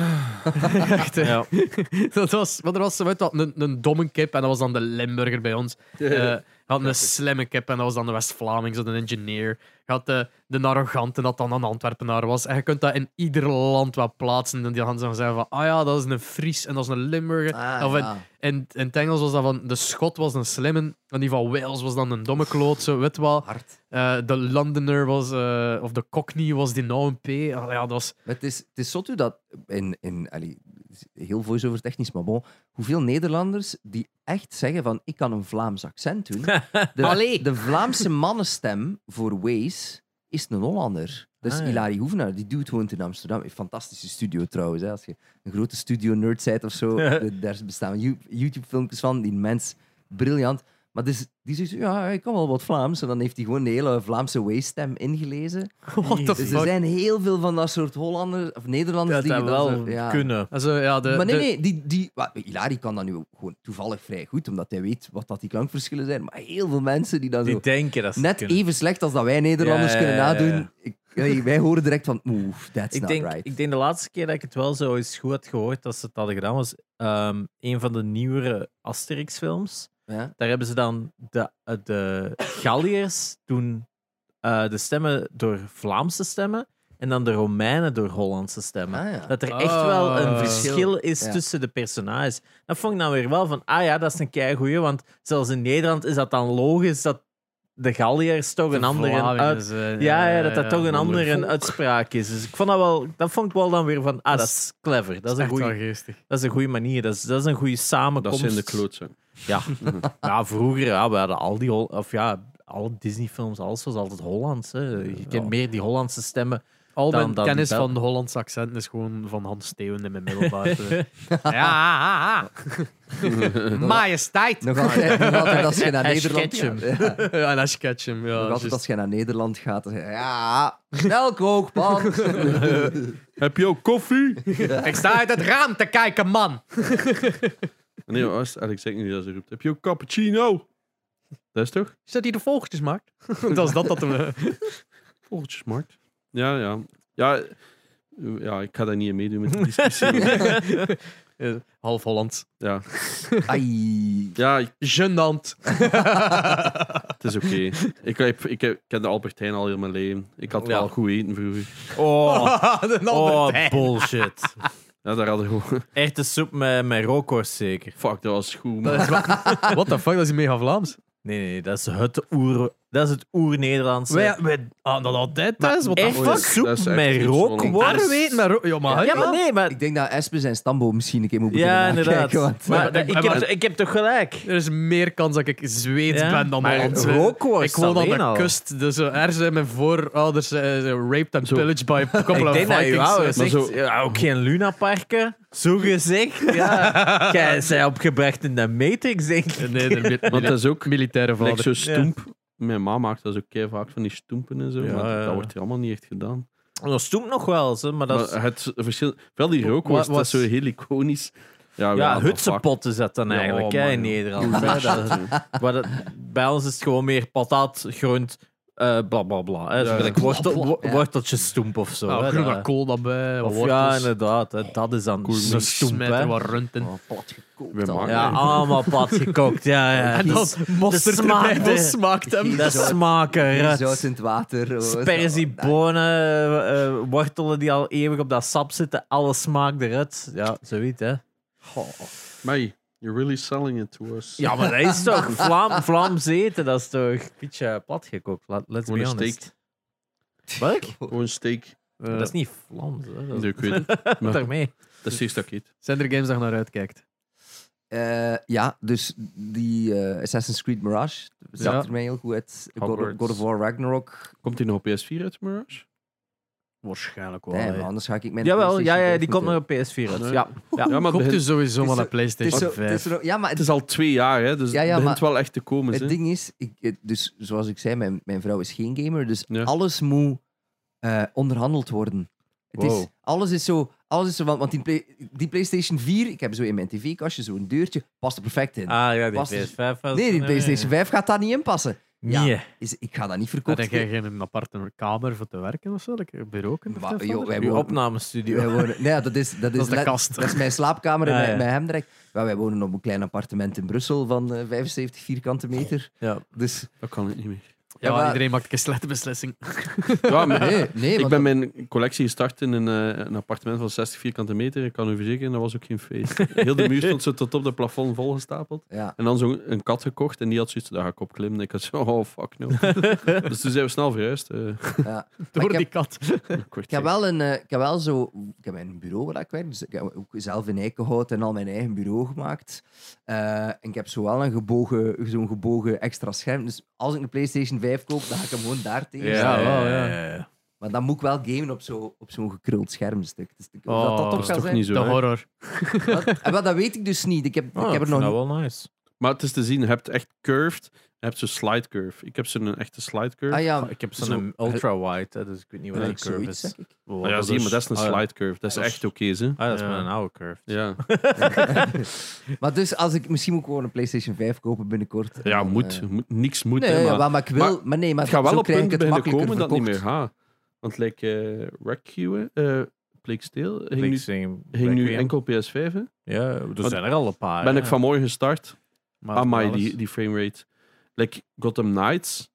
Speaker 1: Echt, hè.
Speaker 4: Ja.
Speaker 1: Dat was... Maar er was zo, weet je wat, een, een domme kip en dat was dan de Limburger bij ons. Eh, had een slimme kip en dat was dan de West-Vlaming, zo'n engineer. Had de, de arrogante dat dan een Antwerpenaar was. En je kunt dat in ieder land wel plaatsen. En die gaan dan zeggen van, ah ja, dat is een Fries en dat is een Limburger.
Speaker 2: Ah,
Speaker 1: of in,
Speaker 2: ja.
Speaker 1: in, in het Engels was dat van, de Schot was een slimme. En die van Wales was dan een domme kloot, zo, weet wat.
Speaker 2: Hard.
Speaker 1: Eh, de Londoner was, eh, of de Cockney was die nou een P. Ah ja, dat was...
Speaker 2: Maar het is, het is zot hoe dat, in, in, allee, het is heel voice-over technisch, maar bon, hoeveel Nederlanders die echt zeggen van, ik kan een Vlaams accent doen. De,
Speaker 1: Allee.
Speaker 2: de Vlaamse mannenstem voor Waze is een Hollander. Dat is
Speaker 4: Ah, ja.
Speaker 2: Hilary Hoevenaar, die doet woont in Amsterdam. Een fantastische studio trouwens. Hè. Als je een grote studio-nerd bent of zo, de- daar bestaan You- YouTube-filmpjes van. Die mens, briljant. Maar dus, die zegt, ja, ik kan wel wat Vlaams. En dan heeft hij gewoon de hele Vlaamse Waze-stem ingelezen.
Speaker 1: What the
Speaker 2: Dus er
Speaker 1: fuck?
Speaker 2: zijn heel veel van dat soort Hollanders of Nederlanders
Speaker 4: Dat
Speaker 2: die
Speaker 4: dat
Speaker 2: dan
Speaker 4: wel
Speaker 2: zo- ja.
Speaker 4: kunnen.
Speaker 1: En zo, eh, ja, de,
Speaker 2: maar nee,
Speaker 1: de-
Speaker 2: nee, die, die, wa- Hilary kan dat nu ook gewoon toevallig vrij goed, omdat hij weet wat dat die klankverschillen zijn. Maar heel veel mensen die dat
Speaker 4: Die
Speaker 2: zo
Speaker 4: denken dat ze het
Speaker 2: net
Speaker 4: kunnen.
Speaker 2: even slecht als dat wij Nederlanders
Speaker 4: Ja, ja,
Speaker 2: kunnen
Speaker 4: ja,
Speaker 2: nadoen.
Speaker 4: ja.
Speaker 2: Ik, nee, wij horen direct van, oeh, that's
Speaker 4: ik
Speaker 2: not
Speaker 4: denk,
Speaker 2: right.
Speaker 4: ik denk de laatste keer dat ik het wel zo eens goed had gehoord dat ze het hadden gedaan, was ehm, een van de nieuwere Asterix-films.
Speaker 2: Ja?
Speaker 4: Daar hebben ze dan de, eh, de Galliërs doen eh, de stemmen door Vlaamse stemmen en dan de Romeinen door Hollandse stemmen.
Speaker 2: Ah, ja.
Speaker 4: Dat er echt wel een
Speaker 1: Ah.
Speaker 4: verschil is
Speaker 2: Ja.
Speaker 4: tussen de personages. Dat vond ik dan weer wel van, ah ja, dat is een keigoeie, want zelfs in Nederland is dat dan logisch dat de Galliërs toch een andere uit, ja, ja, dat dat toch een andere een uitspraak is. Dus ik vond dat wel, dat vond ik wel dan weer van, ah, dat is clever. Dat is een goede, dat is een goede manier. Dat is, dat is een goede
Speaker 3: Dat
Speaker 4: samenkomst.
Speaker 3: zijn de klootzakken.
Speaker 4: Ja.
Speaker 1: Mhm.
Speaker 4: ja, vroeger, ja, we hadden al die, Hol- of ja, alle Disney-films, alles was altijd Hollands. Hè. Je kent meer die Hollandse stemmen.
Speaker 1: Al
Speaker 4: Dan-
Speaker 1: mijn
Speaker 4: dan
Speaker 1: kennis
Speaker 4: wel.
Speaker 1: van Hollands accent is gewoon van Hans Steeuwen in mijn middelbaar. eh. ja, ja, ja. Majesteit.
Speaker 2: Nog altijd, nog altijd als je naar
Speaker 4: Hij
Speaker 2: Nederland
Speaker 4: sketcht
Speaker 2: gaat.
Speaker 4: hem.
Speaker 2: Ja.
Speaker 1: Ja, en Ash Ketchum. Ja,
Speaker 2: Nog
Speaker 4: Oh,
Speaker 2: altijd
Speaker 1: juist.
Speaker 2: als je naar Nederland gaat. dan zeg je, Ja, snel kookpan.
Speaker 3: Heb je ook koffie?
Speaker 1: Ik sta uit het raam te kijken, man.
Speaker 3: Nee, maar als- Alex zegt niet dat ze roept. Heb je ook cappuccino? Dat is toch?
Speaker 1: Is dat die de vogeltjes maakt? dat is dat dat hem... eh,
Speaker 3: Volgens smart. Ja, ja. Ja, eh, ja ik ga daar niet in meedoen met die discussie.
Speaker 1: eh, Half Hollands.
Speaker 3: ja.
Speaker 2: Ai.
Speaker 3: ja, ik-
Speaker 1: Genant.
Speaker 3: het is oké. Ik, heb, ik, heb, ik ken de Albertijn al heel mijn leven. Ik had wel
Speaker 4: Ja.
Speaker 3: goed eten vroeger.
Speaker 4: Oh,
Speaker 1: de
Speaker 4: oh
Speaker 1: Albertijn.
Speaker 4: bullshit.
Speaker 3: Ja, daar hadden we gewoon...
Speaker 4: Echte soep met, met rookworst zeker.
Speaker 3: Fuck, dat was goed.
Speaker 1: Dat
Speaker 3: man.
Speaker 1: is wa- What the fuck, dat is mega Vlaams.
Speaker 4: Nee, nee, nee, dat is het oer... Dat is het oer-Nederlandse.
Speaker 1: ah, dat altijd
Speaker 4: Maar
Speaker 1: thuis. Wat
Speaker 4: echt
Speaker 3: fuck?
Speaker 4: soep
Speaker 3: Dat is echt
Speaker 4: met
Speaker 3: iets van-
Speaker 4: rookworst?
Speaker 1: Daar weet maar ook- Ja, maar...
Speaker 4: Ja, maar nee, maar
Speaker 2: Ik denk dat Espen zijn stamboom misschien een keer moet beginnen
Speaker 4: Ja,
Speaker 2: nakijken,
Speaker 4: inderdaad.
Speaker 2: want-
Speaker 4: maar,
Speaker 1: Maar-
Speaker 4: ik,
Speaker 1: maar-
Speaker 4: heb, ik heb toch gelijk?
Speaker 1: Er is meer kans dat ik Zweeds
Speaker 4: Ja.
Speaker 1: ben dan
Speaker 4: Maar
Speaker 1: Hollands.
Speaker 4: rookworst
Speaker 1: Ik woon aan
Speaker 4: alleen
Speaker 1: de
Speaker 4: al.
Speaker 1: kust. Dus eh, er zijn mijn voorouders eh, zijn raped en
Speaker 3: Zo.
Speaker 1: pillaged by a couple
Speaker 4: Ik
Speaker 1: of
Speaker 4: denk dat je
Speaker 1: Vikings.
Speaker 4: ouders
Speaker 1: eh.
Speaker 3: maar
Speaker 4: zegt,
Speaker 3: zo-
Speaker 4: ja, ook geen lunaparken, zo gezegd. Ja. Jij zij opgebracht in de Matrix, denk ik.
Speaker 1: Nee, de mil-
Speaker 3: Want dat is ook...
Speaker 1: militaire
Speaker 3: Like
Speaker 1: vader.
Speaker 3: zo stoemp. Mijn ma maakt dat ook kei vaak van die stoempen en zo.
Speaker 4: Ja,
Speaker 3: maar dat,
Speaker 4: ja, ja.
Speaker 3: wordt hier allemaal niet echt gedaan.
Speaker 4: Dat stoemt nog wel eens, hè, maar dat is...
Speaker 3: Maar het verschil... Wel die rookworst,
Speaker 4: Wa-
Speaker 3: dat is
Speaker 4: was-
Speaker 3: zo heel iconisch. Oh, Ja,
Speaker 4: ja,
Speaker 3: wat the fuck.
Speaker 4: hutsenpot is dat dan
Speaker 3: Ja,
Speaker 4: eigenlijk,
Speaker 3: oh,
Speaker 4: hè,
Speaker 3: man,
Speaker 4: in
Speaker 3: ja.
Speaker 4: Nederland. hè, dat, maar dat- bij ons is het gewoon meer patat, grunt, eh bla bla bla. Hè, zo
Speaker 3: Ja, ja.
Speaker 4: gelijk wortel,
Speaker 2: Bla, bla,
Speaker 4: wo-
Speaker 2: ja.
Speaker 4: worteltjes stoemp of zo.
Speaker 1: Nou,
Speaker 4: hè,
Speaker 1: groene
Speaker 4: dat-
Speaker 1: kool daarbij. Wat
Speaker 4: of ja,
Speaker 1: wortels.
Speaker 4: inderdaad, hè, dat is dan
Speaker 3: Kool,
Speaker 4: zo'n
Speaker 3: een
Speaker 4: stoemp.
Speaker 1: Smijt er
Speaker 4: Hè.
Speaker 1: wat rund in.
Speaker 2: Oh, plat gekookt
Speaker 3: We
Speaker 2: al.
Speaker 3: maken-
Speaker 4: Ja, allemaal plat gekookt. Ja, ja.
Speaker 1: En dan mosterd
Speaker 4: smaak,
Speaker 1: erbij. Wat
Speaker 4: hè.
Speaker 1: smaakt hem?
Speaker 2: Dat
Speaker 4: Dat
Speaker 2: is-
Speaker 4: smaken,
Speaker 2: Hier
Speaker 4: rut.
Speaker 2: Zout in het water. oh, zo.
Speaker 4: Sperzie, bonen, eh, eh, wortelen die al eeuwig op dat sap zitten. Alles smaakt eruit. Ja, zoiets, hè.
Speaker 2: Oh,
Speaker 3: Mei, you're really selling it to us.
Speaker 4: Ja, maar dat is toch... Vlaam, Vlaams eten, dat is toch... Pietje platgekookt, la- let's
Speaker 3: Gewoon
Speaker 4: be
Speaker 3: een
Speaker 4: honest. Welk?
Speaker 3: Gewoon steak.
Speaker 1: Eh,
Speaker 4: dat is niet Vlaams, hè. Dat
Speaker 3: Nee,
Speaker 4: is
Speaker 3: ik weet het. Maar dat
Speaker 4: daarmee.
Speaker 3: is het eerste dat ik eet.
Speaker 1: Zijn er games dat je naar uitkijkt?
Speaker 2: Eh, ja, dus die eh, Assassin's Creed Mirage zag
Speaker 1: Ja.
Speaker 2: er mij heel goed uit. God,
Speaker 3: Hogwarts.
Speaker 2: God of War Ragnarok.
Speaker 3: Komt die nog op PS4 uit, Mirage?
Speaker 1: Waarschijnlijk wel.
Speaker 2: Damn,
Speaker 1: hè.
Speaker 2: anders ga ik mijn
Speaker 4: Jawel, ja,
Speaker 2: PlayStation
Speaker 4: ja,
Speaker 2: vijf
Speaker 4: die
Speaker 2: moeten-
Speaker 4: komt nog op PS4 uit.
Speaker 3: Nee.
Speaker 4: Ja.
Speaker 3: Ja,
Speaker 4: Ja.
Speaker 3: maar het
Speaker 1: Koop
Speaker 3: begint-
Speaker 1: dus sowieso
Speaker 2: Het
Speaker 1: wel
Speaker 2: is
Speaker 1: een
Speaker 2: zo- Het is
Speaker 1: PlayStation
Speaker 2: zo- het is
Speaker 1: 5.
Speaker 2: zo- ja, maar
Speaker 3: Het
Speaker 2: het,
Speaker 3: is al twee jaar, hè, dus
Speaker 2: Ja, ja,
Speaker 3: het begint
Speaker 2: maar
Speaker 3: wel echt te komen.
Speaker 2: het
Speaker 3: hè.
Speaker 2: ding is, ik, eh, dus zoals ik zei, mijn, mijn vrouw is geen gamer, dus
Speaker 3: Ja.
Speaker 2: alles moet eh, onderhandeld worden. Het is,
Speaker 1: Wow.
Speaker 2: alles is zo, alles is zo want, want die, play- die PlayStation 4, ik heb zo in mijn tv-kastje zo'n deurtje, past er perfect in.
Speaker 4: Ah ja, die
Speaker 2: Past-
Speaker 4: PS5 was...
Speaker 2: nee, die PlayStation 5 gaat daar niet in passen.
Speaker 4: Ja.
Speaker 2: Ja. Is, ik ga dat niet
Speaker 1: Dan
Speaker 2: verkopen.
Speaker 1: heb jij geen aparte kamer voor te werken of zo? like, Een bureau kunt
Speaker 2: Maar, joh, wij
Speaker 4: Uw
Speaker 2: wonen-
Speaker 4: opnamestudio.
Speaker 2: Wij wonen- nee, dat is, dat is,
Speaker 1: Dat is de
Speaker 2: net-
Speaker 1: kast.
Speaker 2: Dat is mijn slaapkamer en
Speaker 4: Ah,
Speaker 2: mijn-
Speaker 4: ja.
Speaker 2: mijn hemdrek. Maar wij wonen op een klein appartement in Brussel van eh, 75 vierkante meter.
Speaker 4: Ja.
Speaker 2: Dus
Speaker 3: Dat kan ik niet meer.
Speaker 1: Ja,
Speaker 2: maar-
Speaker 1: iedereen maakt een slechte beslissing.
Speaker 3: Ja, maar-
Speaker 2: nee, nee
Speaker 3: ik
Speaker 2: want-
Speaker 3: ben mijn collectie gestart in een, eh, een appartement van 60 vierkante meter. Ik kan u verzekeren, dat was ook geen feest. Heel de muur stond zo tot op de plafond volgestapeld.
Speaker 2: ja.
Speaker 3: En dan zo'n een kat gekocht en die had zoiets, daar ga ik op klimmen. Ik had zo, oh fuck no. dus toen zijn we snel verhuisd. eh,
Speaker 2: ja.
Speaker 1: Door
Speaker 2: heb-
Speaker 1: die kat.
Speaker 3: kort
Speaker 2: Ik heb
Speaker 3: gezegd.
Speaker 2: wel een, eh, ik heb wel zo, ik heb mijn bureau waar ik werk, dus ik heb ook zelf in eikenhout en al mijn eigen bureau gemaakt. Eh, en ik heb zo wel een gebogen, zo'n gebogen extra scherm. Dus als ik een PlayStation 5 koop, dan ga ik hem gewoon daar tegen. zetten.
Speaker 1: Ja, wel, ja.
Speaker 2: Maar dan moet ik wel gamen op, zo, op zo'n gekruld schermstuk. Dus ik- of
Speaker 1: Oh,
Speaker 2: dat dat
Speaker 1: dat
Speaker 2: toch
Speaker 1: is
Speaker 2: gaat
Speaker 3: toch
Speaker 2: zijn.
Speaker 3: niet zo.
Speaker 1: De
Speaker 3: hè?
Speaker 1: horror.
Speaker 2: Wat? Eh, wel, dat weet ik dus niet. Ik heb,
Speaker 4: Oh,
Speaker 3: Ah,
Speaker 2: ik heb er nog
Speaker 4: vind
Speaker 2: niet.
Speaker 4: dat wel nice.
Speaker 3: Maar het is te zien, je hebt echt curved, je hebt zo'n slide curve. Ik heb zo'n echte slide curve.
Speaker 2: Ah ja,
Speaker 4: Ik heb
Speaker 3: Zo-
Speaker 4: zo'n ultra-wide, hè, dus ik weet niet wat
Speaker 2: eh,
Speaker 4: die curve
Speaker 2: zoiets
Speaker 4: is.
Speaker 2: zeg ik.
Speaker 1: Oh,
Speaker 3: Maar ja, zie je, maar Oh, dat is een
Speaker 4: ah, ja.
Speaker 3: slide curve. Dat is
Speaker 4: Dat is-
Speaker 3: echt oké, ze.
Speaker 4: Ah, dat is
Speaker 1: Ja.
Speaker 4: maar een oude curve.
Speaker 3: Ja.
Speaker 2: Maar dus als ik, misschien moet ik gewoon een PlayStation 5 kopen binnenkort.
Speaker 3: ja,
Speaker 2: Dan,
Speaker 3: moet,
Speaker 2: eh,
Speaker 3: moet. Niks moet,
Speaker 2: Nee,
Speaker 3: hè,
Speaker 2: ja,
Speaker 3: maar
Speaker 2: maar, ik wil. Maar, nee, maar
Speaker 3: het gaat wel
Speaker 2: zo
Speaker 3: op
Speaker 2: krijg ik
Speaker 3: punten
Speaker 2: het
Speaker 3: beginnen
Speaker 2: makkelijker
Speaker 3: komen dat niet meer
Speaker 2: verkocht.
Speaker 3: gaat. Want like eh Recue, eh Plague Tale, ging nu,
Speaker 4: Flexing,
Speaker 3: ging nu
Speaker 4: Blackwing.
Speaker 3: enkel PS5, hè?
Speaker 1: Ah,
Speaker 4: Ja, er
Speaker 3: Wat-
Speaker 4: zijn er al een paar.
Speaker 3: Ben
Speaker 4: hè.
Speaker 3: ik vanmorgen gestart.
Speaker 1: Ah, Maar
Speaker 3: Amai,
Speaker 1: alles.
Speaker 3: die, die framerate. Like, Gotham Knights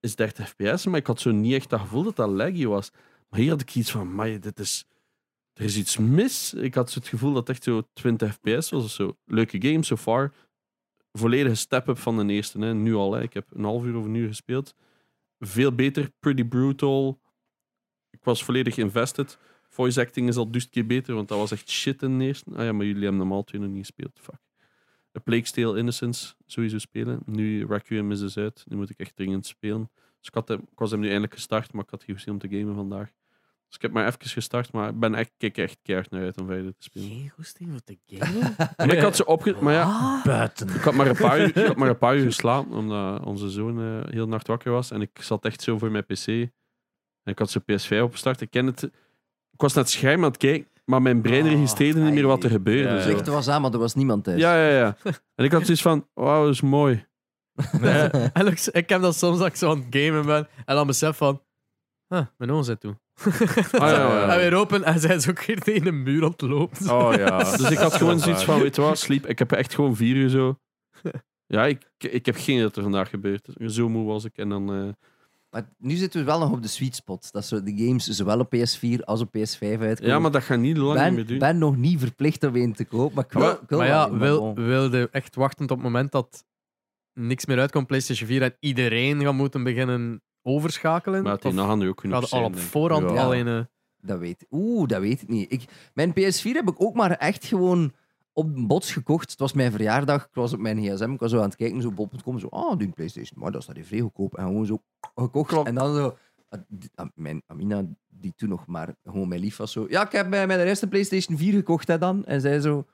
Speaker 3: is 30 fps, maar ik had zo niet echt dat gevoel dat dat laggy was. Maar hier had ik iets van, amai, dit is... Er is iets mis. Ik had zo het gevoel dat het echt zo 20 fps was of zo. Leuke game so far. Volledige step-up van de eerste, hè. nu al. Hè. Ik heb een half uur of een uur gespeeld. Veel beter, pretty brutal. Ik was volledig invested. Voice acting is al duizend keer beter, want dat was echt shit in de eerste. Ah ja, maar jullie hebben normaal twee nog niet gespeeld. Fuck. A Plague Tale Innocence sowieso spelen. Nu Requiem is dus uit. Nu moet ik echt dringend spelen. Dus ik, had hem, ik was hem nu eindelijk gestart, maar ik had geen zin om te gamen vandaag. Dus ik heb maar even gestart, maar ik ben echt, kijk echt keihard naar uit om verder te spelen.
Speaker 1: Geen goesting voor te gamen?
Speaker 3: En ik had ze opge... Maar ja,
Speaker 4: Buiten.
Speaker 3: ik had maar een paar uur, ik had maar een paar uur geslapen, omdat onze zoon eh, heel nacht wakker was. En ik zat echt zo voor mijn pc. En ik had zijn PS5 opgestart. Ik ken het... Ik was naar het scherm aan het kijken, maar mijn brein
Speaker 1: Ah,
Speaker 3: registreerde niet meer wat er
Speaker 2: ai.
Speaker 3: gebeurde.
Speaker 4: Ja,
Speaker 3: zo.
Speaker 4: ja.
Speaker 2: Licht was aan, maar er was niemand thuis.
Speaker 3: eh. Ja, ja, ja. En ik had zoiets van, wauw, dat is mooi.
Speaker 1: Nee. Alex, ik heb dat soms dat ik zo aan het gamen ben en dan besef van... Ah, mijn ogen zijn toe.
Speaker 3: Ah, ja, ja, ja.
Speaker 1: En weer open en zij is ook weer tegen een muur aan het lopen.
Speaker 4: Oh ja.
Speaker 3: Dus ik had gewoon zoiets van, weet je wat, sleep. Ik heb echt gewoon vier uur zo. Ja, ik, ik heb geen idee wat er vandaag gebeurt. Zo moe was ik. En dan, eh,
Speaker 2: Maar nu zitten we wel nog op de sweet spot. Dat zo de games zowel op PS4 als op PS5 uitkomen.
Speaker 3: ja, maar dat ga ik niet lang meer
Speaker 2: ben,
Speaker 3: doen.
Speaker 2: ben nog niet verplicht om één te kopen. Maar ik wil,
Speaker 3: Maar-
Speaker 2: ik wil
Speaker 1: maar
Speaker 2: wel
Speaker 1: ja,
Speaker 2: een,
Speaker 1: wil,
Speaker 2: bon.
Speaker 1: wilde echt wachten tot het moment dat niks meer uitkomt, PlayStation 4, en iedereen gaat moeten beginnen overschakelen?
Speaker 3: maar die
Speaker 1: Of
Speaker 3: gaan nu ook genoeg
Speaker 1: gaat al
Speaker 3: zijn.
Speaker 1: op
Speaker 3: denk ik.
Speaker 1: voorhand
Speaker 2: Ja.
Speaker 1: alleen... eh,
Speaker 2: Dat weet Oeh, dat weet ik niet. Ik, mijn PS4 heb ik ook maar echt gewoon op een bots gekocht. Het was mijn verjaardag, ik was op mijn gsm, ik was zo aan het kijken, zo op bol.com, zo, ah, die Playstation, maar dat is dat even vrij goedkoop. En gewoon zo gekocht. En dan zo, ah, die- ah, mijn Amina, die toen nog maar gewoon mijn lief was, zo, ja, ik heb bij mijn eerste Playstation 4 gekocht, hè, dan. En zij zo,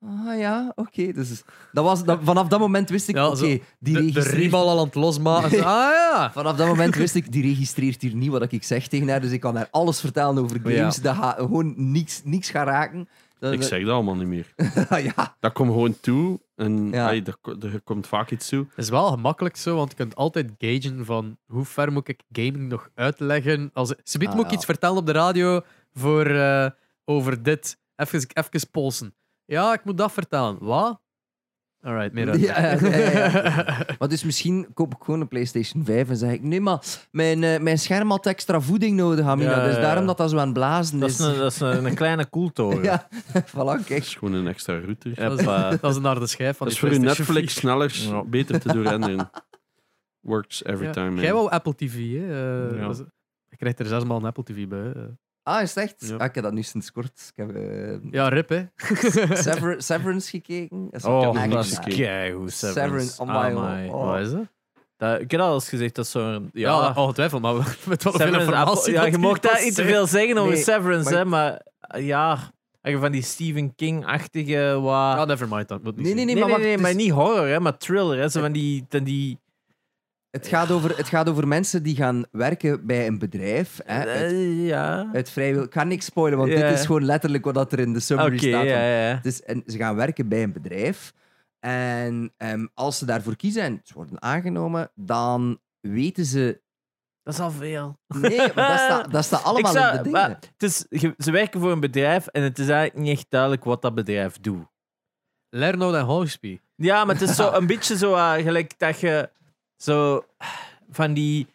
Speaker 2: ah ja, oké. Dus dat was, dat, vanaf dat moment wist ik,
Speaker 1: Ja,
Speaker 2: oké,
Speaker 1: zo
Speaker 2: die
Speaker 1: de, de
Speaker 2: registreert-
Speaker 1: riem al aan het losmaken. ah ja!
Speaker 2: Vanaf dat moment wist ik, die registreert hier niet wat ik zeg tegen haar. Dus ik kan haar alles vertellen over
Speaker 1: Oh
Speaker 2: games. Dat gaat gewoon niks, niks gaan raken. Dat-
Speaker 1: eh,
Speaker 3: Ik zeg dat allemaal niet meer.
Speaker 2: ja,
Speaker 3: Dat komt gewoon toe. En
Speaker 2: Ja.
Speaker 3: ai, er, ko- er komt vaak iets toe.
Speaker 1: Het is wel gemakkelijk zo, want je kunt altijd gagen van hoe ver moet ik gaming nog uitleggen. Als... Subiet
Speaker 2: Ah,
Speaker 1: moet ik
Speaker 2: ja.
Speaker 1: iets vertellen op de radio voor, eh, over dit. Even, even polsen. Ja, ik moet dat vertellen. Wat? Alright, meer uit. Eh,
Speaker 2: Ja, ja, ja, ja. maar dus misschien koop ik gewoon een PlayStation 5 en zeg ik: Nee, maar mijn, eh, mijn scherm had extra voeding nodig, Amina.
Speaker 4: Ja, ja,
Speaker 2: Dus
Speaker 4: ja.
Speaker 2: daarom dat dat zo aan het blazen
Speaker 4: Dat
Speaker 2: is.
Speaker 4: is een, dat is een, een kleine koeltoren.
Speaker 2: Ja, voilà,
Speaker 3: Dat
Speaker 2: kijk.
Speaker 3: is gewoon een extra router.
Speaker 1: Dat is, dat is een harde schijf van
Speaker 3: Eh, Dat
Speaker 1: die
Speaker 3: is voor je
Speaker 1: PlayStation 4.
Speaker 3: Netflix sneller,
Speaker 4: Ja.
Speaker 3: beter te doen renderen. Works every
Speaker 1: Ja.
Speaker 3: time.
Speaker 1: Jij
Speaker 3: man.
Speaker 1: wou Apple TV, hè? Eh,
Speaker 4: Ja.
Speaker 1: dat is- Je krijgt er zesmaal een Apple TV bij. hè.
Speaker 2: Ah, is het echt?
Speaker 1: Ja.
Speaker 2: Ah, ik heb dat nu sinds kort. Ik heb eh,
Speaker 1: Ja, rip, hè?
Speaker 2: Sever- Severance gekeken. Dat is
Speaker 4: Oh,
Speaker 2: echt
Speaker 4: dat is
Speaker 2: naar.
Speaker 3: gekeken.
Speaker 4: keigoed, Severance.
Speaker 2: Severance, amai,
Speaker 4: Amai.
Speaker 2: oh.
Speaker 1: Wat is dat?
Speaker 4: Dat, ik heb al eens gezegd, dat is zo'n...
Speaker 1: Ja,
Speaker 4: Ja,
Speaker 1: ongetwijfeld, maar we- met wel veel
Speaker 4: Severance
Speaker 1: informatie.
Speaker 4: Apple- ja,
Speaker 1: dat
Speaker 4: je
Speaker 1: hier
Speaker 4: mocht daar
Speaker 1: was,
Speaker 4: niet te
Speaker 1: hè.
Speaker 4: veel zeggen over
Speaker 2: Nee,
Speaker 4: Severance,
Speaker 2: maar-
Speaker 4: hè, maar eh, ja, als je van die Stephen King-achtige... wat-
Speaker 1: Ja, never mind, dat moet niet
Speaker 2: Nee,
Speaker 1: zijn.
Speaker 2: nee, nee,
Speaker 4: nee, nee,
Speaker 2: maar
Speaker 4: nee,
Speaker 2: wacht, het is- Eh,
Speaker 4: maar niet horror, hè, maar thriller. Hè, zo van die, van die,
Speaker 2: Het gaat, over, het gaat over mensen die gaan werken bij een bedrijf. Hè, het,
Speaker 4: eh, ja.
Speaker 2: het vrijwillig. Ik ga niks spoilen, want
Speaker 4: Ja.
Speaker 2: dit is gewoon letterlijk wat dat er in de
Speaker 4: Oké,
Speaker 2: summary staat.
Speaker 4: ja, ja.
Speaker 2: Dus, en ze gaan werken bij een bedrijf. En ehm, als ze daarvoor kiezen en ze worden aangenomen, dan weten ze.
Speaker 4: Dat is al veel.
Speaker 2: Nee, maar dat staat, dat staat allemaal
Speaker 4: Ik zou-
Speaker 2: in de dingen.
Speaker 4: maar het is, je- ze werken voor een bedrijf en het is eigenlijk niet echt duidelijk wat dat bedrijf doet.
Speaker 1: Lerno en Hogespie.
Speaker 4: Ja, maar het is zo een beetje zo eh, gelijk dat je zo van die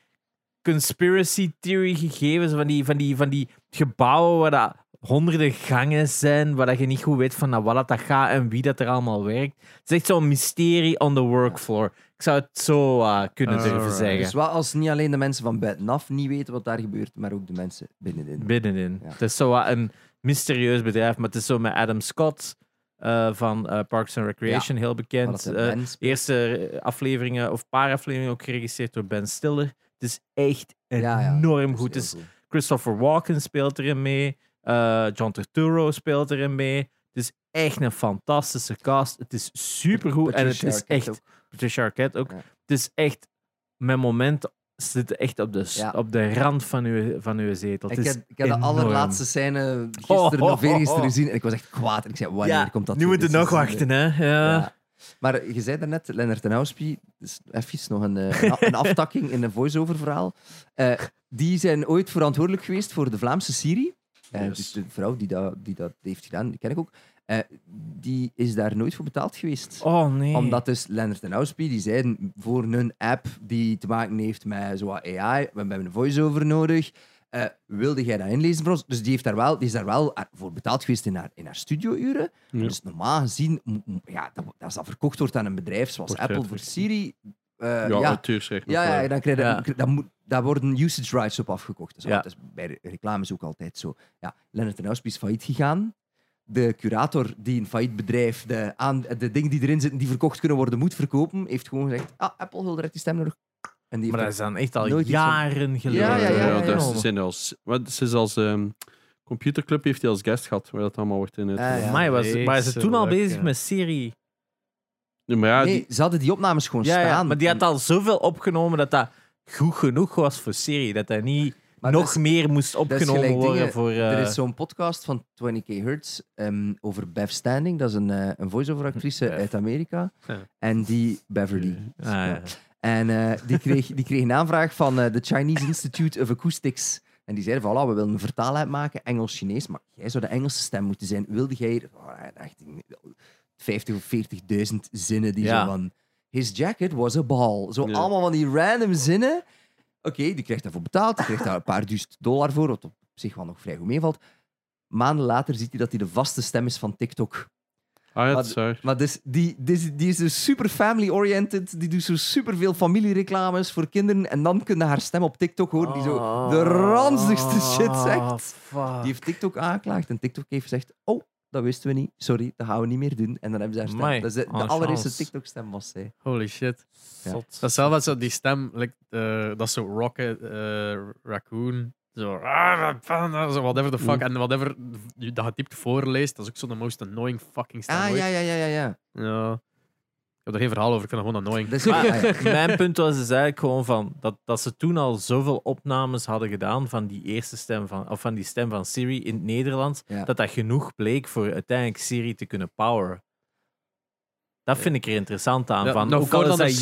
Speaker 4: conspiracy theory gegevens, van die, van die, van die gebouwen waar dat honderden gangen zijn, waar dat je niet goed weet van naar wat dat dat gaat en wie dat er allemaal werkt. Het is echt zo'n mysterie on the workfloor. Ik zou het zo eh, kunnen
Speaker 1: Alright.
Speaker 4: durven
Speaker 2: Dus
Speaker 4: zeggen.
Speaker 2: wel als niet alleen de mensen van buitenaf niet weten wat daar gebeurt, maar ook de mensen binnenin.
Speaker 4: Binnenin.
Speaker 2: Dus- Ja.
Speaker 4: Het is zo wat een mysterieus bedrijf, maar het is zo met Adam Scott eh, van eh, Parks and Recreation, heel
Speaker 2: Wat
Speaker 4: bekend.
Speaker 2: dat de
Speaker 4: Eh,
Speaker 2: mens-
Speaker 4: De eerste eh, afleveringen of paar afleveringen ook geregisseerd door Ben Stiller. Het is echt
Speaker 2: Ja, ja,
Speaker 4: enorm
Speaker 2: dat is
Speaker 4: goed.
Speaker 2: heel
Speaker 4: Het is- Christopher Walken speelt erin mee. eh, John Turturro speelt erin mee. Het is echt een fantastische cast. Het is supergoed en het
Speaker 2: Patricia
Speaker 4: is
Speaker 2: Arquette
Speaker 4: echt...
Speaker 2: ook.
Speaker 4: Patricia Arquette ook.
Speaker 2: Ja.
Speaker 4: Het is echt... Mijn momenten zitten echt op de, s-
Speaker 2: Ja.
Speaker 4: op de rand van uw, van uw zetel.
Speaker 2: Ik
Speaker 4: Het is
Speaker 2: heb, ik heb de
Speaker 4: enorm.
Speaker 2: allerlaatste scène gisteren
Speaker 4: Oh, oh,
Speaker 2: of eergisteren
Speaker 4: oh, oh.
Speaker 2: gezien en ik was echt kwaad. En ik zei, wanneer komt dat
Speaker 4: nu
Speaker 2: weer?
Speaker 4: moeten we
Speaker 2: Dit
Speaker 4: nog
Speaker 2: is- dus
Speaker 4: wachten, hè. Ja.
Speaker 2: Ja. Maar je zei daarnet, Lennart en Houspie, dus even nog een, eh, een, a- een aftakking in een voice-over verhaal. Eh, die zijn ooit verantwoordelijk geweest voor de Vlaamse serie. Eh,
Speaker 3: Yes.
Speaker 2: Dus de vrouw die dat, die dat heeft gedaan, die ken ik ook. eh, die is daar nooit voor betaald geweest.
Speaker 4: Oh, nee.
Speaker 2: Omdat dus Lennart en Houspie, die zeiden voor een app die te maken heeft met zo'n AI, we hebben een voice-over nodig. Eh, wilde jij dat inlezen voor ons? Dus die, heeft daar wel, die is daar wel eh, voor betaald geweest in haar, in haar studiouren.
Speaker 3: Ja.
Speaker 2: Dus normaal gezien, m- m- ja, dat, als dat verkocht wordt aan een bedrijf zoals
Speaker 3: Wordt
Speaker 2: Apple voor
Speaker 3: uitgewerkt.
Speaker 2: Siri, eh,
Speaker 3: Ja,
Speaker 2: ja, ja,
Speaker 3: auteursrecht. nog
Speaker 2: ja,
Speaker 3: wel.
Speaker 2: dan krijg je,
Speaker 4: eh, Ja.
Speaker 2: dan- dan moet- daar worden usage rights op afgekocht. Dat is,
Speaker 4: Ja.
Speaker 2: altijd- dat is bij de reclames ook altijd zo. Ja, Leonard Houspie is failliet gegaan. De curator die een failliet bedrijf de, aan, de dingen die erin zitten die verkocht kunnen worden moet verkopen, heeft gewoon gezegd, ah, Apple wil direct die stem nodig. En die
Speaker 4: Maar dat
Speaker 2: heeft
Speaker 4: is dan echt al
Speaker 2: Nooit iets van-
Speaker 4: jaren geleden.
Speaker 2: Ja, ja, ja, ja,
Speaker 3: dat
Speaker 2: ja.
Speaker 3: is- zijn als, wat, ze is als ehm, computerclub heeft hij als guest gehad, waar dat allemaal wordt in het.
Speaker 2: Ah, ja.
Speaker 4: Voor mij was
Speaker 1: Vreselijk,
Speaker 4: maar ze toen al bezig
Speaker 1: ja.
Speaker 4: met Siri.
Speaker 3: Ja, maar ja,
Speaker 2: nee,
Speaker 3: die,
Speaker 2: ze hadden die opnames gewoon
Speaker 4: Ja, ja,
Speaker 2: staan.
Speaker 4: maar die had al zoveel opgenomen dat dat goed genoeg was voor Siri. Dat dat niet
Speaker 2: Maar
Speaker 4: nog
Speaker 2: dat is-
Speaker 4: meer moest
Speaker 2: is
Speaker 4: opgenomen
Speaker 2: gelijk
Speaker 4: worden
Speaker 2: dingen-
Speaker 4: voor... eh,
Speaker 2: Er is zo'n podcast van 20k Hertz ehm, over Bev Standing. Dat is een, eh, een voice-over actrice
Speaker 4: Bev.
Speaker 2: uit Amerika.
Speaker 1: Ja.
Speaker 2: En die Beverly.
Speaker 4: ah, ja.
Speaker 2: En eh, die, kreeg, die kreeg een aanvraag van eh, de Chinese Institute of Acoustics. En die zeiden van, voilà, we willen een vertaal uitmaken, Engels-Chinees. Maar jij zou de Engelse stem moeten zijn. Wilde jij hier- oh, echt, 50 of 40.000 zinnen die
Speaker 4: Ja.
Speaker 2: zo van... His jacket was a ball. Zo
Speaker 3: Ja.
Speaker 2: allemaal van die random zinnen. Oké, die krijgt daarvoor betaald. Die krijgt daar een paar duizend dollar voor, wat op zich wel nog vrij goed meevalt. Maanden later ziet hij dat hij de vaste stem is van TikTok.
Speaker 3: ah, ja,
Speaker 2: maar-
Speaker 3: dat is waar.
Speaker 2: Maar dus, die, die, die is dus super family-oriented. Die doet zo superveel familiereclames voor kinderen. En dan kunnen haar stem op TikTok horen. Die zo
Speaker 4: Ah.
Speaker 2: de ranzigste shit zegt. Die heeft TikTok aangeklaagd. En TikTok heeft gezegd... Oh, dat wisten we niet. Sorry, dat gaan we niet meer doen. En dan hebben ze haar stem.
Speaker 4: Amai,
Speaker 2: dat is de, de
Speaker 4: en
Speaker 2: allereerste
Speaker 4: chance.
Speaker 2: TikTok-stem was zij.
Speaker 1: Holy shit.
Speaker 2: Ja.
Speaker 1: Dat is zelf als dat die stem, like, eh, dat is zo Rocket, eh, Raccoon, zo, ah, wat van, ah, zo whatever the fuck,
Speaker 3: Mm.
Speaker 1: en whatever je dat getypt voorleest, dat is ook zo de most annoying fucking stem
Speaker 2: Ah,
Speaker 1: ooit.
Speaker 2: ja, ja, ja, ja. ja.
Speaker 1: Ja. Ik heb er geen verhaal over, ik vind dat gewoon annoying.
Speaker 2: Dat is
Speaker 4: Maar-
Speaker 2: ah, ja.
Speaker 4: Mijn punt was dus eigenlijk gewoon van dat, dat ze toen al zoveel opnames hadden gedaan van die eerste stem van, of van die stem van Siri in het Nederlands,
Speaker 2: Ja.
Speaker 4: dat dat genoeg bleek voor uiteindelijk Siri te kunnen poweren. Dat vind ik er interessant aan.
Speaker 1: Ja,
Speaker 4: van,
Speaker 1: nog
Speaker 4: ook al is
Speaker 1: voordat
Speaker 4: dat
Speaker 1: het-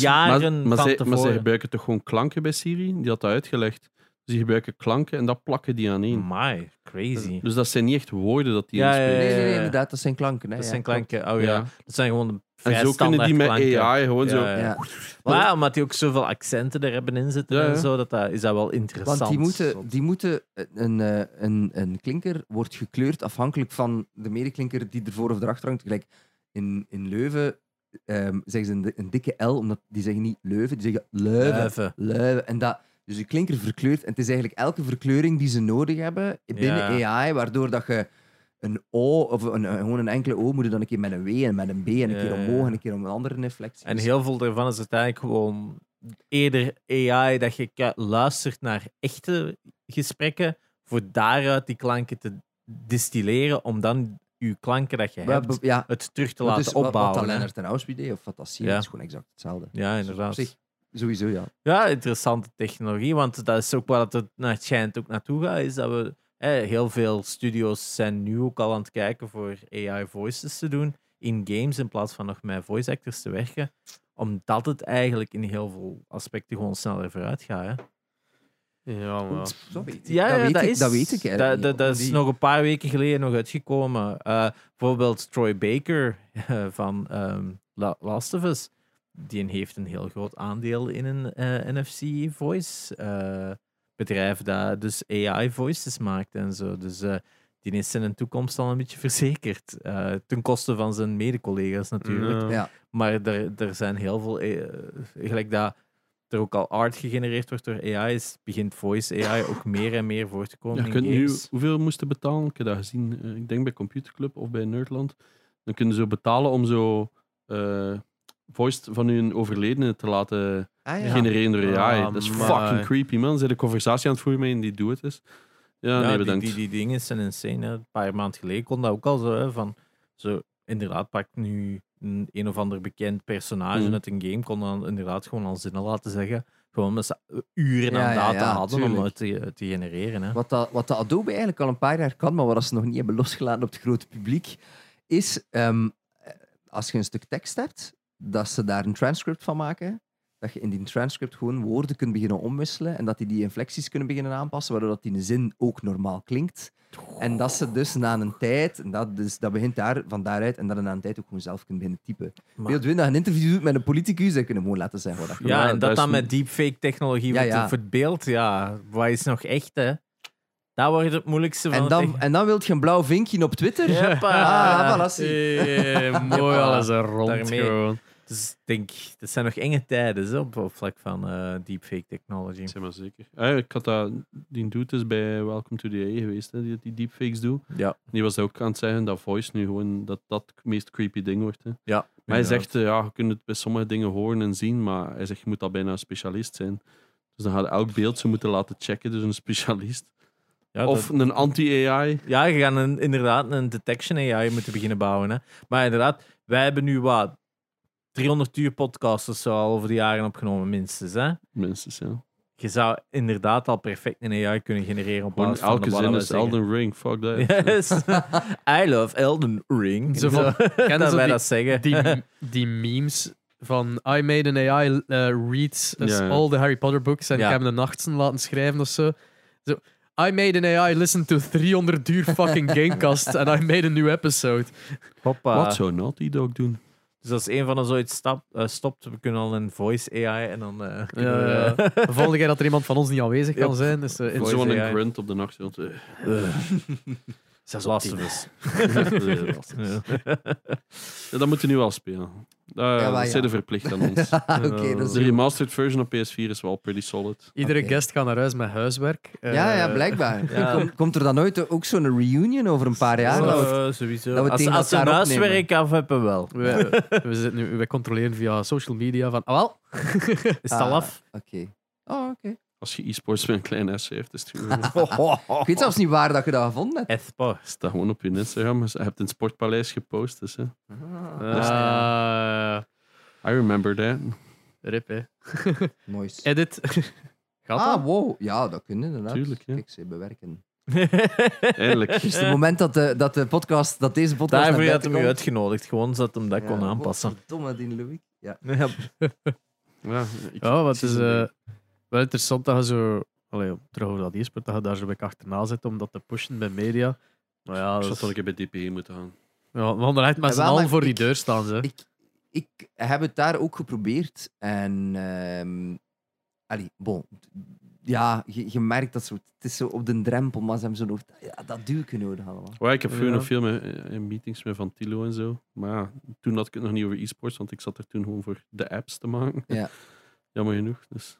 Speaker 3: nou,
Speaker 4: jaren
Speaker 3: Maar, maar,
Speaker 4: van
Speaker 3: zij, maar zij
Speaker 4: tevoren.
Speaker 3: gebruiken toch gewoon klanken bij Siri? Die had dat uitgelegd. Dus die gebruiken klanken en dat plakken die aan één.
Speaker 4: Amai, crazy.
Speaker 3: Dus dat zijn niet echt woorden dat die
Speaker 4: Mm, Ja,
Speaker 3: inspreken.
Speaker 2: Nee, nee, nee,
Speaker 4: ja, ja.
Speaker 2: inderdaad. Dat zijn klanken. Hè,
Speaker 4: eh, Dat
Speaker 2: ja,
Speaker 4: zijn
Speaker 2: klopt.
Speaker 4: klanken. Oh ja.
Speaker 3: Ja.
Speaker 4: Dat zijn gewoon vrij
Speaker 3: En zo kunnen die met
Speaker 4: standaard klanken.
Speaker 3: AI gewoon
Speaker 4: Ja,
Speaker 3: zo...
Speaker 4: ja.
Speaker 2: Ja.
Speaker 4: Maar omdat die ook zoveel accenten er hebben in zitten
Speaker 3: Ja, ja.
Speaker 4: en zo, dat, dat, is dat wel interessant.
Speaker 2: Want die moeten, die moeten een, eh, een, een klinker wordt gekleurd afhankelijk van de medeklinker die ervoor of erachter hangt. Gelijk in, in Leuven ehm, zeggen ze een, di- een dikke L, omdat die zeggen niet Leuven, die zeggen Leuven. Leuven.
Speaker 4: Leuven.
Speaker 2: En dat, dus je klinker verkleurt. En het is eigenlijk elke verkleuring die ze nodig hebben binnen
Speaker 4: Ja.
Speaker 2: AI, waardoor dat je een O, of een, een- gewoon een enkele O, moet je dan een keer met een W en met een B en een
Speaker 4: Ja,
Speaker 2: keer
Speaker 4: ja,
Speaker 2: omhoog
Speaker 4: ja.
Speaker 2: en een keer om een andere inflectie.
Speaker 4: En
Speaker 2: Dus-
Speaker 4: heel veel daarvan is uiteindelijk gewoon eerder AI dat je ka- luistert naar echte gesprekken, voor daaruit die klanken te distilleren, om dan je klanken dat je
Speaker 2: Maar
Speaker 4: hebt,
Speaker 2: be- ja,
Speaker 4: het terug te
Speaker 2: dat
Speaker 4: laten
Speaker 2: is wat-
Speaker 4: opbouwen.
Speaker 2: Wat dat
Speaker 4: hè.
Speaker 2: Lennart en Ausby deed of Fantasie,
Speaker 4: Ja.
Speaker 2: dat is gewoon exact hetzelfde.
Speaker 4: ja,
Speaker 2: Dus op
Speaker 4: inderdaad.
Speaker 2: zich, Sowieso, ja.
Speaker 4: Ja, interessante technologie, want dat is ook waar het naar het schijnt ook naartoe gaat, is dat we hè, heel veel studios zijn nu ook al aan het kijken voor AI voices te doen in games in plaats van nog met voice actors te werken, omdat het eigenlijk in heel veel aspecten gewoon sneller vooruit gaat. Hè.
Speaker 1: Ja, maar...
Speaker 2: Sorry.
Speaker 4: Ja, ja,
Speaker 2: weet
Speaker 4: dat
Speaker 2: ik-
Speaker 4: is,
Speaker 2: dat weet ik eigenlijk
Speaker 4: Dat,
Speaker 2: niet,
Speaker 4: dat,
Speaker 2: hoor.
Speaker 4: dat is
Speaker 2: Die-
Speaker 4: nog een paar weken geleden nog uitgekomen. Eh, bijvoorbeeld Troy Baker eh, van ehm, La- Last of Us. Die heeft een heel groot aandeel in een eh, NFC voice eh, bedrijf dat dus AI voices maakt en zo. Dus eh, die is zijn toekomst al een beetje verzekerd. Eh, ten koste van zijn mede-collega's natuurlijk.
Speaker 1: Ja.
Speaker 2: Ja.
Speaker 4: Maar er, er zijn heel veel. eh, gelijk dat er ook al art gegenereerd wordt door AI, is, begint voice AI ook meer en meer voor te komen.
Speaker 3: Ja, je
Speaker 4: in
Speaker 3: kunt nu,
Speaker 4: games.
Speaker 3: hoeveel moesten betalen? Ik heb dat gezien, eh, ik denk bij Computerclub of bij Nerdland. Dan kunnen ze betalen om zo eh voice van hun overledene te laten
Speaker 2: Ah, ja.
Speaker 3: genereren door AI.
Speaker 1: Ah,
Speaker 3: dat is
Speaker 1: maar-
Speaker 3: fucking creepy, man. Ze zijn de conversatie aan het voeren met een die doet het is. Ja,
Speaker 4: Ja,
Speaker 3: nee,
Speaker 4: die-
Speaker 3: bedankt.
Speaker 4: Die, die, dingen zijn insane. Hè. Een paar maanden geleden kon dat ook al zo. Hè, van, zo inderdaad, pak nu een, een of ander bekend personage
Speaker 3: Mhm.
Speaker 4: uit een game, kon dan inderdaad gewoon al zinnen laten zeggen. Gewoon omdat ze uren
Speaker 2: Ja, ja,
Speaker 4: aan data
Speaker 2: ja,
Speaker 4: hadden om
Speaker 2: tuurlijk.
Speaker 4: het te, te genereren. Hè.
Speaker 2: Wat, dat, wat dat Adobe eigenlijk al een paar jaar kan, maar wat ze nog niet hebben losgelaten op het grote publiek, is ehm, eh, als je een stuk tekst hebt, dat ze daar een transcript van maken. Dat je in die transcript gewoon woorden kunt beginnen omwisselen en dat die die inflecties kunnen beginnen aanpassen, waardoor dat die een zin ook normaal klinkt. En dat ze dus na een tijd, en dat, dus, dat begint daar, van daaruit, en dat je na een tijd ook gewoon zelf kunt beginnen typen.
Speaker 4: Maar-
Speaker 2: Wilt je dat je een interview doet met een politicus, dan kunnen gewoon laten zeggen wat dat
Speaker 3: Ja,
Speaker 4: Ja, en
Speaker 3: dat
Speaker 4: dat
Speaker 3: is
Speaker 4: dan
Speaker 3: een-
Speaker 4: met deepfake
Speaker 2: Ja,
Speaker 4: technologie wordt
Speaker 2: ja.
Speaker 4: voor het beeld, ja, wat is nog echt, hè? Dat wordt het moeilijkste van
Speaker 2: En
Speaker 4: het
Speaker 2: dan,
Speaker 4: echt-
Speaker 2: en dan wilt je een blauw vinkje op Twitter.
Speaker 4: Jeppa.
Speaker 2: Ah, voilà, zie.
Speaker 1: Eh, mooi, alles er rond
Speaker 4: Daarmee.
Speaker 1: gewoon.
Speaker 4: Dus ik denk, dat zijn nog enge tijden zo, op op vlak van eh, deepfake technology.
Speaker 3: Zeg maar zeker. Ah, ja, ik had dat, die doet is bij Welcome to the AI geweest, hè, die, die deepfakes doet.
Speaker 4: Ja,
Speaker 3: Die was ook aan het zeggen dat voice nu gewoon dat, dat het meest creepy ding wordt. Hè.
Speaker 4: ja.
Speaker 3: Maar hij zegt, eh, ja, je kunt het bij sommige dingen horen en zien, maar hij zegt, je moet dat bijna een specialist zijn. Dus dan gaat elk beeld ze moeten laten checken, dus een specialist.
Speaker 4: ja, dat-
Speaker 3: of een anti-AI.
Speaker 4: Ja, je gaat een, inderdaad een detection AI moeten beginnen bouwen. Hè. Maar inderdaad, wij hebben nu wat 300 uur podcasts of zo al over de jaren opgenomen, minstens. Hè.
Speaker 3: Mensen, ja.
Speaker 4: Je zou inderdaad al perfect een AI kunnen genereren op
Speaker 3: Gewoon
Speaker 4: basis van
Speaker 3: elke
Speaker 4: de wat
Speaker 3: zin
Speaker 4: we
Speaker 3: is
Speaker 4: zeggen.
Speaker 3: Elden Ring, fuck dat.
Speaker 4: Yes. Eh, I love Elden Ring.
Speaker 1: Zo
Speaker 4: Zo
Speaker 1: van,
Speaker 4: dat
Speaker 1: ze
Speaker 4: wij
Speaker 1: die-
Speaker 4: dat zeggen.
Speaker 1: Die, die memes van I made an AI eh, read us
Speaker 3: Ja, ja.
Speaker 1: all the Harry Potter books en
Speaker 4: Ja.
Speaker 1: ik heb hem de nachtsen laten schrijven of zo. Zo, I made an AI listen to 300 uur fucking Gamecast and I made a new episode.
Speaker 4: Hoppa.
Speaker 3: Wat zou Naughty Dog doen?
Speaker 4: Dus als een van ons ooit stap, eh, stopt, we kunnen al een voice AI en dan... eh, kunnen we-
Speaker 1: ja. De volgende keer eh, dat er iemand van ons niet aanwezig kan
Speaker 4: Ja.
Speaker 1: zijn. Dus, eh, in-
Speaker 4: Voice
Speaker 3: Zo'n
Speaker 4: AI.
Speaker 3: grunt op de nacht. want, eh,
Speaker 4: Zelfs Last of Us.
Speaker 3: eh, ja, dat moeten we nu al spelen. Daar
Speaker 2: Ja, maar
Speaker 3: dat zijn
Speaker 2: ja.
Speaker 3: de verplicht aan ons.
Speaker 2: Ah, Oké, dat is
Speaker 3: De remastered version op PS4 is wel pretty solid.
Speaker 1: Iedere
Speaker 2: Oké.
Speaker 1: guest gaat naar huis met huiswerk. Eh,
Speaker 2: Ja, ja, blijkbaar.
Speaker 4: Ja.
Speaker 2: Kom- komt er dan ooit ook zo'n reunion over een paar jaar? Dat we-
Speaker 4: Eh, sowieso.
Speaker 2: dat we
Speaker 4: als
Speaker 2: tegen
Speaker 4: als ze een
Speaker 2: elkaar opnemen.
Speaker 4: huiswerk af hebben, wel.
Speaker 1: We, we, zitten nu, we controleren via social media van, ah, wel,
Speaker 4: Is het al
Speaker 2: Ah.
Speaker 4: af?
Speaker 2: Oké. Oh, oké.
Speaker 3: Als je e-sports met een klein S heeft, is het gewoon-
Speaker 2: Ik weet zelfs niet waar dat je dat gevonden hebt.
Speaker 4: Espo.
Speaker 3: is dat gewoon op je Instagram. Je hebt een sportpaleis gepost, dus hè.
Speaker 1: ah,
Speaker 3: I remember that.
Speaker 1: rip, hè.
Speaker 2: Nice.
Speaker 1: Edit. Gaat dat?
Speaker 2: Ah, wow. Ja, dat kunnen inderdaad.
Speaker 3: Tuurlijk, ja.
Speaker 2: Kijk, ze bewerken.
Speaker 3: Eindelijk.
Speaker 2: Dus het moment dat de, dat de podcast, dat deze podcast
Speaker 4: Daarvoor
Speaker 2: naar
Speaker 4: had
Speaker 2: buiten
Speaker 4: hem u
Speaker 2: komt-
Speaker 4: uitgenodigd, gewoon zodat hem dat kon
Speaker 2: Ja,
Speaker 4: aanpassen.
Speaker 2: godverdomme, die Louis. Ja.
Speaker 4: Ja,
Speaker 3: Ja, ik-
Speaker 1: Ja, wat
Speaker 3: zie
Speaker 1: is
Speaker 3: zo'n
Speaker 1: eh,
Speaker 3: ding.
Speaker 1: wel interessant dat je zo. Allee, op- terug over dat e-sport, dat je daar zo bij achterna zit om dat te pushen bij media. Maar ja,
Speaker 3: Ik
Speaker 1: dat
Speaker 3: zat
Speaker 1: is-
Speaker 3: dat ik bij DPE moeten gaan.
Speaker 1: ja we hadden echt met
Speaker 2: Ja,
Speaker 1: z'n
Speaker 2: wel,
Speaker 1: allen
Speaker 2: maar
Speaker 1: voor die
Speaker 2: ik-
Speaker 1: deur staan. Ze.
Speaker 2: Ik, ik heb het daar ook geprobeerd. En, ehm allee, bon. Ja, je, je merkt dat zo, het is zo op de drempel, maar ze hebben zo nog... Ja, dat duw ik nodig allemaal.
Speaker 3: Maar Oh ik heb vroeger
Speaker 1: Ja.
Speaker 3: nog veel met, eh, in meetings met Van Tilo en zo. Maar ja, toen had ik het nog niet over e-sports, want ik zat er toen gewoon voor de apps te maken.
Speaker 2: Ja.
Speaker 3: Jammer genoeg. Dus.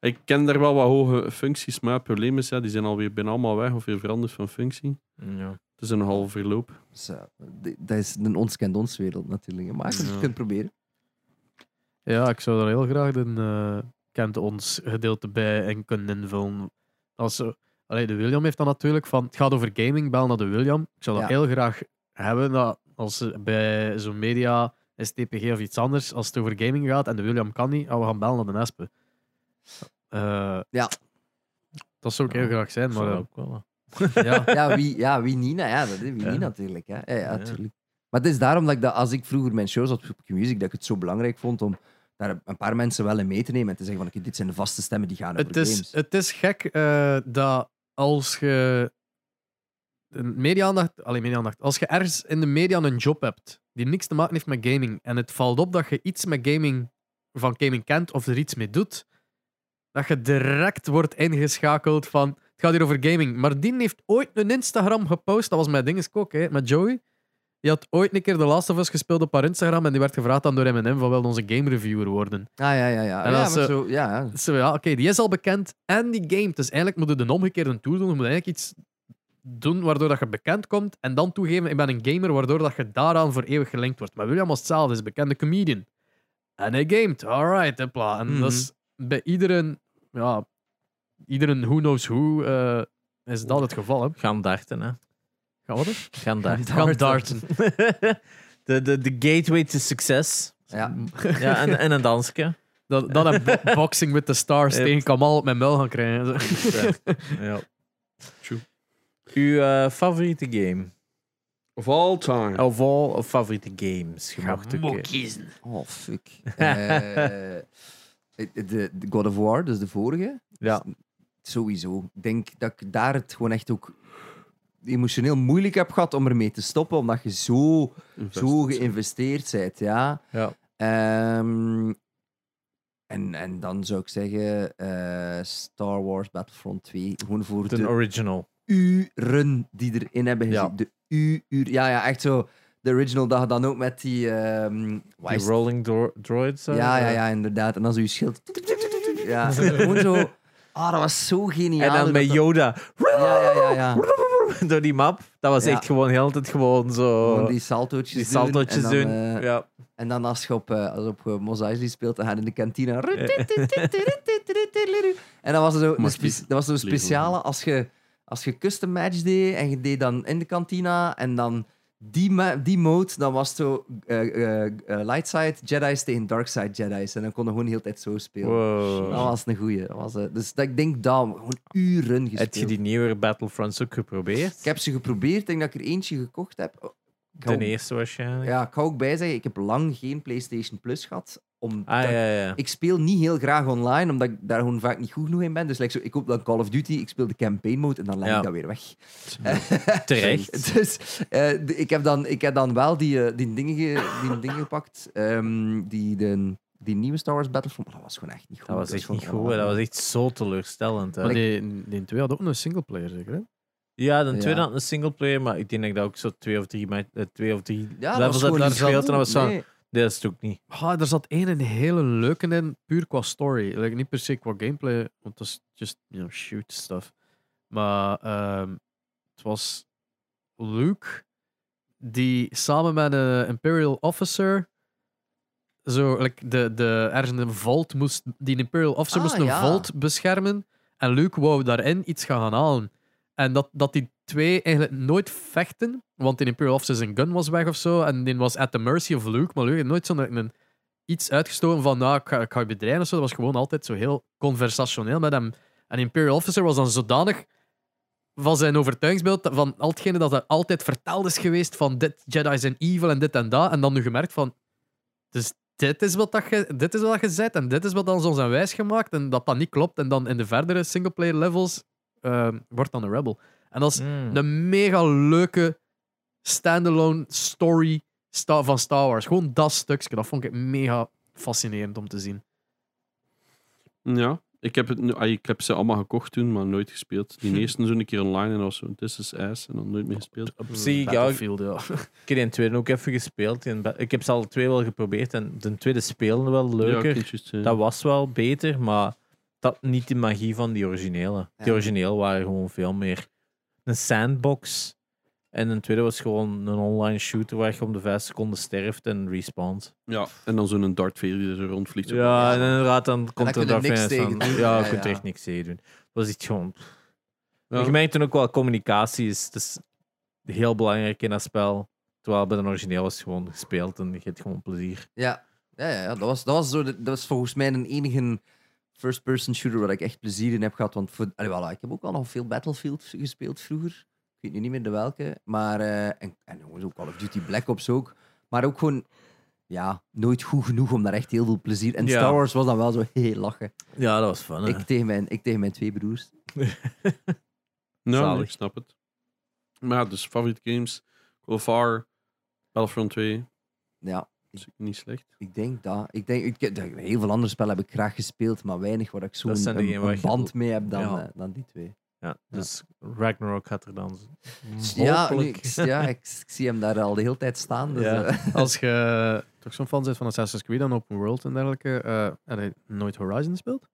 Speaker 3: Ik ken daar wel wat hoge functies, maar het probleem is, ja, die zijn alweer bijna allemaal weg of weer veranderd van functie.
Speaker 4: ja.
Speaker 3: Het is een half verloop.
Speaker 2: Dus, eh, d- dat is een ons kent ons wereld natuurlijk. hè. Maar je kunt
Speaker 3: Ja.
Speaker 2: het kunt proberen.
Speaker 1: Ja, ik zou daar heel graag een eh, kent ons gedeelte bij en kunnen invullen. Als er, allee, de William heeft dan natuurlijk van, het gaat over gaming, bel naar de William. Ik zou dat
Speaker 2: Ja.
Speaker 1: heel graag hebben dat als er bij zo'n media, STPG of iets anders, als het over gaming gaat en de William kan niet, ah, we gaan bellen naar de Espe. Eh,
Speaker 2: Ja.
Speaker 1: Dat zou ik
Speaker 4: Ja.
Speaker 1: heel graag zijn, maar
Speaker 4: Zou
Speaker 1: eh,
Speaker 4: dat ook wel, hè.
Speaker 1: ja.
Speaker 2: Ja, wie, ja, wie niet? nou Ja, dat, wie
Speaker 4: Ja.
Speaker 2: niet natuurlijk. Hè. Ja, ja,
Speaker 4: Ja.
Speaker 2: tuurlijk. Maar het is daarom dat ik dat, als ik vroeger mijn shows had op Q-Music, dat ik het zo belangrijk vond om daar een paar mensen wel in mee te nemen en te zeggen van, oké, dit zijn de vaste stemmen die gaan over
Speaker 1: Het is,
Speaker 2: games.
Speaker 1: het is gek eh, dat als je een media-aandacht, alleen media-aandacht, als je ergens in de media een job hebt die niks te maken heeft met gaming en het valt op dat je iets met gaming van gaming kent of er iets mee doet, dat je direct wordt ingeschakeld van het gaat hier over gaming. Maar die heeft ooit een Instagram gepost, dat was met Dingeskok, hè, met Joey. Die had ooit een keer The Last of Us gespeeld op haar Instagram en die werd gevraagd dan door M&M van wil je onze game reviewer worden.
Speaker 2: Ah, ja, ja, ja.
Speaker 1: En
Speaker 2: ja,
Speaker 1: als
Speaker 2: maar
Speaker 1: ze-
Speaker 2: zo, ja, ja.
Speaker 1: Zo, Dus, ja, oké, die is al bekend en die game. Dus eigenlijk moet je de omgekeerde tour doen. Je moet eigenlijk iets doen waardoor dat je bekend komt en dan toegeven, ik ben een gamer, waardoor dat je daaraan voor eeuwig gelinkt wordt. Maar William was hetzelfde, is een bekende comedian. En hij gamet, alright, hopla. En dat is bij iedereen, ja, iedereen who knows who, eh, is dat het geval, hè.
Speaker 4: Gaan darten, hè.
Speaker 1: Gaan we dat?
Speaker 4: Gaan darten.
Speaker 1: Gaan darten.
Speaker 4: de, de, de gateway to success.
Speaker 2: Ja.
Speaker 4: Ja, en, en een dansje.
Speaker 1: Dat, dat en bo- Boxing with the Stars
Speaker 4: Yep.
Speaker 1: tegen Kamal op mijn muil gaan krijgen.
Speaker 4: Ja.
Speaker 3: True.
Speaker 4: Uw eh, favoriete game?
Speaker 3: Of all time.
Speaker 4: Of all of favoriete games? Je mag het ook, eh,
Speaker 1: kiezen.
Speaker 2: Oh, fuck. Eh, de, de God of War, dus de vorige.
Speaker 4: Ja.
Speaker 2: Sowieso. Ik denk dat ik daar het gewoon echt ook emotioneel moeilijk heb gehad om ermee te stoppen, omdat je zo zo geïnvesteerd zijt, ja.
Speaker 4: Ja.
Speaker 2: Ehm, en, en dan zou ik zeggen eh, Star Wars Battlefront 2. Gewoon voor
Speaker 4: de
Speaker 2: de
Speaker 4: original.
Speaker 2: uren die erin hebben gezien.
Speaker 4: Ja.
Speaker 2: De u uur. Ja, ja, echt zo. De original dat je dan ook met die... ehm wat
Speaker 4: Die
Speaker 2: is-
Speaker 4: Rolling Dro- Droids. eh,
Speaker 2: ja, ja, ja, inderdaad. En dan zo je schild. Ja, gewoon zo... Ah, dat was zo geniaal.
Speaker 4: En
Speaker 2: hoe
Speaker 4: dan
Speaker 2: dat
Speaker 4: met
Speaker 2: dat-
Speaker 4: Yoda.
Speaker 2: Ja, ja, ja. ja.
Speaker 4: Door die map. Dat was
Speaker 2: Ja.
Speaker 4: echt gewoon heel de tijd gewoon zo...
Speaker 2: Gewoon
Speaker 4: die
Speaker 2: die saltootjes doen en
Speaker 4: saltootjes doen.
Speaker 2: dan, eh,
Speaker 4: ja.
Speaker 2: En dan als je op, eh, als je op eh, Mos Eisley speelt, dan ga je in de kantine. En dan was er zo een
Speaker 3: Mag
Speaker 2: spe-
Speaker 3: ik
Speaker 2: dat was zo'n speciale, als je, als je custom match deed en je deed dan in de kantina en dan die, ma- die mode, dan was het zo eh eh, eh, light side Jedi's tegen dark side Jedi's. En dan kon je gewoon heel de hele tijd zo spelen.
Speaker 4: Wow.
Speaker 2: Dat was een goeie. Dat was, eh, dus dat, ik denk dat, gewoon uren
Speaker 4: Heb je
Speaker 2: gespeeld.
Speaker 4: die nieuwe Battlefronts ook geprobeerd?
Speaker 2: Ik heb ze geprobeerd, ik denk dat ik er eentje gekocht heb. Oh, ik hou-
Speaker 4: Ten eerste waarschijnlijk.
Speaker 2: ja, ik ga ook bij zeggen, ik heb lang geen PlayStation Plus gehad. Om
Speaker 4: Ah, ja, ja.
Speaker 2: Ik speel niet heel graag online, omdat ik daar gewoon vaak niet goed genoeg in ben. Dus like, zo, ik koop dan Call of Duty, ik speel de campaign mode en dan leg
Speaker 4: Ja.
Speaker 2: ik dat weer weg.
Speaker 4: ja. Terecht.
Speaker 2: Dus eh, de- ik, heb dan, ik heb dan wel die, eh, die, dingen, ge- die dingen gepakt, ehm, die, de, die nieuwe Star Wars Battlefront, maar dat was gewoon echt niet goed.
Speaker 4: Dat was echt
Speaker 2: gewoon
Speaker 4: niet goed. hè. Dat was echt zo teleurstellend. Hè.
Speaker 1: Maar die, die twee hadden ook een singleplayer, zeker? Hè?
Speaker 4: Ja, de
Speaker 2: Ja.
Speaker 4: tweede had een singleplayer, maar ik denk dat ik dat ook zo twee of drie, ma- eh, twee of drie
Speaker 2: Ja, dat was
Speaker 4: levels heb
Speaker 2: gewoon
Speaker 4: daar
Speaker 2: niet zo
Speaker 4: gespeeld. En dat was
Speaker 2: goed,
Speaker 4: zo,
Speaker 2: nee.
Speaker 4: dit is het ook niet.
Speaker 1: Ah, er zat één een hele leuke in, puur qua story. Like, niet per se qua gameplay, want dat is just, you know, shoot stuff. Maar ehm, het was Luke die samen met een Imperial Officer zo, like, de, de, ergens een vault moest, die Imperial Officer
Speaker 2: Ah,
Speaker 1: moest een
Speaker 2: ja.
Speaker 1: vault beschermen en Luke wou daarin iets gaan gaan halen. En dat, dat die twee eigenlijk nooit vechten, want in Imperial Officer zijn gun was weg of zo, en die was at the mercy of Luke, maar Luke had nooit zo'n een, iets uitgestoken van, nou, ik ga, ik ga je bedreigen of zo. Dat was gewoon altijd zo heel conversationeel met hem. En Imperial Officer was dan zodanig van zijn overtuigingsbeeld, van al hetgene dat er altijd verteld is geweest, van dit, Jedi zijn evil en dit en dat, en dan nu gemerkt van, dus dit is wat dat je, dit is wat je zet en dit is wat dan ons aan wijs gemaakt, en dat dat niet klopt, en dan in de verdere singleplayer levels ehm, wordt dan een rebel. En dat is
Speaker 4: Mm.
Speaker 1: een mega leuke standalone story sta- van Star Wars. Gewoon dat stukje, dat vond ik mega fascinerend om te zien.
Speaker 3: Ja, ik heb, het, nu- ah, ik heb ze allemaal gekocht toen, maar nooit gespeeld. Die eerste zo'n keer online en dan zo. This is ass en dan nooit meer gespeeld.
Speaker 1: Op
Speaker 4: zich, ja.
Speaker 1: Battlefield, ja.
Speaker 4: Ik heb die tweede ook even gespeeld. Die ba- Ik heb ze alle twee wel geprobeerd en de tweede speelde wel
Speaker 3: Ja,
Speaker 4: leuker.
Speaker 3: ik vind juist, eh,
Speaker 4: dat was wel beter, maar dat had niet de magie van die originele.
Speaker 2: Ja.
Speaker 4: Die origineel waren gewoon veel meer een sandbox En een tweede was gewoon een online shooter waar je om de vijf seconden sterft en respawnt.
Speaker 3: Ja. En dan zo'n dartveer die er rondvliegt. zo.
Speaker 4: Ja, en inderdaad, dan komt
Speaker 2: kun je
Speaker 4: er daar
Speaker 2: niks
Speaker 4: fijn
Speaker 2: tegen
Speaker 4: staan.
Speaker 2: doen.
Speaker 4: Ja,
Speaker 2: Ja,
Speaker 4: je kunt
Speaker 2: ja.
Speaker 4: er echt niks tegen doen. Het was iets gewoon...
Speaker 3: Ja.
Speaker 4: Je merkt toen ook wel, communicatie is, het is heel belangrijk in dat spel. Terwijl bij de origineel was het gewoon gespeeld en je hebt gewoon plezier.
Speaker 2: Ja, ja, ja, ja. Dat, was, dat, was zo, de- dat was volgens mij een enige first-person shooter waar ik echt plezier in heb gehad. Want voor, allee, voilà, ik heb ook al nog veel Battlefield gespeeld vroeger. Ik weet nu niet meer de welke. Maar, eh, en, en jongens, ook Call of Duty Black Ops ook. Maar ook gewoon, ja, nooit goed genoeg om daar echt heel veel plezier... En
Speaker 4: Ja.
Speaker 2: Star Wars was dan wel zo, heel lachen.
Speaker 4: Ja, dat was fun.
Speaker 2: Ik, tegen mijn, ik tegen mijn twee broers.
Speaker 3: Nou,
Speaker 4: Zalig.
Speaker 3: ik snap het. Maar ja, dus favoriete games. Call of Duty, Battlefront 2.
Speaker 2: Ja,
Speaker 3: is niet slecht.
Speaker 2: ik denk dat. Ik denk, ik, ik- heel veel andere spellen heb ik graag gespeeld, maar weinig waar ik zo'n
Speaker 4: Dat zijn
Speaker 2: een-
Speaker 4: degenen
Speaker 2: een
Speaker 4: waar je-
Speaker 2: band mee heb dan,
Speaker 4: Ja.
Speaker 2: eh, dan die twee.
Speaker 4: Ja, dus Ragnarok had er dan
Speaker 2: Ja, nu,
Speaker 4: Hm. hopelijk-
Speaker 2: ik, ja ik, ik zie hem daar al de hele tijd staan. Dus,
Speaker 4: Ja.
Speaker 2: eh,
Speaker 1: Als je toch zo'n fan bent van Assassin's Creed en Open World en dergelijke, eh, en je nooit Horizon gespeeld?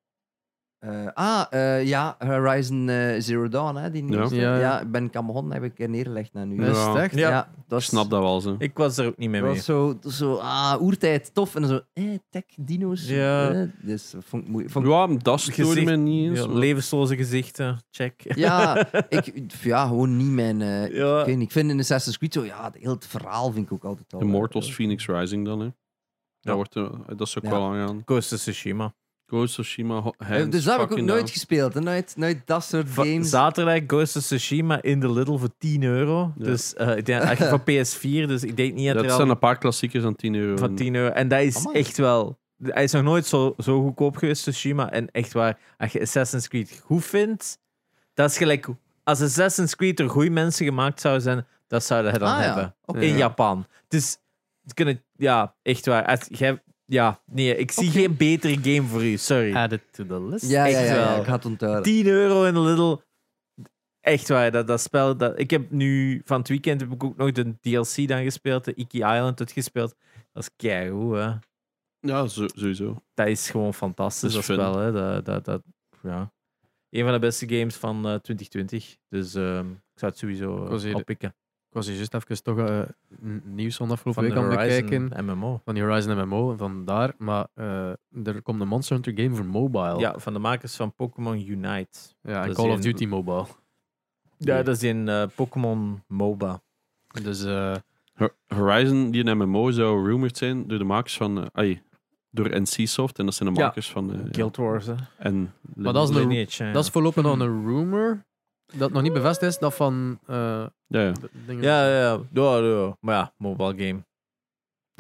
Speaker 2: eh, ah, eh, ja, Horizon eh, Zero Dawn, hè, die nieuwste.
Speaker 1: Ja.
Speaker 2: Ja,
Speaker 1: Ja.
Speaker 2: ben ik aan begonnen, heb ik er neergelegd naar nu. Dus,
Speaker 3: Ja.
Speaker 1: Is het echt?
Speaker 4: Ja.
Speaker 2: dat
Speaker 3: Ik snap dat wel zo.
Speaker 4: Ik was er ook niet mee
Speaker 2: Dat
Speaker 4: mee.
Speaker 2: was zo, zo ah, oertijd, tof. En dan zo, eh, tech, dino's.
Speaker 4: Ja.
Speaker 2: eh, dus vond ik moeilijk. vond ik-
Speaker 3: Ja, dat stoorde
Speaker 4: Gezicht-
Speaker 3: mij niet eens.
Speaker 4: Ja,
Speaker 3: maar-
Speaker 4: levensloze gezichten, check.
Speaker 2: Ja, ik, ja, gewoon niet mijn... eh, ik-
Speaker 4: Ja.
Speaker 2: Ik, weet niet, ik vind in Assassin's Creed zo, ja, heel het verhaal vind ik ook altijd al...
Speaker 3: Immortals
Speaker 2: eh,
Speaker 3: Phoenix Rising dan, hè. Dat, wordt, eh, dat zou ik
Speaker 2: Ja.
Speaker 3: wel aangaan.
Speaker 4: Ghost of Tsushima.
Speaker 3: Ghost of Tsushima, ho-
Speaker 2: eh,
Speaker 3: hands
Speaker 2: Dus dat heb ik ook
Speaker 3: fucking
Speaker 2: nooit
Speaker 3: down.
Speaker 2: gespeeld. Hè? Nooit, nooit dat soort
Speaker 4: Va-
Speaker 2: games.
Speaker 4: Zaterdag Ghost of Tsushima in de Lidl voor 10 euro.
Speaker 3: Ja.
Speaker 4: Dus eh, ik denk eigenlijk van PS4, dus ik denk niet dat,
Speaker 3: Dat
Speaker 4: er al
Speaker 3: zijn een paar klassiekers aan 10 euro.
Speaker 4: van 10 euro. En dat is
Speaker 2: Amai.
Speaker 4: echt wel... Hij is nog nooit zo, zo goedkoop geweest, Tsushima. En echt waar, als je Assassin's Creed goed vindt, dat is gelijk... Als Assassin's Creed door goede mensen gemaakt zou zijn, dat zouden hij dan
Speaker 2: Ah, ja.
Speaker 4: hebben.
Speaker 2: Oké.
Speaker 4: In Japan. Dus het kunnen... Ja, echt waar. Als, jij, ja, nee, ik zie geen betere game voor u. Sorry.
Speaker 1: Add it to the list.
Speaker 2: Ja, ja,
Speaker 4: Echt
Speaker 2: ja, ja,
Speaker 4: wel.
Speaker 2: ik had het onthouden.
Speaker 4: 10 euro in de Lidl. Echt waar, dat, dat spel. Dat, ik heb nu van het weekend heb ik ook nog de DLC dan gespeeld, de Iki Island het gespeeld. Dat is keigoed, hè.
Speaker 3: Ja, zo- sowieso.
Speaker 4: Dat is gewoon fantastisch,
Speaker 3: Dat
Speaker 4: dat,
Speaker 3: is fun.
Speaker 4: spel, hè. Dat, dat, dat, ja. Een van de beste games van eh, 2020. Dus ehm, ik zou het sowieso
Speaker 1: was hier
Speaker 4: eh,
Speaker 1: de
Speaker 4: oppikken.
Speaker 1: Ik was hier juist even toch eh, n- nieuws van afgelopen
Speaker 4: Van de
Speaker 1: week aan het
Speaker 4: Horizon
Speaker 1: bekijken.
Speaker 4: MMO.
Speaker 1: Van die Horizon MMO en vandaar. Maar eh, er komt een Monster Hunter game voor mobile.
Speaker 4: Ja, van de makers van Pokémon Unite.
Speaker 1: Ja, en
Speaker 4: Dat is
Speaker 1: Call of
Speaker 4: die-
Speaker 1: Duty mobile.
Speaker 4: Ja, dat is in eh, Pokémon MOBA.
Speaker 1: Dus eh,
Speaker 3: Ho- Horizon, die een MMO zou rumored zijn door de makers van... eh, ai, door NCSoft. En dat zijn de
Speaker 4: Ja.
Speaker 3: makers van... eh,
Speaker 4: Guild Wars, hè.
Speaker 3: En
Speaker 1: Maar dat is een-
Speaker 4: Lineage, hè.
Speaker 1: dat is voorlopig nog een rumor. Dat nog niet bevestigd is, dat van... eh,
Speaker 3: Ja, ja.
Speaker 1: de- dingen-
Speaker 4: Ja, ja, ja. Ja, ja. Maar ja, mobile game.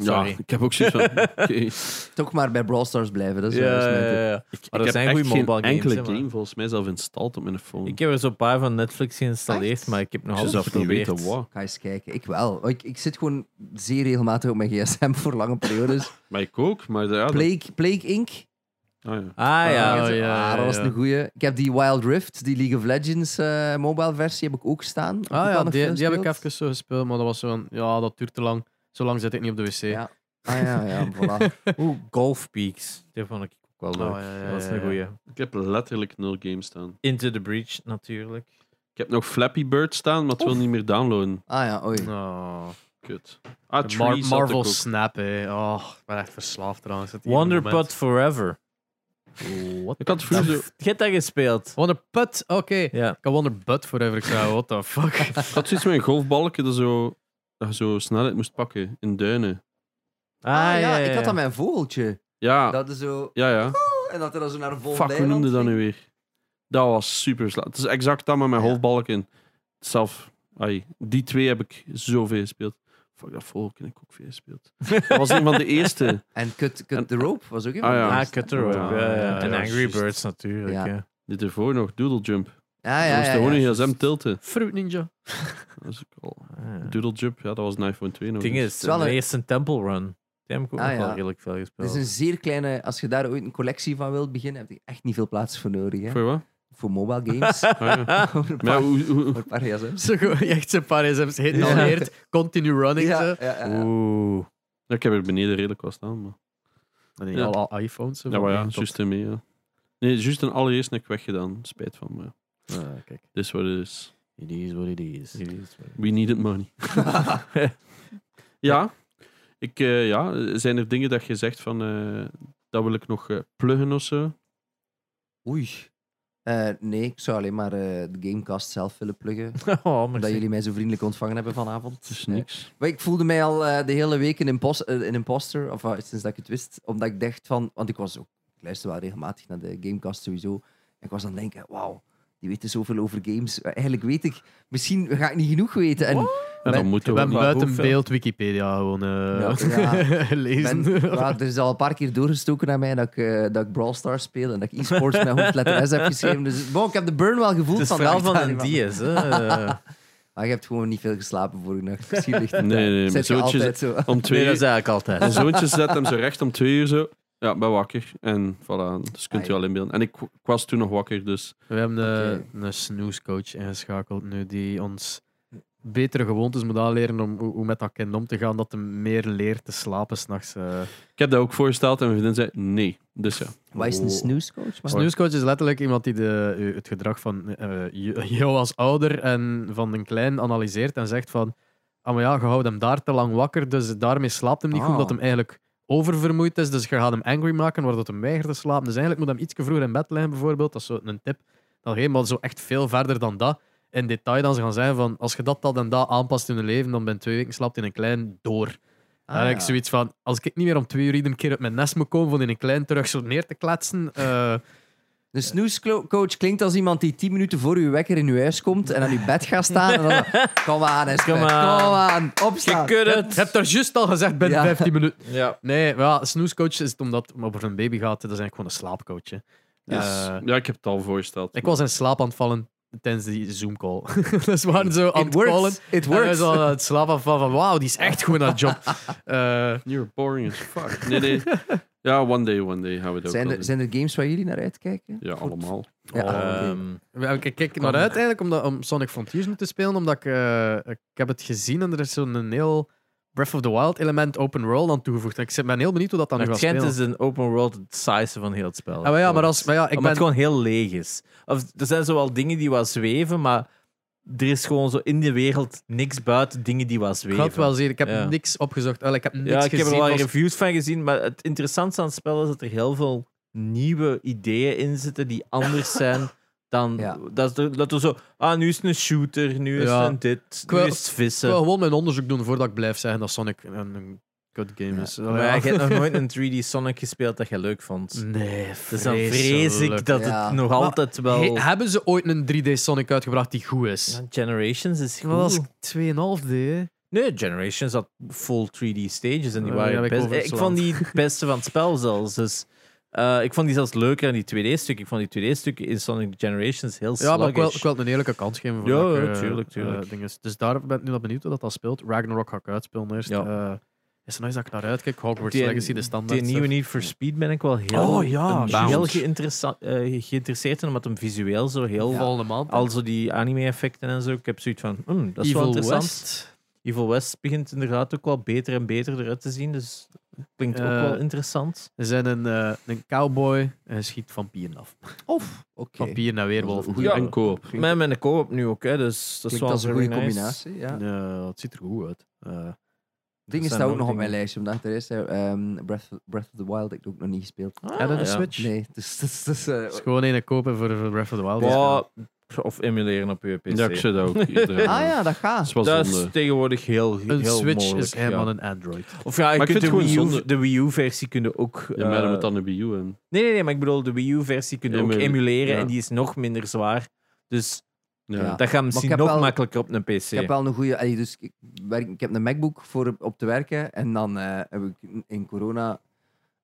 Speaker 4: Sorry.
Speaker 3: Ja, ik heb ook zoiets van... oké. Ik-
Speaker 2: Toch maar bij Brawl Stars blijven. Dat is wel eens
Speaker 4: ja,
Speaker 2: mijn tip.
Speaker 4: ja, ja.
Speaker 3: Ik,
Speaker 4: dat
Speaker 3: heb
Speaker 4: zijn
Speaker 3: echt
Speaker 4: goeie
Speaker 3: geen
Speaker 4: mobile games,
Speaker 3: enkele
Speaker 4: hè, maar-
Speaker 3: game volgens mij zelf installed op mijn phone.
Speaker 4: Ik heb er zo'n paar van Netflix geïnstalleerd,
Speaker 2: Echt?
Speaker 4: maar ik heb nog
Speaker 3: zou
Speaker 4: altijd
Speaker 3: zelf niet
Speaker 4: geprobeerd.
Speaker 3: weten wat.
Speaker 2: Ga eens kijken. Ik wel. Oh, Ik, ik zit gewoon zeer regelmatig op mijn gsm voor lange periodes.
Speaker 3: Maar ik ook, maar ja, dat-
Speaker 2: Plague, Plague Inc.
Speaker 3: ah, ja.
Speaker 4: Ah ja.
Speaker 1: Oh, ja,
Speaker 2: ah, dat was
Speaker 1: ja.
Speaker 2: een goeie. Ik heb die Wild Rift, die League of Legends eh, mobile versie, heb ik ook staan. Heb
Speaker 1: Ah
Speaker 2: ik al
Speaker 1: ja,
Speaker 2: nog
Speaker 1: die,
Speaker 2: veel
Speaker 1: die heb ik
Speaker 2: gespeeld.
Speaker 1: even zo gespeeld, maar dat was zo'n... Ja, dat duurt te lang. Zo lang zit ik niet op de wc.
Speaker 2: Ja. Ah ja, ja, voilà.
Speaker 4: Oeh, Golf Peaks. Die vond ik ook wel leuk.
Speaker 1: Oh, ja, ja,
Speaker 4: dat is
Speaker 1: ja,
Speaker 4: een
Speaker 1: ja.
Speaker 4: goeie.
Speaker 3: ik heb letterlijk nul games staan.
Speaker 4: Into the Breach, natuurlijk.
Speaker 3: Ik heb nog Flappy Bird staan, maar het wil niet meer downloaden.
Speaker 2: Ah ja, oei.
Speaker 1: Oh.
Speaker 3: Kut. Ah,
Speaker 1: De
Speaker 3: Trees
Speaker 1: Mar-
Speaker 3: had ik
Speaker 1: Marvel
Speaker 3: ook.
Speaker 1: Snap, hè. Oh, ik ben echt verslaafd trouwens. Het hier
Speaker 4: Wonderpot Forever.
Speaker 1: moment. What?
Speaker 3: Ik had vroeger,
Speaker 4: Je hebt dat gespeeld.
Speaker 1: Wonderput? Oké.
Speaker 4: Ja.
Speaker 1: Ik had Wonderbutt forever. Ik zei, oh, what the fuck?
Speaker 3: ik had zoiets met een golfbalken dat, zo, dat je zo snelheid moest pakken in duinen.
Speaker 4: Ah,
Speaker 2: Ah, ja,
Speaker 4: ja,
Speaker 2: ik had
Speaker 4: ja.
Speaker 2: dan mijn vogeltje.
Speaker 3: Ja,
Speaker 2: Dat is zo...
Speaker 3: ja, ja.
Speaker 2: En dat er dan zo naar een vol
Speaker 3: Fuck, hoe
Speaker 2: weiland
Speaker 3: noemde dat nu
Speaker 2: ging.
Speaker 3: weer? Dat was super slaat. Het is exact dat met mijn
Speaker 2: Ja.
Speaker 3: golfbalken. Zelf, ai, die twee heb ik zoveel gespeeld. Fuck, dat volk heb ik ook veel gespeeld. Dat was een van de eerste.
Speaker 2: En Cut, cut
Speaker 3: En-
Speaker 2: the Rope was ook even...
Speaker 3: Ah, ja.
Speaker 4: Ah, Cutter Rope.
Speaker 3: Ja,
Speaker 4: Ja, ja,
Speaker 3: ja,
Speaker 4: En
Speaker 3: ja,
Speaker 4: Angry
Speaker 3: juist.
Speaker 4: Birds, natuurlijk.
Speaker 2: Ja.
Speaker 4: hè.
Speaker 3: Dit ervoor nog, Doodle Jump.
Speaker 2: Ah, ja,
Speaker 3: We
Speaker 2: ja, ja,
Speaker 3: moesten gewoon
Speaker 2: ja.
Speaker 3: in gsm tilten.
Speaker 1: Fruit Ninja.
Speaker 3: Dat was ook al...
Speaker 4: Ah, ja.
Speaker 3: Doodle Jump, ja, dat was een iPhone 2 nog.
Speaker 4: Het ding
Speaker 3: eens.
Speaker 4: is,
Speaker 2: is wel
Speaker 4: de
Speaker 2: een-
Speaker 4: eerste Temple Run. Die heb ik ook
Speaker 2: Ah,
Speaker 4: nog wel
Speaker 2: ja.
Speaker 4: redelijk veel gespeeld.
Speaker 2: Het is een zeer kleine... Als je daar ooit een collectie van wilt beginnen, heb je echt niet veel plaats voor nodig. Hè?
Speaker 3: Voor wat?
Speaker 2: Voor mobile games.
Speaker 3: Ah, ja.
Speaker 2: Voor een
Speaker 3: Maar ja,
Speaker 2: paar-
Speaker 3: hoe, hoe-
Speaker 2: voor een paar gsm's.
Speaker 1: Zo goed, echt zo'n paar SM's heen
Speaker 2: Ja.
Speaker 1: alweer. Continue running.
Speaker 2: Ja,
Speaker 1: zo.
Speaker 2: ja, ja.
Speaker 4: Oeh.
Speaker 3: Ja, ik heb er beneden redelijk wat staan. Maar...
Speaker 1: En
Speaker 3: Ja.
Speaker 1: ja. al al iPhones. zo,
Speaker 3: Ja, maar
Speaker 1: van
Speaker 3: ja,
Speaker 1: één tot-
Speaker 3: juist ermee. Ja. Nee, juist een allereerst heb ik weggedaan. Spijt van me.
Speaker 1: Ah, kijk.
Speaker 3: Dit is wat het is.
Speaker 1: It is what it is.
Speaker 3: We needed money. ja. Ik, eh, ja. Zijn er dingen dat je zegt van... eh, dat wil ik nog eh, pluggen of zo?
Speaker 2: Oei. Eh, nee, ik zou alleen maar eh, de Gamecast zelf willen pluggen.
Speaker 4: Oh,
Speaker 2: Omdat
Speaker 4: merci.
Speaker 2: jullie mij zo vriendelijk ontvangen hebben vanavond.
Speaker 3: Het is
Speaker 2: Ja.
Speaker 3: niks.
Speaker 2: Maar ik voelde mij al eh, de hele week een, impos eh, een imposter, of eh, sinds dat ik het wist. Omdat ik dacht van, want ik was ook, ik luister wel regelmatig naar de Gamecast sowieso. En ik was aan het denken, wauw, die weten zoveel over games. Eh, Eigenlijk weet ik, misschien ga ik niet genoeg weten. En
Speaker 3: En
Speaker 2: Ben-
Speaker 3: dan moeten
Speaker 1: We
Speaker 3: we...
Speaker 1: hebben buiten
Speaker 4: hoeveel?
Speaker 1: beeld Wikipedia gewoon eh,
Speaker 2: Ja.
Speaker 1: lezen.
Speaker 2: ben, ja, er is al een paar keer doorgestoken naar mij dat ik, eh, dat ik Brawl Stars speel en dat ik e-sports met hoofdletter S heb geschreven. Dus bon, ik heb de burn wel gevoeld
Speaker 4: Het is
Speaker 2: van
Speaker 4: verhaal van
Speaker 2: dag,
Speaker 4: een
Speaker 2: maar-
Speaker 4: dies. hè.
Speaker 2: Maar je hebt gewoon niet veel geslapen vorige nacht. Misschien ligt het
Speaker 3: Nee, nee,
Speaker 2: daar.
Speaker 3: mijn
Speaker 2: Zit je
Speaker 3: zoontje
Speaker 2: altijd zo.
Speaker 3: Om twee
Speaker 4: Nee, dat
Speaker 3: uur...
Speaker 4: is eigenlijk altijd.
Speaker 3: Mijn zoontje zet hem zo recht om twee uur zo. Ja, ben wakker. En voilà, dus kunt u
Speaker 2: Ah,
Speaker 3: al inbeelden. En ik, ik was toen nog wakker, dus...
Speaker 1: We hebben eh, een snoescoach ingeschakeld nu die ons betere gewoontes moet aanleren om hoe, hoe met dat kind om te gaan, dat hem meer leert te slapen s'nachts. eh
Speaker 3: Ik heb dat ook voorgesteld en mijn vriendin zei nee. Dus ja.
Speaker 2: Wat is een snoescoach? man?
Speaker 1: Snoescoach is letterlijk iemand die de, het gedrag van eh, je- jou als ouder en van een klein analyseert en zegt van ah maar ja, je houdt hem daar te lang wakker, dus daarmee slaapt hem niet goed,
Speaker 2: Ah.
Speaker 1: omdat hem eigenlijk oververmoeid is, dus je gaat hem angry maken, waardoor hem weigert te slapen. Dus eigenlijk moet hem iets vroeger in bed liggen bijvoorbeeld, dat is zo een tip. Dan helemaal zo echt veel verder dan dat. In detail dan ze gaan zeggen van als je dat, dat en dat aanpast in je leven, dan ben je twee weken slaapt in een klein door.
Speaker 2: Ah,
Speaker 1: Eigenlijk
Speaker 2: ja.
Speaker 1: zoiets van, als ik niet meer om twee uur iedere keer uit mijn nest moet komen om in een klein terug zo neer te kletsen, eh,
Speaker 2: Een snoescoach klinkt als iemand die 10 minuten voor uw wekker in uw huis komt en aan uw bed gaat staan. En dan, kom aan, Espen.
Speaker 4: Kom
Speaker 2: Kom
Speaker 4: aan.
Speaker 2: aan.
Speaker 4: Je
Speaker 2: Opstaan.
Speaker 4: kunt
Speaker 1: Je hebt
Speaker 4: het.
Speaker 1: daar juist al gezegd binnen
Speaker 2: Ja.
Speaker 1: 15 minuten.
Speaker 4: Ja.
Speaker 1: Nee, maar ja, snoescoach is het omdat het over een baby gaat. Dat is eigenlijk gewoon een slaapcoach. hè.
Speaker 3: Dus-
Speaker 1: Eh,
Speaker 3: ja, ik heb het al voorgesteld.
Speaker 1: ik was in slaap aan het vallen tijdens die Zoom-call. dus we waren zo aan
Speaker 2: It
Speaker 1: het callen.
Speaker 2: works. It
Speaker 1: En hij
Speaker 2: works.
Speaker 1: was al aan het slaap aan van, van wauw, die is echt goed aan het job. Eh,
Speaker 3: You're boring as fuck. Nee, nee. Ja, one day, one day gaan we dat
Speaker 2: Zijn
Speaker 3: ook
Speaker 2: er,
Speaker 3: wel
Speaker 2: zijn er games waar jullie naar uitkijken?
Speaker 3: doen. Ja, allemaal.
Speaker 2: Ja, ah, oké.
Speaker 4: Ehm,
Speaker 1: ik ik kijk er naar uit eigenlijk om, dat, om Sonic Frontiers nu te spelen, omdat ik, eh, ik heb het gezien en er is zo'n heel Breath of the Wild element open world aan toegevoegd. En ik ben heel benieuwd hoe dat dan nu
Speaker 4: Het
Speaker 1: gaat
Speaker 4: schijnt dus-
Speaker 1: spelen.
Speaker 4: is een open world het saaiste van heel het spel.
Speaker 1: Ah, maar ja, maar als, maar ja, ik
Speaker 4: Omdat
Speaker 1: ben...
Speaker 4: het gewoon heel leeg is. Of, er zijn zowel dingen die wat zweven, maar er is gewoon zo in de wereld niks buiten dingen die wat
Speaker 1: Ik
Speaker 4: zweven.
Speaker 1: had het wel zien. Ik heb
Speaker 4: Ja.
Speaker 1: niks opgezocht. Wel, ik heb niks
Speaker 4: ja, ik
Speaker 1: gezien.
Speaker 4: heb er wel
Speaker 1: van-
Speaker 4: reviews van gezien, maar het interessantste aan het spel is dat er heel veel nieuwe ideeën in zitten die anders zijn dan...
Speaker 2: Ja.
Speaker 4: Dat, is de- dat er zo... Ah, nu is het een shooter, nu is
Speaker 1: Ja.
Speaker 4: het een dit,
Speaker 1: Ik
Speaker 4: nu
Speaker 1: wil-
Speaker 4: is het
Speaker 1: Ik
Speaker 4: vissen.
Speaker 1: wil gewoon mijn onderzoek doen voordat ik blijf zeggen dat Sonic een, een good game
Speaker 2: Ja.
Speaker 1: is.
Speaker 4: Maar ja, je hebt nog nooit een 3D Sonic gespeeld dat je leuk vond.
Speaker 1: Nee,
Speaker 4: Dus dan vrees ik dat het
Speaker 2: Ja.
Speaker 4: nog
Speaker 1: Maar-
Speaker 4: altijd wel...
Speaker 1: He- hebben ze ooit een 3D Sonic uitgebracht die goed is?
Speaker 4: Ja, Generations is
Speaker 1: Dat was
Speaker 4: goed.
Speaker 1: 2,5D. hè.
Speaker 4: Nee, Generations had full 3D stages en die
Speaker 1: Ja,
Speaker 4: waren
Speaker 1: die heb ik
Speaker 4: best... Ik
Speaker 1: overslaan.
Speaker 4: vond die het beste van het spel zelfs. Dus, eh, ik vond die zelfs leuker dan die 2D-stukken. Ik vond die 2D-stukken in Sonic Generations heel
Speaker 1: Ja, maar ik wil,
Speaker 4: sluggish.
Speaker 1: ik wil het een eerlijke kans geven. voor
Speaker 4: Ja,
Speaker 1: dat ik,
Speaker 4: ja,
Speaker 1: eh,
Speaker 4: tuurlijk, tuurlijk.
Speaker 1: eh, ding is. Dus daar ben ik nu nog benieuwd hoe dat, dat speelt. Ragnarok ga ik uitspelen eerst.
Speaker 4: Ja.
Speaker 1: Eh, is er nog iets dat ik naar uitkijk? Hogwarts
Speaker 4: Die-
Speaker 1: Legacy, de standaard.
Speaker 4: Die nieuwe Need for Speed ben ik wel heel,
Speaker 1: Oh
Speaker 3: Ah,
Speaker 1: ja,
Speaker 4: een- heel
Speaker 1: juist.
Speaker 4: geïnteressa- eh, geïnteresseerd in, omdat hem visueel zo heel...
Speaker 1: stuff. volgende maand.
Speaker 4: Al zo die anime-effecten en zo. Ik heb zoiets van, hmm, dat is wel
Speaker 1: Evil
Speaker 4: interessant.
Speaker 1: West.
Speaker 4: Evil West begint inderdaad ook wel beter en beter eruit te zien. Dus dat klinkt ook
Speaker 1: Eh,
Speaker 4: wel interessant.
Speaker 1: Er zijn een, eh, een cowboy en schiet vampieren af.
Speaker 2: Of, oké.
Speaker 1: Vampieren en weerwolven.
Speaker 2: Ja.
Speaker 3: En koop.
Speaker 4: Met mijn co-op nu ook, hè, dus dat is
Speaker 2: Klinkt
Speaker 4: wel
Speaker 2: als een
Speaker 4: very
Speaker 2: goede
Speaker 4: nice.
Speaker 2: combinatie. Ja.
Speaker 1: Ja. het ziet er goed uit. Eh,
Speaker 2: Dingen
Speaker 4: zijn
Speaker 2: staan ook
Speaker 4: ook
Speaker 2: nog op mijn
Speaker 4: dingen.
Speaker 2: lijstje, omdat er is eh, ehm, Breath, Breath of the Wild, ik heb ook nog niet gespeeld.
Speaker 4: Ah,
Speaker 1: Hebben we een
Speaker 4: ja.
Speaker 1: Switch?
Speaker 2: Nee, dus dat is... Dus, eh,
Speaker 1: Het is gewoon een kopen voor voor Breath of the Wild.
Speaker 4: Ja, of emuleren op je PC.
Speaker 3: Ja, ik zei dat ook. Iedereen.
Speaker 2: ah ja, dat gaat.
Speaker 3: Het was
Speaker 4: dat is
Speaker 3: zonde.
Speaker 4: tegenwoordig heel, heel
Speaker 1: Een Switch
Speaker 4: mogelijk,
Speaker 1: is helemaal
Speaker 4: ja.
Speaker 1: een Android.
Speaker 4: Of ja, je
Speaker 3: Maar ik
Speaker 4: kunt
Speaker 3: vind
Speaker 4: de,
Speaker 3: het gewoon
Speaker 4: Wii U,
Speaker 3: zonde.
Speaker 4: de Wii U-versie kunnen ook...
Speaker 3: Ja, maar
Speaker 4: eh,
Speaker 3: dan moet dan een Wii U in.
Speaker 4: Nee, nee, nee, maar ik bedoel, de Wii U-versie kunnen ook
Speaker 3: Emuleren,
Speaker 4: emuleren
Speaker 3: ja.
Speaker 4: en die is nog minder zwaar. Dus
Speaker 3: Ja.
Speaker 2: Ja.
Speaker 4: dat gaat misschien
Speaker 2: heb
Speaker 4: nog
Speaker 2: wel-
Speaker 4: makkelijker op een PC.
Speaker 2: Ik heb wel een goede. allee, Dus ik, werk, ik heb een MacBook voor op te werken. En dan eh, heb ik in corona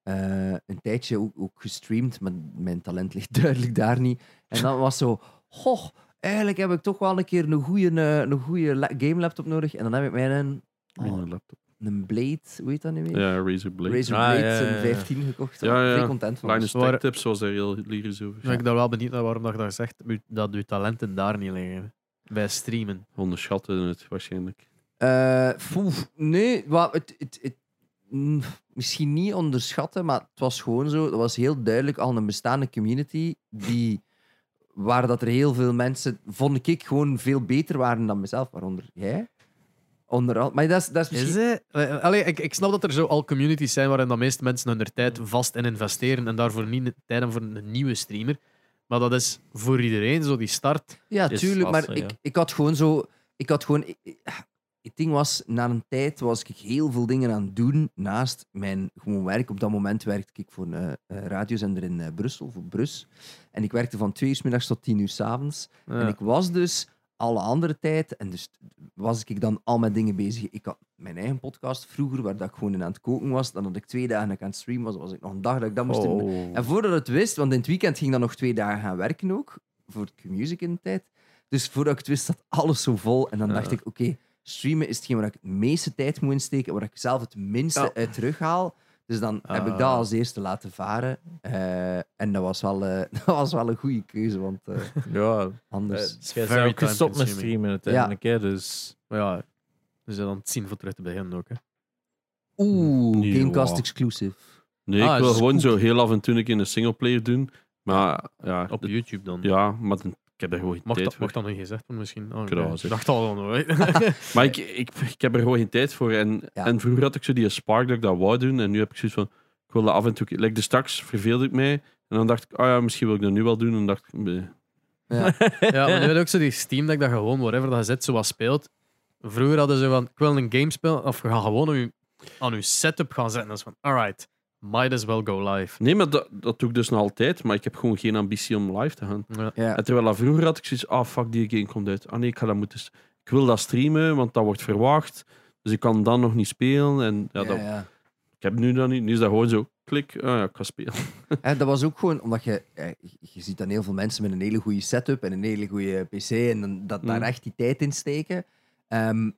Speaker 2: eh, een tijdje ook, ook gestreamd. Maar mijn talent ligt duidelijk daar niet. En dan was zo. Goh, eigenlijk heb ik toch wel een keer een goede, eh, een goede la- game laptop nodig. En dan heb ik mijn een, oh,
Speaker 3: Mini laptop.
Speaker 2: een Blade, hoe heet dat nu weer?
Speaker 3: Ja, Razer Blade.
Speaker 2: Razer
Speaker 4: Ah,
Speaker 2: Blade,
Speaker 4: ja, ja, ja.
Speaker 2: een 15 gekocht.
Speaker 3: Ja, ja, ja.
Speaker 2: Vrij content van.
Speaker 3: Linus
Speaker 1: Waar-
Speaker 3: Tech Tips was daar heel lyrisch over.
Speaker 1: Ben ik daar wel benieuwd naar waarom dat je dat zegt, u- dat je talenten daar niet liggen. Bij streamen.
Speaker 3: Onderschatten het waarschijnlijk.
Speaker 2: Eh, poef, nee, wat, het, het, het- mm, misschien niet onderschatten, maar het was gewoon zo. Het was heel duidelijk al een bestaande community die waar dat er heel veel mensen, vond ik, gewoon veel beter waren dan mezelf, waaronder jij. Onder al- maar dat is, dat is misschien...
Speaker 1: Is het? Eh, Allee, ik, ik snap dat er zo al communities zijn waarin de meeste mensen hun tijd vast in investeren en daarvoor niet tijd hebben voor een nieuwe streamer. Maar dat is voor iedereen zo die start.
Speaker 2: Ja,
Speaker 4: is
Speaker 2: tuurlijk, maar
Speaker 4: lastig,
Speaker 2: ik,
Speaker 4: ja.
Speaker 2: ik had gewoon zo... Ik had gewoon... ik- ik- Het ding was, na een tijd was ik heel veel dingen aan het doen naast mijn gewoon werk. Op dat moment werkte ik voor een eh, eh, radiozender in eh, Brussel, voor Brus. En ik werkte van twee uur 's middags tot tien uur 's avonds. En ik was dus alle andere tijd, en dus was ik dan al met dingen bezig. Ik had mijn eigen podcast vroeger, waar dat ik gewoon in aan het koken was. Dan had ik twee dagen dat ik aan het streamen was, dan was ik nog een dag dat ik dat moest
Speaker 4: Oh.
Speaker 2: doen. En voordat het wist, want in het weekend ging ik dan nog twee dagen gaan werken ook, voor Q-Music in de tijd. Dus voordat ik het wist, zat alles zo vol. En dan dacht ik, oké, streamen is hetgeen waar ik het meeste tijd moet insteken, waar ik zelf het minste uit terughaal. Dus dan heb ik dat
Speaker 1: Ah.
Speaker 2: als eerste laten varen. Eh, en dat was, wel, eh, dat was wel een goede keuze, want eh,
Speaker 4: Ja,
Speaker 2: anders...
Speaker 4: dus jij
Speaker 1: very
Speaker 4: zou ook gestopt met
Speaker 1: time-consuming.
Speaker 4: streamen uiteindelijk, hè, dus...
Speaker 1: Maar ja, we zijn aan het zien voor terug te beginnen ook. Hè.
Speaker 2: Oeh,
Speaker 3: Eh, Nee,
Speaker 2: Gamecast
Speaker 3: wow.
Speaker 2: exclusive.
Speaker 3: Nee,
Speaker 1: Ah,
Speaker 3: ik wil
Speaker 1: is
Speaker 3: gewoon
Speaker 1: goed.
Speaker 3: zo heel af en toe een keer een singleplayer doen. Maar ja,
Speaker 1: Op
Speaker 3: dat-
Speaker 1: YouTube dan.
Speaker 3: ja maar dan- ik heb er gewoon geen
Speaker 1: Mag,
Speaker 3: tijd
Speaker 1: dat,
Speaker 3: voor.
Speaker 1: mag dat nog gezegd worden misschien? Oh,
Speaker 3: kan dat
Speaker 1: oké.
Speaker 3: wel
Speaker 1: Ik
Speaker 3: zeggen.
Speaker 1: dacht al dan hoor.
Speaker 3: Maar ik, ik, ik heb er gewoon geen tijd voor. En,
Speaker 2: Ja.
Speaker 3: en vroeger had ik zo die spark dat ik dat wou doen. En nu heb ik zoiets van, ik wil dat af en toe... Like, dus straks verveelde ik mij. En dan dacht ik, ah ja, misschien wil ik dat nu wel doen. En dan dacht ik, nee.
Speaker 1: ja, maar nu heb je ook zo die Steam dat ik dat gewoon, whatever dat je zit, zo wat speelt. Vroeger hadden ze van, ik wil een game spelen, of we gaan gewoon aan je, aan uw setup gaan zetten. Dat is van, alright, might as well go live.
Speaker 3: nee maar dat, dat doe ik dus nog altijd. Maar ik heb gewoon geen ambitie om live te gaan.
Speaker 1: Ja.
Speaker 2: Ja.
Speaker 3: En terwijl dat vroeger had ik zoiets, ah fuck, die game komt uit. Ah nee, ik ga dat moeten... s- Ik wil dat streamen, want dat wordt verwacht. Dus ik kan dan nog niet spelen. En ja, dat,
Speaker 2: Ja, ja.
Speaker 3: ik heb nu dat niet. Nu is dat gewoon zo, klik, ah ja, ik ga spelen.
Speaker 2: En dat was ook gewoon omdat je, eh, je ziet dan heel veel mensen met een hele goede setup en een hele goede PC en dan, dat daar
Speaker 3: Mm.
Speaker 2: echt die tijd in steken. Ehm,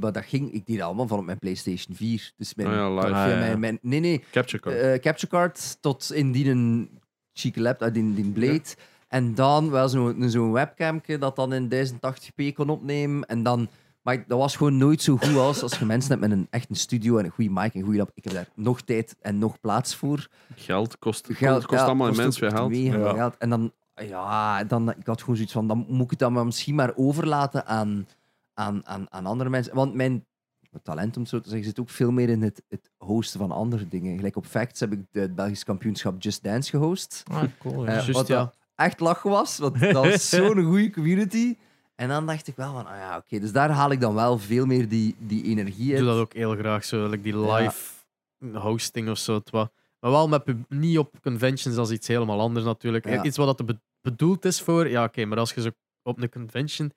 Speaker 2: maar dat ging, ik deed dat allemaal van op mijn PlayStation 4. Dus mijn,
Speaker 3: Ah ja, live.
Speaker 2: via
Speaker 4: Ah, ja.
Speaker 2: mijn, mijn- nee, nee,
Speaker 3: Capture card.
Speaker 2: eh, capture card tot in die een chique laptop, uit die, die Blade. En dan wel zo'n zo zo'n webcamke dat dan in 1080p kon opnemen. En dan, maar ik- dat was gewoon nooit zo goed als als je mensen hebt met een echt een studio en een goede mic en een goede lap. Ik heb daar nog tijd en nog plaats voor.
Speaker 3: Geld kost,
Speaker 2: Geld
Speaker 3: kost
Speaker 2: ja,
Speaker 3: allemaal
Speaker 2: kost
Speaker 3: immens
Speaker 2: ook
Speaker 3: veel geld.
Speaker 2: weer
Speaker 3: Ja.
Speaker 2: geld. En dan, ja, dan, ik had gewoon zoiets van, dan moet ik het dan maar misschien maar overlaten aan, aan, aan, aan andere mensen. Want mijn talent, om het zo te zeggen, zit ook veel meer in het, het hosten van andere dingen. Gelijk op Facts heb ik de- het Belgisch kampioenschap Just Dance gehost.
Speaker 4: Ah, cool,
Speaker 1: Dus
Speaker 2: Eh,
Speaker 1: juist,
Speaker 2: wat
Speaker 1: ja.
Speaker 2: dat echt lachen was, want dat was zo'n goede community. En dan dacht ik wel van, ah ja, oké. Dus daar haal ik dan wel veel meer die, die energie
Speaker 1: Ik
Speaker 2: uit.
Speaker 1: doe dat ook heel graag, zo, like die
Speaker 2: Ja.
Speaker 1: live hosting of zo. het wat. Maar wel met pub- niet op conventions, dat is iets helemaal anders natuurlijk.
Speaker 2: Ja.
Speaker 1: Iets wat dat be- bedoeld is voor, ja oké, maar als je zo op een convention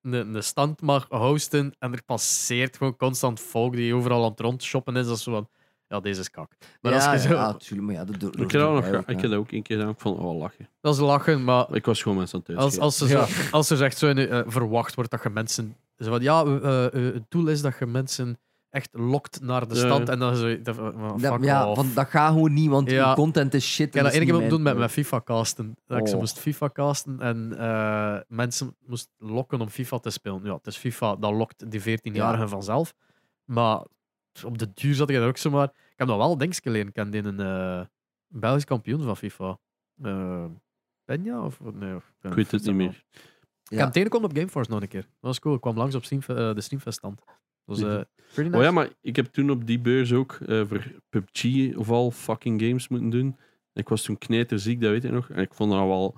Speaker 1: een, een stand mag hosten en er passeert gewoon constant volk die overal aan het rondshoppen is, dat is zo van, ja, deze is kak. Maar
Speaker 2: ja,
Speaker 1: als je zo,
Speaker 2: ja, tuurlijk, maar ja, dat doe
Speaker 3: Ik heb dat, nog, ik heb dat ook een keer gedaan. Ik vond oh, lachen.
Speaker 1: dat is lachen, maar
Speaker 3: Ik was gewoon mensen aan het
Speaker 1: als,
Speaker 3: uitschelden.
Speaker 1: als, er, zo, als er echt zo in, eh, verwacht wordt dat je mensen... Zo van, ja, eh, eh, het doel is dat je mensen echt lokt naar de
Speaker 3: Ja,
Speaker 1: stand
Speaker 3: ja.
Speaker 1: en dan zo... Dat, eh, fuck
Speaker 2: Dat, ja,
Speaker 1: off.
Speaker 2: want dat gaat gewoon niet, want
Speaker 1: Ja.
Speaker 2: uw content is shit.
Speaker 1: Ik heb
Speaker 2: en
Speaker 1: dat één
Speaker 2: is
Speaker 1: keer
Speaker 2: niet
Speaker 1: moeten doen met
Speaker 2: mijn-
Speaker 1: mijn FIFA-casten. Dat ik ze
Speaker 2: Oh.
Speaker 1: moest FIFA-casten en eh, mensen moest lokken om FIFA te spelen. Ja, het is FIFA, dat lokt die 14-jarigen vanzelf. Maar op de duur zat ik daar ook zomaar... Ik heb dat wel denk ik leren kennen in een eh, Belgisch kampioen van FIFA. Eh Benja? Of, nee, of,
Speaker 3: Ik weet het niet meer.
Speaker 1: Ik
Speaker 2: Ja.
Speaker 1: heb hem tegengekomen op Gameforce nog een keer. Dat was cool. Ik kwam langs op Steamfe- eh, de Steamfest-stand. Dat
Speaker 2: Hm.
Speaker 1: was eh, pretty nice.
Speaker 3: Oh ja, maar ik heb toen op die beurs ook eh, voor PUBG of al fucking games moeten doen. Ik was toen knijterziek, dat weet ik nog. En ik vond dat wel...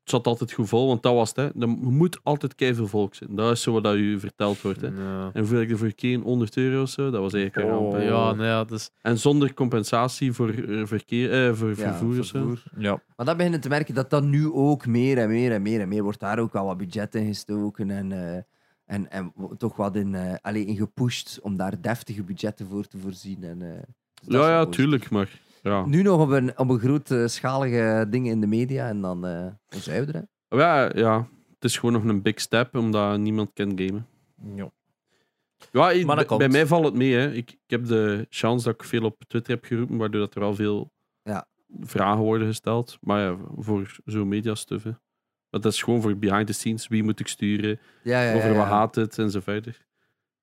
Speaker 3: Het zat altijd goed vol, want dat was het. Hè. Er moet altijd keiveel volk zijn. Dat is zo wat dat u verteld wordt. Hè.
Speaker 2: Mm.
Speaker 1: Ja.
Speaker 3: En hoeveel ik ervoor keer 100 euro of zo, dat was eigenlijk een ramp. hè.
Speaker 1: eh, Ja, nee, ja, dus...
Speaker 3: En zonder compensatie voor, eh, verkeer, eh, voor
Speaker 2: Ja,
Speaker 3: vervoer of zo.
Speaker 2: vervoer.
Speaker 4: Ja.
Speaker 2: Maar dat beginnen te merken dat dat nu ook meer en meer en meer en meer wordt daar ook al wat budget in gestoken en, eh, en, en w- toch wat in, eh allee, in gepusht om daar deftige budgetten voor te voorzien. En, eh, dus dat is
Speaker 3: Ja, ja,
Speaker 2: positief.
Speaker 3: tuurlijk, maar... Ja.
Speaker 2: Nu nog op een, op een grootschalige dingen in de media en dan eh dan zijn we er. hè.
Speaker 3: Ja, ja, het is gewoon nog een big step, omdat niemand kan gamen.
Speaker 4: Ja.
Speaker 3: Ja, ik-
Speaker 4: Maar dat
Speaker 3: bij- bij
Speaker 4: komt.
Speaker 3: mij valt het mee. Hè. Ik, ik heb de chance dat ik veel op Twitter heb geroepen, waardoor dat er al veel
Speaker 2: Ja.
Speaker 3: vragen worden gesteld. Maar ja, voor zo'n mediastuff. hè. Want dat is gewoon voor behind the scenes. Wie moet ik sturen?
Speaker 2: Ja, ja, ja,
Speaker 3: Over wat
Speaker 2: ja.
Speaker 3: haat het? En zo verder.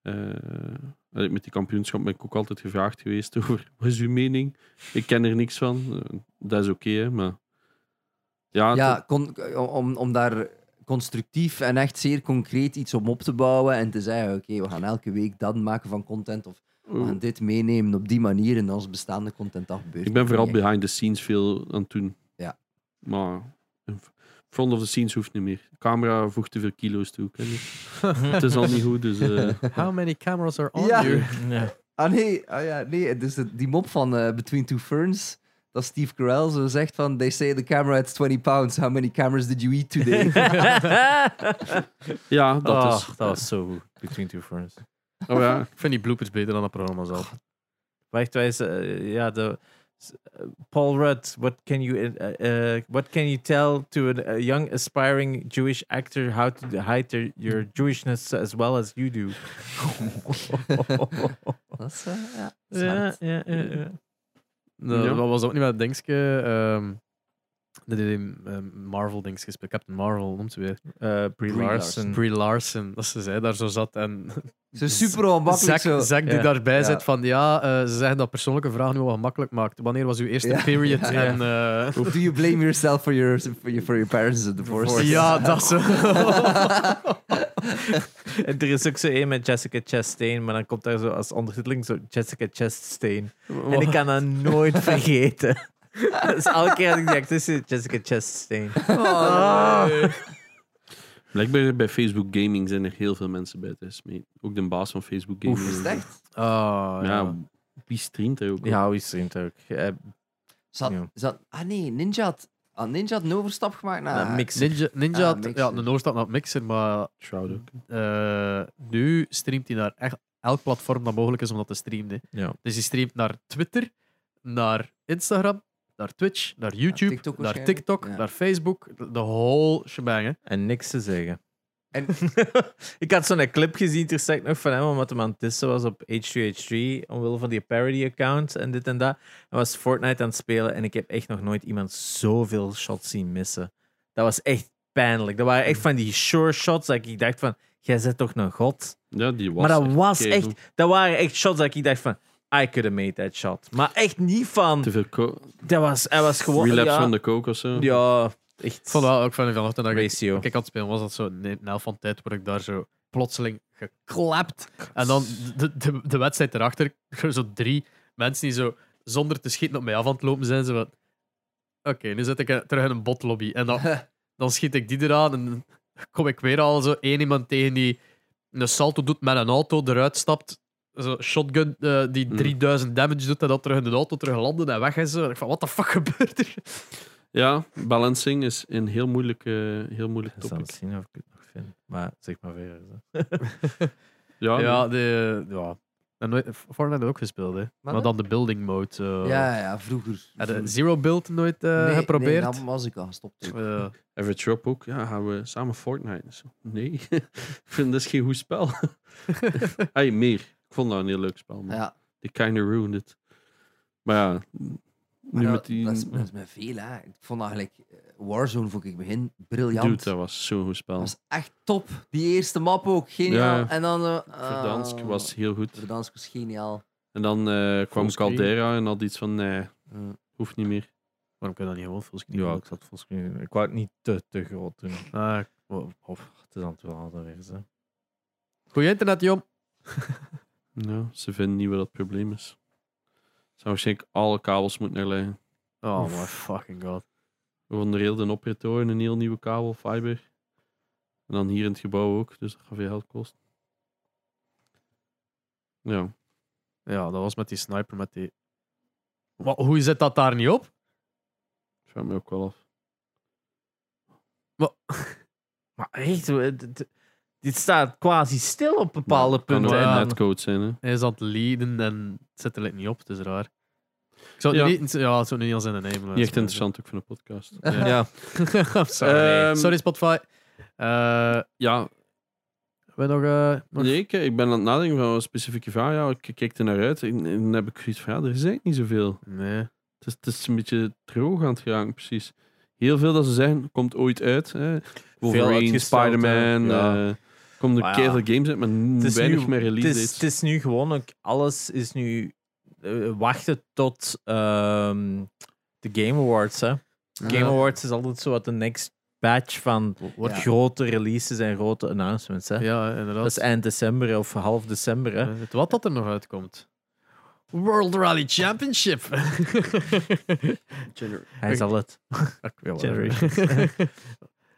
Speaker 3: Eh, allee, met die kampioenschap ben ik ook altijd gevraagd geweest over wat is uw mening? Ik ken er niks van. Eh, Dat is oké, hè, maar... Ja,
Speaker 2: ja, con- om, om daar constructief en echt zeer concreet iets om op te bouwen en te zeggen, oké, we gaan elke week dat maken van content of we gaan dit meenemen op die manier en als bestaande content afbeurt.
Speaker 3: Ik ben vooral behind the scenes veel aan het doen.
Speaker 2: Ja.
Speaker 3: Maar front of the scenes hoeft niet meer. De camera voegt te veel kilo's toe. ken je. het is al niet goed, dus... eh,
Speaker 1: How many cameras are on
Speaker 2: Ja.
Speaker 1: you?
Speaker 4: Ja.
Speaker 2: Ah nee, ah, ja, nee. dus de- die mop van eh, Between Two Ferns, dat Steve Carell zo zegt van, they say the camera had 20 pounds, how many cameras did you eat today?
Speaker 3: ja, dat
Speaker 4: dat,
Speaker 3: is...
Speaker 4: Ah, dat was zo goed. Between Two Ferns.
Speaker 3: Oh ja.
Speaker 1: Ik vind die bloopers beter dan het programma zelf.
Speaker 4: Wacht, wij is, eh, ja, de, s- eh, Paul Rudd, what can you, eh, eh, what can you tell to a, a young aspiring Jewish actor how to hide their, your Jewishness as well as you do?
Speaker 2: dat is, eh, ja, dat is
Speaker 4: ja,
Speaker 2: hard.
Speaker 4: ja, ja, ja.
Speaker 1: Dat,
Speaker 3: Ja.
Speaker 1: dat was ook niet met Dingske. ehm dat is een Marvel Dingske speelt. Captain Marvel noemt ze weer.
Speaker 4: Eh, Brie
Speaker 2: Brie
Speaker 4: Larson.
Speaker 1: Brie Larson. Dat ze zij daar zo zat en
Speaker 2: Zo super
Speaker 1: Zack,
Speaker 2: onmakkelijk zo.
Speaker 1: Zack die
Speaker 4: Ja.
Speaker 1: daarbij
Speaker 2: Ja.
Speaker 1: zit van ja, eh, ze zeggen dat persoonlijke vragen nu wel gemakkelijk maakt. Wanneer was uw eerste
Speaker 2: Ja.
Speaker 1: period?
Speaker 2: Ja.
Speaker 1: En, eh,
Speaker 2: Do you blame yourself for your, for your, for your parents' divorce?
Speaker 1: ja, dat zo.
Speaker 4: En er is ook zo een met Jessica Chastain, maar dan komt daar zo als ondertiteling zo Jessica Chastain. En ik kan dat nooit vergeten. dus elke keer dat ik denk, dit is Jessica Chastain.
Speaker 2: Oh,
Speaker 3: Ah. Blijkbaar bij Facebook Gaming zijn er heel veel mensen bij thuis mee. Ook de baas van Facebook Gaming.
Speaker 2: Is het echt?
Speaker 1: Ah,
Speaker 3: Ja,
Speaker 1: ja.
Speaker 3: wie streamt er ook? op?
Speaker 4: Ja, wie streamt ook? Eh,
Speaker 2: Zat,
Speaker 4: Ja.
Speaker 2: zat, ah nee, Ninja had, ah, Ninja had een overstap gemaakt naar...
Speaker 4: eh, mix.
Speaker 1: Ninja, Ninja
Speaker 2: Ah,
Speaker 1: had
Speaker 2: mixer.
Speaker 1: ja, een overstap naar het mixer, maar
Speaker 3: Shroud ook.
Speaker 1: eh, nu streamt hij naar echt elk platform dat mogelijk is om dat te streamen. hè.
Speaker 4: Ja.
Speaker 1: Dus hij streamt naar Twitter, naar Instagram, naar Twitch, naar YouTube,
Speaker 2: TikTok
Speaker 1: naar
Speaker 2: waarschijnlijk.
Speaker 1: TikTok,
Speaker 2: Ja.
Speaker 1: naar Facebook, de whole shebang. Hè.
Speaker 4: En niks te zeggen.
Speaker 2: En-
Speaker 4: ik had zo'n clip gezien ter straks nog van hem, omdat hij aan het dissen was op H2H3, omwille van die parody-account en dit en dat. Hij was Fortnite aan het spelen en ik heb echt nog nooit iemand zoveel shots zien missen. Dat was echt pijnlijk. Dat waren echt van die sure shots dat ik dacht van, jij zet toch een god?
Speaker 3: Ja, die was
Speaker 4: Maar dat
Speaker 3: echt
Speaker 4: was
Speaker 3: keigoed.
Speaker 4: echt, dat waren echt shots dat ik dacht van, I could have made that shot. Maar echt niet van,
Speaker 3: Te veel co-
Speaker 4: dat was, hij was gewoon,
Speaker 3: relapse
Speaker 4: ja,
Speaker 3: van de coke of zo.
Speaker 4: ja, echt,
Speaker 1: Ik vond dat ook van vanochtend dat ik
Speaker 4: ratio.
Speaker 1: Toen ik aan het spelen was, dat zo ne- een elf van de tijd word ik daar zo plotseling geklapt. En dan de, de, de wedstrijd erachter, zo drie mensen die zo zonder te schieten op mij af aan het lopen zijn. Ze van, oké, nu zit ik eh, terug in een botlobby. En dan, dan schiet ik die eraan en dan kom ik weer al zo één iemand tegen die een salto doet met een auto, eruit stapt. Zo shotgun eh, die
Speaker 3: Hmm.
Speaker 4: Mm.
Speaker 1: 3000 damage doet en dan terug in de auto terug landen en weg is. En ik van, what the fuck gebeurt er?
Speaker 3: Ja, balancing is een heel moeilijk, eh, heel moeilijk
Speaker 4: Ik zal
Speaker 3: topic.
Speaker 4: zien of ik het nog vind. Maar zeg maar weer. zo.
Speaker 3: Ja,
Speaker 1: ja, de, ja. En we- Fortnite had ook gespeeld, hè. Maar,
Speaker 2: hè?
Speaker 1: dan de building mode.
Speaker 3: Oh.
Speaker 1: eh.
Speaker 2: ja, ja, vroeger.
Speaker 1: Had je
Speaker 2: vroeger.
Speaker 1: Zero Build nooit eh,
Speaker 2: Nee,
Speaker 1: geprobeerd?
Speaker 2: Nee, dan was ik al gestopt. ook.
Speaker 1: Eh,
Speaker 3: Even Trump ook. Ja, gaan we samen Fortnite? Zo, Nee, ik vind dat is geen goed spel. hey, meer. Ik vond dat een heel leuk spel, maar
Speaker 2: Ja,
Speaker 3: die kind of ruined it. Maar ja, nu
Speaker 2: maar dat,
Speaker 3: met die...
Speaker 2: dat, is, dat is met veel, hè. Ik vond eigenlijk... eh, Warzone vond ik begin briljant.
Speaker 3: Dude, dat was zo'n goed spel.
Speaker 2: Dat was echt top. Die eerste map ook, geniaal.
Speaker 3: Ja.
Speaker 2: En dan... eh,
Speaker 3: Verdansk
Speaker 2: ah,
Speaker 3: was heel goed.
Speaker 2: Verdansk was geniaal.
Speaker 3: En dan eh, kwam
Speaker 1: Fullscreen.
Speaker 3: Caldera en had iets van, nee,
Speaker 2: Eh,
Speaker 3: hoeft niet meer.
Speaker 1: waarom kun je dat niet gewoon fullscreen
Speaker 4: Ja,
Speaker 1: doen?
Speaker 4: ik zat volgens Ik wou het niet te, te groot doen.
Speaker 1: Ah,
Speaker 4: Oh, oh, het is aan het wel weer. Zo.
Speaker 1: Goeie internet, Jom.
Speaker 3: Ja, Nou, ze vinden niet wat dat probleem is. Ze zou waarschijnlijk alle kabels moeten herleggen.
Speaker 1: Oh
Speaker 4: Oef.
Speaker 1: my fucking god.
Speaker 3: We vonden heel de operator en een heel nieuwe kabel, fiber. En dan hier in het gebouw ook, dus dat gaat veel geld kosten. Ja.
Speaker 1: Ja, dat was met die sniper, met die... Wa- hoe zit dat daar niet op?
Speaker 3: Ik vraag me ook wel af.
Speaker 4: Maar echt, we- dit- dit- dit staat quasi stil op bepaalde
Speaker 3: Het kan ook
Speaker 4: punten.
Speaker 1: wel
Speaker 4: en
Speaker 3: een
Speaker 4: dan-
Speaker 3: netcode zijn, hè.
Speaker 1: Hij is aan het leaden en het zit er like niet op, het is raar. Ik zou het,
Speaker 3: Ja.
Speaker 1: nu niet, ja, het zou nu niet als in een name
Speaker 3: Niet echt interessant ook voor een podcast.
Speaker 4: ja.
Speaker 1: sorry.
Speaker 3: Ehm,
Speaker 1: sorry, Spotify. Eh
Speaker 3: Ja,
Speaker 1: we nog... eh, nog...
Speaker 3: nee, ik, ik ben aan het nadenken van een specifieke vraag. Ja, ik kijk er naar uit en, en dan heb ik zoiets van, ja, er is eigenlijk niet zoveel.
Speaker 1: Nee.
Speaker 3: Het is, het is een beetje droog aan het gaan, precies. Heel veel dat ze zeggen, komt ooit uit. Hè. Wolverine,
Speaker 4: uitgesteld, hè.
Speaker 3: Spider-Man,
Speaker 4: Ja.
Speaker 3: eh, komen er
Speaker 4: Maar ja,
Speaker 3: keihard games uit, maar n-
Speaker 4: is
Speaker 3: weinig
Speaker 4: nu-
Speaker 3: meer release
Speaker 4: het, is,
Speaker 3: dates.
Speaker 4: het is nu gewoon ook, alles is nu eh, wachten tot ehm, de Game Awards. Hè. Game Awards is altijd zo wat de next batch van
Speaker 1: Wordt
Speaker 2: Ja.
Speaker 4: grote releases en grote announcements. Hè?
Speaker 1: Ja, inderdaad.
Speaker 4: Dat is eind december of half december. Hè?
Speaker 1: Eh, het wat dat er nog uitkomt. World Rally Championship.
Speaker 4: Hij zal het. Generations.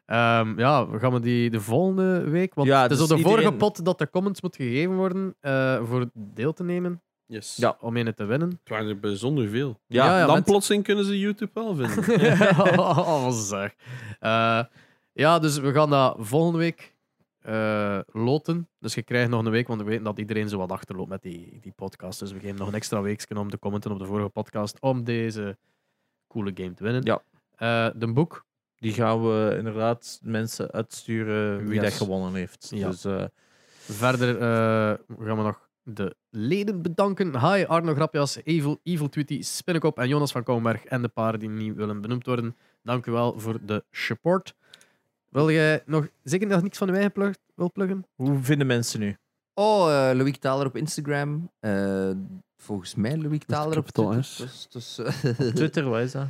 Speaker 1: Ehm, ja, we gaan we die de volgende week? Want
Speaker 4: Ja,
Speaker 1: het is
Speaker 4: dus
Speaker 1: op de vorige
Speaker 4: iedereen-
Speaker 1: pot dat de comments moet gegeven worden eh, voor deel te nemen.
Speaker 3: Yes.
Speaker 1: Ja. Om in het te winnen.
Speaker 3: Het waren er bijzonder veel.
Speaker 1: Ja, ja,
Speaker 3: dan
Speaker 1: met-
Speaker 3: plotseling kunnen ze YouTube wel vinden.
Speaker 1: oh, wat zeg. Eh, ja, dus we gaan dat volgende week eh, loten. Dus je krijgt nog een week, want we weten dat iedereen zo wat achterloopt met die, die podcast. Dus we geven nog een extra weekje om te commenten op de vorige podcast om deze coole game te winnen.
Speaker 4: Ja.
Speaker 1: Eh, de boek.
Speaker 4: Die gaan we inderdaad mensen uitsturen wie
Speaker 1: Yes.
Speaker 4: dat gewonnen heeft.
Speaker 1: Ja.
Speaker 4: Dus, eh,
Speaker 1: Verder eh, gaan we nog de leden bedanken. Hi, Arno Grapjas, Evil, Evil Twitty, Spinnekop en Jonas van Kouwenberg en de paren die niet willen benoemd worden. Dank u wel voor de support. Wil jij nog zeker nog niks van je eigen plug, wil pluggen?
Speaker 4: hoe vinden mensen nu?
Speaker 2: Oh, eh Loïc Taler op Instagram. Eh, volgens mij Loïc Taler op
Speaker 3: capital
Speaker 2: Twitter.
Speaker 3: S.
Speaker 2: Dus, dus, eh,
Speaker 4: Twitter, wat is dat?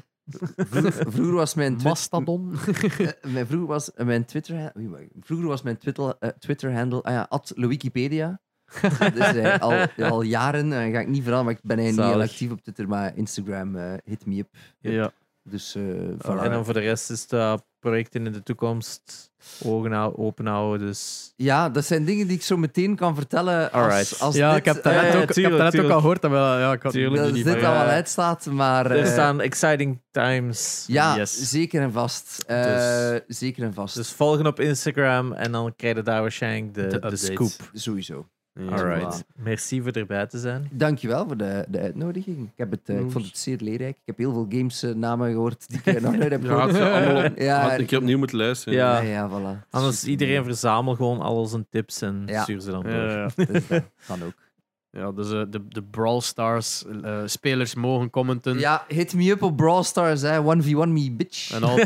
Speaker 2: vroeger, vroeger was mijn Twitter...
Speaker 1: Mastodon.
Speaker 2: Eh, mijn, vroeger was eh, mijn Twitter... oei, wacht. Vroeger was mijn Twitter, eh, Twitter-handle... ah ja, at Loïkipedia. dus eh, al, al jaren eh, ga ik niet veranderen, maar ik ben eigenlijk niet
Speaker 4: Zalig.
Speaker 2: heel actief op Twitter, maar Instagram eh, hit me up.
Speaker 1: ja.
Speaker 2: Dus eh voilà.
Speaker 4: En dan voor de rest is het projecten in de toekomst. Ogen hou- open houden. Dus
Speaker 2: Ja, dat zijn dingen die ik zo meteen kan vertellen als,
Speaker 4: Alright.
Speaker 2: als
Speaker 1: ja,
Speaker 2: dit,
Speaker 1: ik heb
Speaker 2: eh,
Speaker 1: dat net ook, ik heb
Speaker 4: tuurlijk,
Speaker 1: dat net ook
Speaker 4: tuurlijk.
Speaker 1: al gehoord. dat we- Ja, ik had
Speaker 4: Tuurlijk,
Speaker 2: dat
Speaker 1: niet,
Speaker 2: dit
Speaker 1: maar
Speaker 2: al
Speaker 1: ja.
Speaker 2: wel uitstaat, maar...
Speaker 4: er
Speaker 2: eh,
Speaker 4: staan exciting times.
Speaker 2: Ja,
Speaker 1: Yes.
Speaker 2: zeker en vast. Eh, zeker en vast.
Speaker 4: Dus volgen op Instagram en dan krijg je daar waarschijnlijk de,
Speaker 1: De
Speaker 4: de,
Speaker 1: updates.
Speaker 4: scoop.
Speaker 2: Sowieso.
Speaker 1: Ja.
Speaker 4: Alright. Merci voor erbij te zijn.
Speaker 2: Dankjewel voor de, de uitnodiging. Ik, heb het, eh, ik
Speaker 3: Mm.
Speaker 2: vond het zeer leerrijk. Ik heb heel veel games eh, namen gehoord die ik eh, nog nooit heb
Speaker 3: Ja,
Speaker 2: gehoord.
Speaker 3: had ze allemaal op-
Speaker 2: Ja,
Speaker 3: had ik opnieuw moeten luisteren.
Speaker 4: Ja.
Speaker 2: ja, ja, voilà. Dus, eh,
Speaker 4: Anders
Speaker 2: Super.
Speaker 4: iedereen verzamel gewoon al onze tips en
Speaker 2: Ja.
Speaker 4: stuur ze dan door.
Speaker 1: Ja, ja, ja.
Speaker 2: Dus dat kan ook.
Speaker 1: Ja, dus eh, de, de Brawl Stars eh, spelers mogen commenten.
Speaker 2: Ja, hit me up op Brawl Stars, hè. 1v1 me, bitch.
Speaker 1: En al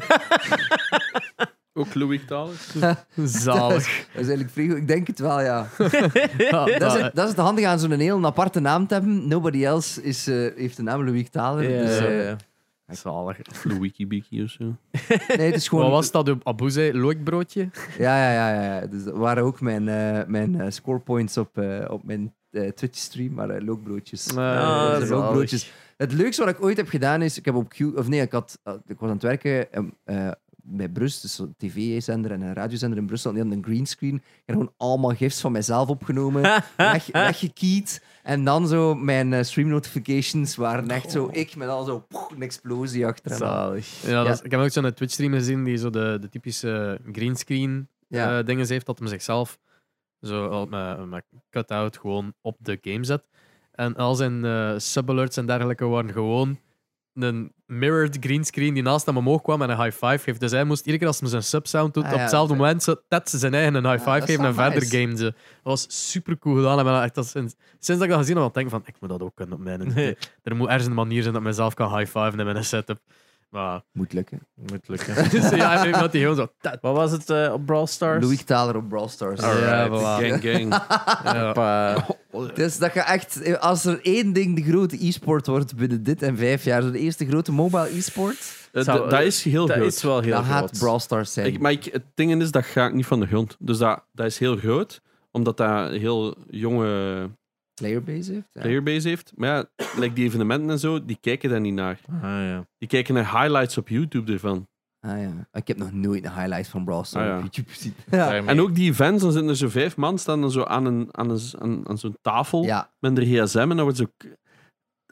Speaker 3: Ook Louis Talis.
Speaker 1: zalig.
Speaker 2: Dat is eigenlijk vrij goed. Ik denk het wel, ja.
Speaker 1: Ja, eh,
Speaker 2: Dat is
Speaker 1: ja,
Speaker 2: het, dat is het handige aan zo'n heel aparte naam te hebben. Nobody else is, eh, heeft de naam Louis Taler. Dus,
Speaker 4: Ja,
Speaker 2: eh,
Speaker 4: ja.
Speaker 1: Zalig.
Speaker 3: Of Louis Biki of zo.
Speaker 2: nee, het is gewoon...
Speaker 1: Wat was dat? De Abu zei loikbroodje?
Speaker 2: Ja, ja, ja. ja. ja. Dus dat waren ook mijn, eh mijn eh, scorepoints op, eh, op mijn eh, Twitch-stream, maar eh, lookbroodjes.
Speaker 4: Ah,
Speaker 2: dat is
Speaker 4: zalig.
Speaker 2: ook broodjes. Het leukste wat ik ooit heb gedaan is, ik heb op Q, of nee, ik, had, eh, ik was aan het werken ehm, eh, bij Brust, dus een tv-zender en een radiozender in Brussel, en die hadden een greenscreen. Ik heb gewoon allemaal gifs van mezelf opgenomen, weg, weggekiet, en dan zo mijn eh, stream notifications waren echt zo, ik met al zo poeh, een explosie achter. elkaar.
Speaker 4: Zalig.
Speaker 1: Ja, dat is- ik heb ook zo'n Twitch-stream gezien die zo de, de typische greenscreen
Speaker 2: Ja.
Speaker 1: eh, dingen heeft, dat hem zichzelf zo al met, met cut-out gewoon op de game zet. En al zijn eh sub-alerts en dergelijke waren gewoon een mirrored greenscreen die naast hem omhoog kwam en een high-five geeft. Dus hij moest iedere keer als hij zijn sub-sound doet,
Speaker 2: Ah,
Speaker 1: op
Speaker 2: ja,
Speaker 1: hetzelfde
Speaker 2: dat-
Speaker 1: moment zo- tet ze zijn eigen een high-five
Speaker 2: dat is
Speaker 1: geven en
Speaker 2: wel
Speaker 1: verder
Speaker 2: nice.
Speaker 1: gamen ze. Dat was super cool gedaan. En ik ben echt al sinds, sinds dat ik dat gezien heb, aan het denken van ik moet dat ook kunnen op mijn... Er moet ergens een manier zijn dat ik mezelf kan high-fiven in mijn setup. Maar
Speaker 2: Moet lukken.
Speaker 4: Moet lukken.
Speaker 1: dus ja, iemand die gewoon zo. "Tat."
Speaker 4: Wat was het eh, op Brawl Stars?
Speaker 2: Louis Taler op Brawl Stars.
Speaker 1: Ja, voilà.
Speaker 3: Gang, gang.
Speaker 1: Ja.
Speaker 4: Op, eh,
Speaker 2: Dus dat je echt, als er één ding de grote e-sport wordt binnen dit en vijf jaar, zo de eerste grote mobile e-sport,
Speaker 3: Eh, d-
Speaker 4: Zou-
Speaker 3: dat is heel
Speaker 4: dat
Speaker 3: groot.
Speaker 4: is wel heel
Speaker 2: dan
Speaker 4: groot.
Speaker 2: gaat Brawl Stars zijn.
Speaker 3: Ik, maar ik, het ding is, dat ga ik niet van de grond. Dus dat, dat is heel groot, omdat dat een heel jonge
Speaker 2: Playerbase heeft. Ja.
Speaker 3: playerbase heeft. Maar ja, like die evenementen en zo, die kijken daar niet naar.
Speaker 4: Ah, ja.
Speaker 3: Die kijken naar highlights op YouTube ervan.
Speaker 2: Ah, ja. Ik heb nog nooit een highlight van Brawl Stars
Speaker 3: Ah, ja.
Speaker 2: op YouTube gezien. Ja.
Speaker 4: Daarmee.
Speaker 3: En ook die events, dan zitten er zo vijf man, staan dan zo aan, een, aan, een, aan, aan zo'n tafel
Speaker 2: ja.
Speaker 3: met een gsm en dan wordt zo...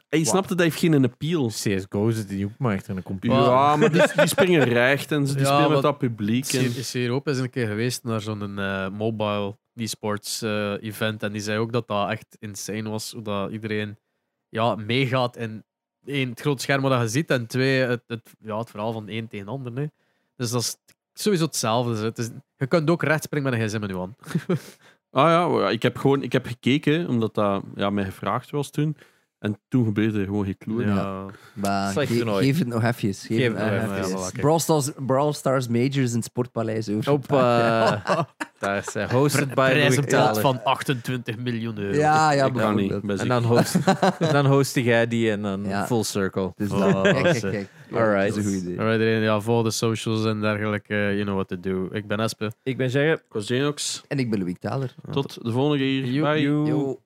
Speaker 3: En je snapt het, dat heeft geen appeal.
Speaker 4: CSGO zit die ook maar echt in een computer.
Speaker 3: Ja, maar die, die springen recht en ze die
Speaker 1: Ja,
Speaker 3: spelen
Speaker 1: maar-
Speaker 3: met dat publiek. En...
Speaker 1: Is- Is hier ook eens een keer geweest naar zo'n eh, mobile e-sports eh, event. En die zei ook dat dat echt insane was. Hoe dat iedereen ja, meegaat in één, het groot scherm wat je ziet. En twee, het, het, ja, het verhaal van één tegen de ander. Hè. Dus dat is sowieso hetzelfde. hè. Het is, je kunt ook recht springen met een gsm nu aan.
Speaker 3: Ah ja, ik heb gewoon ik heb gekeken, omdat dat ja, mij gevraagd was toen. En toen gebeurde er gewoon geen kloer.
Speaker 1: Ja.
Speaker 2: Maar
Speaker 4: Slecht
Speaker 2: ge-
Speaker 4: toernooi.
Speaker 2: geef het nog even. Geef,
Speaker 4: Geef
Speaker 2: het
Speaker 4: het
Speaker 2: nog
Speaker 4: nog
Speaker 2: even.
Speaker 4: even,
Speaker 1: ja, voilà, kijk.
Speaker 2: Brawl, Stars, Brawl Stars Majors in het Sportpaleis. Over.
Speaker 4: Hoppa. Daar zijn hosted by Louis
Speaker 1: Prijzenpot
Speaker 4: Taler.
Speaker 1: van 28 miljoen euro.
Speaker 2: Ja, ja,
Speaker 3: ik kan niet.
Speaker 2: bijvoorbeeld.
Speaker 3: Dus ik ben
Speaker 4: En
Speaker 3: ziek.
Speaker 4: dan host, en dan host jij die en dan
Speaker 2: Ja.
Speaker 4: full circle.
Speaker 2: Dus
Speaker 1: Oh,
Speaker 2: dat, kijk,
Speaker 1: dat
Speaker 2: kijk,
Speaker 1: is, eh,
Speaker 2: kijk. Ja,
Speaker 4: alright.
Speaker 2: Dat is een goed idee.
Speaker 1: Alright, iedereen, ja, volg de socials en dergelijke. eh, You know what to do. Ik ben Espe.
Speaker 4: Ik ben zeggen.
Speaker 3: Ik was Xenox.
Speaker 2: En ik ben Louis Taler.
Speaker 3: Tot de volgende keer.
Speaker 1: Joe,
Speaker 3: Bye.
Speaker 2: Yo.